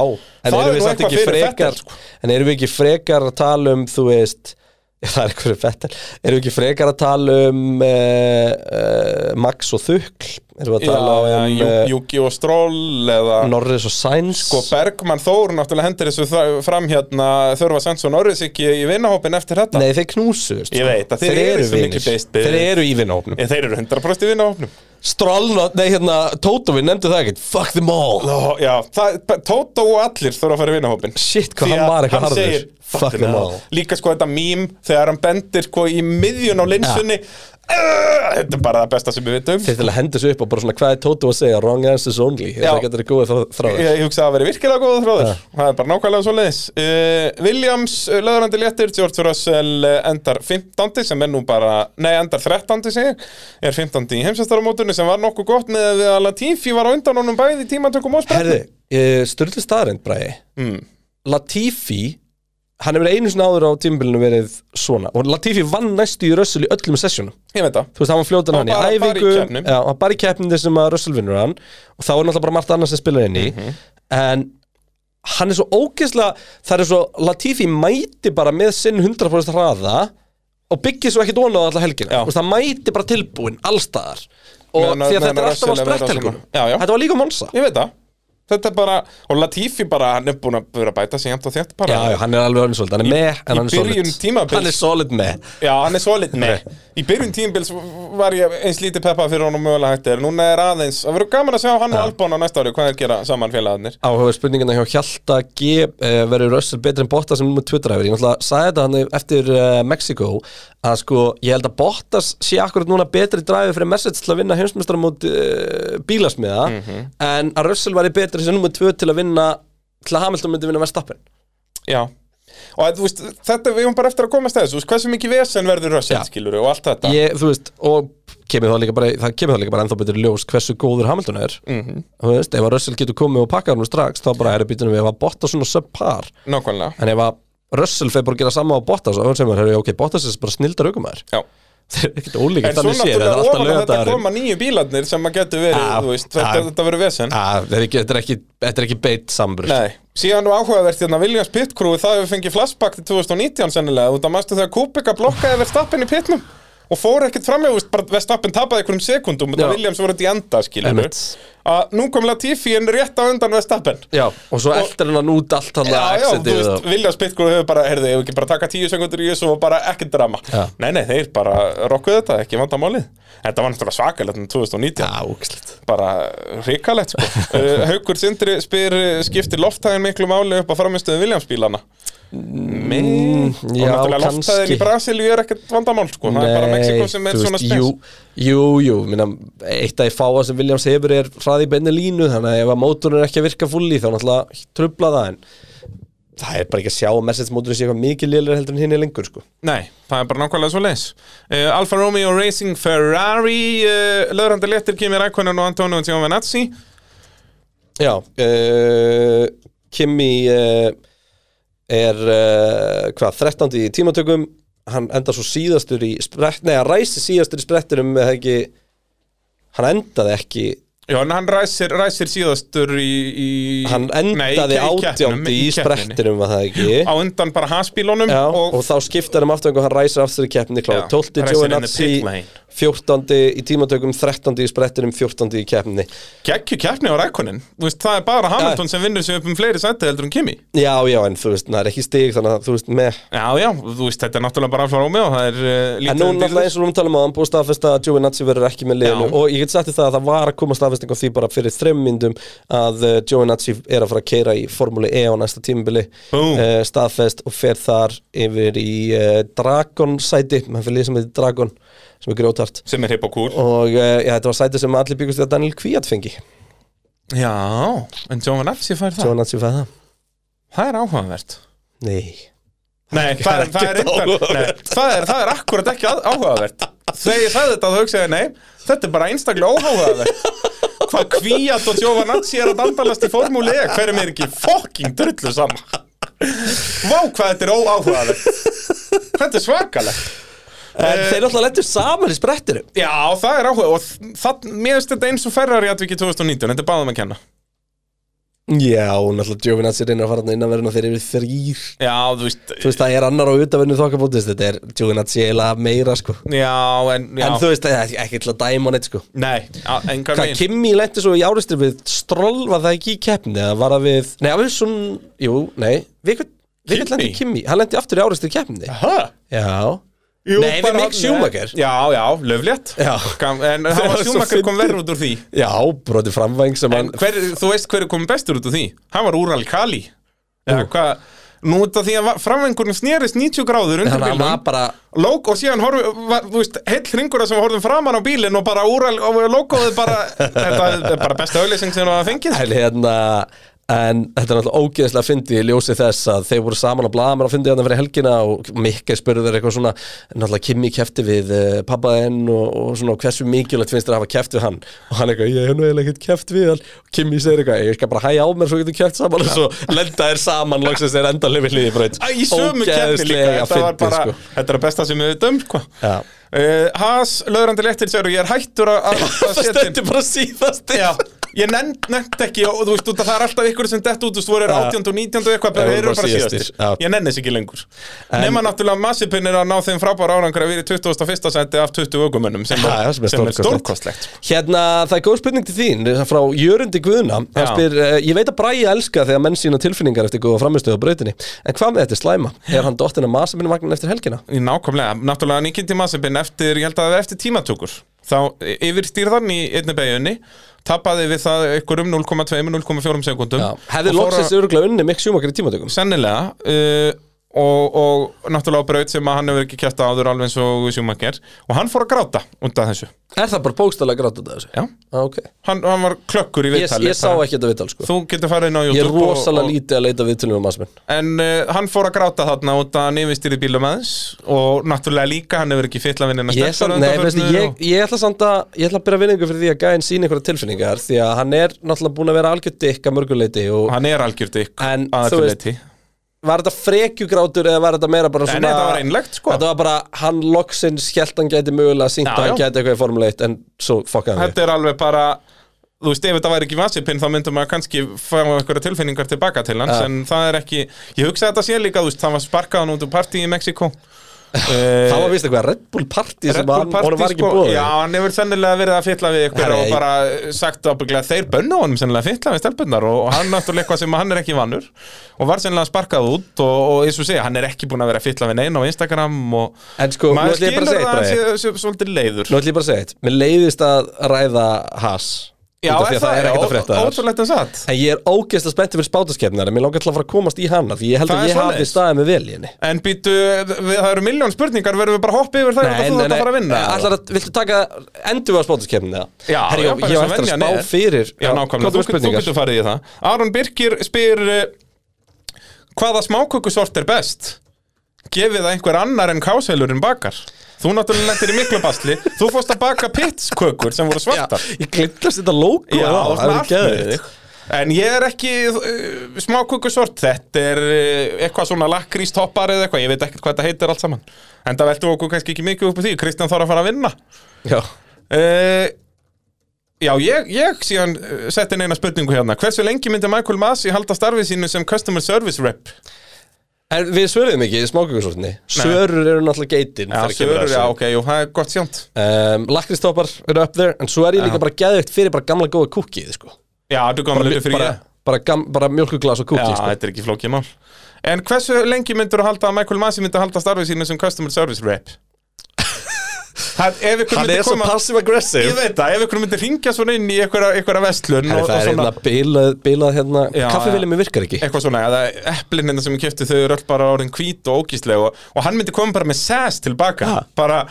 Speaker 4: en
Speaker 2: Það er
Speaker 4: erum
Speaker 2: nú
Speaker 4: við samt
Speaker 2: eitthvað
Speaker 4: ekki
Speaker 2: fyrir
Speaker 4: frekar
Speaker 2: Vettel, sko.
Speaker 4: En erum við ekki frekar að tala um Þú veist, það er eitthvað fettel Erum við ekki frekar að tala um uh, uh, Max og Þukl Erum við að
Speaker 2: Já,
Speaker 4: tala
Speaker 2: já,
Speaker 4: um
Speaker 2: Jú-
Speaker 4: eh,
Speaker 2: Júki og Stroll eða
Speaker 4: Norris og Sainz
Speaker 2: sko Bergmann Þór náttúrulega hendur þessu þra- fram hérna Þörfa Sandsson Orris ekki í vinahópin eftir þetta
Speaker 4: Nei, þeir knúsu sko.
Speaker 2: Ég veit að þeir eru
Speaker 4: eru
Speaker 2: svo miklu
Speaker 4: vinir
Speaker 2: best
Speaker 4: Þeir
Speaker 2: business.
Speaker 4: eru í vinahópnum
Speaker 2: Ég, þeir eru 100% í vinahópnum
Speaker 4: Strálnot, nei hérna, Tóto, við nefndum það ekkert Fuck them all
Speaker 2: Ló, Já, það, Tóta og allir þurfa að fara í vinahópin
Speaker 4: Shit, hvað hann var eitthvað harður
Speaker 2: segir, fuck them all Líka sko þetta mím þegar hann bendir sko í miðjun á linsunni uh, Þetta er bara það besta sem við vitum
Speaker 4: Þeir til að henda þessu upp og bara svona hvað er Tóto að segja Wrong answers only,
Speaker 2: Já.
Speaker 4: þetta getur góð þráður
Speaker 2: Ég, ég hugsa að það veri virkilega góða þróður Það er bara nákvæmlega svo leiðis uh, Williams, uh, löðurandi léttir George Russell uh, endar 15. sem er nú bara, nei endar 13. segir, er 15. í heimsastaramótunni sem var nokkuð gott með að Latifi var á undan honum bæði í tímatökum og
Speaker 4: Herði,
Speaker 2: sprengum
Speaker 4: eh, Sturlu staðarind bræði
Speaker 2: Mm.
Speaker 4: Latifi Hann hefur einu sinna áður á tímbilinu verið svona Og Latifi vann næstu í Russell í öllum sessjónum
Speaker 2: Ég veit það
Speaker 4: Þú veist, hann var fljótan
Speaker 2: Og
Speaker 4: hann í
Speaker 2: bara- bara í
Speaker 4: æfingu
Speaker 2: keppnum.
Speaker 4: Já, hann bara í keppnum þessum að Russell vinnur hann Og þá er náttúrulega bara margt annað sem spilar inn í
Speaker 2: Mhm.
Speaker 4: En hann er svo ógeðslega Það er svo, Latifi mæti bara með sinn 100% hraða Og byggir svo ekkit ónað alltaf helgina
Speaker 2: Já.
Speaker 4: Þú veist, hann mæti bara tilbúinn allstaðar Og
Speaker 2: Meðan að-
Speaker 4: því að
Speaker 2: meðan að
Speaker 4: þetta er
Speaker 2: Russell
Speaker 4: alltaf á
Speaker 2: er verið á
Speaker 4: spretthelgum
Speaker 2: svona- Já, já.
Speaker 4: Þetta var líka monsa
Speaker 2: Ég veit það Þetta er bara, og Latifi bara, hann er búin að vera að bæta sig jæmt og þétt bara
Speaker 4: Já, já, hann er alveg orðin svolítið, hann er með,
Speaker 2: í
Speaker 4: en hann er solid
Speaker 2: byrjun tímabils-
Speaker 4: Hann er solid með
Speaker 2: Já, hann er svolít með Í byrjun tímbils var ég eins lítið peppað fyrir honum mögulega hættir Núna er aðeins, það verður gaman að sjá hann og Albon á næsta ári Hvað er að gera saman félagarnir
Speaker 4: Áhuga spurningina hjá Hjalta G uh, verður Russell betri en Bottas sem nummer 2 driver Ég náttúrulega sagði þetta hann eftir uh, Mexico að sko, ég held að Bottas sé akkurat núna betri driver fyrir message til að vinna heimsmyndstara mót uh, bílasmiða
Speaker 2: Mhm.
Speaker 4: en að Russell væri betri sem nummer 2 til að vinna til að Hamilton myndi vinna Verstappen
Speaker 2: Já Og að, þú veist, þetta við höfum bara eftir að komast að þessu þú veist, Hversu mikið vesen verður
Speaker 4: Já.
Speaker 2: Russell skilur og allt þetta
Speaker 4: ég, þú veist, og kemur það líka bara það kemur það líka bara ennþá betur í ljós hversu góður Hamilton er
Speaker 2: Mhm.
Speaker 4: -hmm. þú veist, ef að Russell getur komið og pakkað hann strax, þá bara er að býtunum við ef að Bottas svona subpar,
Speaker 2: Nákvæmlega
Speaker 4: en ef að Russell fer bara að gera sama á Bottas og hann segir maður, "Heyrðu, ok, Bottas er bara snildar aukumæður
Speaker 2: Já.
Speaker 4: þeir eru ekkert ólíkir,
Speaker 2: En svo
Speaker 4: þannig séð, það
Speaker 2: náttúrulega
Speaker 4: er alltaf
Speaker 2: ofan að þetta
Speaker 4: lögadagurinn
Speaker 2: koma nýju bílarnir sem að getur verið,
Speaker 4: Ah,
Speaker 2: þú veist, þetta,
Speaker 4: ah.
Speaker 2: þetta verður vesen
Speaker 4: Ah, þetta er ekki- þetta er ekki- þetta er ekki beitt sambrur
Speaker 2: Nei, síðan og áhugavert hérna Williams pit crew, það hefur fengið flashback til 2019 sennilega, út af mæstu þegar Kubica blokkaði Verstappen í pitnum og fór ekkert framjá, veist, bara Verstappen tapaði einhverjum sekundum og
Speaker 4: Já.
Speaker 2: það Williams voru þetta í enda, skilur
Speaker 4: Einmitt.
Speaker 2: að nú kom Latifi en rétt á undan Verstappen
Speaker 4: Já, og svo eldur hann út allt hann
Speaker 2: Já, já, þú
Speaker 4: exitið
Speaker 2: veist,
Speaker 4: og-
Speaker 2: Williams pit crew hefur bara, heyrðu, hefur ekki bara taka tíu sekundur í þessu og bara ekkert drama
Speaker 4: Já.
Speaker 2: Nei, nei, þeir bara rokkuðu þetta, ekki vandamálið Þetta var náttúrulega svakalegt um 2019
Speaker 4: Já, úkslitt
Speaker 2: bara hrikalegt sko. uh, Haukur Sindri spyr uh, skiptir lofthæðin miklu máli upp á framistöðu Viljámsbílana Nei, og
Speaker 4: Mm, já,
Speaker 2: náttúrulega loftæðin í
Speaker 4: kannski.
Speaker 2: Brasilíu er ekkert vandamál sko, það er bara Mexiko sem er
Speaker 4: þú
Speaker 2: svona
Speaker 4: veist,
Speaker 2: spes
Speaker 4: Jú, jú, jú minna, eitt af því fáa sem Williams hefur er hraði í beinni línu, þannig að ef að mótorinn er ekki að virka fulli þá náttúrulega trubla það en það er bara ekki að sjá að Mercedes mótorinn sé eitthvað mikið lélir heldur en hinn er lengur sko.
Speaker 2: Nei, það er bara nákvæmlega svo leis uh, Alfa Romeo Racing Ferrari uh, Löðrandi letir Kimi Rækonen og Antonio Giovinazzi
Speaker 4: Já, uh, Kimi uh, er uh, hvað, 13. í tímatökum hann endar svo síðastur í sprett, nei, hann ræsi síðastur í sprettinum eða ekki, hann endaði ekki
Speaker 2: Já, en hann ræsir, ræsir síðastur í, í
Speaker 4: hann
Speaker 2: Nei,
Speaker 4: endaði
Speaker 2: í keppninum,
Speaker 4: átjándi í
Speaker 2: keppninni.
Speaker 4: sprettinum var það ekki
Speaker 2: Á undan bara haspílunum
Speaker 4: Já, og,
Speaker 2: og,
Speaker 4: þá skiptar hann um aftur og hann ræsir aftur í keppni kláð
Speaker 2: Já,
Speaker 4: 12.
Speaker 2: ræsir inn í
Speaker 4: Giovinazzi
Speaker 2: pit lane.
Speaker 4: 14. í tímatökum 13. í sprettinum 14. í keppni
Speaker 2: geggju keppni á Rækonen veist, Það er bara Hamilton sem vinnur sig upp um fleiri sæti heldur en Kimi
Speaker 4: já, já, en þú veist, það er ekki stig þannig að þú veist, með
Speaker 2: Já, já, þú veist, þetta er náttúrulega bara Alfa Romeo Það er uh,
Speaker 4: En
Speaker 2: lítið
Speaker 4: nú
Speaker 2: um
Speaker 4: náttúrulega eins og við talum á hann búið staðfest að Giovinazzi verður ekki með liðinu
Speaker 2: Já.
Speaker 4: og ég get sagt þér það að það var að koma staðfesting á því bara fyrir þrem myndum að eh, Giovinazzi er að fara að keira í Formúli E á næsta tímabili
Speaker 2: Búm.
Speaker 4: Eh, staðfest og fer þar yfir í uh, Dragon sæti hann fyrir lið sem heitir Dragon sem er grjótart
Speaker 2: sem er hipp og kúl
Speaker 4: og uh, já, þetta var sæti sem allir byggust við að Daniel Kvíat fengi
Speaker 2: Já, en Giovinazzi fær það
Speaker 4: Giovinazzi fæði það
Speaker 2: Það er áhugavert
Speaker 4: Nei
Speaker 2: Nei, það er, það er,
Speaker 4: ekkert
Speaker 2: reyndar- nei, það er, það er akkurat ekki að- áhugavert Þegar ég sagði þetta þá hugsaði ég, nei Þetta er bara einstaklega óhugavert Hvað kvíat og Giovanazzi er að dandalast í formúli E Hverjum er ekki fokking drullu saman Vá hvað þetta er óáhugavert Þetta er svakalegt
Speaker 4: En þeir alltaf lettur saman í sprettinum
Speaker 2: Já, það er áhuga og það, mér finnst þetta eins og Ferrari atviki 2019, þetta er báðum að kenna
Speaker 4: Já, og náttúrulega Giovinazzi reynir að fara þarna innanverðin og þeir eru þrýr
Speaker 2: Já, þú veist,
Speaker 4: þú veist, það er annar á utavennu þokkabótist þetta er Giovinazzi eiginlega meira sko.
Speaker 2: já, en, já
Speaker 4: en þú veist, það er ekki til að dæma neitt sko.
Speaker 2: Nei, á- engan
Speaker 4: hvað,
Speaker 2: veginn
Speaker 4: Kimi lendi svo í áristir við Stroll var það ekki í keppni eða var það við, nei, það var svon jú, nei, við
Speaker 2: Kimi?
Speaker 4: hvert lendi Kimi hann lendi aftur í áristir í keppni
Speaker 2: Hæ?
Speaker 4: já,
Speaker 2: Jú,
Speaker 4: Nei, við
Speaker 2: bara-
Speaker 4: Mick Schumacher.
Speaker 2: Já, já, löflétt
Speaker 4: Já.
Speaker 2: En það
Speaker 4: var
Speaker 2: var
Speaker 4: svo
Speaker 2: Schumacher kom
Speaker 4: fyndið.
Speaker 2: verður út úr því
Speaker 4: já, broti framvæng sem
Speaker 2: En
Speaker 4: hann
Speaker 2: hver, þú veist hverju kom bestur út úr því Hann var úr Alkali Eða hvað Nú út af því að framvengurinn snerist 90 gráður undir
Speaker 4: hann hann var
Speaker 2: bílum
Speaker 4: bara
Speaker 2: Lók og síðan horf, var, þú veist, heill ringura sem horfðum framan á bílinn og bara úral og lókoðu bara, þetta er bara besta auðlýsing sem það var fengið.
Speaker 4: en hérna En þetta er náttúrulega ógeðslega fyndið í ljósi þess að þeir voru saman að blaða mér að fyndið hérna fyrir helgina og Mikkel spurði þeir eitthvað svona náttúrulega Kimi kefti við uh, pappa henn og, og svona hversu mikilvægt finnst þér að hafa keft við hann og hann eitthvað, ég hef nú eiginlega ekkert keft við hann og Kimi segir eitthvað, ég skal bara hæja á mér svo getur keft saman og svo lenda þér saman loksins þeir enda lifið liðið braut
Speaker 2: Æ, í sömu kefni líka,
Speaker 4: Ógeðslega
Speaker 2: þetta var
Speaker 4: fyndið,
Speaker 2: bara,
Speaker 4: sko.
Speaker 2: þetta er að besta sem við döm, sko.
Speaker 4: Já.
Speaker 2: Uh, Has, löðrandi léttir, sér, ég er hættur að- að að
Speaker 4: Það
Speaker 2: setja inn-
Speaker 4: stendur bara síðast
Speaker 2: Já, ég nefnd, nefnd ekki og þú veist, út að það er alltaf ykkur sem dett út þú veist, voru er 18 og 19 og eitthvað
Speaker 4: Já,
Speaker 2: þeir
Speaker 4: voru
Speaker 2: eru
Speaker 4: bara
Speaker 2: bara
Speaker 4: síðastir.
Speaker 2: síðastir,
Speaker 4: Já.
Speaker 2: ég nenni þess ekki lengur nema náttúrulega Massipin er að ná þeim frábæra árangur að vera í 21. sendi af 20 ögumönnum sem,
Speaker 4: Já,
Speaker 2: er-
Speaker 4: já, sem er
Speaker 2: sem er
Speaker 4: stórkostlegt.
Speaker 2: stórkostlegt
Speaker 4: Hérna, það er góð spurning til þín eh, frá Jörundi Guðna
Speaker 2: Já.
Speaker 4: hann spyr, uh, ég veit að Bræja elska þegar menn sína tilfinningar eftir góða framistöðu á brautinni en hvað með þetta slæma? Er hann dottin að masa minni vagnin eftir helgina?
Speaker 2: Í Nákvæmlega, náttúrulega Nikiti Massipin eftir, ég held að það er eftir tímatökur þá yfir stýrðan í einni beginni tapaði við það ykkur um 0,2-0,4 sekundum
Speaker 4: Hefði
Speaker 2: Og fór að-
Speaker 4: loksins örgulega unni mikk sjúmakar í tímatökum
Speaker 2: sennilega uh, og, og náttúrulega á braut sem að hann hefur ekki kæft áður alveg eins og sjúmakir og hann fór að gráta undan þessu
Speaker 4: Er það bara bókstælega grátt að þessu?
Speaker 2: Já.
Speaker 4: Ah, ok.
Speaker 2: hann, hann var klökkur í
Speaker 4: ég,
Speaker 2: viðtali
Speaker 4: ég sá ekki þetta viðtal sko
Speaker 2: þú getur farið inn á
Speaker 4: Ég
Speaker 2: YouTube
Speaker 4: er rosalega lítið að leita viðtalum um masa minn
Speaker 2: en uh, hann fór að gráta þarna út að hann yfirstýri bílum aðeins og náttúrulega líka hann hefur ekki fytla vinnina
Speaker 4: Ég, samt, nei, veistu, ég, ég ætla samt að ég ætla að byrja vinningu fyrir því að gæðin sína einhverja tilfinningar því að hann er náttúrulega búin að vera algjörd dikka mörguleiti og
Speaker 2: hann er algjörd ykk
Speaker 4: En,
Speaker 2: að
Speaker 4: þú
Speaker 2: öllu
Speaker 4: veist,
Speaker 2: leyti.
Speaker 4: var þetta frekjugrátur eða var þetta meira bara
Speaker 2: En
Speaker 4: svona
Speaker 2: þetta var einlegt, sko.
Speaker 4: Þetta var bara, hann loksins hjælt hann gæti mögulega
Speaker 2: Já,
Speaker 4: sínt að hann
Speaker 2: já.
Speaker 4: gæti eitthvað í formuleitt en svo fokkaði hann
Speaker 2: þetta er alveg bara þú veist, ef þetta væri ekki vassipinn þá myndum maður kannski fá einhverja tilfinningar tilbaka til hans
Speaker 4: Ja.
Speaker 2: en það er ekki, ég hugsa þetta sé líka þú veist, það var sparkaðan út úr partí í Mexiko
Speaker 4: við Það var vist eitthvað Red Bull
Speaker 2: Eh,
Speaker 4: party sem hann, honum var ekki sko, búið
Speaker 2: já, hann hefur sennilega verið að fytla við ykkur
Speaker 4: Herra,
Speaker 2: og
Speaker 4: ég-
Speaker 2: bara sagt ábygglega þeir bönnu honum sennilega fytla við stelpunnar og, og hann náttúrulega eitthvað sem hann er ekki vannur og var sennilega sparkað út og, og eins og segja, hann er ekki búin að vera að fytla við neina á Instagram og
Speaker 4: En sko, nú
Speaker 2: maður
Speaker 4: ætlum ég bara
Speaker 2: skilur
Speaker 4: að
Speaker 2: að
Speaker 4: segja
Speaker 2: hann
Speaker 4: eitthvað
Speaker 2: sé sé svolítið leiður
Speaker 4: Nú ætlum ég bara að segja eitt Mér leiðist að ræða Haas
Speaker 2: Já,
Speaker 4: Út af því að það er ekkert að frétta þar.
Speaker 2: Ótrúlegt að satt
Speaker 4: En ég er ógeðslega spenntið fyrir spátaskefnina en mér langar til að fara að komast í hana því ég held
Speaker 2: Það
Speaker 4: að
Speaker 2: er
Speaker 4: ég hafi
Speaker 2: svoleiðis.
Speaker 4: staðið með vel í henni
Speaker 2: En býtu, við, það eru miljón spurningar, verðum við bara að hoppa yfir það og þú þetta að fara að vinna?
Speaker 4: Ætlar að, viltu taka, endur við á spátaskefnina?
Speaker 2: Já,
Speaker 4: Herri,
Speaker 2: já, bara eins
Speaker 4: ég á
Speaker 2: og
Speaker 4: eftir að
Speaker 2: venjan
Speaker 4: spá
Speaker 2: er.
Speaker 4: fyrir
Speaker 2: Já, nákvæmlega, þú,
Speaker 4: þú,
Speaker 2: getur- þú getur farið í það Aron Birkir spyr uh, Hvaða smákökusort er best? Gefið það einhver annar en káselurinn bakar Þú náttúrulega lendir í miklu basli Þú fórst að baka pitskökur sem voru svartar
Speaker 4: Ég glindast þetta logo
Speaker 2: Já,
Speaker 4: það,
Speaker 2: svona
Speaker 4: það er
Speaker 2: allt með
Speaker 4: geðið
Speaker 2: þig. En ég er ekki uh, smákökusort Þetta er uh, eitthvað svona lakrístoppar eða eitthvað Ég veit ekkert hvað þetta heitir allt saman En það veltum við okkur kannski ekki mikið upp á því Kristján þarf að fara að vinna
Speaker 4: Já,
Speaker 2: Uh, já, ég, ég síðan uh, setti inn eina spurningu hérna Hversu lengi myndi Michael Masi halda starfið sínu sem Customer Service Rep?
Speaker 4: en við svöruðum ekki í smákökusortinni Sörur eru náttúrulega geitin
Speaker 2: Já, sörur, já, ok, jú, það er gott sjönt
Speaker 4: Um, Lakristoppar eru up there En svo er ég líka bara geðveikt fyrir bara gamla góða kúkið sko.
Speaker 2: Já, þú komið
Speaker 4: bara,
Speaker 2: lítið fyrir
Speaker 4: bara,
Speaker 2: ég
Speaker 4: bara, gam, bara mjölkuglas og
Speaker 2: Já,
Speaker 4: kúkið sko.
Speaker 2: þetta er ekki flókið mál En hversu lengi myndur þú halda að Michael Masi myndi halda starfið sínu sem Customer Service Rep? það, ef ykkur myndi koma Ég
Speaker 4: passive-aggressive
Speaker 2: veit það, ef ykkur myndi hringja svona inn í einhverja, einhverja vestlun og, og
Speaker 4: Það er
Speaker 2: svona
Speaker 4: hérna bilað, bilað hérna
Speaker 2: Já,
Speaker 4: Kaffivillin mér virkar ekki
Speaker 2: eitthvað svona, eða eplinin sem ég kefti þau eru öll bara orðin hvít og ógísleg og, og hann myndi koma bara með sæs tilbaka
Speaker 4: Ha.
Speaker 2: bara,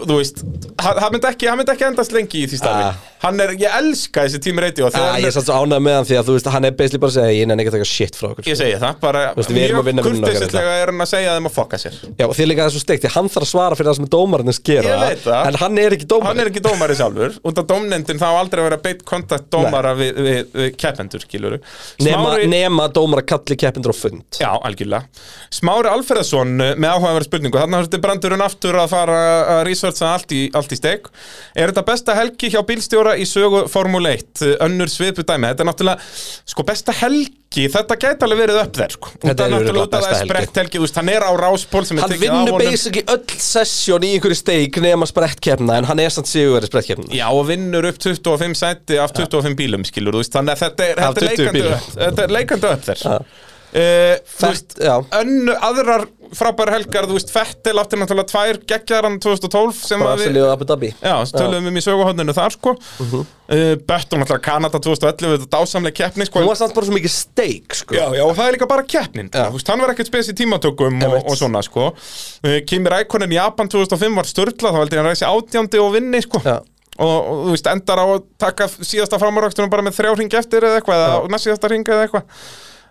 Speaker 2: þú veist hann, hann, myndi ekki, hann myndi ekki endast lengi í því starfi
Speaker 4: Ah.
Speaker 2: hann er, ég elska þessi tími reyti og
Speaker 4: Ah,
Speaker 2: þegar
Speaker 4: ég er
Speaker 2: hann er,
Speaker 4: satt svo ánægð með hann því að þú veist að hann er basically bara að segja ég nenni ekki að taka shit frá okkur sko.
Speaker 2: ég segi það bara,
Speaker 4: veist, við erum að vinna vinnuna okkar hérna.
Speaker 2: kurteislega er hann að segja þeim að fokka sér
Speaker 4: Já, og því er líka það er svo steikt því hann þarf að svara fyrir það sem dómarinn skera
Speaker 2: Ég veit það.
Speaker 4: En hann er ekki dómarinn
Speaker 2: hann er ekki dómari sjálfur út af dómnefndin þá á aldrei að vera beitt kontakt dómara við, við, við keppendur skilur
Speaker 4: nema, nema dómar að kalli keppindur á fund
Speaker 2: Já, algjörlega. Smári Alfreðsson uh, með áhugaverð spurningu. Þannig að þetta brandurinn aftur að fara að researcha allt í, allt í steg. Er þetta besta helgi hjá bílstjóra í sögu Formule 1? Uh, Önnur svipu dæmi. Þetta er náttúrulega, sko, besta helgi, þetta gæti alveg verið upp þær, sko.
Speaker 4: Þetta er örugglega
Speaker 2: út af
Speaker 4: besta
Speaker 2: það er
Speaker 4: helgi.
Speaker 2: sprett helgi, þú veist, hann er á ráspól sem er
Speaker 4: Hann
Speaker 2: tekið á
Speaker 4: vinnur
Speaker 2: honum.
Speaker 4: basically öll sessjón í einhverju steik nema sprettkeppna en hann er samt sigur sprettkeppna
Speaker 2: Já, og vinnur upp 25 sæti af 25 bílum, skilur, þú veist, þannig að þetta er,
Speaker 4: Af
Speaker 2: þetta er
Speaker 4: 20
Speaker 2: leikandi
Speaker 4: bílum.
Speaker 2: upp- þetta er leikandi upp þér. Uh, þú veist,
Speaker 4: Fett, já.
Speaker 2: önnu, aðrar frábæri helgar, þú veist, Fettil átti náttúrulega tvær geggjaran 2012 sem að
Speaker 4: Brasilíu og Abu Dhabi
Speaker 2: Já, sem töluðum við um í söguhóðninu þar, sko uh
Speaker 4: Mhm.
Speaker 2: -huh. uh, Böttum náttúrulega Kanada 2011 þetta dásamlega keppni, sko
Speaker 4: Hún var samt bara svo mikið steik sko.
Speaker 2: Já, já, og það er líka bara keppnin
Speaker 4: Já.
Speaker 2: Þú veist, hann var ekkert spes í tímatökum og,
Speaker 4: Einmitt.
Speaker 2: og svona, sko uh, Kimi Rækonin Japan 2005 var störla þá heldur ég hann reysi átjándi og vinni, sko
Speaker 4: Já.
Speaker 2: og, og þú veist, endar á að taka síðasta framarakstunum bara með þrjá hringi eftir eða eitthvað eða næst síðasta hringi eða eitthvað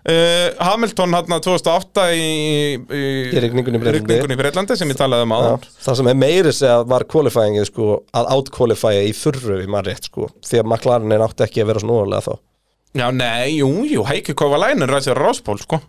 Speaker 2: uh, Hamilton hann 2008 í, í,
Speaker 4: Í rigningunni í Bretlandi.
Speaker 2: rigningunni í Breitlandi sem ég talaði um
Speaker 4: Já,
Speaker 2: áðan
Speaker 4: Það sem er meiri segja var kvalifæðingið sko, að áttkvalifæja í þurru við maður rétt sko, því að McLaren er átti ekki að vera svona óvalega þá
Speaker 2: Já, nei, jú, jú, Heiki Kovalainen ræsir ráspól, sko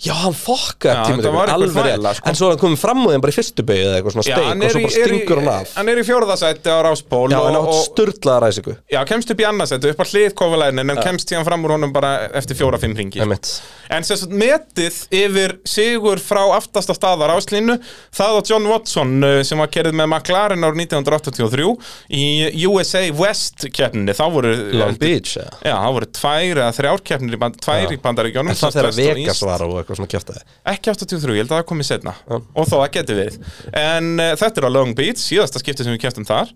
Speaker 4: Já, hann fokkaði
Speaker 2: Já,
Speaker 4: tímatökum,
Speaker 2: þetta var einhver
Speaker 4: alveg rétt.
Speaker 2: þvæla, sko.
Speaker 4: En svo er hann komið fram úr þeim bara í fyrstu beigju eða eitthvað svona
Speaker 2: Já,
Speaker 4: steik
Speaker 2: hann
Speaker 4: og
Speaker 2: er
Speaker 4: svo
Speaker 2: í, er
Speaker 4: bara
Speaker 2: í,
Speaker 4: stingur hann af
Speaker 2: hann er í fjórðasætti á ráspól
Speaker 4: Já, hann
Speaker 2: og,
Speaker 4: átt
Speaker 2: og,
Speaker 4: styrlaða ræsingu
Speaker 2: Já, kemst upp í annarsættu, upp að hlið kofulæðin en kemst síðan fram úr honum bara eftir fjóra-fimm ringi
Speaker 4: Einmitt.
Speaker 2: En sem sagt metið yfir sigur frá aftasta staðar áslínu það á John Watson uh, sem var kerið með McLaren árið 1983 í USA West keppninni þá voru eh,
Speaker 4: Long Beach, eða?
Speaker 2: Já, það voru tvær eða þrjár keppnir í, band, tvær í bandaríkjónum
Speaker 4: En það þegar Vegas var og eitthvað svona kjæftaði
Speaker 2: Ekki 83, ég held að það komið setna Og þó að geti við En uh, þetta er á Long Beach, síðasta skipti sem við kjæftum þar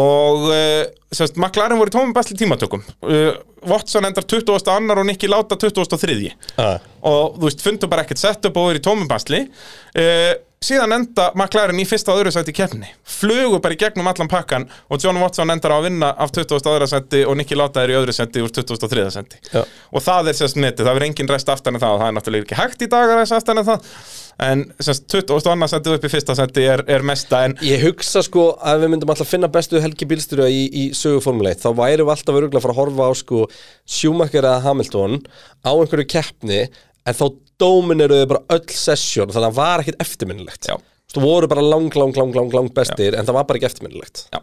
Speaker 2: Og uh, semst, McLaren voru í tómum basli tímatökum uh, Watson endar 20. annar og Nicky Láta 23.
Speaker 4: Já.
Speaker 2: Og þú veist, fundu bara ekkert setup og eru í tómum basli uh, Síðan enda McLaren í fyrsta og öðru sæti í keppni Flugu bara í gegnum allan pakkan Og John Watson endar á að vinna af 20. aðra sæti Og Nicky Láta er í öðru sæti úr 23. sæti
Speaker 4: Já.
Speaker 2: og það er sérst netið, það verður engin rest aftan en það og það er náttúrulega ekki hægt í dag að rest aftan en það en sérst 20. annars setið upp í fyrsta seti er, er mesta en
Speaker 4: Ég hugsa sko að við myndum alltaf finna bestu helgi bílstyrja í, í sögu Formule 1 þá værum við alltaf öruglega að fara að horfa á sko Schumacher eða Hamilton á einhverju keppni en þá domineruðu bara öll sessjón þannig að það var ekkit eftirminnilegt
Speaker 2: Já.
Speaker 4: Þú voru bara lang, lang, lang, lang, lang bestir en það var bara ekki eftirminnilegt
Speaker 2: já,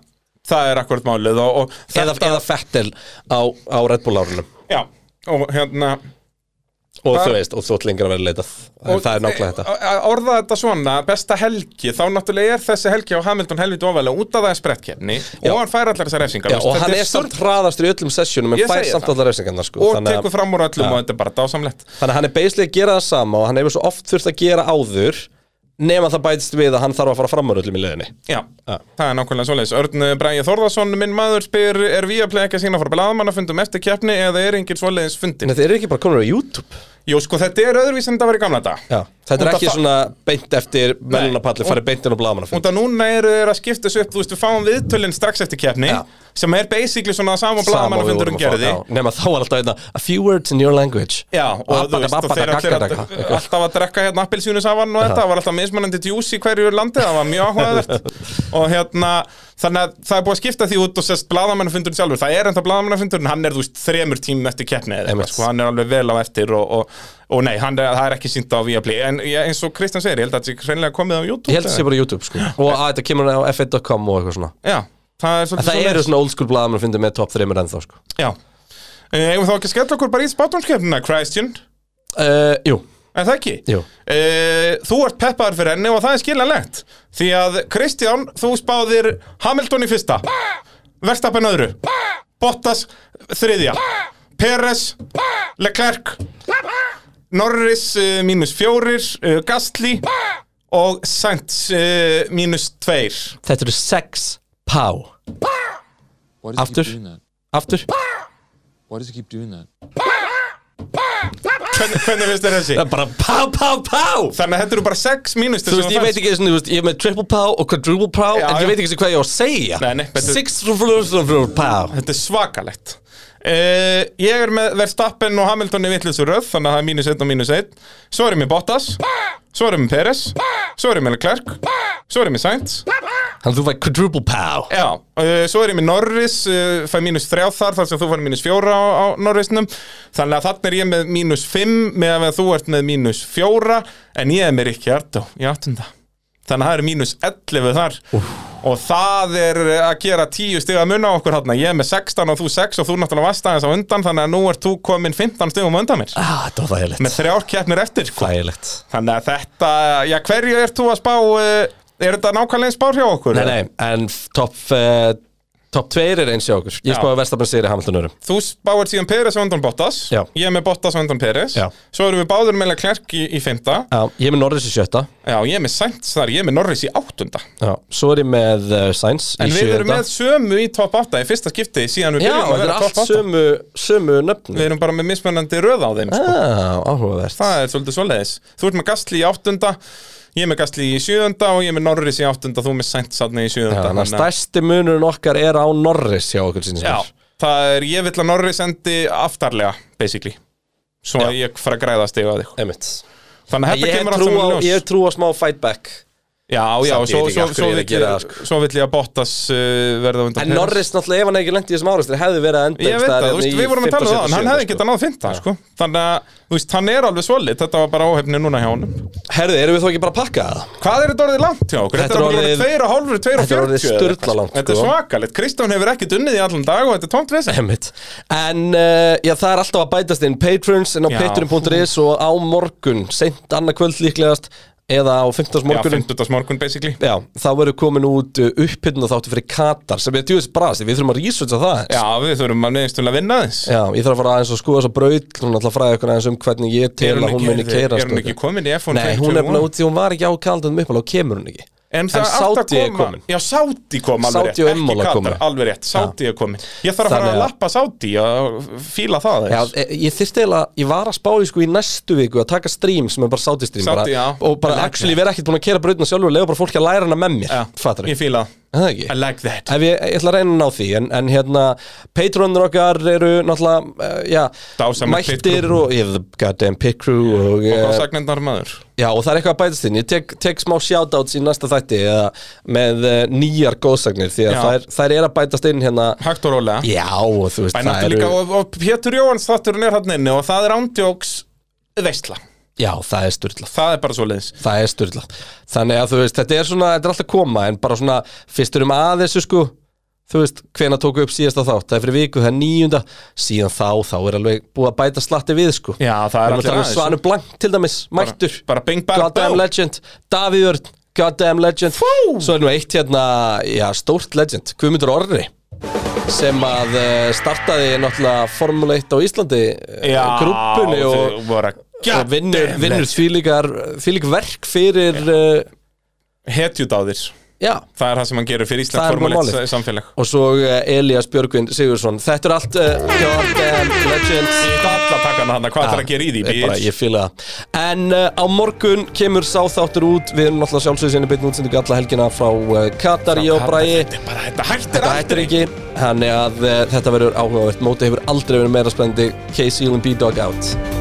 Speaker 2: það er akkurat málið og, og
Speaker 4: eða, eða Fettel á, á Red Bull árunum
Speaker 2: já, og hérna
Speaker 4: og
Speaker 2: Bara-
Speaker 4: þú veist, og þú ætl lengra að vera leitað en
Speaker 2: og,
Speaker 4: það er nákvæmlega þetta
Speaker 2: að- að orða þetta svona, besta helgi þá náttúrulega er þessi helgi á Hamilton helviti ofalega út af það er sprettkefni og hann fær allar þessar refsingar
Speaker 4: Já,
Speaker 2: þú
Speaker 4: og
Speaker 2: veist,
Speaker 4: hann
Speaker 2: þetta
Speaker 4: er samt
Speaker 2: sturl-
Speaker 4: hraðastur í öllum sessjónum en
Speaker 2: Ég
Speaker 4: fær
Speaker 2: segi
Speaker 4: samt
Speaker 2: það.
Speaker 4: allar refsingarnar sko
Speaker 2: og
Speaker 4: þannig að-
Speaker 2: tekur fram úr öllum
Speaker 4: Já.
Speaker 2: og þetta er bara dásamlegt
Speaker 4: Þannig að hann er basically að gera það sama og hann hefur svo oft þurft að gera áður nema það bætist við að hann þarf að fara fram úr öllum í leiðinni
Speaker 2: Já, það er nákvæmlega svoleiðis. Örn Bræði Þórðarsson, minn maður, spyr er við að pleka sína fyrir blaðamannafundum eftir keppni eða er engin svoleiðis fundin?
Speaker 4: En þetta eru ekki bara konur á YouTube
Speaker 2: Jó, sko, þetta er öðruvísi en þetta var í gamla dag.
Speaker 4: Já, þetta er
Speaker 2: Út af
Speaker 4: ekki
Speaker 2: það-
Speaker 4: svona beint eftir velunapalli, farið beint inn á blaðamannafund
Speaker 2: Út að núna eru þeir að skipta þessu upp, þú veist, við fáum viðtölinn strax eftir keppni,
Speaker 4: Já.
Speaker 2: sem er basically svona það sama
Speaker 4: Sama við
Speaker 2: blaðamannafundurum
Speaker 4: vorum að fá-
Speaker 2: gerði.
Speaker 4: já, Nema þá var alltaf einna A few words in your language
Speaker 2: Já, og þú veist, og þeir allir að- alltaf að drekka hérna appelsínusafann og þetta, það var alltaf mismunandi djús í hverju landi, það var mjög áhugavert og hérna, þannig að það er búið að skipta því út og sérst blaðamannafundurinn sjálfur, það er enda blaðamannafundurinn, hann er þú veist þremur tímum eftir keppni eða
Speaker 4: Einmitt.
Speaker 2: eitthvað, sko, hann er alveg vel á eftir og, og, og nei, hann er, það er ekki sínt á Viaplay, en ég, eins og Kristján segir, ég held að þetta sé hreinlega komið á YouTube
Speaker 4: Ég held að það sé bara YouTube sko Og að þetta kemur á f1.com og eitthvað svona
Speaker 2: Já, það er
Speaker 4: En
Speaker 2: svolítið
Speaker 4: það
Speaker 2: svoleiðis.
Speaker 4: eru svona old school blaðamannafundum með top 3 ennþá sko
Speaker 2: Já, Eh, eigum við þá ekki að skella okkur bara í spátumskeppnina, Christian,
Speaker 4: Uh, Jú,
Speaker 2: er það ekki?
Speaker 4: jú
Speaker 2: Eh, þú ert peppaður fyrir henni og það er skiljanlegt Því að Kristján, þú spáðir Hamilton í fyrsta Verstappen öðru Bottas þriðja Peres Leclerc Norris eh, mínus fjórir eh, Gastli og Sainz eh, mínus tveir
Speaker 4: Þetta eru 6 pá
Speaker 8: Why does
Speaker 4: After?
Speaker 8: he keep doing that?
Speaker 4: Aftur
Speaker 8: Why does he keep doing that?
Speaker 2: Hvernig, hvernig finnst þér þessi?
Speaker 4: Það er bara pá, pá, pá
Speaker 2: Þannig að þetta eru bara 6 mínus
Speaker 4: Þú veist, ég veit ekki svona, þú veist, ég er með triple pá og quadruple pá
Speaker 2: Já,
Speaker 4: En
Speaker 2: já.
Speaker 4: ég veit ekki svona hvað ég á að segja
Speaker 2: Nei, nei, betur-
Speaker 4: Six flurflurflur pá
Speaker 2: Þetta er svakalegt uh, Ég er með Verstappen og Hamilton í vittlisu röð Þannig að það er mínus 1 og mínus 1 Svo erum við Bottas Svo erum við Peres Svo erum við Leclerc Svo erum við Sainz
Speaker 4: Þannig að þú fæk quadruple pá
Speaker 2: Já, uh, svo erum við Norris uh, Fæ mínus 3 þar þar sem þú fær mínus 4 á, á Norrisnum Þannig að þannig er ég með mínus 5 Meðan að þú ert með mínus 4 En ég er með Rikki Ardó í áttunda Þannig að það er mínus 11 þar Og það er eh, að gera 10 stiga mun á okkur hátna Ég er með 16 og þú 6 og þú náttúrulega varst aðeins á undan Þannig að nú ert þú komin 15 stigum á undan mér
Speaker 4: Ah, þetta var þægilegt
Speaker 2: Með þrjár keppnir eftir sko.
Speaker 4: Þægilegt
Speaker 2: Þannig að þetta, já hverju ert þú að spá eh, Er þetta nákvæmlega eins spár hjá okkur?
Speaker 4: Nei, nei, en f- top uh, Top 2 er eins hjá okkur Ég
Speaker 2: Já.
Speaker 4: spáði Verstappen sigri Hamilton örum
Speaker 2: Þú spáir síðan Peres á undan Bottas
Speaker 4: Já.
Speaker 2: Ég er með Bottas á undan Peres
Speaker 4: Já.
Speaker 2: Svo erum við báður með Leclerc í, í 5 Já,
Speaker 4: Já, ég er með Norris í sjötta
Speaker 2: ég er með Sainz þar, ég er með Norris í 8
Speaker 4: Já, svo er ég með uh, Sainz í
Speaker 2: En við erum
Speaker 4: sjöunda.
Speaker 2: með sömu í top 8 Í fyrsta skipti síðan við
Speaker 4: Já,
Speaker 2: byrjum að
Speaker 4: þetta er
Speaker 2: vera
Speaker 4: allt
Speaker 2: top 8
Speaker 4: sömu, sömu nöfnum
Speaker 2: Við erum bara með mismunandi röð á þeim
Speaker 4: Ah.
Speaker 2: sko.
Speaker 4: Já, áhugavert
Speaker 2: Það er svolítið svoleiðis Þú ert með Gastli í áttunda Ég er með Gastli í sjöunda Og ég er með Norris í áttunda Þú með Sainz þarna í
Speaker 4: Já,
Speaker 2: sjöunda
Speaker 4: Þannig að
Speaker 2: Þannig að-
Speaker 4: stærsti munurinn okkar er á Norris hjá okkur síns
Speaker 2: Já, það er Ég vill að Norris endi aftarlega Basically Svo að ég fara að græða stigu að þig
Speaker 4: Emitt
Speaker 2: Þannig að
Speaker 4: Ég
Speaker 2: þetta
Speaker 4: hef
Speaker 2: kemur allt
Speaker 4: trú
Speaker 2: saman
Speaker 4: á,
Speaker 2: í ljós
Speaker 4: ég hef trú á smá fightback
Speaker 2: Já, já,
Speaker 4: Samt ég
Speaker 2: svo,
Speaker 4: veit ekki
Speaker 2: svo,
Speaker 4: af hverju
Speaker 2: svo,
Speaker 4: ég er
Speaker 2: vill
Speaker 4: að gera
Speaker 2: ég,
Speaker 4: það, sko.
Speaker 2: svo vill ég að Bottas uh, verða á undan
Speaker 4: En
Speaker 2: Perez.
Speaker 4: Norris náttúrulega ef hann hefði ekki lengt í þessum áreistri hefði verið að enda
Speaker 2: Ég
Speaker 4: einhvers
Speaker 2: veit
Speaker 4: staðar
Speaker 2: það, þú
Speaker 4: hérna
Speaker 2: veist,
Speaker 4: í
Speaker 2: við vorum að
Speaker 4: 15,
Speaker 2: tala um það en hann
Speaker 4: 17,
Speaker 2: hefði getað náð 15, sko Þannig að, þú veist, hann er alveg svolít Þetta var bara óhefni núna hjá honum
Speaker 4: sko. Herði, erum við þó ekki bara að pakka það?
Speaker 2: Hvað er þetta orðið langt hjá okkur?
Speaker 4: Þetta
Speaker 2: Þetta er
Speaker 4: er
Speaker 2: orðið 2 og hálfur, 2
Speaker 4: orðið-
Speaker 2: og
Speaker 4: Þetta er orðið
Speaker 2: 40
Speaker 4: sturla langt,
Speaker 2: Þetta er
Speaker 4: sko.
Speaker 2: svakalegt, Kristján hefur ekkert unnið í allan dag og þetta er tómt vesen
Speaker 4: Einmitt. En uh, já, það er alltaf að bætast inn patrons en á
Speaker 2: Já.
Speaker 4: patreon.is og á morgun, seint annað kvöld líklegast eða á 15.
Speaker 2: Já,
Speaker 4: morgunum
Speaker 2: 50. morgun, basically
Speaker 4: Já, þá verður komin út upphytna þáttu fyrir Katar sem er djúðis brast, við þurfum að researcha það aðeins.
Speaker 2: Já, við þurfum að neðinstulega vinna þess
Speaker 4: Já, ég þarf að fara aðeins og skoða þess að braut hún ætla að fræða ykkur aðeins um hvernig ég tel að hún muni keira
Speaker 2: Er hún ekki komin í F1
Speaker 4: Nei, hún er bara út því hún var ekki á kaldunum upp og kemur hún ekki
Speaker 2: En það átt að
Speaker 4: Saudi er
Speaker 2: koma
Speaker 4: komin
Speaker 2: Já, Sáti kom alveg
Speaker 4: Saudi
Speaker 2: rétt
Speaker 4: og
Speaker 2: Ekki
Speaker 4: Imola komu.
Speaker 2: Katar, alveg rétt Sáti er komin Ég þarf að fara
Speaker 4: Þannig
Speaker 2: að
Speaker 4: að-
Speaker 2: lappa Sáti og fíla það
Speaker 4: Já,
Speaker 2: aðeins.
Speaker 4: e- ég þyrfti eiginlega, ég var að spá í sko í næstu viku að taka stream sem er bara sáti stream
Speaker 2: Saudi, já.
Speaker 4: bara, og bara
Speaker 2: Ég like
Speaker 4: actually vera ekkert búin að kera brautina sjálfur og lega bara fólki að læra hana með mér fattar
Speaker 2: Ég fíla það
Speaker 4: það ekki
Speaker 2: I like that
Speaker 4: Ef ég, ég ætla að reyna að ná því En, en hérna, Patreonur okkar eru náttúrulega, uh, já
Speaker 2: Dásamlegt pit
Speaker 4: Mættir
Speaker 2: crew.
Speaker 4: og, ég veit, goddamn pit crew Og,
Speaker 2: Og
Speaker 4: eh,
Speaker 2: hvað sagnendar maður
Speaker 4: já, og það er eitthvað að bætast inn Ég tek, tek smá shoutouts í næsta þætti eða, Með uh, nýjar góðsagnir Því að
Speaker 2: Já.
Speaker 4: þær, þær er að bætast inn hérna
Speaker 2: Hægt og rólega
Speaker 4: Já, og þú veist,
Speaker 2: En
Speaker 4: það
Speaker 2: náttúrulega
Speaker 4: eru
Speaker 2: líka og, og Pétur Jóhans þátturinn er hann inni og það er ándjóks veistla
Speaker 4: Já, það er sturlað
Speaker 2: Það er bara svo leiðis
Speaker 4: Það er styrlað Þannig að þú veist, þetta er svona, þetta er alltaf að koma En bara svona, fyrst erum að þessu sko Þú veist, hvena tóku upp síðasta þátt Það er fyrir viku, það er nýjunda Síðan þá, þá er alveg búið að bæta slatti við sko
Speaker 2: Já, það er
Speaker 4: Við erum
Speaker 2: allir
Speaker 4: að tala um
Speaker 2: aðeins. sko.
Speaker 4: Svanu Blank til dæmis, mættur
Speaker 2: bara bing, bang, boom.
Speaker 4: Goddamn legend, Davíð Örn Goddamn legend Fú! Svo er nú eitt hérna, já, stórt legend Guðmundur Orri sem að eh, startaði náttúrulega Formule 1 á Íslandi
Speaker 2: Já,
Speaker 4: grúppunni og,
Speaker 2: þau voru að
Speaker 4: og vinnur,
Speaker 2: Goddammit.
Speaker 4: vinnur þvílíkar, þvílík verk fyrir eh,
Speaker 2: Hetjút á þér
Speaker 4: já,
Speaker 2: Það er það sem hann gerir fyrir
Speaker 4: Það
Speaker 2: Ísland
Speaker 4: er bara
Speaker 2: formuleitt
Speaker 4: málið.
Speaker 2: samfélag
Speaker 4: og svo eh, Elías Björgvin Sigursson þetta er allt uh, God damn legends
Speaker 2: Ég ætla að taka hann hann, hvað
Speaker 4: Ah,
Speaker 2: þarf að gera í því?
Speaker 4: ég bara,
Speaker 2: bitch?
Speaker 4: Ég fíla það En uh, á morgun kemur sáþáttur út Við erum náttúrulega sjálfsögðu sinni beinni útsendingu alla helgina frá uh, Katar, ég og Bræi
Speaker 2: Þetta er bara, þetta hættir
Speaker 4: Þetta hættir
Speaker 2: aldrei
Speaker 4: ekki eh, Þannig að uh, þetta verður áhugavert Móti hefur aldrei verið meira spennandi KC Olin B-Dog out